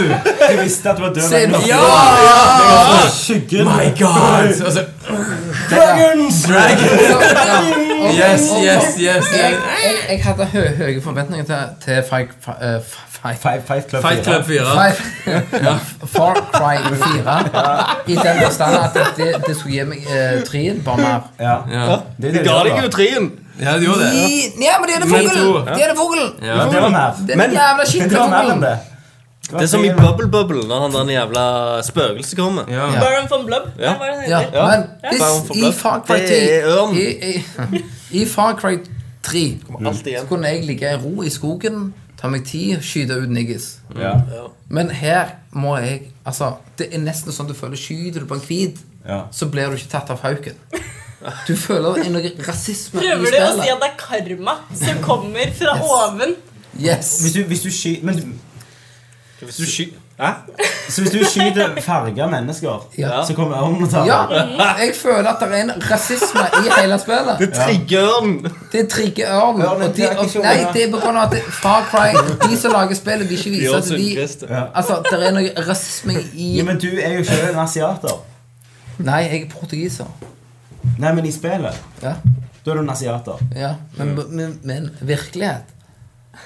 Speaker 1: Du visste at du var død.
Speaker 4: Ser du?
Speaker 1: men-
Speaker 5: Ja!
Speaker 1: Skyggen.
Speaker 5: Oh My God! Altså, Og så-
Speaker 1: Dragons!
Speaker 4: Og-
Speaker 5: yes,
Speaker 4: og-
Speaker 5: yes, yes.
Speaker 4: Jeg,
Speaker 5: yes.
Speaker 4: jeg, jeg hadde hø høye forventninger til, til Fight, Fi- eh, Fi- Fi-
Speaker 1: Fight, fight Club 4.
Speaker 5: Fight Club 4.
Speaker 4: Fi- Far Cry 4. I den forstand at det, det skulle gi meg eh, trien, bare mer.
Speaker 1: Ja.
Speaker 5: Ja.
Speaker 1: Det er det
Speaker 2: Ga
Speaker 1: gjør,
Speaker 2: deg
Speaker 1: da.
Speaker 2: jo trien.
Speaker 5: ja, du gjorde det.
Speaker 4: I, ja, men det er det
Speaker 5: Men to,
Speaker 4: fuglen!
Speaker 5: ja.
Speaker 4: Det er det fuglen!
Speaker 1: Ja, det var mer.
Speaker 4: Den jævla skitten
Speaker 1: det var mer enn det.
Speaker 2: Det er som i Bubble Bubble når han der jævla spøkelset kommer.
Speaker 5: Ja.
Speaker 3: Baron von Blub?
Speaker 2: Ja.
Speaker 3: Hva var det
Speaker 4: Ja,
Speaker 3: han heter?
Speaker 4: men
Speaker 2: Baron
Speaker 4: hvis
Speaker 2: for
Speaker 4: i
Speaker 2: Blood.
Speaker 4: Far Cry
Speaker 2: Det
Speaker 4: 3
Speaker 2: er ørn.
Speaker 4: i, i, I Far Cry 3
Speaker 2: Alt
Speaker 4: så
Speaker 2: igjen.
Speaker 4: kunne jeg ligge i ro i skogen, ta meg tid, skyte ut niggis.
Speaker 1: Ja.
Speaker 4: Men her må jeg Altså, det er nesten sånn du føler Skyter du på en hvit,
Speaker 1: Ja.
Speaker 4: så blir du ikke tatt av hauken. Du føler det er noe rasisme i
Speaker 3: Prøver du å si at
Speaker 4: spillet.
Speaker 3: det er karma som kommer fra oven?
Speaker 4: Yes.
Speaker 1: Hvis du, hvis du sky... Men
Speaker 2: Hvis du skyter
Speaker 1: Så hvis du skyter farga mennesker,
Speaker 4: Ja.
Speaker 1: så kommer ørnen og tar
Speaker 4: Ja,
Speaker 1: deg?
Speaker 4: jeg føler at det er en rasisme i hele spillet.
Speaker 2: Trigger den!
Speaker 4: Det trigger ørn.
Speaker 1: Ørnen
Speaker 4: Og de,
Speaker 1: trekker
Speaker 4: og,
Speaker 1: ikke
Speaker 4: nei,
Speaker 1: over.
Speaker 4: det er på grunn av at det- Far Cry, de som lager spillet, vil ikke vise
Speaker 2: Gjør
Speaker 4: at de
Speaker 2: sunnkrystet.
Speaker 4: Altså, det er noe rasisme i
Speaker 1: Ja, men du er jo ikke en asiater.
Speaker 4: Nei, jeg er portugiser.
Speaker 1: Nei, men i spillet
Speaker 4: Ja,
Speaker 1: Da er du en asiater.
Speaker 4: ja. Men, men, men virkelighet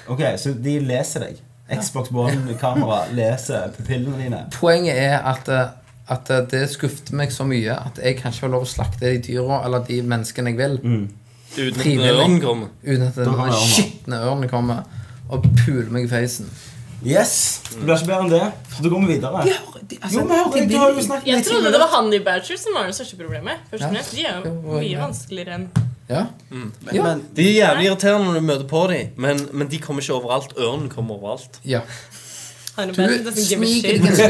Speaker 1: Ok, Så de leser deg. Xbox One-kamera leser pupillene dine.
Speaker 4: Poenget er at, eh, at eh, det skuffet meg så mye at jeg kan ikke få lov å slakte de dyra eller de menneskene jeg vil,
Speaker 1: Mm.
Speaker 2: Uten at
Speaker 4: Frivillig.
Speaker 2: ørnen kommer.
Speaker 4: uten at
Speaker 1: kommer
Speaker 4: den
Speaker 1: ørnen.
Speaker 4: skitne ørnen kommer og puler meg i feisen.
Speaker 1: Yes! Det blir ikke bedre enn det. Så da går vi videre.
Speaker 4: De har- de- altså,
Speaker 1: Jo, men hør,
Speaker 4: de
Speaker 1: du
Speaker 4: vil
Speaker 1: har jo
Speaker 4: ikke.
Speaker 1: snakket
Speaker 3: Jeg
Speaker 1: litt
Speaker 3: trodde det
Speaker 1: tidligere.
Speaker 3: var Honey Badgers som var det største problemet. Først og
Speaker 4: Ja.
Speaker 3: fremst. De er jo
Speaker 4: Jo,
Speaker 3: mye
Speaker 4: ja.
Speaker 3: vanskeligere enn
Speaker 4: Ja. Ja.
Speaker 1: Men,
Speaker 2: De er jævlig irriterende når du møter på dem, men, men de kommer ikke overalt. Ørnen kommer overalt.
Speaker 4: ja.
Speaker 3: Honey
Speaker 4: Du
Speaker 3: Badgers. doesn't give a
Speaker 4: smiker
Speaker 3: shit.
Speaker 4: deg en sko.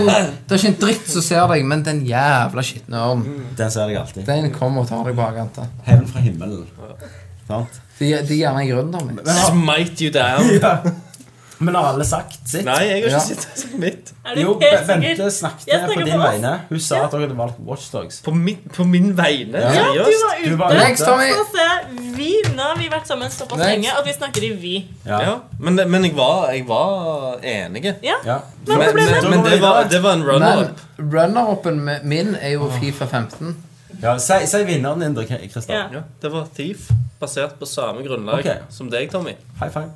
Speaker 4: Det er ikke en dritt som ser deg, men den jævla skitne ørnen,
Speaker 1: den ser jeg alltid.
Speaker 4: den kommer og tar deg bakante.
Speaker 1: Hevn fra himmelen. Sant?
Speaker 4: De, de er gjerne gründere mine.
Speaker 2: Smite you down.
Speaker 1: Men har alle sagt sitt?
Speaker 2: Nei, jeg har
Speaker 4: Ja.
Speaker 2: ikke sett det som mitt.
Speaker 3: Er du
Speaker 1: Jo,
Speaker 3: helt
Speaker 1: Bente
Speaker 3: sikker? Jeg
Speaker 1: snakket
Speaker 3: snakker
Speaker 1: på
Speaker 3: på
Speaker 1: din
Speaker 3: oss.
Speaker 1: vegne. Hun sa at dere hadde valgt Watchdogs.
Speaker 2: På, min- på min vegne.
Speaker 3: Ja, du
Speaker 2: Seriøst.
Speaker 3: var
Speaker 1: Du
Speaker 3: ute.
Speaker 1: var
Speaker 4: Next,
Speaker 1: ute.
Speaker 4: Tommy!
Speaker 3: Få se. Vi, nå har vi vært sammen såpass
Speaker 4: Next.
Speaker 3: lenge at vi snakker i vi.
Speaker 1: Ja.
Speaker 2: Ja, men, det- men jeg var, jeg var enige.
Speaker 3: Ja.
Speaker 1: Ja.
Speaker 3: Hva er
Speaker 2: Men, men,
Speaker 3: problemet?
Speaker 2: men det, var, det var en
Speaker 4: Men
Speaker 2: run-up.
Speaker 4: runner-upen min er jo Fifa 15.
Speaker 1: Ja, si, si vinneren din, da, Kristian.
Speaker 3: Ja.
Speaker 2: Ja, det var Thief, basert på samme grunnlag
Speaker 1: Ok.
Speaker 2: som deg, Tommy.
Speaker 1: High five.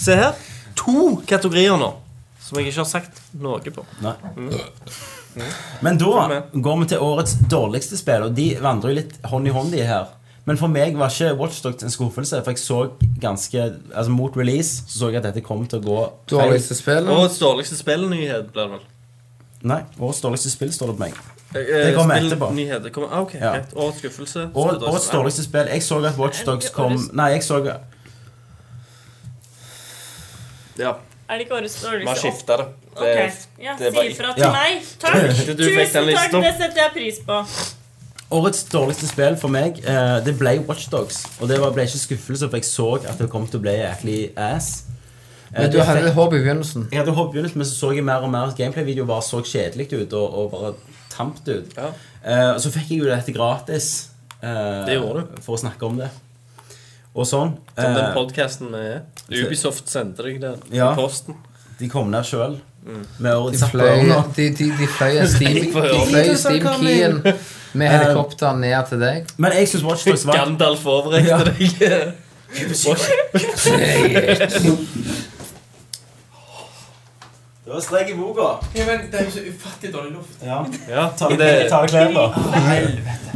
Speaker 2: Se her. To kategorier nå som jeg ikke har sagt noe på.
Speaker 1: Nei. Men da går vi til årets dårligste spill, og de vandrer jo litt hånd i hånd, de her. Men for meg var ikke Watchdogs en skuffelse, for jeg så ganske Altså mot release så så jeg at dette kom til å gå feil.
Speaker 4: Dårligste spillet.
Speaker 2: Årets dårligste spillnyhet blir det vel.
Speaker 1: Nei, årets dårligste spill står det på meg.
Speaker 2: Eh,
Speaker 1: Det kommer etterpå.
Speaker 2: spillnyhet, det kommer- ah, ok,
Speaker 1: Ja.
Speaker 2: greit. Årets skuffelse. så
Speaker 1: År,
Speaker 2: da-
Speaker 1: årets dårligste spill Jeg så at Watchdogs
Speaker 3: Er det
Speaker 1: kom
Speaker 3: årets-
Speaker 1: Nei, jeg så
Speaker 2: Ja,
Speaker 3: Er det ikke årets
Speaker 2: vi har
Speaker 3: dårligste
Speaker 2: skifta det.
Speaker 3: Ok,
Speaker 2: det
Speaker 3: ja,
Speaker 2: eh, det
Speaker 3: Si
Speaker 2: var
Speaker 3: ifra
Speaker 1: ja.
Speaker 3: til meg. Takk.
Speaker 2: Du fikk den
Speaker 3: Tusen takk,
Speaker 2: lista.
Speaker 3: det setter jeg pris på.
Speaker 1: Årets dårligste spill for meg, eh, det ble Watchdogs. Og det var, ble ikke skuffelse, for jeg så at det kom til å bli jæklig ass. Eh,
Speaker 4: Men du
Speaker 1: det fikk-
Speaker 4: hadde håp i begynnelsen.
Speaker 1: Jeg hadde håpet begynnelsen, men så så jeg mer og mer at gameplay-videoer bare så kjedelig ut og, og bare tampt ut.
Speaker 2: Ja.
Speaker 1: Eh, og så fikk jeg jo dette gratis eh,
Speaker 2: Det gjorde
Speaker 1: for å snakke om det. Og sånn.
Speaker 2: Som den
Speaker 1: Eh,
Speaker 2: podkasten med Ubisoft sendte deg der
Speaker 1: Ja.
Speaker 2: i posten.
Speaker 1: Eh, de kom ned sjøl
Speaker 2: Mm.
Speaker 1: med
Speaker 4: De
Speaker 1: årets app på
Speaker 4: fløy
Speaker 1: ørna.
Speaker 4: de, de, de fløy Steam-
Speaker 2: på
Speaker 4: de
Speaker 2: ørnen.
Speaker 4: fløy Steam-keyen med helikopter ned til deg.
Speaker 1: Men jeg syns Watchdogs var
Speaker 2: Gandalf overrekte deg. <laughs>
Speaker 1: Det var strek i boka.
Speaker 5: Ja, men det er jo så ufattelig dårlig luft.
Speaker 1: Ja.
Speaker 2: Ja,
Speaker 1: Ta
Speaker 2: det,
Speaker 1: det- ta det klær på.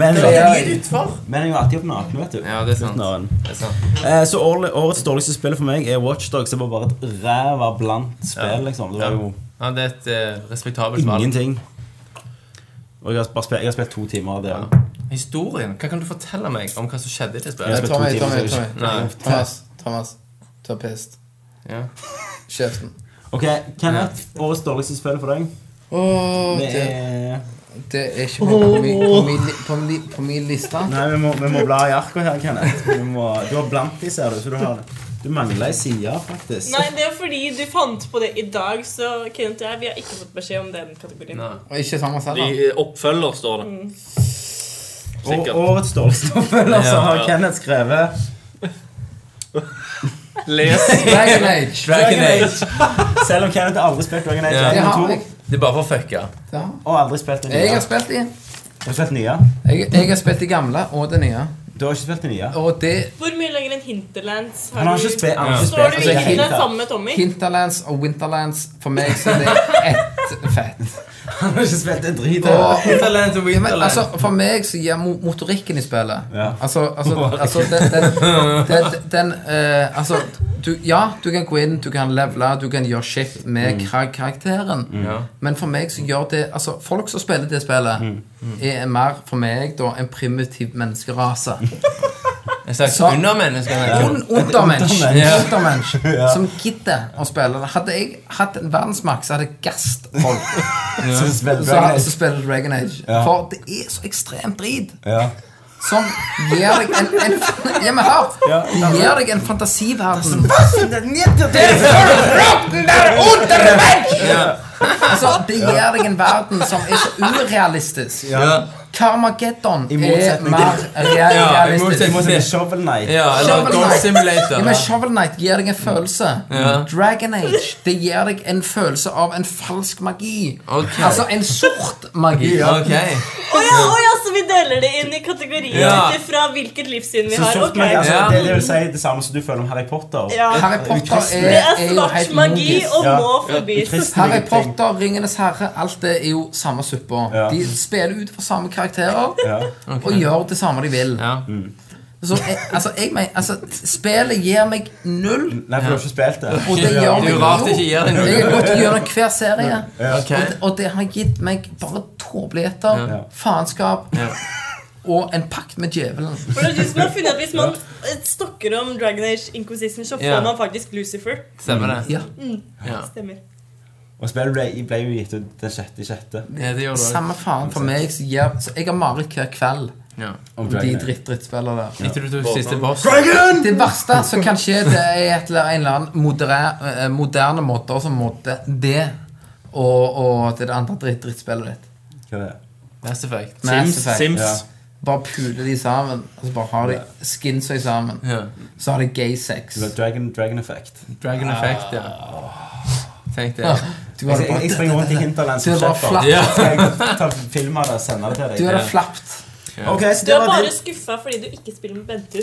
Speaker 1: Men
Speaker 5: Det er litt utfor.
Speaker 1: men jeg er jo alltid opp naken, vet du.
Speaker 5: Ja, det er sant.
Speaker 1: Uten øren.
Speaker 5: Det er sant.
Speaker 1: Eh, så årlig- årets dårligste spill for meg er Watchdog. Det var bare et ræva blankt
Speaker 5: Ja.
Speaker 1: spill, liksom. Det var
Speaker 5: Ja.
Speaker 1: jo
Speaker 5: Ja, det er et eh, respektabelt valg.
Speaker 1: ingenting. Og jeg har, bare spilt, jeg har spilt to timer av det.
Speaker 5: Ja. Historien. Hva kan du fortelle meg om hva som skjedde i det
Speaker 1: Jeg
Speaker 5: spillet?
Speaker 1: har spilt
Speaker 4: Tommy,
Speaker 1: to timer,
Speaker 4: Tommy,
Speaker 1: så jeg-
Speaker 4: Tommy.
Speaker 5: Nei.
Speaker 4: <laughs> Thomas, Thomas, ta pest.
Speaker 5: Ja.
Speaker 4: Kjeften.
Speaker 1: Ok, Kenneth, årets dårligste spill for deg?
Speaker 4: Åh,
Speaker 1: Det
Speaker 4: det,
Speaker 1: er
Speaker 4: det er ikke på, på, min, på, min, li- på, min, li- på min liste.
Speaker 1: Nei, vi må, vi må bla i arka her, Kenneth. Vi må, du har blant de, ser du. Så du, har, du mangler ei side, faktisk.
Speaker 3: Nei, det er fordi du fant på det i dag, så Kenneth og jeg vi har ikke fått beskjed om den kategorien.
Speaker 5: Nei.
Speaker 4: Og ikke Thomas heller.
Speaker 2: I oppfølger står det.
Speaker 1: Og
Speaker 2: Sikkert.
Speaker 1: årets dårligste oppfølger så har
Speaker 2: Ja.
Speaker 1: Kenneth skrevet
Speaker 2: Les.
Speaker 4: Dragon Age.
Speaker 5: Dragon Age.
Speaker 1: Selv om Kenneth aldri spilt Dragon Age
Speaker 5: Ja.
Speaker 1: 1
Speaker 4: Det
Speaker 1: og
Speaker 4: har
Speaker 1: 2,
Speaker 4: jeg.
Speaker 5: Det er bare for å fucke.
Speaker 4: Det har jeg.
Speaker 1: og aldri spilt det
Speaker 4: Jeg
Speaker 1: nye.
Speaker 4: har spilt de.
Speaker 1: Du har spilt nye.
Speaker 4: Jeg, jeg har spilt de gamle og det nye.
Speaker 1: Du har ikke spilt det nye.
Speaker 4: Og det
Speaker 3: Hvor mye lenger enn Hinterlands
Speaker 1: Han har ikke spilt
Speaker 5: Ja.
Speaker 3: Står du
Speaker 1: altså,
Speaker 3: i
Speaker 4: jeg er
Speaker 1: helt
Speaker 3: Hinterlands
Speaker 1: tatt.
Speaker 3: sammen med Tommy?
Speaker 4: Hinterlands og Winterlands For meg så er det ett fett.
Speaker 1: Han har ikke spilt en drit.
Speaker 4: Og,
Speaker 5: Hinterland og
Speaker 4: men,
Speaker 5: Winterland.
Speaker 4: altså, for meg så gir mo- motorikken i spillet
Speaker 1: Ja.
Speaker 4: Altså, altså, altså den, den, den, den eh, Altså, du, ja, du kan gå inn, du kan levele, du kan gjøre shit med kar karakteren. Men for meg så gjør det Altså, folk som spiller det spillet, Mm. er mer for meg da en primitiv menneskerase.
Speaker 5: En slags
Speaker 4: Så-
Speaker 5: undermenneske.
Speaker 4: Un Untermensch.
Speaker 1: Untermensch.
Speaker 4: Untermensch. Som gidder å spille det. Hadde jeg hatt en verdensmakt, så hadde jeg gasset folk.
Speaker 1: Så spilt
Speaker 4: Så,
Speaker 1: Dragon
Speaker 4: så
Speaker 1: Age.
Speaker 4: spiller Dragon Age. For det er så ekstremt drit.
Speaker 1: Ja.
Speaker 4: Som gir deg en, en <laughs> Ja, men hør!
Speaker 1: Ja.
Speaker 4: Det gir deg en fantasiverden. <laughs> Altså, det gir deg en verden som er så urealistisk.
Speaker 5: Ja.
Speaker 4: Carmageddon
Speaker 1: I
Speaker 4: er
Speaker 1: motsetning
Speaker 4: mer
Speaker 1: til-
Speaker 5: Ja, i
Speaker 4: realistisk.
Speaker 5: motsetning
Speaker 1: Må
Speaker 5: til
Speaker 1: spille Shovel Knight.
Speaker 5: Ja, eller
Speaker 4: Shovel
Speaker 5: Golf
Speaker 4: Knight.
Speaker 5: Simulator.
Speaker 4: Ja, men Shovel Knight gir deg en følelse.
Speaker 5: Ja.
Speaker 4: Dragon Age det gir deg en følelse av en falsk magi.
Speaker 5: Ok.
Speaker 4: Altså en sort magi.
Speaker 5: Ok.
Speaker 3: Å ja, å ja, så vi deler det inn i kategorier
Speaker 5: Ja.
Speaker 3: ut ifra hvilket livssyn vi
Speaker 1: Så
Speaker 3: har.
Speaker 1: sort
Speaker 3: Ok.
Speaker 1: magi, altså,
Speaker 5: Ja.
Speaker 1: det, det vil si det samme som du føler om Harry Potter.
Speaker 3: Ja.
Speaker 4: Harry Potter er,
Speaker 3: Det er
Speaker 4: er jo
Speaker 3: svart
Speaker 4: helt
Speaker 3: magi
Speaker 4: magisk.
Speaker 3: og
Speaker 1: Ja.
Speaker 3: må
Speaker 1: I
Speaker 3: forbys.
Speaker 1: kristne
Speaker 4: Harry
Speaker 1: ting.
Speaker 4: Potter, Ringenes herre, alt det er jo samme suppa.
Speaker 1: Ja.
Speaker 4: De spiller ut fra samme
Speaker 5: <laughs>
Speaker 4: karakterer
Speaker 1: Ja.
Speaker 4: og gjør det samme de vil.
Speaker 5: Ja.
Speaker 1: Mm.
Speaker 4: Så jeg, altså, jeg mener, altså, spillet gir meg null,
Speaker 1: Nei, for du har ikke spilt det.
Speaker 4: og det
Speaker 5: Det
Speaker 4: gjør
Speaker 5: er
Speaker 4: meg
Speaker 5: jo rart det ikke gir deg
Speaker 4: Jeg
Speaker 5: noe.
Speaker 4: har gått gjennom hver serie,
Speaker 5: Ok.
Speaker 4: og, det, og det har gitt meg bare tåpeligheter,
Speaker 1: Ja.
Speaker 4: faenskap
Speaker 5: Ja.
Speaker 4: og en pakt med djevelen.
Speaker 3: For det er du som har funnet at Hvis man eh, stokker om Dragon Age Inquisition, så
Speaker 5: Ja.
Speaker 3: får man faktisk Lucifer.
Speaker 5: Stemmer det.
Speaker 4: Ja,
Speaker 5: Ja.
Speaker 3: Stemmer.
Speaker 1: Og spillet ble, ble jo gitt ut den sjette i sjette.
Speaker 5: Ja, det gjør du også.
Speaker 4: Samme faen for meg. Så jeg, så jeg har mareritt hver kveld
Speaker 5: Ja.
Speaker 1: Om
Speaker 4: om de
Speaker 1: Dragon Age.
Speaker 4: drittdrittspillene der.
Speaker 5: Etter du tok siste boss.
Speaker 4: Det verste som kan skje, det er et eller en eller annen moderne, eh, moderne måter som måtte det og, og til det andre dritt, drittspillet ditt.
Speaker 1: Hva er det?
Speaker 5: Mass Effect.
Speaker 4: Mass Effect.
Speaker 2: Sims.
Speaker 1: Ja.
Speaker 4: Bare puler de sammen. Og så bare har de skinser sammen.
Speaker 5: Ja.
Speaker 4: Så har de gay sex.
Speaker 1: Det var Dragon, Dragon Effect.
Speaker 5: Dragon Effect, ja. Tenk det.
Speaker 4: Du har
Speaker 1: Jeg,
Speaker 4: det
Speaker 1: jeg, jeg
Speaker 4: bare,
Speaker 1: springer rundt i Hinterland som
Speaker 4: Det var
Speaker 1: sjeffer.
Speaker 4: flatt.
Speaker 5: Ja.
Speaker 1: Skal jeg ta film av det og sende det
Speaker 4: du
Speaker 1: til
Speaker 4: har det
Speaker 1: deg?
Speaker 4: flapt.
Speaker 1: Ok, så
Speaker 3: Du
Speaker 1: det
Speaker 3: er
Speaker 1: var
Speaker 3: bare
Speaker 1: det.
Speaker 3: skuffa fordi du ikke spiller med Bentur.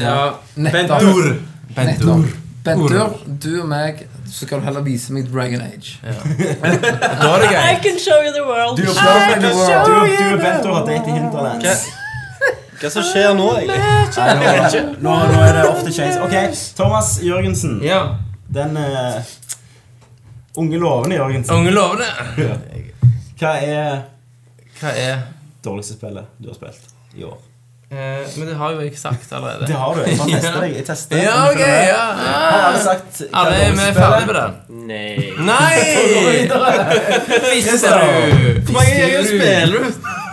Speaker 5: Ja.
Speaker 4: Nettopp. Nettopp.
Speaker 5: Bendur.
Speaker 4: Bendur, du og meg, så skal du heller vise meg Dragon Age.
Speaker 5: Da er det
Speaker 3: I
Speaker 5: gøy.
Speaker 3: can show you the world.
Speaker 1: Du og
Speaker 4: Show me
Speaker 1: Bent-
Speaker 4: the
Speaker 1: du
Speaker 4: world.
Speaker 1: og- du og Bento har date i Hinterland.
Speaker 2: Hva, hva som skjer nå, egentlig?
Speaker 1: Nei, nå, er det- nå, nå er det off the chains. Ok, Thomas Jørgensen.
Speaker 5: Ja.
Speaker 1: Den eh, unge lovende Jørgensen.
Speaker 5: Unge lovende.
Speaker 1: Hva er
Speaker 5: Hva er
Speaker 1: dårligste spillet du har spilt i år?
Speaker 5: eh, Men det har jo jeg sagt allerede.
Speaker 1: Det har du. Jeg bare tester deg. Jeg tester.
Speaker 5: Ja,
Speaker 1: om du
Speaker 5: ok,
Speaker 1: følger med.
Speaker 5: ja.
Speaker 1: Har alle sagt hva
Speaker 5: Alle er vi
Speaker 1: dårligste
Speaker 5: ferdig
Speaker 1: spillet?
Speaker 5: med det.
Speaker 2: Nei.
Speaker 5: Nei! Visste du?
Speaker 2: Hvor mange ganger spiller du?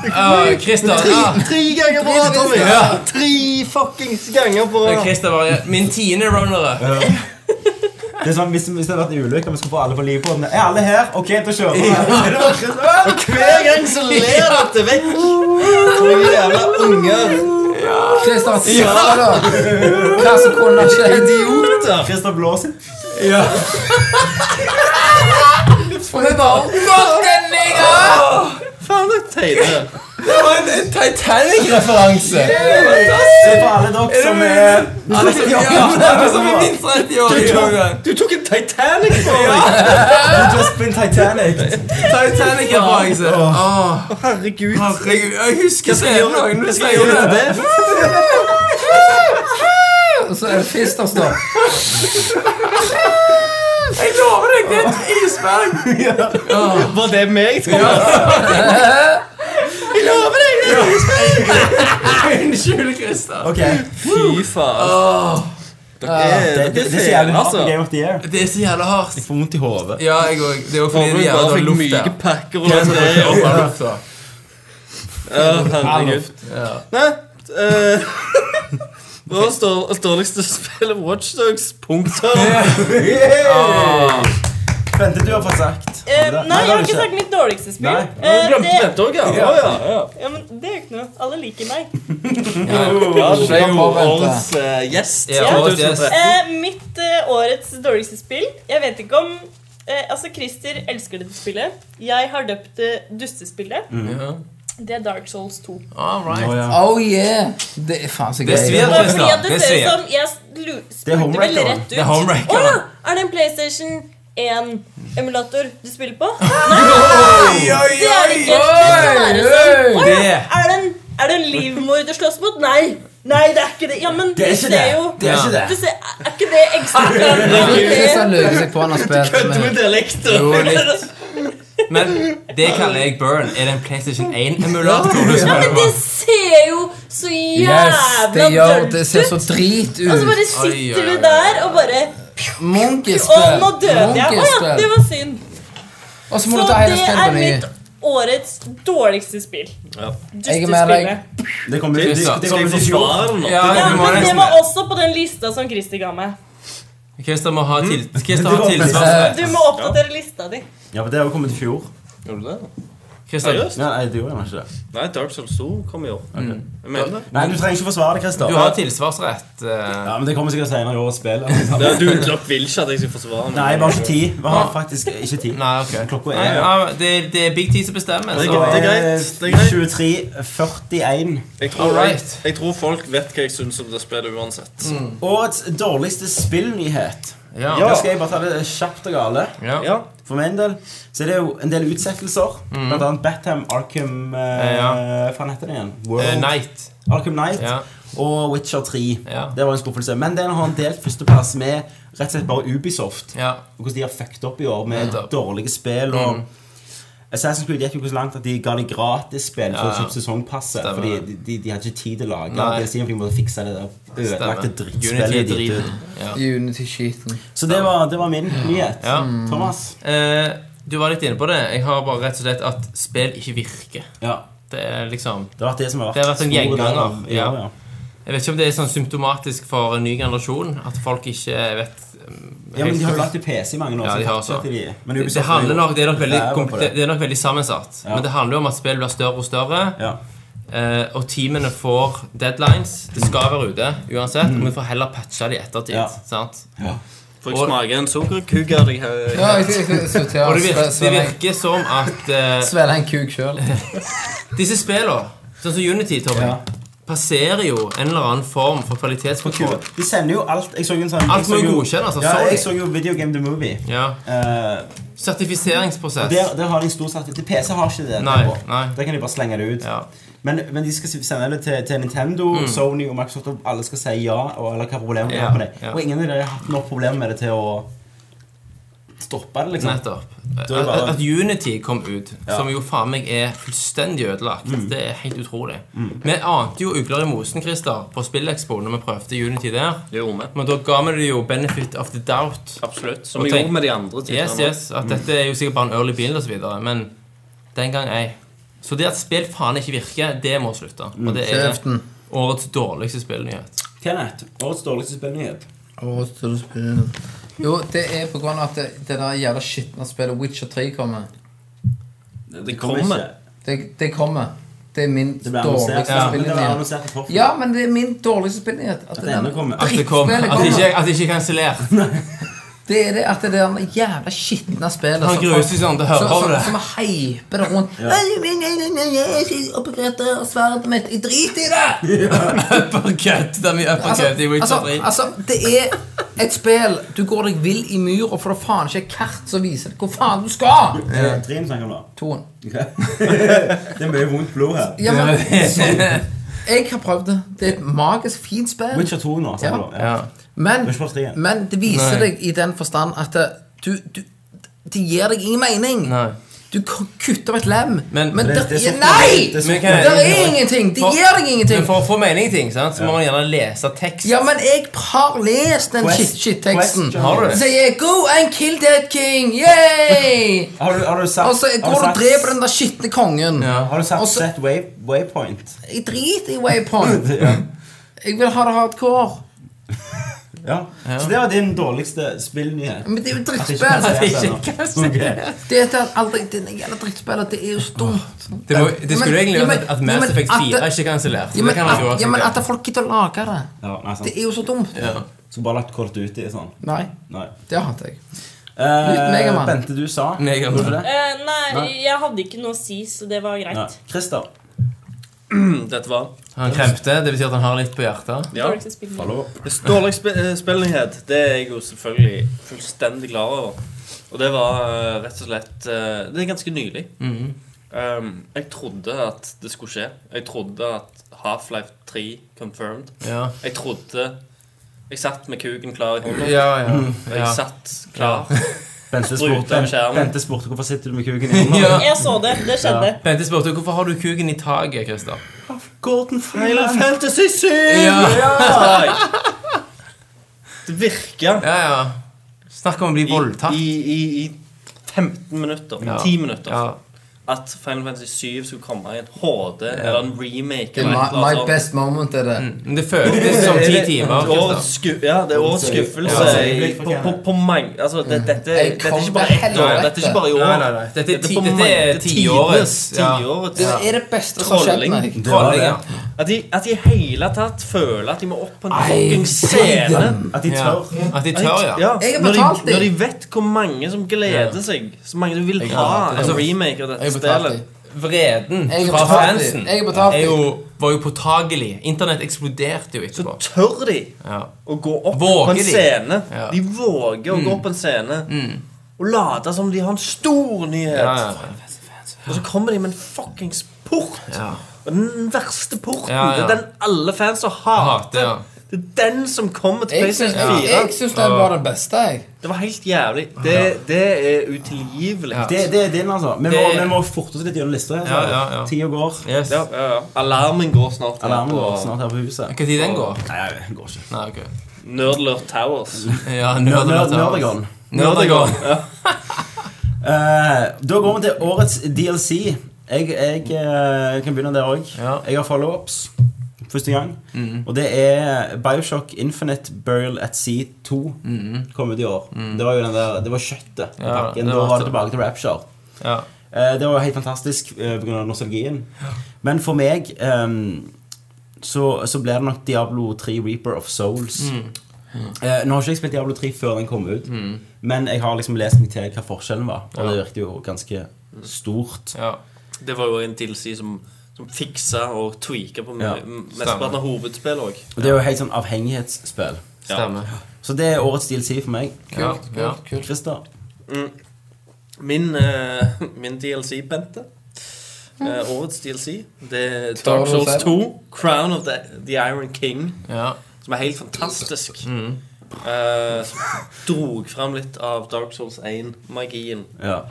Speaker 5: Ja, Christer. Ja.
Speaker 2: Tre ganger på rad, Tommy!
Speaker 5: Ja.
Speaker 2: Tre fuckings ganger på
Speaker 5: Ja, Christer bare Min tiende runner-up.
Speaker 1: <laughs> Det er sånn, hvis, hvis det hadde vært en ulykke, vi skulle få alle på livbåten Er alle her? Ok, da kjører vi. Er det bare Christopher?
Speaker 2: Hver gang så ler dette vekk. To jævla unger.
Speaker 4: Christer, sa du? Hva som kunne skjedd?
Speaker 2: Idioter.
Speaker 1: Christer blåser.
Speaker 4: For det var
Speaker 2: Faen, det er teite.
Speaker 5: Det var en, en
Speaker 1: Se
Speaker 5: Titanic-referanse!
Speaker 1: på alle dere som er
Speaker 5: Alle som- ja, alle som er minst 30 år i gang.
Speaker 2: Du tok en Titanic på meg!
Speaker 1: Just been Titanic.
Speaker 5: Titanic-referanse. Åh,
Speaker 2: Herregud.
Speaker 5: Herregud, jeg husker scenen òg. Nå skal jeg gjøre det.
Speaker 9: Og så er det Fister står.
Speaker 5: Jeg lover deg, det er et isberg.
Speaker 2: Var det meg? Thomas?
Speaker 5: Jeg lover deg, det er et isberg. Unnskyld, Christer.
Speaker 1: Ok,
Speaker 2: Fy faen. Dere er-
Speaker 1: Det, det, det
Speaker 2: dere er
Speaker 1: er så jævlig
Speaker 2: fæle,
Speaker 1: hardt med
Speaker 2: altså.
Speaker 1: Game of the Year.
Speaker 5: Det er så jævla hardt.
Speaker 1: Jeg får vondt i hodet.
Speaker 5: Ja, jeg òg. Det er jo fordi
Speaker 2: Håper
Speaker 5: det
Speaker 2: du
Speaker 5: er
Speaker 2: bare
Speaker 5: jævla
Speaker 2: fikk
Speaker 5: luft der.
Speaker 2: myke pakker og sånn. Det er jo-
Speaker 5: Ja, luft der.
Speaker 2: Ja, Herregud. Nei eh, <laughs> Vårt dår- dårligste spill er Watch Dogs. Punktum.
Speaker 5: Ah.
Speaker 1: Bente, du har fått sagt.
Speaker 3: Eh,
Speaker 1: Har du det?
Speaker 3: nei,
Speaker 1: det
Speaker 3: jeg
Speaker 1: har
Speaker 3: har
Speaker 1: du
Speaker 3: ikke sagt mitt dårligste spill.
Speaker 1: Nei.
Speaker 3: Eh,
Speaker 2: Du glemte
Speaker 3: det,
Speaker 2: dette òg, ja. Å, ja, ja.
Speaker 3: ja, men det er jo ikke noe. Alle liker meg.
Speaker 2: Ja, du er jo
Speaker 9: bare vente.
Speaker 2: årets eh, gjest.
Speaker 5: Ja, årets gjest.
Speaker 2: 2013.
Speaker 3: Eh, mitt eh, årets dårligste spill Jeg vet ikke om eh, Altså, Christer elsker dette spillet. Jeg har døpt det dustespillet.
Speaker 1: Mm.
Speaker 3: Det er Dark Souls 2.
Speaker 5: All right.
Speaker 1: Å, ja.
Speaker 9: Oh yeah! Det er faen så gøy.
Speaker 5: Det er svidd.
Speaker 3: Og
Speaker 5: Christer,
Speaker 3: fordi at det
Speaker 5: det
Speaker 3: ser ut
Speaker 5: ser
Speaker 3: som Jeg lu-
Speaker 1: Det er
Speaker 3: spurte vel
Speaker 1: Homewrecker.
Speaker 3: rett ut.
Speaker 5: Det er Homewrecker.
Speaker 3: Å ja! Er det en PlayStation 1-emulator du spiller på?
Speaker 5: Oi, oi,
Speaker 3: Det er det ikke. Sånn er det sånn. Å ja! Er det en, er det en livmor du slåss mot? Nei. Nei, det er ikke det. Ja, men
Speaker 1: Det er
Speaker 3: du
Speaker 1: ikke
Speaker 3: ser
Speaker 1: det.
Speaker 3: jo
Speaker 1: Det er ikke det.
Speaker 3: Du ser, er ikke det ekstra
Speaker 9: Kristian løper seg på han har spilt
Speaker 2: Kødder med
Speaker 9: med
Speaker 2: dialekter!
Speaker 5: Jo, litt. Men det kaller jeg burn. Er det en PlayStation 1-emulator du
Speaker 3: Ja,
Speaker 5: spiller
Speaker 3: men
Speaker 5: på?
Speaker 3: det ser jo så
Speaker 9: Yes, det
Speaker 3: jævla
Speaker 9: gjør
Speaker 3: dølt
Speaker 9: det
Speaker 3: ut.
Speaker 9: ser så drit
Speaker 3: Og så
Speaker 9: ut.
Speaker 3: bare
Speaker 5: Oi, oi,
Speaker 3: sitter
Speaker 5: oi.
Speaker 3: du der og bare Å,
Speaker 9: Munkespill.
Speaker 3: nå døde jeg. Å ja, det
Speaker 9: Munkespill.
Speaker 3: var synd.
Speaker 9: Og så må
Speaker 3: Så
Speaker 9: du ta hele
Speaker 3: det
Speaker 9: spillet
Speaker 3: er
Speaker 9: på ny.
Speaker 3: mitt årets dårligste spill.
Speaker 2: <laughs> Ja.
Speaker 9: Jeg er med deg.
Speaker 3: Dustespillet.
Speaker 1: Det kommer det- det- det
Speaker 2: Skal
Speaker 1: kommer
Speaker 2: jeg
Speaker 1: til å
Speaker 2: forsvare den nå?
Speaker 5: Ja,
Speaker 3: Ja,
Speaker 5: du må
Speaker 3: men det
Speaker 5: nesten
Speaker 3: var
Speaker 5: det.
Speaker 3: også på den lista som Christer ga meg.
Speaker 5: Christer må ha til- Christer
Speaker 1: Men
Speaker 5: har
Speaker 1: det var-
Speaker 5: tilsvar.
Speaker 3: Du må oppdatere lista di.
Speaker 1: Ja, for det har jo kommet i fjor.
Speaker 2: Gjorde du det?
Speaker 5: Christer,
Speaker 2: Seriøst?
Speaker 1: Ja, nei, det gjorde gjerne ikke det.
Speaker 2: Nei, Dark Souls 2 kom i år.
Speaker 5: Mm.
Speaker 2: Jeg mener det.
Speaker 1: Nei, du trenger ikke forsvare det, Christer.
Speaker 5: du har tilsvarsrett. eh.
Speaker 1: Ja, men det kommer sikkert senere i år å
Speaker 5: <laughs>
Speaker 1: spille. Nei,
Speaker 2: Ja, du dere vil ikke at jeg skal forsvare meg.
Speaker 1: jeg har ikke tid. Vi har faktisk ikke tid.
Speaker 5: Nei, ok.
Speaker 1: Klokka
Speaker 5: Nei,
Speaker 1: er
Speaker 5: ja, men det, det er Big T som bestemmer.
Speaker 2: Det er
Speaker 5: Så.
Speaker 2: greit.
Speaker 1: eh,
Speaker 2: det er greit.
Speaker 1: 23.41.
Speaker 2: Jeg tror, jeg,
Speaker 5: Alright.
Speaker 2: jeg tror folk vet hva jeg syns om det spillet uansett.
Speaker 1: Årets dårligste spillnyhet.
Speaker 5: Ja.
Speaker 1: Da skal jeg bare ta det kjapt og gale.
Speaker 5: Ja.
Speaker 2: Ja.
Speaker 1: For min del så er det jo en del utsettelser.
Speaker 2: Mm.
Speaker 1: Blant annet Batham Arkham eh,
Speaker 5: Eh, ja.
Speaker 1: Hva heter det igjen?
Speaker 5: Eh,
Speaker 1: World
Speaker 5: Night.
Speaker 1: Arkham Knight
Speaker 5: Ja.
Speaker 1: og Witcher 3.
Speaker 5: Ja.
Speaker 1: Det var en skuffelse. Men den har en delt førsteplass med rett og slett bare Ubisoft.
Speaker 5: Ja.
Speaker 1: Og hvordan de har fucket opp i år med
Speaker 5: Nettopp. Mm.
Speaker 1: dårlige spill. Og Assassin's Creed gikk jo så langt at de ga de gratis spill for å
Speaker 5: Ja, ja.
Speaker 1: kjøpe sesongpasset.
Speaker 5: Stemmer.
Speaker 1: Fordi de, de, de hadde ikke tid til å lage
Speaker 5: Nei.
Speaker 1: det. Siden de måtte fikse det der
Speaker 5: Stemmer.
Speaker 1: ødelagte
Speaker 5: Unity er
Speaker 1: drittspillet ditt
Speaker 5: driten.
Speaker 1: ut.
Speaker 5: Ja.
Speaker 9: Unity-skiten.
Speaker 1: Så det var, det var min nyhet.
Speaker 5: Ja.
Speaker 1: Thomas?
Speaker 5: Eh, du var litt inne på det. Jeg har bare rett og slett at spill ikke virker.
Speaker 1: Ja.
Speaker 5: Det er liksom
Speaker 1: Det har vært det som har vært
Speaker 5: Det har vært en
Speaker 1: sporet
Speaker 5: gjenganger,
Speaker 1: av- Ja,
Speaker 5: ja.
Speaker 1: ja.
Speaker 5: Jeg vet ikke om det er sånn symptomatisk for en ny generasjon. At folk ikke vet um,
Speaker 1: Ja, men De har jo
Speaker 5: helt-
Speaker 1: lagt til PC i mange år.
Speaker 5: Ja,
Speaker 1: så
Speaker 5: de har
Speaker 1: fortsetter
Speaker 5: så.
Speaker 1: de. Men
Speaker 5: det
Speaker 1: Ubisoft
Speaker 5: handler nok, det er nok veldig,
Speaker 1: ræva på
Speaker 5: kompl-
Speaker 1: det.
Speaker 5: det er nok veldig sammensatt.
Speaker 1: Ja.
Speaker 5: Men det handler jo om at spill blir større og større.
Speaker 1: Ja.
Speaker 5: eh, og teamene får deadlines. Det skal være ute uansett. Og vi får heller patche det i ettertid.
Speaker 1: Ja.
Speaker 5: Sant?
Speaker 2: Får
Speaker 5: Og-
Speaker 2: jeg smake en sukkerkugg av deg her?
Speaker 9: Ja, jeg skal- jeg skal sortere
Speaker 5: Og det virker,
Speaker 9: sve-
Speaker 5: det
Speaker 9: svelle-
Speaker 5: virker som at eh,
Speaker 9: Svelle en kuk sjøl.
Speaker 5: disse spillene, sånn som Unity, Tommy,
Speaker 1: Ja.
Speaker 5: passerer jo en eller annen form for kvalitetskontroll.
Speaker 1: Kule. De sender jo alt. Jeg så jo en sånn
Speaker 5: Alt
Speaker 1: jeg så
Speaker 5: må
Speaker 1: jo-
Speaker 5: godkjennes altså. av
Speaker 1: Ja,
Speaker 5: Sony.
Speaker 1: jeg så jo Video Game The Movie.
Speaker 5: Ja.
Speaker 1: Eh,
Speaker 5: Sertifiseringsprosess.
Speaker 1: der, der har de stor satsing. Til PC har ikke det.
Speaker 5: Nei,
Speaker 1: der på.
Speaker 5: nei.
Speaker 1: Der kan de bare slenge det ut.
Speaker 5: Ja. Mm.
Speaker 1: Men, men de skal sende det til, til Nintendo, Sony og Microsoft, og alle skal si ja. Og, eller hva problemer de
Speaker 5: Ja,
Speaker 1: har med det.
Speaker 5: ja.
Speaker 1: Og ingen av dere har hatt nok problemer med det til å stoppe det. liksom
Speaker 5: Nettopp. At,
Speaker 1: Da er det bare-
Speaker 5: at Unity kom ut, som jo faen meg er fullstendig ødelagt,
Speaker 1: Mm.
Speaker 5: det er helt utrolig. Vi ante jo ugler i mosen, Christer, på Spillekspo når vi prøvde Unity der.
Speaker 2: Det gjorde vi.
Speaker 5: Men da ga vi det jo benefit of the doubt.
Speaker 2: Absolutt. Som
Speaker 5: Og
Speaker 2: vi
Speaker 5: tenk-
Speaker 2: gjorde med de andre
Speaker 5: Yes,
Speaker 2: titlene.
Speaker 5: yes, at dette er jo sikkert bare en early build og så videre, men den gang ei. Så det at spill faen ikke virker, det må slutte.
Speaker 1: Mm.
Speaker 5: Og det er
Speaker 9: Kjeften.
Speaker 5: årets dårligste spillnyhet.
Speaker 1: Kenneth, årets dårligste spillnyhet.
Speaker 9: Å, så du spiller. Jo, det er på grunn av at det, det der jævla skitne spillet Witcher 3 kommer.
Speaker 2: Det kommer.
Speaker 9: Det, det kommer. Det er min
Speaker 1: Det ble annonsert.
Speaker 9: dårligste
Speaker 1: Ja, men det ble
Speaker 9: spillnyhet.
Speaker 1: annonsert i forfjor.
Speaker 9: Ja, men det er min dårligste spillnyhet. At
Speaker 1: Det ene kommer.
Speaker 5: At det kom,
Speaker 9: Spillet
Speaker 5: at det ikke, at det ikke er kansellert.
Speaker 4: Det er det at det der jævla skitne spillet
Speaker 5: Han
Speaker 4: som
Speaker 5: gruer
Speaker 4: folk-
Speaker 5: seg sånn til å høre
Speaker 4: som-
Speaker 5: over det.
Speaker 4: Som som hyper det rundt. «Nei, nei, nei, nei, nei, Jeg skal oppgradere sverdet mitt. Jeg driter i
Speaker 5: <laughs>
Speaker 4: det!
Speaker 5: Uppercut! Det er mye
Speaker 4: Altså,
Speaker 5: uppercut i Witcher
Speaker 4: altså,
Speaker 5: 3.
Speaker 4: altså, det er et spill Du går deg vill i myr, og får da faen ikke et kart som viser deg hvor faen du skal!
Speaker 1: Trine snakker om nå.
Speaker 4: Toen.
Speaker 1: <laughs> Det er mye vondt blod her.
Speaker 4: Ja, men, så, jeg har prøvd det. Det er et magisk fint spill.
Speaker 1: Witcher 2 nå, sa du.
Speaker 5: ja.
Speaker 4: Men,
Speaker 1: Ikke bare tre igjen.
Speaker 4: men det viser
Speaker 5: Nei.
Speaker 4: deg i den forstand at det, du, du, det gir deg ingen mening.
Speaker 5: Nei.
Speaker 4: Du k- kutter av et lem.
Speaker 5: Men-
Speaker 4: men
Speaker 5: Det-
Speaker 4: der,
Speaker 1: det er så-
Speaker 4: Nei!
Speaker 1: det er så-
Speaker 5: Men
Speaker 4: Det
Speaker 5: kan-
Speaker 4: er ingenting! Det
Speaker 5: For-
Speaker 4: gir deg
Speaker 5: Men
Speaker 4: ingenting.
Speaker 5: for å få mening i ting, sant? så må man gjerne lese tekst.
Speaker 4: Ja, men jeg har lest den
Speaker 1: Quest-
Speaker 4: shit-shit-teksten.
Speaker 1: Quest-
Speaker 5: Har du det?
Speaker 4: Så jeg Go and kill that
Speaker 1: <laughs>
Speaker 4: king! Yay!
Speaker 1: Har du, har du sagt
Speaker 4: Og så
Speaker 1: har
Speaker 4: Altså, går du og
Speaker 1: sagt-
Speaker 4: dreper den Altså- der skitne kongen.
Speaker 5: Ja.
Speaker 1: Har du sagt
Speaker 4: Og så-
Speaker 1: set way, <laughs> waypoint?
Speaker 4: Jeg driter i waypoint. Jeg vil ha det hardcore.
Speaker 1: Ja. Så det var din dårligste spillnyhet.
Speaker 4: Men det er jo
Speaker 1: At det ikke kan
Speaker 4: drittspill.
Speaker 1: ses ennå. Ok.
Speaker 4: Det er at aldri, det jævla drittspillet, det er jo dumt.
Speaker 5: Det, må, det skulle
Speaker 4: Men-
Speaker 5: egentlig
Speaker 4: ja, men-
Speaker 5: vært at
Speaker 4: ja,
Speaker 5: Mass
Speaker 4: men
Speaker 5: Effect
Speaker 4: at
Speaker 5: 4
Speaker 4: det-
Speaker 5: ikke er kansellert.
Speaker 4: Ja,
Speaker 5: Det
Speaker 4: men,
Speaker 5: kan man jo
Speaker 4: at,
Speaker 5: også
Speaker 4: ja, men
Speaker 5: gjøre.
Speaker 4: at folk gidder å lage det.
Speaker 1: Ja, nei, sant.
Speaker 4: Det er jo så dumt.
Speaker 1: Skulle bare lagt kortet uti sånn.
Speaker 4: Nei,
Speaker 1: Nei.
Speaker 4: det hadde jeg. Litt
Speaker 1: Eh,
Speaker 4: Megaman.
Speaker 1: Bente, du sa
Speaker 5: Megaman.
Speaker 1: Gjorde du det?
Speaker 3: Eh, nei, jeg hadde ikke noe å si, så det var greit.
Speaker 1: Ja. Christer.
Speaker 2: Mm, Dette var
Speaker 5: Han kremte, det betyr at han har litt på hjertet.
Speaker 2: ja.
Speaker 3: Dårligste spillet.
Speaker 2: Hvis Dårlig sp eh, spillnyhet, det er jeg jo selvfølgelig fullstendig klar over. Og det var eh, rett og slett eh, Det er ganske nylig. Um, jeg trodde at det skulle skje. Jeg trodde at Half-Life 3 confirmed.
Speaker 5: Ja,
Speaker 2: Jeg trodde Jeg satt med kuken klar i hånda.
Speaker 5: ja, ja.
Speaker 2: og Jeg
Speaker 5: Mm. ja.
Speaker 2: satt klar.
Speaker 1: Bente
Speaker 2: Sprute
Speaker 1: spurte,
Speaker 2: av skjermen.
Speaker 1: Bente spurte hvorfor sitter du med kuken i hånda.
Speaker 5: Ja.
Speaker 3: Jeg så det. Det skjedde.
Speaker 5: Bente spurte hvorfor har du kuken i taket, Christer.
Speaker 1: Gordon
Speaker 2: Final Fantasy 7!
Speaker 5: Ja.
Speaker 2: Det virka
Speaker 5: ja, ja. Snakk om å bli
Speaker 2: i,
Speaker 5: voldtatt.
Speaker 2: i, i, i 15 minutter.
Speaker 5: Ja.
Speaker 2: 10 minutter.
Speaker 5: Ja.
Speaker 2: At Final Fantasy 7 skulle komme i en HD eller en remake.
Speaker 4: Det er
Speaker 2: eller
Speaker 4: my,
Speaker 2: et eller
Speaker 4: my
Speaker 2: annet sånt.
Speaker 4: best moment er det.
Speaker 5: Men det føltes som ti timer.
Speaker 2: Årets
Speaker 5: Christer.
Speaker 2: sku ja, det er årets skuffelse i- på, på, på mange altså, det, dette, dette er
Speaker 4: Mm. Jeg
Speaker 2: ikke
Speaker 4: kom
Speaker 2: bare
Speaker 4: til
Speaker 2: ett år.
Speaker 4: helvete.
Speaker 2: Dette er ikke bare i år.
Speaker 5: Nei, nei, nei. Dette er ti-
Speaker 2: på
Speaker 5: dette
Speaker 2: mange-
Speaker 5: er
Speaker 2: det
Speaker 5: tiårets,
Speaker 2: tidenes-
Speaker 5: ja.
Speaker 2: tiårets.
Speaker 4: Det er det beste som har skjedd
Speaker 2: Trolling.
Speaker 4: meg.
Speaker 1: Det var det.
Speaker 5: Ja.
Speaker 2: At de at de i hele tatt føler at de må opp på en fucking scene.
Speaker 4: Damn.
Speaker 1: At de
Speaker 5: Ja.
Speaker 1: tør.
Speaker 5: At de tør, ja.
Speaker 4: Jeg har
Speaker 2: når,
Speaker 4: betalt
Speaker 2: de,
Speaker 4: de.
Speaker 2: når de vet hvor mange som gleder seg, så mange som vil ha
Speaker 4: betalt de.
Speaker 2: en remake av
Speaker 4: Jeg
Speaker 2: dette
Speaker 4: betalte.
Speaker 2: spillet
Speaker 5: Vreden
Speaker 4: Jeg
Speaker 5: fra
Speaker 4: betalte.
Speaker 5: fansen
Speaker 4: Jeg betalte.
Speaker 5: er jo, var jo påtagelig. Internett eksploderte jo
Speaker 2: Så
Speaker 5: etterpå.
Speaker 2: tør de
Speaker 5: Ja.
Speaker 2: å gå opp
Speaker 5: Våger
Speaker 2: på en
Speaker 5: de?
Speaker 2: scene.
Speaker 5: Ja. Mm.
Speaker 2: De våger å gå opp på en scene og late som de har en stor nyhet.
Speaker 5: Ja, ja.
Speaker 2: Og så kommer de med en fuckings port.
Speaker 5: Ja.
Speaker 2: Og den verste porten.
Speaker 5: Ja, ja.
Speaker 2: Det er den alle fans har hatet.
Speaker 5: Hater, ja.
Speaker 2: Det er den som kommer til
Speaker 4: Jeg syns
Speaker 2: PlayStation 4.
Speaker 4: jeg syns det var det beste, jeg.
Speaker 2: Det var helt jævlig. Det, det er utilgivelig.
Speaker 5: Ja.
Speaker 2: Ja.
Speaker 1: Det, det er din, altså. Vi må,
Speaker 5: Det-
Speaker 1: vi må forte oss litt gjennom lista. her,
Speaker 5: Ja, ja, ja.
Speaker 1: Tida går.
Speaker 5: Yes.
Speaker 2: Ja, ja, Alarmen går snart.
Speaker 1: Alarmen
Speaker 2: på
Speaker 1: går snart her på huset.
Speaker 5: Hva tid den går?
Speaker 1: Nei, det går ikke.
Speaker 5: Nei, ok.
Speaker 2: Nerdlert Towers.
Speaker 5: Ja,
Speaker 1: Nerdegon.
Speaker 5: Nerdegon.
Speaker 1: Eh, da går vi til årets DLC. Jeg, jeg eh, kan begynne der òg.
Speaker 5: Ja. Mm.
Speaker 1: Jeg har follow-ups første gang. Og det er Bioshock Infinite Burial at Sea 2. Kom ut i år. Det var jo den der, det var kjøttet i
Speaker 5: Mm. Ja,
Speaker 1: pakken.
Speaker 5: det
Speaker 1: Da
Speaker 5: var
Speaker 1: var
Speaker 5: det.
Speaker 1: det tilbake til Rapture.
Speaker 5: <laughs> Ja.
Speaker 1: Eh, Det var helt fantastisk eh, pga. nostalgien. Men for meg ehm, så, så ble det nok Diablo 3 Reaper of Souls. Eh, nå har ikke jeg spilt Diablo 3 før den kom ut, men jeg har liksom lest meg til hva forskjellen var. Og det virket jo ganske stort.
Speaker 5: Ja.
Speaker 2: Det var jo en DLC som, som fiksa og tweaka på
Speaker 1: Ja,
Speaker 2: ja, mesteparten av hovedspillet òg.
Speaker 1: Og det er jo helt sånn avhengighetsspill.
Speaker 5: Stemmer.
Speaker 1: Så det er årets DLC for meg.
Speaker 5: Ja. Ja.
Speaker 1: Christer.
Speaker 2: Min, eh, min DLC, Bente eh, Årets DLC Det er
Speaker 4: Tar
Speaker 2: Dark
Speaker 4: du
Speaker 2: Souls
Speaker 4: selv?
Speaker 2: 2 Crown of the, the Iron King
Speaker 5: ja.
Speaker 2: Som er helt fantastisk Eh, Som drog frem litt av Dark Souls 1-magien
Speaker 1: Ja.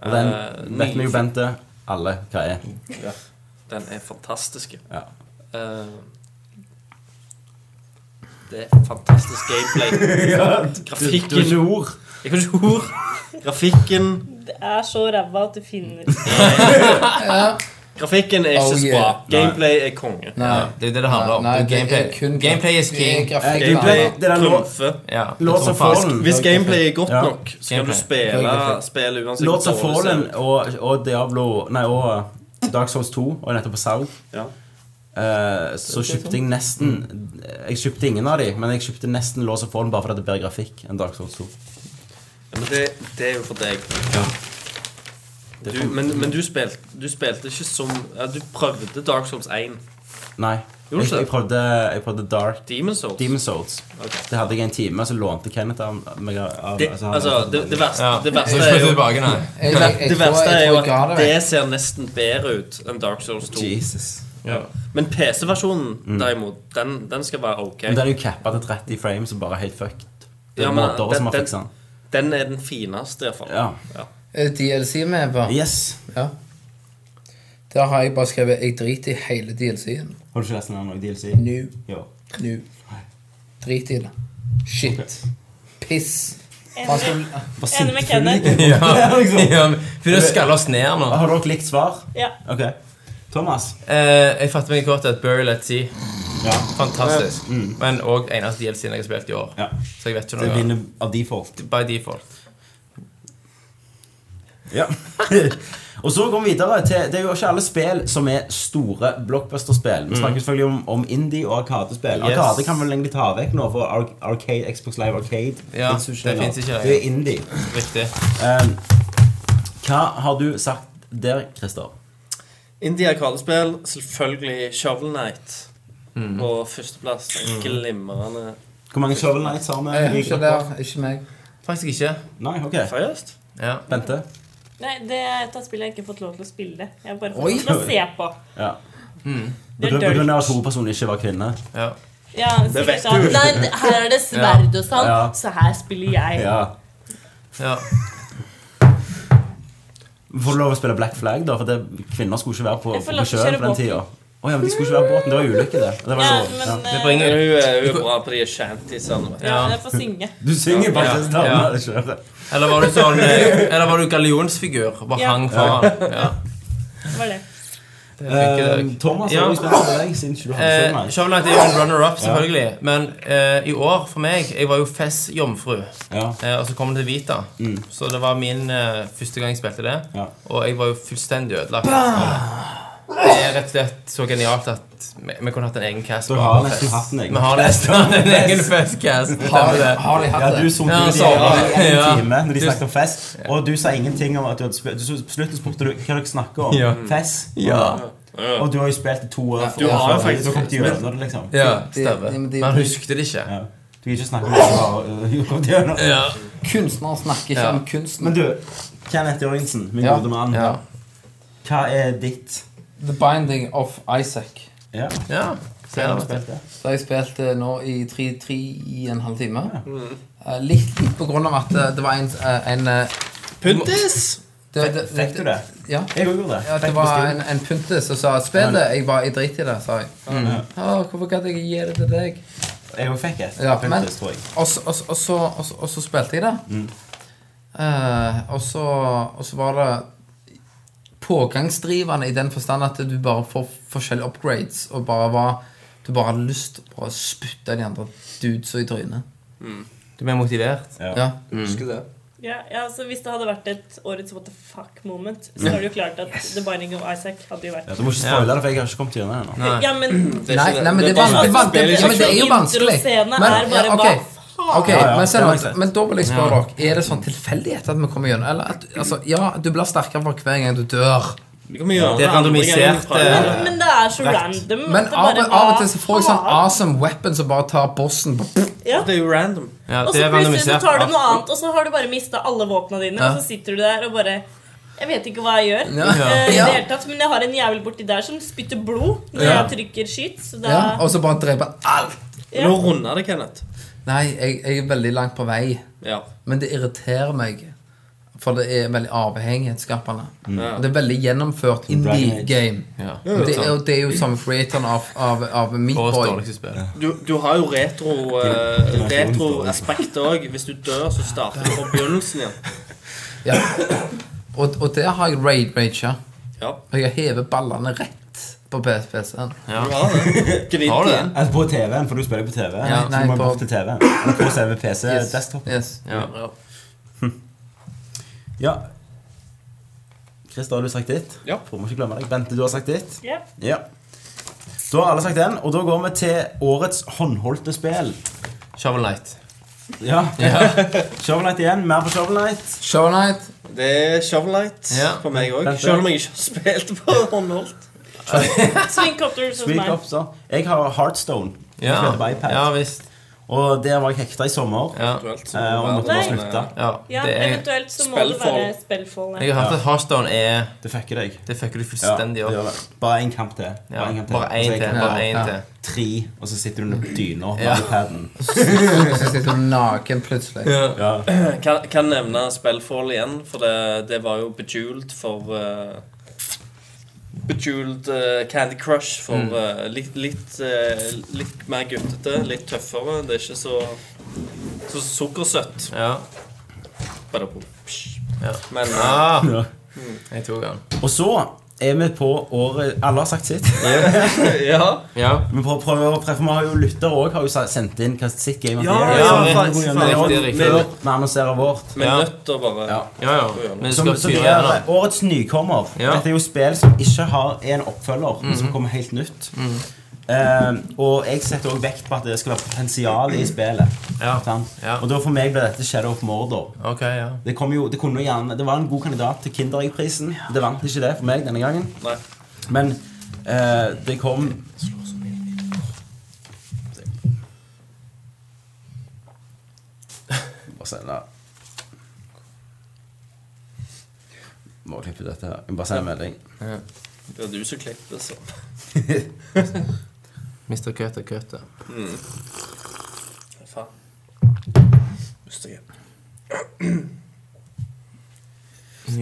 Speaker 1: Og den
Speaker 2: Eh,
Speaker 1: vet vi
Speaker 2: ny-
Speaker 1: jo, Bente, alle hva er.
Speaker 2: Den er fantastisk
Speaker 1: Ja.
Speaker 2: Eh, Det er fantastisk gameplay
Speaker 1: Du har
Speaker 2: Grafikken
Speaker 1: ikke ord.
Speaker 2: Jeg kan ikke ord Grafikken
Speaker 3: Det er så ræva at du finner ikke
Speaker 2: Grafikken er ikke
Speaker 4: Oh,
Speaker 2: så bra
Speaker 4: yeah.
Speaker 2: Gameplay er konge
Speaker 4: Nei.
Speaker 5: Det er jo det det handler om.
Speaker 4: Nei,
Speaker 5: det er
Speaker 4: det er
Speaker 5: gameplay.
Speaker 4: kun-
Speaker 5: gameplay is
Speaker 4: Det er
Speaker 5: king.
Speaker 4: grafikk,
Speaker 1: Eh, gameplay-
Speaker 4: da.
Speaker 1: det er den lå-
Speaker 2: Trumfe
Speaker 5: Ja.
Speaker 1: Lords of
Speaker 5: sånn
Speaker 1: Fallen.
Speaker 2: Hvis gameplay er godt
Speaker 1: Ja.
Speaker 2: nok, så kan du
Speaker 5: Gameplay.
Speaker 2: spille, spille uansett
Speaker 1: Lords of
Speaker 2: dårlig
Speaker 1: Fallen
Speaker 2: det er.
Speaker 1: og, og Diablo Nei, og Dark Souls 2 var nettopp på salg.
Speaker 2: Ja.
Speaker 1: Eh, så kjøpte jeg
Speaker 2: Mm.
Speaker 1: nesten Jeg kjøpte ingen av de, men jeg kjøpte nesten Lords of Fallen bare fordi det er bedre grafikk enn Dark Souls 2.
Speaker 2: Men det, det er jo for deg. Du, men men du, spilte, du spilte ikke som ja, Du prøvde Dark Souls 1.
Speaker 1: Nei.
Speaker 2: Gjorde du
Speaker 1: Jeg,
Speaker 2: ikke det?
Speaker 1: jeg, prøvde, jeg prøvde Dark
Speaker 2: Demon Souls.
Speaker 1: Demon Souls. Det hadde jeg en time, så lånte Kenneth av meg av,
Speaker 2: Det,
Speaker 1: altså, han-
Speaker 2: altså, det, det, verste, det
Speaker 5: Så
Speaker 2: verste
Speaker 5: ikke
Speaker 2: er jo
Speaker 5: tilbake, nei.
Speaker 4: Jeg, jeg, jeg,
Speaker 2: det
Speaker 4: tror-
Speaker 2: verste
Speaker 4: jeg
Speaker 2: er
Speaker 4: tror
Speaker 2: jo
Speaker 4: jeg ga
Speaker 2: at
Speaker 4: det vekk.
Speaker 2: det ser nesten bedre ut enn Dark Souls 2.
Speaker 1: Jesus.
Speaker 2: Men PC-versjonen, derimot, den, den skal være ok.
Speaker 1: Mm. Men den er jo cappa til 30 frames og bare helt fucked. Det er
Speaker 2: Ja,
Speaker 1: ja,
Speaker 2: men
Speaker 1: måter som har
Speaker 2: den-
Speaker 1: fiksa den.
Speaker 2: Den er den fineste, iallfall.
Speaker 1: Ja.
Speaker 4: Er det DLC med på?
Speaker 1: Yes.
Speaker 4: Ja. Der har jeg bare skrevet 'Jeg driter i hele DLC-en'.
Speaker 1: Har du ikke lest den andre DLC?
Speaker 4: Nå.
Speaker 1: Jo.
Speaker 4: Nå. Drit i det. Shit. Piss. Han skal-
Speaker 3: Enig med Kenneth.
Speaker 5: <laughs>
Speaker 1: <laughs>
Speaker 5: Ja,
Speaker 2: <laughs>
Speaker 5: ja, for det skaller oss ned nå.
Speaker 1: Har dere likt svar?
Speaker 3: Ja.
Speaker 1: Ok. Thomas?
Speaker 5: Eh, jeg fatter meg kort at Burial at Sea
Speaker 1: Ja.
Speaker 5: Fantastisk. Men òg eneste DLC-en jeg har spilt i år.
Speaker 1: Ja.
Speaker 5: Så jeg vet ikke
Speaker 1: Det
Speaker 5: noe.
Speaker 1: vinner av default.
Speaker 5: By default.
Speaker 1: Ja. <laughs> og så går vi videre til Det er jo ikke alle spill som er store blockbuster-spill.
Speaker 5: Mm.
Speaker 1: Vi snakker selvfølgelig om, om indie- og arkadespill. Arkade kan vel egentlig ta vekk nå, for Ar- Arcade, Xbox Live Arcade
Speaker 5: Ja,
Speaker 1: finnes jo
Speaker 5: det
Speaker 1: lenger.
Speaker 5: finnes ikke lenger.
Speaker 1: Det er indie.
Speaker 5: Riktig.
Speaker 1: Um, hva har du sagt der, Christer?
Speaker 2: India Kardespill, selvfølgelig Shovel Knight. På førsteplass. En glimrende
Speaker 1: Hvor mange Shovel Knights har vi?
Speaker 4: Eh,
Speaker 1: i
Speaker 4: Ikke
Speaker 1: gruppa?
Speaker 4: der, ikke meg.
Speaker 5: Faktisk ikke.
Speaker 1: Nei, ok.
Speaker 2: Seriøst?
Speaker 5: Ja.
Speaker 1: Bente?
Speaker 3: Nei, det er et av spillene jeg ikke har fått lov til å spille. Jeg har bare fått
Speaker 4: Oi.
Speaker 3: lov til å se på.
Speaker 1: Ja. På
Speaker 3: Det er
Speaker 1: grunn på grunn
Speaker 3: dirty.
Speaker 1: av at hovedpersonen ikke var kvinne.
Speaker 5: ja.
Speaker 3: Ja,
Speaker 2: Det
Speaker 3: sikkert
Speaker 2: vet
Speaker 3: sånn.
Speaker 2: du.
Speaker 3: Nei, det- her er det sverd og sånn,
Speaker 1: Ja.
Speaker 3: så her spiller jeg.
Speaker 1: Ja.
Speaker 5: ja.
Speaker 1: Får du lov å spille Black Flag, da? For det, kvinner skulle ikke være på,
Speaker 3: Jeg får
Speaker 1: på
Speaker 3: lov til å
Speaker 1: sjøen
Speaker 3: kjøre
Speaker 1: på den
Speaker 3: båten.
Speaker 1: tida. Å ja, men de skulle ikke være på båten. Det var en ulykke, det. det var
Speaker 3: Ja,
Speaker 1: jo-
Speaker 3: men
Speaker 1: ja.
Speaker 5: Det
Speaker 3: eh,
Speaker 2: Hun
Speaker 5: bringer
Speaker 2: er jo bra på de shantiesene. vet du.
Speaker 3: ja,
Speaker 5: ja.
Speaker 3: jeg får synge.
Speaker 1: Du synger
Speaker 5: Ja.
Speaker 1: faktisk da.
Speaker 5: Ja.
Speaker 1: når du kjører.
Speaker 5: Eller var du
Speaker 1: <laughs>
Speaker 5: sånn eh, Eller var du gallionsfigur? og Bare
Speaker 3: Ja.
Speaker 5: hang foran.
Speaker 1: <laughs>
Speaker 5: Ja.
Speaker 3: Det var det.
Speaker 5: Det fikk jeg deg.
Speaker 1: Eh, Thomas
Speaker 5: Ja.
Speaker 1: har jo spilt med deg siden 20
Speaker 5: Eh,
Speaker 1: år.
Speaker 5: Shovel Knight er jo en runner-up, selvfølgelig. Men eh, i år, for meg Jeg var jo Fess-jomfru.
Speaker 1: Ja.
Speaker 5: Eh, og så kom det til Vita. Så det var min eh, første gang jeg spilte det.
Speaker 1: Mm. Ja.
Speaker 5: Og jeg var jo fullstendig ødelagt. Det er rett og slett så genialt at vi, vi kunne hatt en egen cast.
Speaker 1: Du
Speaker 5: bare
Speaker 1: har
Speaker 5: for
Speaker 1: nesten
Speaker 5: Fest.
Speaker 1: hatt en egen.
Speaker 5: Vi har nesten en egen Fest-cast.
Speaker 4: Har
Speaker 5: stemmer
Speaker 4: de,
Speaker 5: det.
Speaker 4: har de
Speaker 1: Ja,
Speaker 4: hatt
Speaker 1: du
Speaker 4: det?
Speaker 1: sunket
Speaker 5: Ja,
Speaker 1: ut i
Speaker 5: så-
Speaker 1: en
Speaker 5: ja.
Speaker 1: time når de
Speaker 5: Du-
Speaker 1: snakket om fest, og du sa ingenting om at du hadde spilt du- På slutten spurte du hva dere snakker om.
Speaker 5: Ja.
Speaker 1: Fest.
Speaker 2: Ja.
Speaker 1: Og du har jo spilt i to år.
Speaker 2: Du har jo faktisk-
Speaker 1: Du har kommet gjennom det, liksom.
Speaker 5: Ja,
Speaker 4: Det-
Speaker 5: stemmer.
Speaker 4: det- men det-
Speaker 5: Men han husket det ikke.
Speaker 1: Ja. Du kan ikke snakke om det du har øh, du har kommet gjennom.
Speaker 5: Ja.
Speaker 4: Kunstnere snakker ikke
Speaker 5: Ja.
Speaker 4: om kunsten.
Speaker 1: Men du, Kenneth Jørgensen, min
Speaker 4: Ja.
Speaker 1: gode mann,
Speaker 4: Ja.
Speaker 1: hva er ditt
Speaker 4: The Binding of Isaac.
Speaker 1: Ja,
Speaker 5: ja. Så er
Speaker 1: har du
Speaker 5: det
Speaker 1: spilt det?
Speaker 4: Så har jeg spilt eh, nå i tre, tre i en halv time.
Speaker 1: Mm.
Speaker 4: Eh, Litt litt på grunn av at eh, det var en, eh, en eh,
Speaker 2: Puntis!
Speaker 4: det, det,
Speaker 1: Fikk du det?
Speaker 4: Ja.
Speaker 1: Jeg òg gjorde det.
Speaker 4: Ja, det
Speaker 1: Fikk
Speaker 4: var
Speaker 1: beskrivelsen.
Speaker 4: en, en punte som sa 'Spill det'. Jeg bare 'Jeg driter i det', sa jeg. «Å, 'Hvorfor gadd jeg gi det til deg?'
Speaker 1: Jeg òg fikk et.
Speaker 4: Ja,
Speaker 1: Fikk
Speaker 4: men-
Speaker 1: det, tror jeg.
Speaker 4: Og så- og så- og så og så- og så spilte jeg det.
Speaker 1: Mm.
Speaker 4: Eh, og, så, og så var det pågangsdrivende i den forstand at du bare får forskjellige upgrades, og bare var du bare hadde lyst til å bare spytte de andre dudesa i trynet.
Speaker 5: Du ble motivert.
Speaker 4: Ja.
Speaker 3: Ja, ja, så Hvis det hadde vært et årets what the fuck-moment, så er det jo klart at The Binding of Isaac hadde jo vært
Speaker 1: Altså, Du må ikke spoile det, for jeg har ikke kommet gjennom det ennå.
Speaker 5: Nei.
Speaker 3: Ja, men
Speaker 2: er
Speaker 4: Nei,
Speaker 2: ikke
Speaker 4: nei, men det, er
Speaker 2: bare-
Speaker 4: van- det, van- det,
Speaker 2: spiller
Speaker 4: ja, men det er jo
Speaker 3: ikke-
Speaker 4: vanskelig.
Speaker 3: Introscenen er bare,
Speaker 4: ja, ok.
Speaker 3: hva faen?
Speaker 4: Ok,
Speaker 1: ja,
Speaker 4: men, se
Speaker 1: det
Speaker 4: nå,
Speaker 1: har jeg sett.
Speaker 4: men da vil jeg spørre dere Er det sånn tilfeldighet at vi kommer gjennom? Eller at, altså, ja, du blir sterkere for hver gang du dør.
Speaker 2: Vi kan gjøre
Speaker 5: Det er
Speaker 2: andre gangen vi
Speaker 5: randomisert,
Speaker 2: prøver.
Speaker 5: eh,
Speaker 3: Men det er så random.
Speaker 4: Men
Speaker 3: at det
Speaker 4: av,
Speaker 3: bare
Speaker 4: av og til
Speaker 3: var-
Speaker 4: så får jeg sånn awesome weapon som bare tar bossen på
Speaker 3: Ja.
Speaker 2: Det er jo random.
Speaker 5: Ja,
Speaker 3: Og
Speaker 5: det
Speaker 3: så
Speaker 5: er
Speaker 3: plutselig så
Speaker 5: randomisert.
Speaker 3: tar du noe annet, og så har du bare mista alle våpna dine.
Speaker 5: Ja.
Speaker 3: Og så sitter du der og bare Jeg vet ikke hva jeg gjør.
Speaker 4: Ja.
Speaker 3: eh, i
Speaker 4: Ja.
Speaker 3: det hele tatt, Men jeg har en jævel borti der som spytter blod når
Speaker 5: Ja.
Speaker 3: jeg trykker skyt. Så da
Speaker 4: ja, Og så bare dreper han alt.
Speaker 3: Ja.
Speaker 2: Nå runder det, Kenneth.
Speaker 4: Nei, jeg, jeg er veldig langt på vei.
Speaker 2: Ja.
Speaker 4: Men det irriterer meg. For det er veldig avhengighetsskapende.
Speaker 2: Ja.
Speaker 4: Og det er veldig gjennomført indie
Speaker 1: Mm. Age.
Speaker 4: game.
Speaker 5: Ja.
Speaker 4: Og det, er, jo- det er jo samme creatoren av, av, av Meat
Speaker 5: Årets
Speaker 4: Boy.
Speaker 5: dårligste spill.
Speaker 2: Du, du har jo retro uh, retroaspekt òg. Hvis du dør, så starter du fra begynnelsen igjen.
Speaker 4: Ja. Og, og der har jeg raid rager.
Speaker 2: Ja.
Speaker 4: Og jeg hever ballene rett på PC-en.
Speaker 2: Du har det. Gnid
Speaker 5: Har du det?
Speaker 2: igjen.
Speaker 1: Altså på TV-en, for du spiller på TV.
Speaker 4: Ja,
Speaker 1: så
Speaker 4: nei,
Speaker 1: du må
Speaker 4: på-
Speaker 1: bort til TV-en. Eller På selve
Speaker 4: Yes.
Speaker 1: PC-desktop.
Speaker 4: Yes.
Speaker 5: Ja.
Speaker 1: Ja. Christer, har du sagt ditt?
Speaker 2: Ja.
Speaker 1: For vi må ikke glemme deg. Bente, du har sagt ditt?
Speaker 3: Ja.
Speaker 1: Ja. Da har alle sagt den, og da går vi til årets håndholdte spill.
Speaker 5: Shovel Knight.
Speaker 1: Ja. <laughs> Shovel Knight igjen. Mer på Shovel Knight.
Speaker 9: Shovel Knight.
Speaker 2: Det er Shovellight
Speaker 5: Ja.
Speaker 2: på meg òg.
Speaker 1: Vent, vent.
Speaker 2: Selv om jeg ikke har spilt på håndholdt.
Speaker 3: Swingcopters hos
Speaker 1: Sweet
Speaker 3: meg.
Speaker 1: Cops, da. Jeg har Heartstone.
Speaker 5: Ja,
Speaker 1: Jeg spilte på iPad.
Speaker 5: ja visst.
Speaker 1: Og der var jeg hekta i sommer.
Speaker 5: Ja.
Speaker 1: eh, Og måtte bare
Speaker 3: Nei.
Speaker 1: slutte.
Speaker 5: Ja,
Speaker 3: Ja,
Speaker 5: det er,
Speaker 3: eventuelt så må det være Spellfall.
Speaker 5: jeg
Speaker 3: ja.
Speaker 5: har hørt at Hearthstone er
Speaker 1: Det fucker deg.
Speaker 5: Det fucker du
Speaker 1: Ja,
Speaker 5: fullstendig
Speaker 1: det
Speaker 5: opp.
Speaker 1: gjør det. Bare Altså, én kamp til.
Speaker 5: Ja,
Speaker 1: en kamp
Speaker 5: bare
Speaker 1: Og så er
Speaker 5: én til.
Speaker 1: kampen
Speaker 5: Bare
Speaker 1: over.
Speaker 5: én til.
Speaker 1: Tre, og så sitter du under dyna
Speaker 5: Ja.
Speaker 1: med iPaden.
Speaker 5: <laughs>
Speaker 9: Og så sitter du naken plutselig.
Speaker 1: Ja.
Speaker 2: Kan, kan nevne Spellfall igjen, for det, det var jo Bejeweled for eh, Bejeweled eh, Candy Crush for eh, litt, litt, eh, litt mer guttete, litt tøffere. Det er ikke så, så sukkersøtt.
Speaker 5: Ja.
Speaker 2: Bare på- psh.
Speaker 5: Ja.
Speaker 2: Men eh,
Speaker 5: Ah,
Speaker 1: Ja.
Speaker 5: jeg tok den.
Speaker 1: Og så er vi på året Alle har sagt
Speaker 5: <laughs>
Speaker 1: sitt.
Speaker 2: eh, <laughs> ja.
Speaker 5: Ja.
Speaker 1: Vi prøver, prøver, prøver, for vi har jo lyttere òg har jo sa- sendt inn hva sitt game of
Speaker 2: Ja,
Speaker 1: the
Speaker 5: ja,
Speaker 1: year.
Speaker 5: riktig,
Speaker 1: Vi går gjennom det også.
Speaker 5: riktig, riktig.
Speaker 1: Før Vi annonserer vårt.
Speaker 2: Med
Speaker 5: Ja.
Speaker 2: nøtter, bare.
Speaker 1: Ja.
Speaker 5: Ja, ja. Men det
Speaker 1: Som,
Speaker 5: skal
Speaker 1: så det
Speaker 5: fyre
Speaker 1: er
Speaker 5: igjen.
Speaker 1: årets nykommer.
Speaker 5: Ja. Mhm.
Speaker 1: Dette er jo spill som ikke har er en oppfølger, men som kommer helt nytt. Eh, og jeg setter også vekt på at det skal være potensial i spillet.
Speaker 5: Ja.
Speaker 1: Sant?
Speaker 5: Ja.
Speaker 1: Og da for meg ble dette Shadow of Mordor.
Speaker 5: Ok, ja.
Speaker 1: Det, kom jo, det, kunne jo gjerne, det var en god kandidat til Kinderegg-prisen. Det vant ikke det for meg denne gangen.
Speaker 2: Nei.
Speaker 1: Men eh, det kom Bare se da. Må klippe ut dette her. Jeg må bare sende en melding.
Speaker 2: Det er du som klipper, så.
Speaker 5: Mr. Køte, Køte.
Speaker 2: Faen. Hvis det er-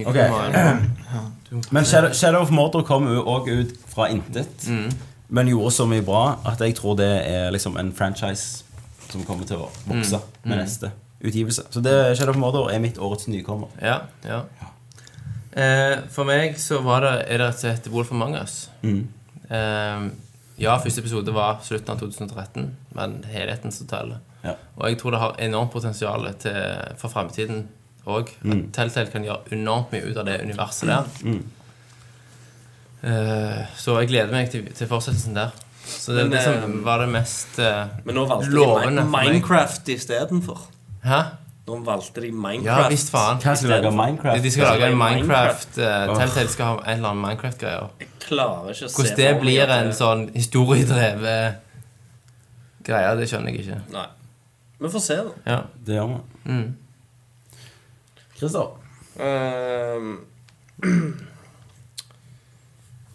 Speaker 1: Ok. Men Shadow, Shadow of Mordor kom jo òg ut fra intet,
Speaker 5: Mm.
Speaker 1: men gjorde så mye bra at jeg tror det er liksom en franchise som kommer til å vokse
Speaker 5: Mm.
Speaker 1: med neste utgivelse. Så det, Shadow of Mordor er mitt årets nykommer.
Speaker 5: Ja, ja. Eh, for meg så var det, er det rett og slett Wolf of Mangas. Eh, ja, første episode var slutten av 2013, men helheten som teller.
Speaker 1: Ja.
Speaker 5: Og jeg tror det har enormt potensial til, for fremtiden òg. At Telltale kan gjøre enormt mye ut av det universet der. Eh, så jeg gleder meg til, til fortsettelsen der. Så det,
Speaker 2: Men,
Speaker 5: det som
Speaker 2: eh,
Speaker 5: var det mest eh,
Speaker 2: Men nå valgte de
Speaker 5: lovende
Speaker 2: Mi-
Speaker 5: for meg.
Speaker 2: Minecraft istedenfor.
Speaker 5: Hæ?
Speaker 2: Nå valgte de Minecraft.
Speaker 5: Ja visst faen.
Speaker 1: Hva skal vi lage av
Speaker 5: De,
Speaker 1: Minecraft?
Speaker 5: de skal lage en
Speaker 2: Minecraft.
Speaker 5: Minecraft uh, Telltale skal ha en eller annen Minecraft-greier.
Speaker 2: Jeg klarer ikke å se
Speaker 5: Hvordan det
Speaker 2: for meg
Speaker 5: blir
Speaker 2: at
Speaker 5: en
Speaker 2: det-
Speaker 5: sånn historiedrevet greie, det skjønner jeg ikke.
Speaker 2: Nei. Vi får se, da.
Speaker 5: Ja.
Speaker 1: Det gjør vi.
Speaker 5: Mm.
Speaker 1: Christer?
Speaker 2: Ehm, <clears throat>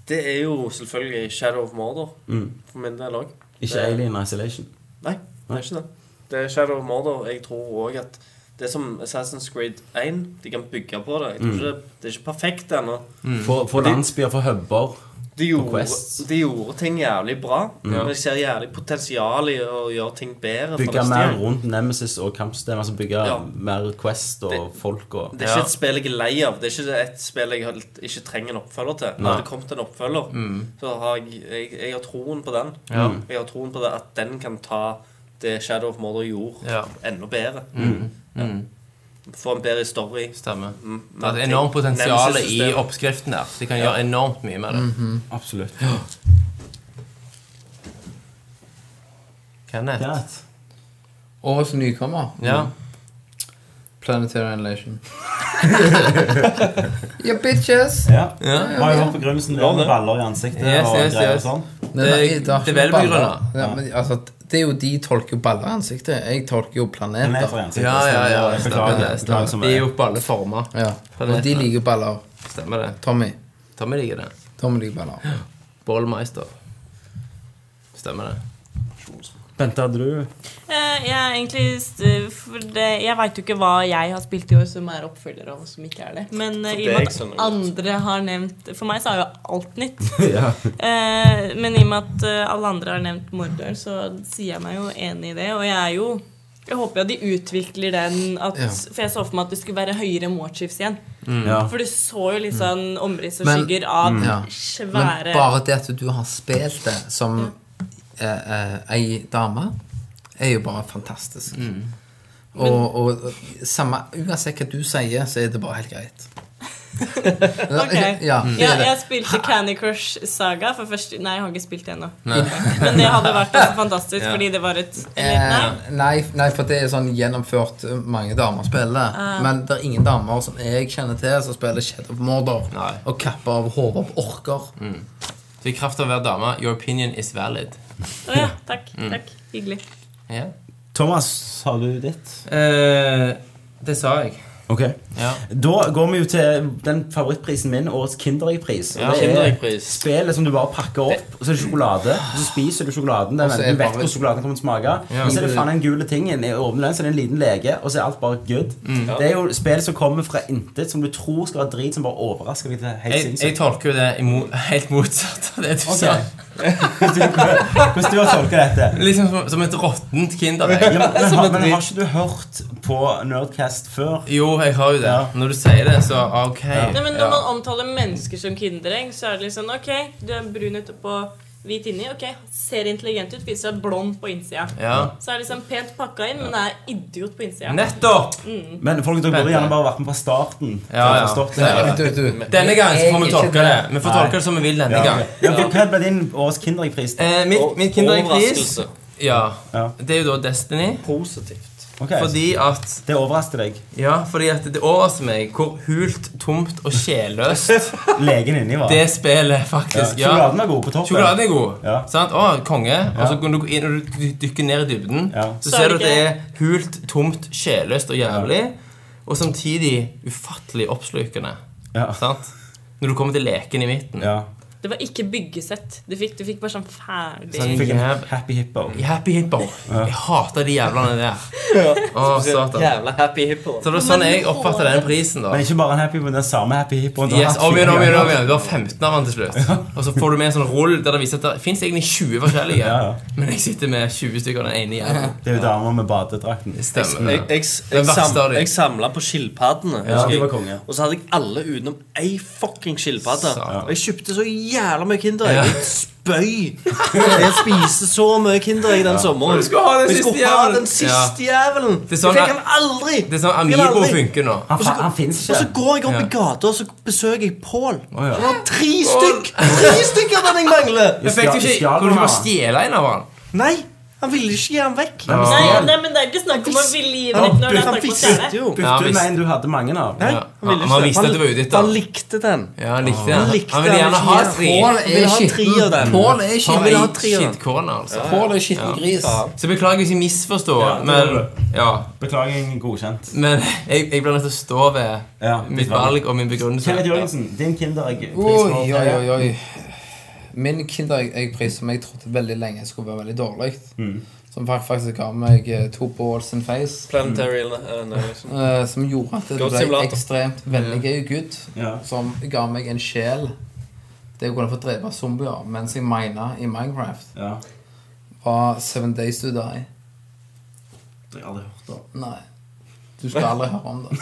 Speaker 2: det er jo selvfølgelig Shadow of Mordor
Speaker 5: Mm.
Speaker 2: for min del òg.
Speaker 1: Ikke Alien Isolation.
Speaker 2: Nei, det er ikke det. Det er Shadow of Mordor. Jeg tror òg at det er som Assassin's Creed 1. De kan bygge på det. Jeg
Speaker 5: Mm.
Speaker 2: tror ikke, det- det er ikke perfekt ennå.
Speaker 1: For, for landsbyer, for hubber.
Speaker 2: De gjorde,
Speaker 1: Quest.
Speaker 2: de gjorde ting jævlig bra. Men jeg ser jævlig potensial i å gjøre ting bedre. for
Speaker 1: Bygge
Speaker 2: neste
Speaker 1: mer
Speaker 2: gang.
Speaker 1: rundt Nemesis og kampsystemet. Altså bygge
Speaker 2: Ja.
Speaker 1: mer Quest og folk og
Speaker 2: Det er ikke
Speaker 5: Ja.
Speaker 2: et spill jeg er lei av. Det er ikke et spill jeg helt- ikke trenger en oppfølger til. Når det kommet en oppfølger,
Speaker 5: Mm.
Speaker 2: så har jeg, jeg, jeg har troen på den. Jeg har troen på det at den kan ta det Shadow of Mordor gjorde,
Speaker 5: Ja.
Speaker 2: enda bedre. Ja. Få en bedre story.
Speaker 5: Stemmer.
Speaker 2: Mm,
Speaker 5: Det er et
Speaker 2: ting-
Speaker 5: enormt potensial i
Speaker 2: Nemesis-systemet.
Speaker 5: oppskriften der. De kan gjøre enormt mye med det.
Speaker 1: Absolutt.
Speaker 5: Kenneth.
Speaker 1: Kenneth?
Speaker 9: Årets nykommer.
Speaker 5: Ja.
Speaker 9: Planetary Annihilation. <laughs> yeah, bitches!
Speaker 1: Ja. Har jo hørt begrunnelsen der med baller i ansiktet
Speaker 5: Yes,
Speaker 1: og
Speaker 5: yes,
Speaker 1: greier og
Speaker 5: yes.
Speaker 1: sånn.
Speaker 9: Nei,
Speaker 5: Det-
Speaker 9: nei, har
Speaker 5: det er
Speaker 9: ikke
Speaker 5: vel
Speaker 9: baller.
Speaker 5: begrunnet.
Speaker 9: Ja, men, altså, det er jo de tolker jo baller i ansiktet. Jeg tolker jo
Speaker 1: Men jeg
Speaker 9: planeter.
Speaker 1: får ansiktet.
Speaker 5: Ja, ja, ja.
Speaker 1: Jeg
Speaker 5: Stemmer
Speaker 1: Beklager.
Speaker 5: det.
Speaker 1: beklager så
Speaker 5: Stemmer.
Speaker 1: mye.
Speaker 5: De er jo på alle former.
Speaker 9: Ja. Og de liker baller.
Speaker 5: Stemmer det.
Speaker 9: Tommy.
Speaker 5: Tommy liker det.
Speaker 9: Tommy liker baller.
Speaker 5: Ballmeister. Stemmer det.
Speaker 1: Bente, hadde du
Speaker 3: Eh, jeg er egentlig st- for det, Jeg veit jo ikke hva jeg har spilt i år som er oppfølger og som ikke er det. Men eh,
Speaker 2: det
Speaker 3: i og
Speaker 2: er
Speaker 3: med
Speaker 2: ikke så
Speaker 3: at
Speaker 2: nøye.
Speaker 3: andre har nevnt For meg så er jo alt nytt.
Speaker 1: <laughs>
Speaker 3: <laughs>
Speaker 1: ja.
Speaker 3: Eh, men i og med at eh, alle andre har nevnt Mordor, så sier jeg meg jo enig i det. Og jeg er jo Jeg håper jo de utvikler den at,
Speaker 9: Ja.
Speaker 3: For jeg så for meg at det skulle være høyere målskips igjen.
Speaker 1: ja.
Speaker 3: For du så jo litt sånn omriss og
Speaker 9: Mm. Men- Mm.
Speaker 3: skygger av
Speaker 9: Ja. Men
Speaker 3: svære
Speaker 9: bare det at du har spilt det som eh, eh, ei dame, er jo bare fantastisk. Og, og samme, uansett hva du sier, så er det bare helt greit.
Speaker 3: Ok.
Speaker 4: <laughs>
Speaker 3: Mm.
Speaker 4: Ja, det
Speaker 3: Ja,
Speaker 4: er det.
Speaker 3: jeg spilte Candy Crush Saga for første Nei, jeg har ikke spilt det ennå. Men det hadde vært altså fantastisk, fordi det var et eller,
Speaker 4: Eh,
Speaker 3: Nei.
Speaker 4: nei, nei, for det er sånn gjennomført eh, mange damer spiller. Men det er ingen damer som jeg kjenner til, som spiller Shadow of Mordor
Speaker 5: Nei.
Speaker 4: og kapper av hodet på orker.
Speaker 2: Mm.
Speaker 5: Så i kraft av å være dame, your opinion is valid.
Speaker 3: Å ja. Takk. takk, Hyggelig.
Speaker 5: Ja.
Speaker 1: Thomas, sa du ditt?
Speaker 5: Eh, det sa jeg.
Speaker 1: Ok.
Speaker 5: Ja.
Speaker 1: Da går vi jo til den favorittprisen min, årets Kinderegg-pris.
Speaker 5: Ja,
Speaker 1: Og det er
Speaker 5: Kinderegg-pris.
Speaker 1: Spillet som du bare pakker opp, og så er det sjokolade. Og så spiser du sjokoladen. Den,
Speaker 4: så er
Speaker 1: du vet
Speaker 4: bare-
Speaker 1: hvordan sjokoladen kommer til å smake.
Speaker 5: Ja.
Speaker 1: Og så er det faen den gule tingen. Jeg åpner den, så er det en liten lege, og så er alt bare good.
Speaker 5: Mm.
Speaker 1: Det er jo spill som kommer fra intet, som du tror skal være drit, som bare overrasker deg. til Helt
Speaker 5: Jeg, jeg
Speaker 1: sinnssykt.
Speaker 5: tolker jo det imo helt motsatt av det du sa.
Speaker 1: Hvordan du har tolket dette?
Speaker 5: Liksom som, som et råttent
Speaker 1: Ja,
Speaker 5: kinderegg.
Speaker 1: men, men, har, men har ikke du hørt på Nerdcast før?
Speaker 5: Jo, jeg har jo det.
Speaker 1: Ja.
Speaker 5: Når du sier det, så ah, ok.
Speaker 3: Nei, men Når
Speaker 5: Ja.
Speaker 3: man omtaler mennesker som kinderegg, så er det liksom Ok, du er brun etterpå, hvit inni. Ok, Ser intelligent ut, viser seg blond på innsida.
Speaker 5: ja.
Speaker 3: Så er det liksom pent pakka inn, men er idiot på innsida.
Speaker 5: Nettopp!
Speaker 1: Men folk dere burde gjerne bare vært med fra starten.
Speaker 5: Ja,
Speaker 1: for å
Speaker 5: ja.
Speaker 1: forstå det.
Speaker 5: Ja.
Speaker 4: Du, du,
Speaker 5: Denne gangen så får vi
Speaker 4: Jeg er ikke
Speaker 5: tolke det. Vi får tolke det som vi vil denne
Speaker 1: Ja,
Speaker 5: gang.
Speaker 1: ok. Ja, ok, Hva ble din årets Kinderegg-pris? da?
Speaker 5: Eh, mitt mitt kinderegg-pris
Speaker 2: Overraskelse.
Speaker 5: ja,
Speaker 1: Ja.
Speaker 5: Det er jo da Destiny.
Speaker 2: Positivt.
Speaker 1: Ok,
Speaker 5: Fordi at
Speaker 1: Det overrasker deg.
Speaker 5: Ja, fordi at det overrasker meg hvor hult, tomt og sjelløst
Speaker 1: Legen inni var
Speaker 5: det spillet faktisk ja.
Speaker 1: Sjokoladen var god på toppen.
Speaker 5: Sjokoladen er god.
Speaker 1: Ja.
Speaker 5: Sant? Å, konge. Og så når du, går inn, og du dykker ned i dybden,
Speaker 1: Ja.
Speaker 5: så,
Speaker 3: Så er
Speaker 5: ser du
Speaker 3: det
Speaker 5: at det er hult, tomt, sjelløst og jævlig. Og samtidig ufattelig oppslukende.
Speaker 1: Ja.
Speaker 5: Sant? Når du kommer til leken i midten.
Speaker 1: Ja.
Speaker 3: Det var ikke byggesett. Du fikk, du fikk bare sånn ferdig
Speaker 5: Sånn
Speaker 1: Fikk en
Speaker 5: jæv-
Speaker 1: happy hippo.
Speaker 5: Happy Hippo. Jeg hater de jævlene
Speaker 1: <laughs>
Speaker 5: der. Å, satan.
Speaker 2: Jævla happy hippo.
Speaker 5: Så det var sånn jeg oppfatta den prisen, da.
Speaker 1: Men ikke bare en happy hippo, den samme happy hippoen. du har
Speaker 5: Yes,
Speaker 1: hatt
Speaker 5: om igjen, om igjen,
Speaker 1: fire
Speaker 5: om igjen. Du har 15 av den til slutt. Og så får du med en sånn rull der det viser at det fins egentlig 20 forskjellige.
Speaker 1: Ja, ja.
Speaker 5: Men jeg sitter med 20 stykker av den ene jævlen.
Speaker 1: Det er jo damer med badedrakten.
Speaker 5: Det stemmer.
Speaker 2: Jeg, jeg,
Speaker 5: Den
Speaker 2: jeg,
Speaker 5: verste
Speaker 2: sam,
Speaker 5: av de.
Speaker 2: jeg samla på skilpaddene.
Speaker 1: Ja,
Speaker 2: husker
Speaker 1: det var
Speaker 2: jeg.
Speaker 1: konge.
Speaker 2: Og så hadde jeg alle utenom ei fucking skilpadde.
Speaker 5: Satan.
Speaker 2: Og jeg kjøpte så jævla mye Kinderegg. Jeg spøy! Jeg spiste så mye Kinderegg den sommeren.
Speaker 5: du skulle ha den
Speaker 2: Jeg
Speaker 5: siste
Speaker 2: skulle ha
Speaker 5: jævelen.
Speaker 2: den siste jævelen.
Speaker 5: er sånn
Speaker 2: jeg fikk
Speaker 5: at-
Speaker 2: den aldri!
Speaker 5: Det er sånn
Speaker 2: Jeg fikk den
Speaker 5: Amibo
Speaker 2: aldri.
Speaker 5: funker nå.
Speaker 1: Han, fa- han fins
Speaker 2: Og så
Speaker 1: ikke.
Speaker 2: går jeg opp
Speaker 5: Ja.
Speaker 2: i gata og så besøker jeg Pål.
Speaker 1: ja.
Speaker 2: Han har tre stykk Tre stykker av den jeg mangler!
Speaker 5: Jeg fikk du
Speaker 1: Skal-
Speaker 5: ikke,
Speaker 1: skal
Speaker 5: Kunne du
Speaker 1: du
Speaker 5: ikke
Speaker 1: ha?
Speaker 5: bare stjele en av han?
Speaker 2: Nei, han ville ikke gi den vekk.
Speaker 3: Nei, nei, men det er ikke snakk om å ville gi den
Speaker 2: Han,
Speaker 3: vekk når det er
Speaker 2: han
Speaker 3: snakk om å
Speaker 2: visste
Speaker 3: stjele.
Speaker 2: jo.
Speaker 5: Ja,
Speaker 1: Bytte
Speaker 5: visst.
Speaker 1: med en du hadde mange av.
Speaker 2: Nei,
Speaker 5: Ja.
Speaker 2: han ville
Speaker 5: Han
Speaker 2: ikke
Speaker 5: visste at det var utditt, da.
Speaker 2: Han likte den.
Speaker 5: Ja, han likte den.
Speaker 2: Han likte
Speaker 5: Han ville
Speaker 2: den,
Speaker 5: gjerne
Speaker 2: han
Speaker 5: ha
Speaker 2: ville
Speaker 5: tre.
Speaker 4: Pål
Speaker 2: Jeg vil
Speaker 4: er
Speaker 2: ha
Speaker 4: skitten.
Speaker 2: tre av den.
Speaker 4: Pål er
Speaker 5: Han
Speaker 4: skitten.
Speaker 2: ville ha
Speaker 5: er
Speaker 2: tre av den.
Speaker 5: skittkårene, altså.
Speaker 4: Pål er skitten gris.
Speaker 5: Så beklager hvis jeg misforstår,
Speaker 1: Ja, det
Speaker 5: men
Speaker 1: gjør
Speaker 5: ja,
Speaker 1: Beklager, godkjent.
Speaker 5: men jeg, jeg blir nødt til å stå ved
Speaker 1: Ja,
Speaker 5: mitt valg og min begrunnelse.
Speaker 1: Kenneth Jørgensen, din Kinderegg-pris. nå.
Speaker 4: Oi, oi, oi, oi. Min Kinderegg-pris, som jeg trodde veldig lenge skulle være veldig dårlig,
Speaker 1: Mm.
Speaker 4: som fak- faktisk ga meg eh, to balls in face,
Speaker 2: Planetary eller noe sånt.
Speaker 4: eh, som gjorde at det
Speaker 2: Goat
Speaker 4: ble
Speaker 2: simulator.
Speaker 4: ekstremt veldig gøy gutt,
Speaker 1: Ja.
Speaker 4: som ga meg en sjel. Det å kunne få drepe zombier mens jeg mina i Minecraft,
Speaker 1: Ja.
Speaker 4: var Seven Days To Die.
Speaker 1: Det har jeg aldri hørt om.
Speaker 4: Nei. Du skal aldri høre om det.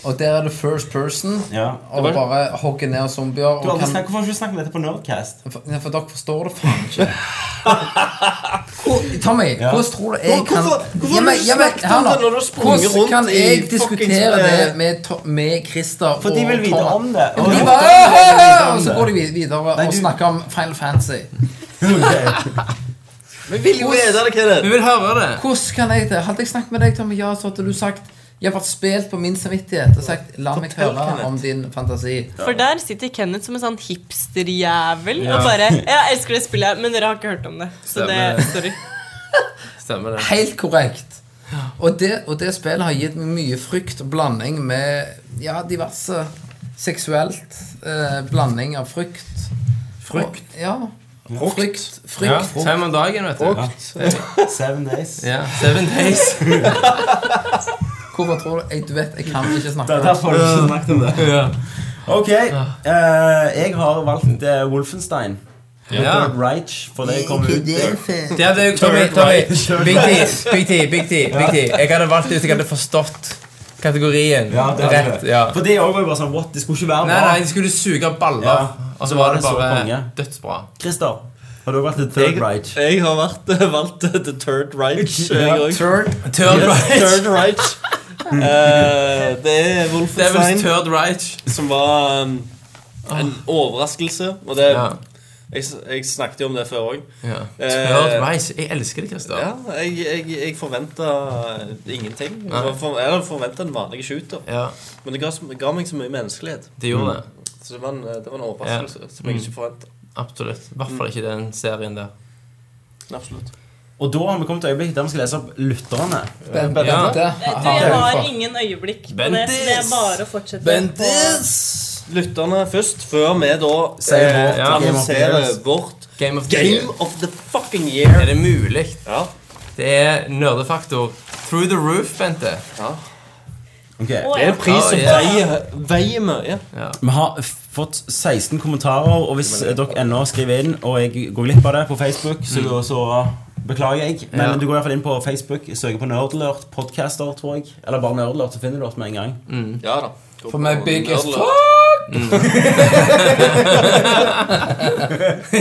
Speaker 4: Og der er det first person.
Speaker 1: Ja.
Speaker 4: Og bare hogge ned zombier.
Speaker 1: Du har
Speaker 4: Og
Speaker 1: aldri
Speaker 4: kan,
Speaker 1: snakket, hvorfor har du ikke snakket om dette på Nerdcast?
Speaker 4: for, nei, for dere forstår det faen ikke. Hvor, Tommy,
Speaker 1: Ja.
Speaker 4: hvordan tror du jeg kan
Speaker 2: Hvorfor- hvorfor
Speaker 4: Ja, men-
Speaker 2: har du
Speaker 4: ja, men,
Speaker 2: snakket om
Speaker 4: hør nå.
Speaker 2: det når du har sprunget
Speaker 4: Hvordan
Speaker 2: rundt
Speaker 4: kan
Speaker 2: i eh,
Speaker 4: jeg
Speaker 2: fucking-
Speaker 4: diskutere det med, To- med Christer
Speaker 1: For de
Speaker 4: og
Speaker 1: vil vite
Speaker 4: Thomas?
Speaker 1: om det.
Speaker 4: Ja, men de
Speaker 1: Og-
Speaker 4: bare,
Speaker 1: Ja, de vil vite om
Speaker 4: og så
Speaker 1: det.
Speaker 4: går de vid- videre
Speaker 1: Nei,
Speaker 4: og
Speaker 1: du-
Speaker 4: snakker om Final Fantasy.
Speaker 2: Vi vil jo vite det, Kenneth.
Speaker 5: Vi vil høre det.
Speaker 4: Hvordan kan jeg det? Hadde jeg snakket med deg, Tommy, ja, så hadde du sagt Jeg har vært spilt på min samvittighet og sagt La meg høre om din fantasi.
Speaker 3: For der sitter Kenneth som en sånn hipsterjævel og bare Ja, jeg elsker det spillet, her, men dere har ikke hørt om det. Så det,
Speaker 5: Stemmer det.
Speaker 3: sorry.
Speaker 5: Stemmer det.
Speaker 4: Helt korrekt. Og det, og det spillet har gitt meg mye frykt og blanding med ja, diverse seksuelt. Eh, blanding av frykt. Frykt? Og, ja. Frykt.
Speaker 5: Ja,
Speaker 4: Frykt.
Speaker 5: fem om dagen, vet du.
Speaker 1: <laughs> Seven days.
Speaker 5: Ja, Seven days.
Speaker 4: Hvorfor tror du jeg, Du vet, jeg kan ikke
Speaker 1: Det
Speaker 4: snakke
Speaker 1: er derfor du ikke snakket om det.
Speaker 5: Ja.
Speaker 1: Ok, eh, jeg har valgt eh, Wolfenstein.
Speaker 5: Ja.
Speaker 1: Third Reich, for det kommer ut eh,
Speaker 5: Det hadde jeg, Tommy, Tommy, Big T, Big T, Big T, Big T. Jeg hadde valgt ut, jeg hadde forstått kategorien.
Speaker 1: ja, det hadde
Speaker 5: Rett,
Speaker 1: det.
Speaker 5: ja.
Speaker 1: For det òg var jo bare sånn what, det skulle ikke være
Speaker 5: Nei,
Speaker 1: bra.
Speaker 5: nei, de skulle suge baller,
Speaker 1: Ja.
Speaker 5: og så var
Speaker 1: Så var det
Speaker 5: det
Speaker 1: så
Speaker 5: bare
Speaker 1: konge.
Speaker 5: dødsbra.
Speaker 1: Christer, har Har du vært litt third right?
Speaker 2: Jeg har vært, <laughs> valgt eh, The Third Reich. eh, jeg også.
Speaker 9: Turd.
Speaker 5: Third
Speaker 2: Yes,
Speaker 5: right.
Speaker 2: Third Reich. Eh, det er
Speaker 5: Devil's
Speaker 2: Wolfenstein
Speaker 5: third right.
Speaker 2: som var um, en overraskelse. Og det,
Speaker 5: Ja.
Speaker 2: jeg, s- jeg snakket jo om det før òg.
Speaker 5: Ja.
Speaker 2: Eh,
Speaker 5: Third right. Jeg elsker det, Christer.
Speaker 2: Ja, jeg, jeg, jeg forventa ingenting.
Speaker 5: Nei.
Speaker 2: Jeg for- Jeg hadde forventa en vanlig shooter.
Speaker 5: Ja,
Speaker 2: Men det ga, så- ga meg så mye menneskelighet.
Speaker 5: det gjorde det.
Speaker 2: Så det var en, eh, det var en overraskelse som jeg ikke forventa.
Speaker 5: Absolutt. I hvert fall ikke den serien der.
Speaker 2: Absolutt.
Speaker 1: Og da har vi kommet til øyeblikket der vi skal lese opp lytterne.
Speaker 9: Ben-
Speaker 5: Ja.
Speaker 9: Benedicte.
Speaker 3: Du, jeg har ingen øyeblikk på det. Så det er bare å fortsette.
Speaker 5: Bendis!
Speaker 2: Lytterne først, før vi da
Speaker 1: Sier vårt
Speaker 5: ja,
Speaker 1: Game of the
Speaker 2: analyserer
Speaker 1: Years.
Speaker 2: vårt
Speaker 5: Game of the Year.
Speaker 2: Game of the fucking year.
Speaker 5: Er det mulig?
Speaker 2: Ja.
Speaker 5: Det er nerdefaktor through the roof, Bente.
Speaker 1: Ok.
Speaker 3: Å,
Speaker 2: Det er
Speaker 3: ja.
Speaker 2: en pris som
Speaker 5: Oh, yeah.
Speaker 2: veier, veier mye.
Speaker 1: Vi har f- fått 16 kommentarer, og hvis eh, dere ennå skriver inn, og jeg går glipp av det på Facebook, så, så beklager jeg. Men
Speaker 5: Mm. Ja.
Speaker 1: du går iallfall inn på Facebook, søker på Nerdlert podcaster, tror jeg. Eller bare Nerdlert, så finner du oss med en gang.
Speaker 2: Ja da.
Speaker 9: For meg biggest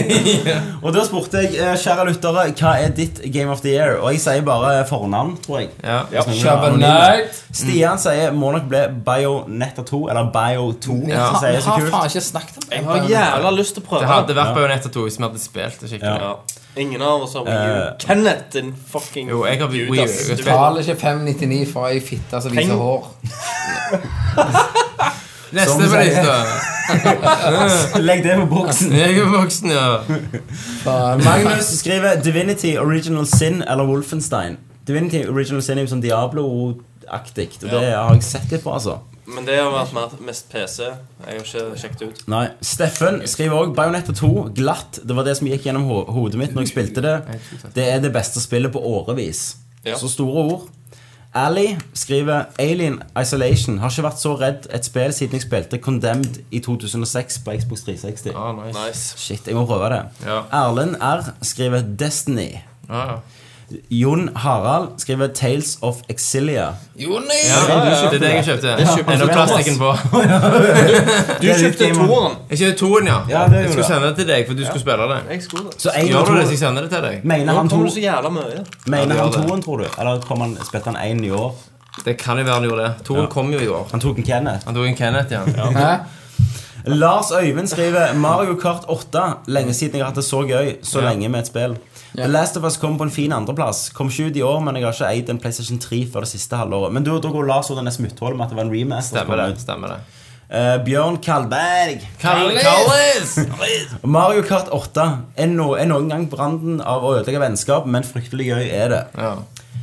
Speaker 5: Mm.
Speaker 1: Og da spurte jeg, eh, kjære lyttere, hva er ditt Game of the Year? Og jeg sier bare fornavn, tror jeg.
Speaker 5: Ja. Mm.
Speaker 9: Shabba Knight.
Speaker 1: Stian sier må nok bli Bionetta 2, eller Bio 2,
Speaker 5: Ja.
Speaker 1: som sier
Speaker 9: Jeg
Speaker 1: så
Speaker 9: har faen
Speaker 1: kult.
Speaker 9: ikke snakket om
Speaker 2: Jeg har jævla lyst til å prøve
Speaker 5: Det hadde vært Bayonetta 2 hvis vi hadde spilt det
Speaker 1: Ja.
Speaker 5: skikkelig.
Speaker 2: Ja. Ingen av oss har Wii U.
Speaker 1: Eh.
Speaker 2: Kenneth, din fucking
Speaker 5: Jo, jeg har Wii U,
Speaker 2: Judas.
Speaker 5: jeg
Speaker 2: Du
Speaker 5: vet
Speaker 2: vet-
Speaker 9: Betaler ikke 599 for ei fitte som
Speaker 2: Peng.
Speaker 9: viser hår.
Speaker 1: Som
Speaker 5: Neste på
Speaker 1: sier-
Speaker 5: lista.
Speaker 1: Legg det på boksen.
Speaker 5: <laughs> Jeg er voksen, ja.
Speaker 9: Faen.
Speaker 1: Magnus skriver Divinity Original Sin eller Wolfenstein. Divinity Original Sin er jo sånn Diablo-aktig, og det har jeg sett litt på, altså.
Speaker 2: Men det har vært mer- mest PC. Jeg har ikke sjekket det ut.
Speaker 1: Nei, Steffen skriver òg Bajonetta 2. Glatt. Det var det som gikk gjennom ho hodet mitt når jeg spilte det. Det er det beste spillet på årevis.
Speaker 2: Ja.
Speaker 1: Så store ord. Ali skriver Alien Isolation. Har ikke vært så redd et spill siden jeg spilte Condemned i 2006 på Xbox 360.
Speaker 5: Ah, nice.
Speaker 2: Nice.
Speaker 1: Shit, jeg må prøve det.
Speaker 5: Ja.
Speaker 1: Erlend R skriver Destiny.
Speaker 5: Ja, ja.
Speaker 1: Jon Harald skriver Tales of Exilia.
Speaker 9: Joni!
Speaker 5: Ja, Det er det jeg kjøpte. Ennå plastikken på.
Speaker 2: Du
Speaker 1: er litt
Speaker 2: kjøpte
Speaker 1: gamer.
Speaker 2: toeren.
Speaker 5: Jeg kjøpte toen, ja.
Speaker 1: Ja, det gjorde
Speaker 5: Jeg skulle
Speaker 1: jeg.
Speaker 5: sende det til deg, for du skulle spille det.
Speaker 2: Jeg skulle det.
Speaker 1: Så en og
Speaker 5: Gjør du det, så jeg
Speaker 1: to,
Speaker 5: sender det til deg?
Speaker 1: mener
Speaker 2: Nå
Speaker 1: han to
Speaker 2: kommer det så jævla mye.
Speaker 1: Mener
Speaker 5: Ja,
Speaker 1: han
Speaker 5: det gjør det.
Speaker 1: toen, tror du? Eller kom han, spilte han én i år?
Speaker 5: Det kan jo være han gjorde det. Toen kom jo i år.
Speaker 1: Han tok en Kenneth.
Speaker 5: Han tok en Kenneth, ja.
Speaker 9: Hæ?
Speaker 1: Lars Øyvind skriver Mario Kart 8. Lenge siden jeg har hatt det så gøy. Så lenge med et spill. The Last of Us kom på en fin andreplass. Kom ikke ut i år, men jeg har ikke eid en PlayStation 3 før det siste halvåret. Men du, da går Lars over denne smuttholdet med at det var en remaster. som
Speaker 5: Stemmer
Speaker 1: kom
Speaker 5: det.
Speaker 1: ut.
Speaker 5: stemmer det
Speaker 1: Eh, Bjørn Kalberg.
Speaker 5: Kallis!
Speaker 1: Mario Kart 8 er, no, er noen gang branden av å ødelegge vennskap, men fryktelig gøy er det.
Speaker 5: Ja.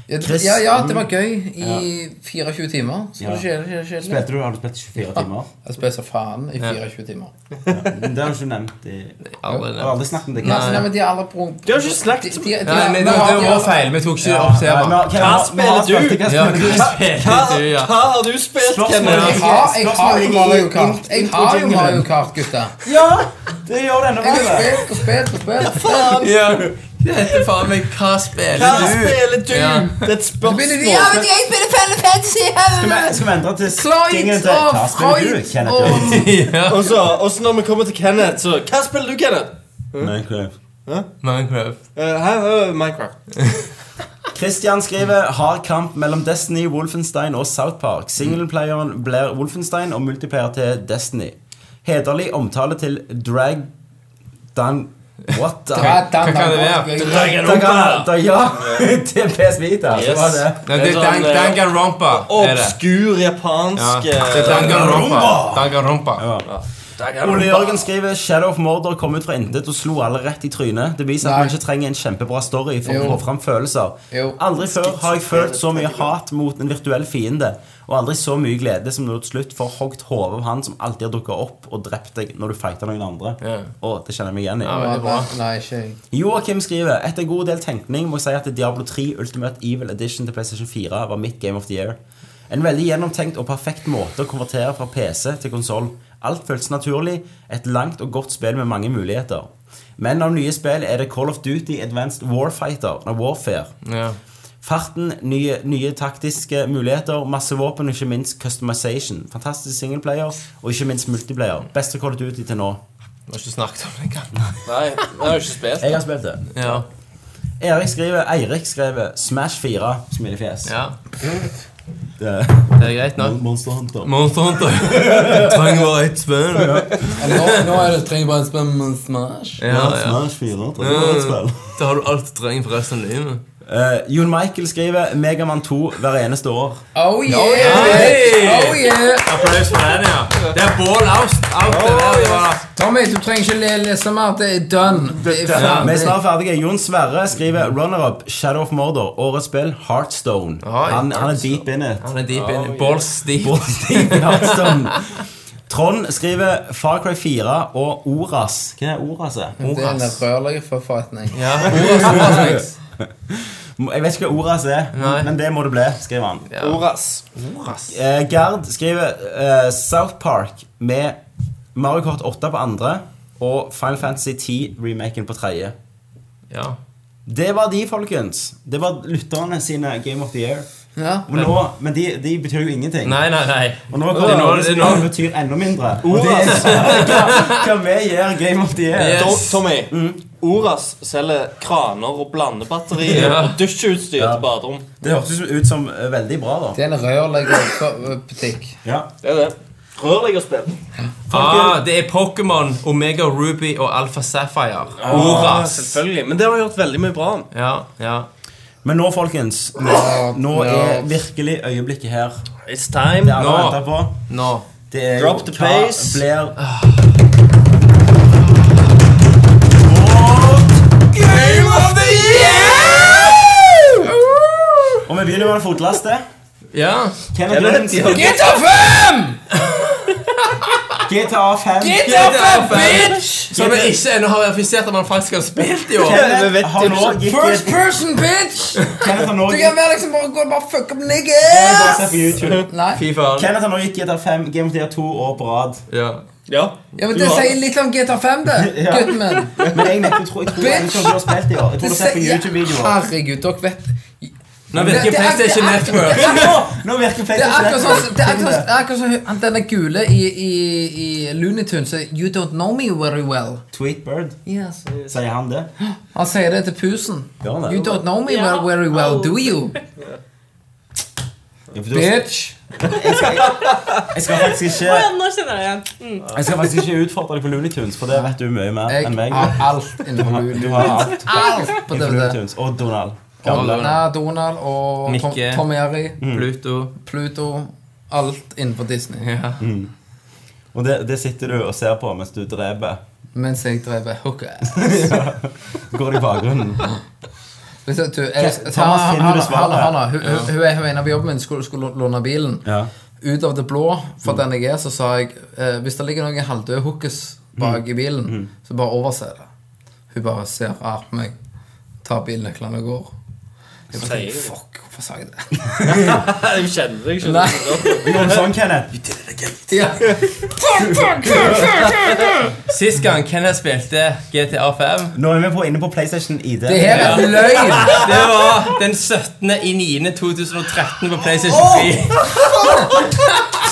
Speaker 9: Ja, det-
Speaker 1: Chris-
Speaker 9: Ja, ja, det var gøy i 24 timer. Så det skjer det skjer- skjer det.
Speaker 1: Spilte du, Har du spilt 24 timer?
Speaker 9: Jeg spilte faen i 24 timer.
Speaker 1: Det har du ikke nevnt. i-
Speaker 5: Aldri
Speaker 1: Jeg
Speaker 5: det.
Speaker 1: har aldri snakket om det.
Speaker 9: Nei, altså, nei, men de alle pro...
Speaker 2: De har ikke snakket
Speaker 9: De-
Speaker 2: så
Speaker 9: de- de-
Speaker 5: Nei, men det,
Speaker 9: de-
Speaker 5: det
Speaker 9: de-
Speaker 5: var vår feil. Vi tok ikke
Speaker 1: Ja,
Speaker 5: opp
Speaker 1: ja, men
Speaker 5: temaet.
Speaker 1: hva- hva
Speaker 2: spiller
Speaker 1: spilte
Speaker 2: du?
Speaker 1: Hva
Speaker 5: Ja,
Speaker 1: spilte du?
Speaker 5: hva spilte du, ja?
Speaker 2: Hva har du spilt,
Speaker 1: Slåss med
Speaker 2: Kenneth?
Speaker 9: Jeg har, jeg har jo Mario Kart. Jeg har jo Mario Kart, gutta.
Speaker 5: <laughs>
Speaker 1: Ja! Det gjør denne
Speaker 9: Jeg har
Speaker 1: veien.
Speaker 9: spilt og spilt og spilt.
Speaker 5: Ja. Det heter faen meg Hva
Speaker 2: Hva
Speaker 5: spiller du?
Speaker 2: spiller du?
Speaker 5: Ja.
Speaker 2: Det er et spørsmål.
Speaker 9: Ja, men jeg spiller Final Fantasy!
Speaker 1: Skal vi- Skal vi endre til stingen
Speaker 9: Clyde
Speaker 1: til
Speaker 9: og
Speaker 1: Hva spiller du,
Speaker 9: Freud
Speaker 1: Kenneth?
Speaker 9: og
Speaker 1: Jørgensen?
Speaker 2: Og så, og så når vi kommer til Kenneth, så Hva spiller du, Kenneth?
Speaker 5: Minecraft.
Speaker 2: Eh, Hæ? Eh, Minecraft.
Speaker 1: Christian skriver Hard kamp mellom Destiny, Wolfenstein og South Park. Singleplayeren blir Wolfenstein og multiplayer til Destiny. Hederlig omtale til Drag... Dan... What the...
Speaker 5: Hva kan det være?
Speaker 1: Dagan- Da- Ja, <laughs> til PS Vita. Det var det.
Speaker 5: Nei,
Speaker 2: Det er
Speaker 5: det er
Speaker 2: sånn,
Speaker 5: Dang-
Speaker 2: eh,
Speaker 5: Danganronpa. Er det.
Speaker 2: Obskur
Speaker 5: Ja.
Speaker 2: japansk eh,
Speaker 5: Det er Danganronpa. Danganronpa.
Speaker 1: Ole Jørgen skriver Shadow of Mordor kom ut fra intet og slo alle rett i trynet. Det viser at
Speaker 9: Nei.
Speaker 1: man ikke trenger en kjempebra story for
Speaker 9: Jo.
Speaker 1: å få fram følelser.
Speaker 9: Jo.
Speaker 1: Aldri før har jeg følt så mye hat mot en virtuell fiende, og aldri så mye glede som når du til slutt får hogd hodet av han som alltid har dukka opp og drept deg når du fighter noen andre.
Speaker 5: Ja.
Speaker 1: Å, det kjenner jeg meg igjen i.
Speaker 5: veldig bra.
Speaker 9: Nei, ikke jeg.
Speaker 1: Joakim skriver Etter en god del tenkning må jeg si at Diablo 3 Ultimate Evil Edition til PlayStation 4 var mitt Game of the Year. En veldig gjennomtenkt og perfekt måte å konvertere fra PC til konsoll. Alt føltes naturlig. Et langt og godt spill med mange muligheter. Men av nye spill er det Call of Duty Advanced Warfighter, nei, Warfare.
Speaker 5: Ja.
Speaker 1: Farten, nye, nye taktiske muligheter, masse våpen og ikke minst customization. Fantastisk singleplayer og ikke minst multiplayer. Beste Call of Duty til nå.
Speaker 5: Vi har ikke snakket om det
Speaker 1: <laughs>
Speaker 5: engang.
Speaker 2: Nei, jeg har ikke spilt.
Speaker 1: Jeg har spilt det.
Speaker 5: Ja.
Speaker 1: Erik skriver, Eirik skriver Smash 4. Smilefjes.
Speaker 5: ja,
Speaker 1: Det-
Speaker 5: det er greit nok.
Speaker 1: Monster Hunter.
Speaker 5: Monster Hunter.
Speaker 4: <laughs>
Speaker 5: Trenger bare ett spill.
Speaker 4: Nå, nå er det trenger bare en spill med Smash.
Speaker 5: Ja, ja.
Speaker 1: Smash 4. trenger et spill.
Speaker 5: Da har du alt du trenger for resten av livet.
Speaker 1: Eh, Jon Michael skriver Megaman 2 hver eneste år.
Speaker 4: Oh yeah!
Speaker 5: Hey!
Speaker 4: Oh yeah!
Speaker 5: Applaus for den, ja. Det er bål out. out det der, det var.
Speaker 4: Tommy, du trenger ikke le- lese mer. Det er done. Det er
Speaker 1: Vi er
Speaker 4: ferdig.
Speaker 1: snart ferdige. Jon Sverre skriver runner-up Shadow of Mordor. Årets spill Heartstone.
Speaker 5: Oi,
Speaker 1: Han, han er deep in
Speaker 5: <laughs>
Speaker 1: it.
Speaker 5: Han er deep in. Balls deep.
Speaker 1: Hearthstone. Trond skriver Far Cry 4 og Oras. Hva er Oras? er?
Speaker 4: Det er en rørleggerforfatning.
Speaker 5: Ja, Oras, Oras, Mix.
Speaker 1: Jeg vet ikke hva Oras er,
Speaker 5: Nei.
Speaker 1: men det må det bli, skriver han.
Speaker 5: Ja.
Speaker 2: Oras.
Speaker 1: Eh, Gerd skriver eh, South Park med Mario Kart 8 på andre og Final Fantasy 10-remaken på tredje.
Speaker 5: Ja.
Speaker 1: Det var de, folkens. Det var lytterne sine Game of the Year.
Speaker 4: Ja.
Speaker 1: Og nå, men de, de betyr jo ingenting.
Speaker 5: Nei, nei, nei.
Speaker 1: Og nå
Speaker 5: Det er
Speaker 1: kommer
Speaker 5: nå-
Speaker 1: det
Speaker 5: det er
Speaker 1: som
Speaker 5: nå-
Speaker 1: betyr enda mindre. Og det er hva, <laughs> hva vi gjør Game of the Year.
Speaker 5: Yes. Mm.
Speaker 2: Tom- Tommy, Oras selger kraner og blandebatterier
Speaker 5: Ja.
Speaker 2: og dusjutstyr
Speaker 1: Ja.
Speaker 2: til baderom.
Speaker 1: Det hørtes ut som eh, veldig bra, da.
Speaker 4: Det er en rørleggerbutikk.
Speaker 1: Ja.
Speaker 2: Det er det. Rørleggerspill.
Speaker 5: Ah, det er Pokémon, Omega Ruby og Alpha Sapphire.
Speaker 4: Ah.
Speaker 2: Oras.
Speaker 5: Oras.
Speaker 2: Selvfølgelig. Men det har vi hørt veldig mye bra om.
Speaker 5: Ja, ja.
Speaker 1: Men nå, folkens, nå, nå er virkelig øyeblikket her.
Speaker 2: It's
Speaker 1: Det
Speaker 2: time.
Speaker 1: alle
Speaker 5: Nå.
Speaker 1: venter på.
Speaker 5: Nå.
Speaker 1: Det er
Speaker 2: Drop the bass.
Speaker 1: blir
Speaker 5: Game of the year!
Speaker 1: Og vi begynner med en fotlaste.
Speaker 5: Ja.
Speaker 1: Kenneth Lund sier
Speaker 4: GTA 5!
Speaker 1: GTA 5.
Speaker 5: bitch! Som vi ikke ennå har verifisert at man faktisk har spilt i år.
Speaker 1: Kenneth har nå gitt
Speaker 4: First person, bitch!
Speaker 1: Kenneth har nå
Speaker 4: Du
Speaker 1: gitt
Speaker 4: kan være liksom bare gå og bare fuck up
Speaker 1: Jeg har bare
Speaker 4: niggas!
Speaker 1: sett på YouTube.
Speaker 4: Nei.
Speaker 5: Fy faen.
Speaker 1: Kenneth har nå gitt GTA 5 Game of the Year to år på rad.
Speaker 5: Ja.
Speaker 2: Ja.
Speaker 4: Ja, men Det sier litt om GTA 5, det.
Speaker 1: <laughs> Ja.
Speaker 4: Gutten min.
Speaker 1: Men jeg, jeg tror, jeg tror jeg tror du har spilt i år. Jeg tror du har sett på
Speaker 4: sier-
Speaker 1: YouTube-videoer.
Speaker 4: Herregud, dere vet
Speaker 5: Nå virker
Speaker 4: Det- det er-
Speaker 5: PlayStation
Speaker 4: det er-
Speaker 5: Network.
Speaker 1: Nå- Nå virker
Speaker 4: <laughs> Det er
Speaker 1: Facebook
Speaker 4: akkurat sånn det er akkurat sånn- det er akkurat sånn han denne gule i, i, i Looney Tunes sier, You don't know me very well.
Speaker 1: Tweetbird,
Speaker 4: Yes.
Speaker 1: sier han det?
Speaker 4: Han sier det til pusen.
Speaker 1: Gjør han det?
Speaker 4: You don't know me
Speaker 3: Ja.
Speaker 4: very well, do you?
Speaker 1: Ja, for du-
Speaker 4: Bitch.
Speaker 1: Jeg skal faktisk ikke
Speaker 3: Å ja, nå kjenner jeg det igjen.
Speaker 1: Jeg skal faktisk ikke utfordre deg på Looney Tunes, for det vet du mye mer
Speaker 4: Jeg
Speaker 1: enn meg.
Speaker 4: har alt innenfor
Speaker 1: Du
Speaker 4: Looney
Speaker 1: har alt
Speaker 4: Alt på
Speaker 1: for Looney
Speaker 4: DVD.
Speaker 1: Tunes. Og Donald. Gamle.
Speaker 4: Nei, Donald og Tom,
Speaker 5: Mikke.
Speaker 4: Tom Jerry,
Speaker 1: Mm.
Speaker 5: Pluto.
Speaker 4: Pluto. Alt innenfor Disney.
Speaker 5: Ja.
Speaker 1: Og det, det sitter du og ser på mens du dreper.
Speaker 4: Mens jeg drev hooker.
Speaker 1: <laughs> Går det i bakgrunnen.
Speaker 4: Hvis jeg- du, jeg,
Speaker 1: Thomas, finner du svaret?
Speaker 4: Hanna, Hanna, hun, hun, hun er hun er en av jobben min, skulle, skulle låne bilen.
Speaker 1: Ja. Mm.
Speaker 4: Ut av det blå, for den jeg er, så sa jeg eh, Hvis det ligger noen halvdøde hookers bak
Speaker 1: Mm.
Speaker 4: i bilen, så bare overse det. Hun bare ser rart på meg, tar bilnøklene og går. Jeg bare,
Speaker 2: Sier du?
Speaker 4: tenker, Fuck, hvorfor sa jeg det?
Speaker 2: <laughs>
Speaker 4: <laughs>
Speaker 2: Jeg kjenner deg ikke.
Speaker 4: Nei.
Speaker 1: Gjorde du sånn, Kenneth?
Speaker 4: Ja.
Speaker 5: Sist gang Kenneth spilte GTA 5,
Speaker 1: Nå er vi på, inne på PlayStation ID.
Speaker 4: Det her er løgn!
Speaker 1: <laughs>
Speaker 5: det var den 17. i 9. 2013 på PlayStation 3.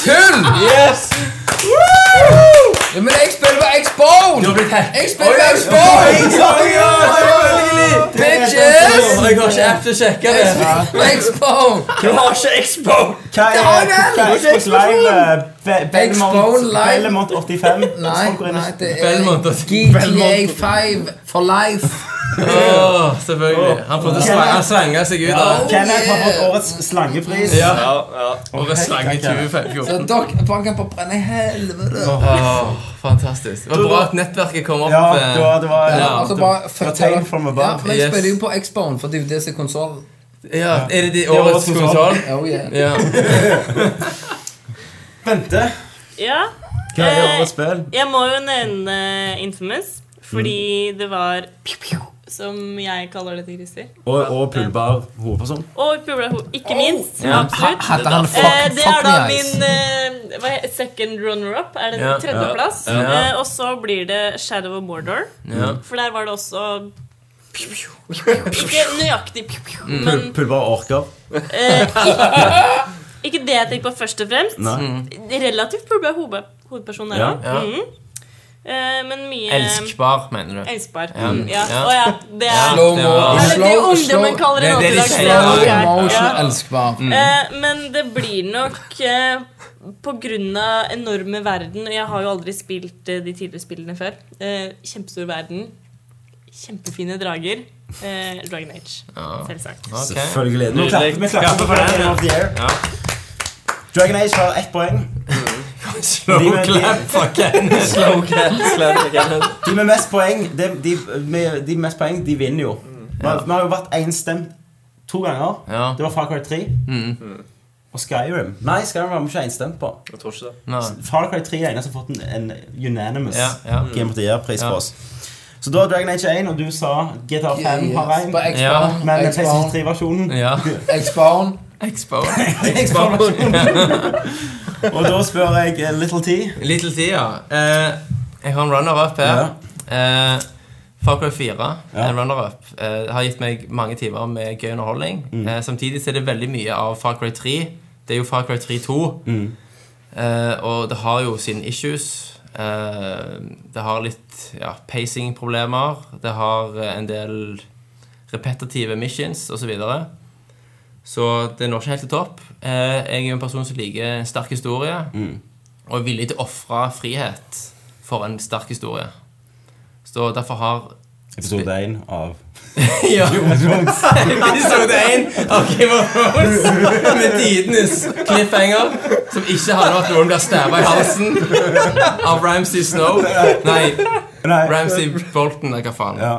Speaker 4: Tull!
Speaker 5: Yes!
Speaker 4: Ja, men jeg spiller på X-Bone!
Speaker 5: Du har blitt hacket.
Speaker 4: Jeg spiller på X-Bone! Bitches!
Speaker 5: Åh, Jeg har ikke app til å sjekke det.
Speaker 4: <laughs> På X-Bone!
Speaker 2: Du har ikke Expo!
Speaker 1: Hva er
Speaker 4: har den!
Speaker 1: hva er Xbox Live? eh, Be-
Speaker 4: Xbox
Speaker 1: Belmont
Speaker 4: Live.
Speaker 1: Belmont 85?
Speaker 4: <laughs> Nei,
Speaker 1: Folk går inn og-
Speaker 4: nei, det
Speaker 5: Belmont,
Speaker 4: er
Speaker 5: altså.
Speaker 4: GTA 5 for life.
Speaker 5: Åh, selvfølgelig. Han prøvde å slange, han slanget seg ut av
Speaker 1: Kenneth har fått
Speaker 4: Yeah.
Speaker 1: årets slangepris.
Speaker 5: Ja.
Speaker 2: Ja, ja.
Speaker 5: Årets slange i
Speaker 4: Så
Speaker 5: 2014.
Speaker 4: dere banker på å brenne i helvete.
Speaker 5: Åh, fantastisk. Det var bra at nettverket kom opp.
Speaker 1: Ja,
Speaker 5: eh,
Speaker 1: det var, det var,
Speaker 4: Ja,
Speaker 1: det
Speaker 4: altså
Speaker 1: var,
Speaker 4: bare
Speaker 1: det var tegn from
Speaker 4: Ja,
Speaker 1: above.
Speaker 4: men jeg
Speaker 5: Yes.
Speaker 4: spiller jo på X-Bone, for det er jo det som er konsollen.
Speaker 5: ja, Er det sånn de
Speaker 1: var
Speaker 5: årets
Speaker 1: konsol.
Speaker 5: konsol?
Speaker 4: Oh, yeah.
Speaker 5: Ja.
Speaker 1: Bente,
Speaker 3: Ja.
Speaker 1: hva er
Speaker 3: Eh,
Speaker 1: årets spill?
Speaker 3: Jeg må jo nevne Infamous, fordi det var pew, pew, som jeg kaller det til Christer.
Speaker 1: Og, og pulbar hovedperson.
Speaker 3: Og Pula Ho, ikke minst.
Speaker 4: Ha-
Speaker 3: Absolutt.
Speaker 4: Hadde han
Speaker 3: Eh,
Speaker 4: fuck,
Speaker 3: det
Speaker 4: fuck
Speaker 3: er da
Speaker 4: me eyes?
Speaker 3: min eh, hva he- second runner-up. Er det
Speaker 5: Ja.
Speaker 3: tredjeplass?
Speaker 5: Ja. Ja.
Speaker 3: Eh, og så blir det Shadow of Mordor.
Speaker 5: ja.
Speaker 3: For der var det også pew, pew, pew, pew. Ikke nøyaktig, pew, pew,
Speaker 4: Mm.
Speaker 3: men
Speaker 1: Pulbar orker.
Speaker 3: eh, ikke, ikke
Speaker 4: Mm,
Speaker 3: det jeg tenker på først og fremst.
Speaker 1: Nei.
Speaker 3: Relativt pulba hovedperson der
Speaker 1: Ja.
Speaker 3: òg.
Speaker 5: Ja.
Speaker 3: Eh, men mye
Speaker 5: <laughs> Elskbar, mener du?
Speaker 3: Elskbar.
Speaker 5: Ja.
Speaker 3: Mm, ja.
Speaker 5: Ja.
Speaker 3: Å ja, det er
Speaker 5: Ja, det var-
Speaker 3: Altså, det er det ungdommen kaller det
Speaker 5: Det er
Speaker 3: nå
Speaker 5: det
Speaker 3: til
Speaker 5: de
Speaker 3: dags.
Speaker 5: sier, Mm.
Speaker 3: det er
Speaker 5: ja,
Speaker 3: ok.
Speaker 5: ja.
Speaker 9: Motion
Speaker 3: Ja.
Speaker 9: elskbar.
Speaker 3: Eh, men det blir nok eh, på grunn av enorme verden, og jeg har jo aldri spilt eh, de tidligere spillene før. Eh, kjempestor verden. Kjempefine drager. Eh, Dragon Age, selvsagt.
Speaker 5: Ok.
Speaker 1: Selvfølgelig. Nå klapper vi klapper for den. Game of the Year. Dragon Age har ett poeng. De med, de, de med mest poeng, de, de, med, de mest poeng, de vinner jo. Vi har, vi har jo vært enstemt to ganger.
Speaker 5: Ja. Mm.
Speaker 1: Det var Far Cry 3 og Skyrim. Nei, Skyrim var vi ikke enstemt på.
Speaker 2: Jeg tror ikke det.
Speaker 5: Nei.
Speaker 1: Far Cry 3 er eneste som har fått en, en unanimous
Speaker 5: Ja, ja.
Speaker 1: Game of the Year-pris
Speaker 5: Ja.
Speaker 1: på oss. Så da er Dragon Age 1, og du sa GTA 5 har
Speaker 9: Yes. På
Speaker 1: én.
Speaker 5: Ja.
Speaker 9: X-Bone,
Speaker 1: Men PlayStation
Speaker 9: X-Bone,
Speaker 1: 3-versjonen
Speaker 5: Ja.
Speaker 9: X-Bone.
Speaker 5: Expo.
Speaker 1: Og da spør jeg eh, Little T.
Speaker 5: Little T, ja. Eh, jeg har en runner-up her. Eh, Far Cry 4,
Speaker 1: Ja.
Speaker 5: en runner-up, eh, har gitt meg mange timer med gøy underholdning. Eh, samtidig så er det veldig mye av Far Cry 3. Det er jo Far Cry 3 2. Eh, og det har jo sine issues. Eh, det har litt ja, pacing-problemer. Det har eh, en del repetitive missions osv. Så, videre. så det når ikke helt til topp. Eh, jeg er jo en person som liker en sterk historie og er villig til å ofre frihet for en sterk historie. Så derfor har
Speaker 1: Episode 1 av
Speaker 5: <laughs>
Speaker 1: <laughs>
Speaker 5: Ja, episode 1 av Game of Thrones med tidenes cliffhanger som ikke handler om at noen blir stabba i halsen av Ramsay Snow. Nei,
Speaker 1: Nei.
Speaker 5: Ramsay Bolton, eller hva faen.
Speaker 1: Ja.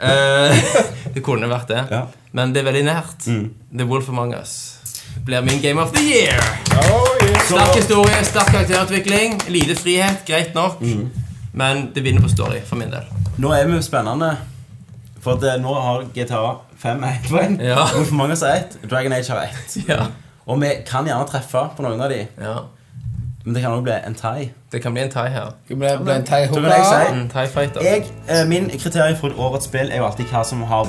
Speaker 5: Eh, det kunne vært det.
Speaker 1: Ja.
Speaker 5: Men det er veldig nært. The Wolf Among Us blir min Game of the Year. Sterk historie, sterk karakterutvikling, lite frihet, greit nok. Men det vinner på story, for min del.
Speaker 1: Nå er vi jo spennende, for at eh, nå har GTA 5 ett poeng. <laughs>
Speaker 5: Ja.
Speaker 1: Hvorfor mange har ett? Dragon Age har ett.
Speaker 5: Ja.
Speaker 1: Og vi kan gjerne treffe på noen av de,
Speaker 5: ja.
Speaker 1: men det kan også bli en thai.
Speaker 5: Det kan bli en thai her.
Speaker 9: Det ble, ble en tei
Speaker 1: Så kan jeg
Speaker 9: hurra.
Speaker 1: si
Speaker 5: En thai fighter.
Speaker 1: jeg, eh, Min kriterium for årets spill er jo alltid hva som har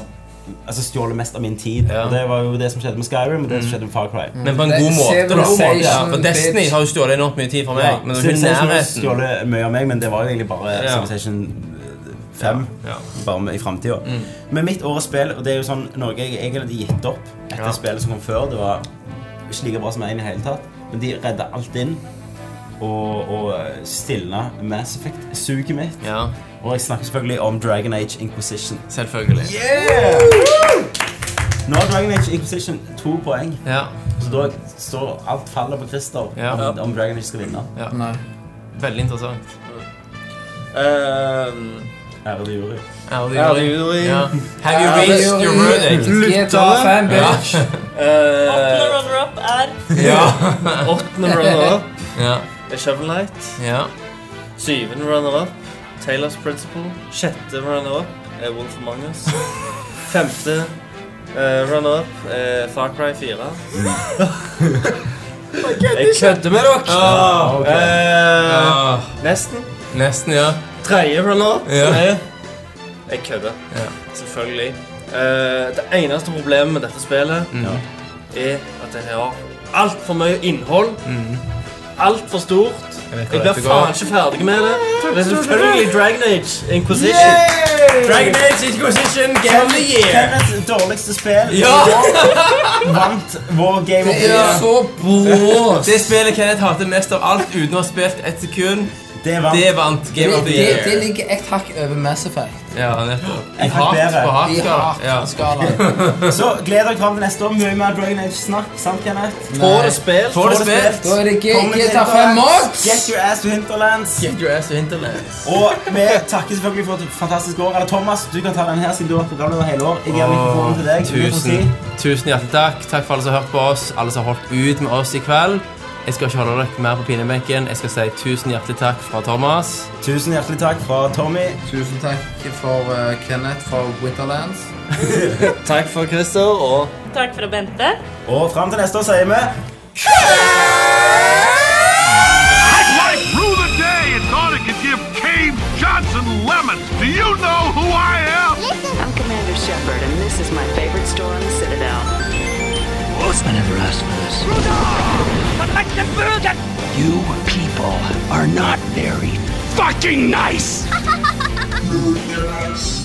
Speaker 1: altså, stjålet mest av min tid.
Speaker 5: Ja. Mm.
Speaker 1: Og Det var jo det som skjedde med Skyrim, og det som skjedde med Far Cry.
Speaker 5: Men på en
Speaker 9: Det er
Speaker 5: god måte, da.
Speaker 9: Civilization,
Speaker 5: Ja, for
Speaker 9: sånn bitch.
Speaker 5: Destiny har jo stjålet enormt mye tid fra meg. Men det er jo ikke i
Speaker 1: Civilization har
Speaker 5: nærheten.
Speaker 1: stjålet mye av meg, men det var jo egentlig bare
Speaker 5: Ja.
Speaker 1: Civilization 5.
Speaker 5: Ja.
Speaker 1: Bare med, i framtida.
Speaker 5: Mm.
Speaker 1: Men mitt årets spill, og det er jo sånn noe jeg egentlig hadde gitt opp etter
Speaker 5: Ja.
Speaker 1: spillet som kom før, det var ikke like bra som én i det hele tatt, men de redda alt inn. Og, eh, og stilna Mass Effect-suget mitt.
Speaker 5: Ja,
Speaker 1: Og jeg snakker selvfølgelig om Dragon Age Inquisition.
Speaker 5: selvfølgelig.
Speaker 1: Nå har Dragon Age Inquisition to poeng,
Speaker 5: Ja,
Speaker 1: så da står alt faller på Christer
Speaker 5: Ja.
Speaker 1: om, om Dragon Age skal vinne.
Speaker 9: Nei.
Speaker 5: Veldig interessant.
Speaker 2: Uh,
Speaker 1: Ære til jury.
Speaker 5: Ærlig
Speaker 2: Ærlig
Speaker 5: jury.
Speaker 2: jury.
Speaker 5: Ja. Have you reached your verdict?
Speaker 9: GTA 5, bitch.
Speaker 3: Åttende
Speaker 2: uh,
Speaker 3: runner-up er
Speaker 5: Ja.
Speaker 2: eh, åttende runner-up
Speaker 5: ja.
Speaker 2: er Shovel Knight.
Speaker 5: ja.
Speaker 2: Syvende runner-up Taylor's Principle. Sjette runner-up er Wolf Among Us. Femte eh, runner-up er Far Cry 4. Jeg kødder med dere! Eh,
Speaker 5: Ah,
Speaker 2: nesten.
Speaker 5: nesten, ja.
Speaker 2: Tredje runner-up
Speaker 5: Ja.
Speaker 2: er Jeg kødder.
Speaker 5: Ja.
Speaker 2: Selvfølgelig. Eh, det eneste problemet med dette spillet
Speaker 5: Mm.
Speaker 2: er at det har altfor mye innhold. Altfor stort.
Speaker 5: Mm. vet
Speaker 2: Jeg,
Speaker 5: hvor
Speaker 2: blir
Speaker 5: dette går.
Speaker 2: faen ikke ferdig med det. Det er selvfølgelig Dragon Age Inquisition.
Speaker 5: Dragon Age Inquisition Game of the Year.
Speaker 1: Kenneths dårligste spill
Speaker 5: Ja!
Speaker 1: vant vår Game of the
Speaker 9: Det er
Speaker 1: Year.
Speaker 9: så brås.
Speaker 5: Det spillet Kenneth hater mest av alt uten å ha spilt ett sekund,
Speaker 1: Det vant
Speaker 5: det vant Game
Speaker 9: Det,
Speaker 5: of the
Speaker 9: det, det
Speaker 5: Year.
Speaker 9: ligger et hakk over Mass Effect.
Speaker 5: Ja, nettopp.
Speaker 1: Jeg kan
Speaker 5: Hat
Speaker 1: bedre.
Speaker 5: på
Speaker 9: I
Speaker 5: hatskala. Ja.
Speaker 9: hatskalaen.
Speaker 1: Så gleder dere fram til neste år. Mye mer Dragon Age-snakk. Sant, Kenneth?
Speaker 2: Får det spilt.
Speaker 5: Får det spilt.
Speaker 9: Da er det G-
Speaker 1: Kommer til
Speaker 9: GTA 5
Speaker 1: Hinterlands.
Speaker 9: Max.
Speaker 1: Get your ass to Hinterlands.
Speaker 5: Get your ass to Hinterlands.
Speaker 1: Og vi takker selvfølgelig for et fantastisk år. Eller Thomas, du kan ta den her siden du har vært programleder hele år. Jeg gir mikrofonen til deg. Du får si.
Speaker 5: Tusen, tusen hjertelig takk. Takk for alle som har hørt på oss, alle som har holdt ut med oss i kveld. Jeg skal ikke holde dere mer på pinebenken. Jeg skal si tusen hjertelig takk fra Thomas.
Speaker 1: Tusen hjertelig takk fra Tommy.
Speaker 9: Tusen takk for eh, Kenneth fra Winterlands.
Speaker 2: Takk for Christer, og
Speaker 3: Takk fra Bente.
Speaker 1: Og fram til neste år sier vi
Speaker 10: Like rue the day and thought it could give Cave Johnson lemons. Do you know who I am?
Speaker 7: I'm Commander Shepard, and this is my favorite store on the Citadel.
Speaker 8: I never asked for this. You people are not very fucking nice!
Speaker 10: Dude, they're nice.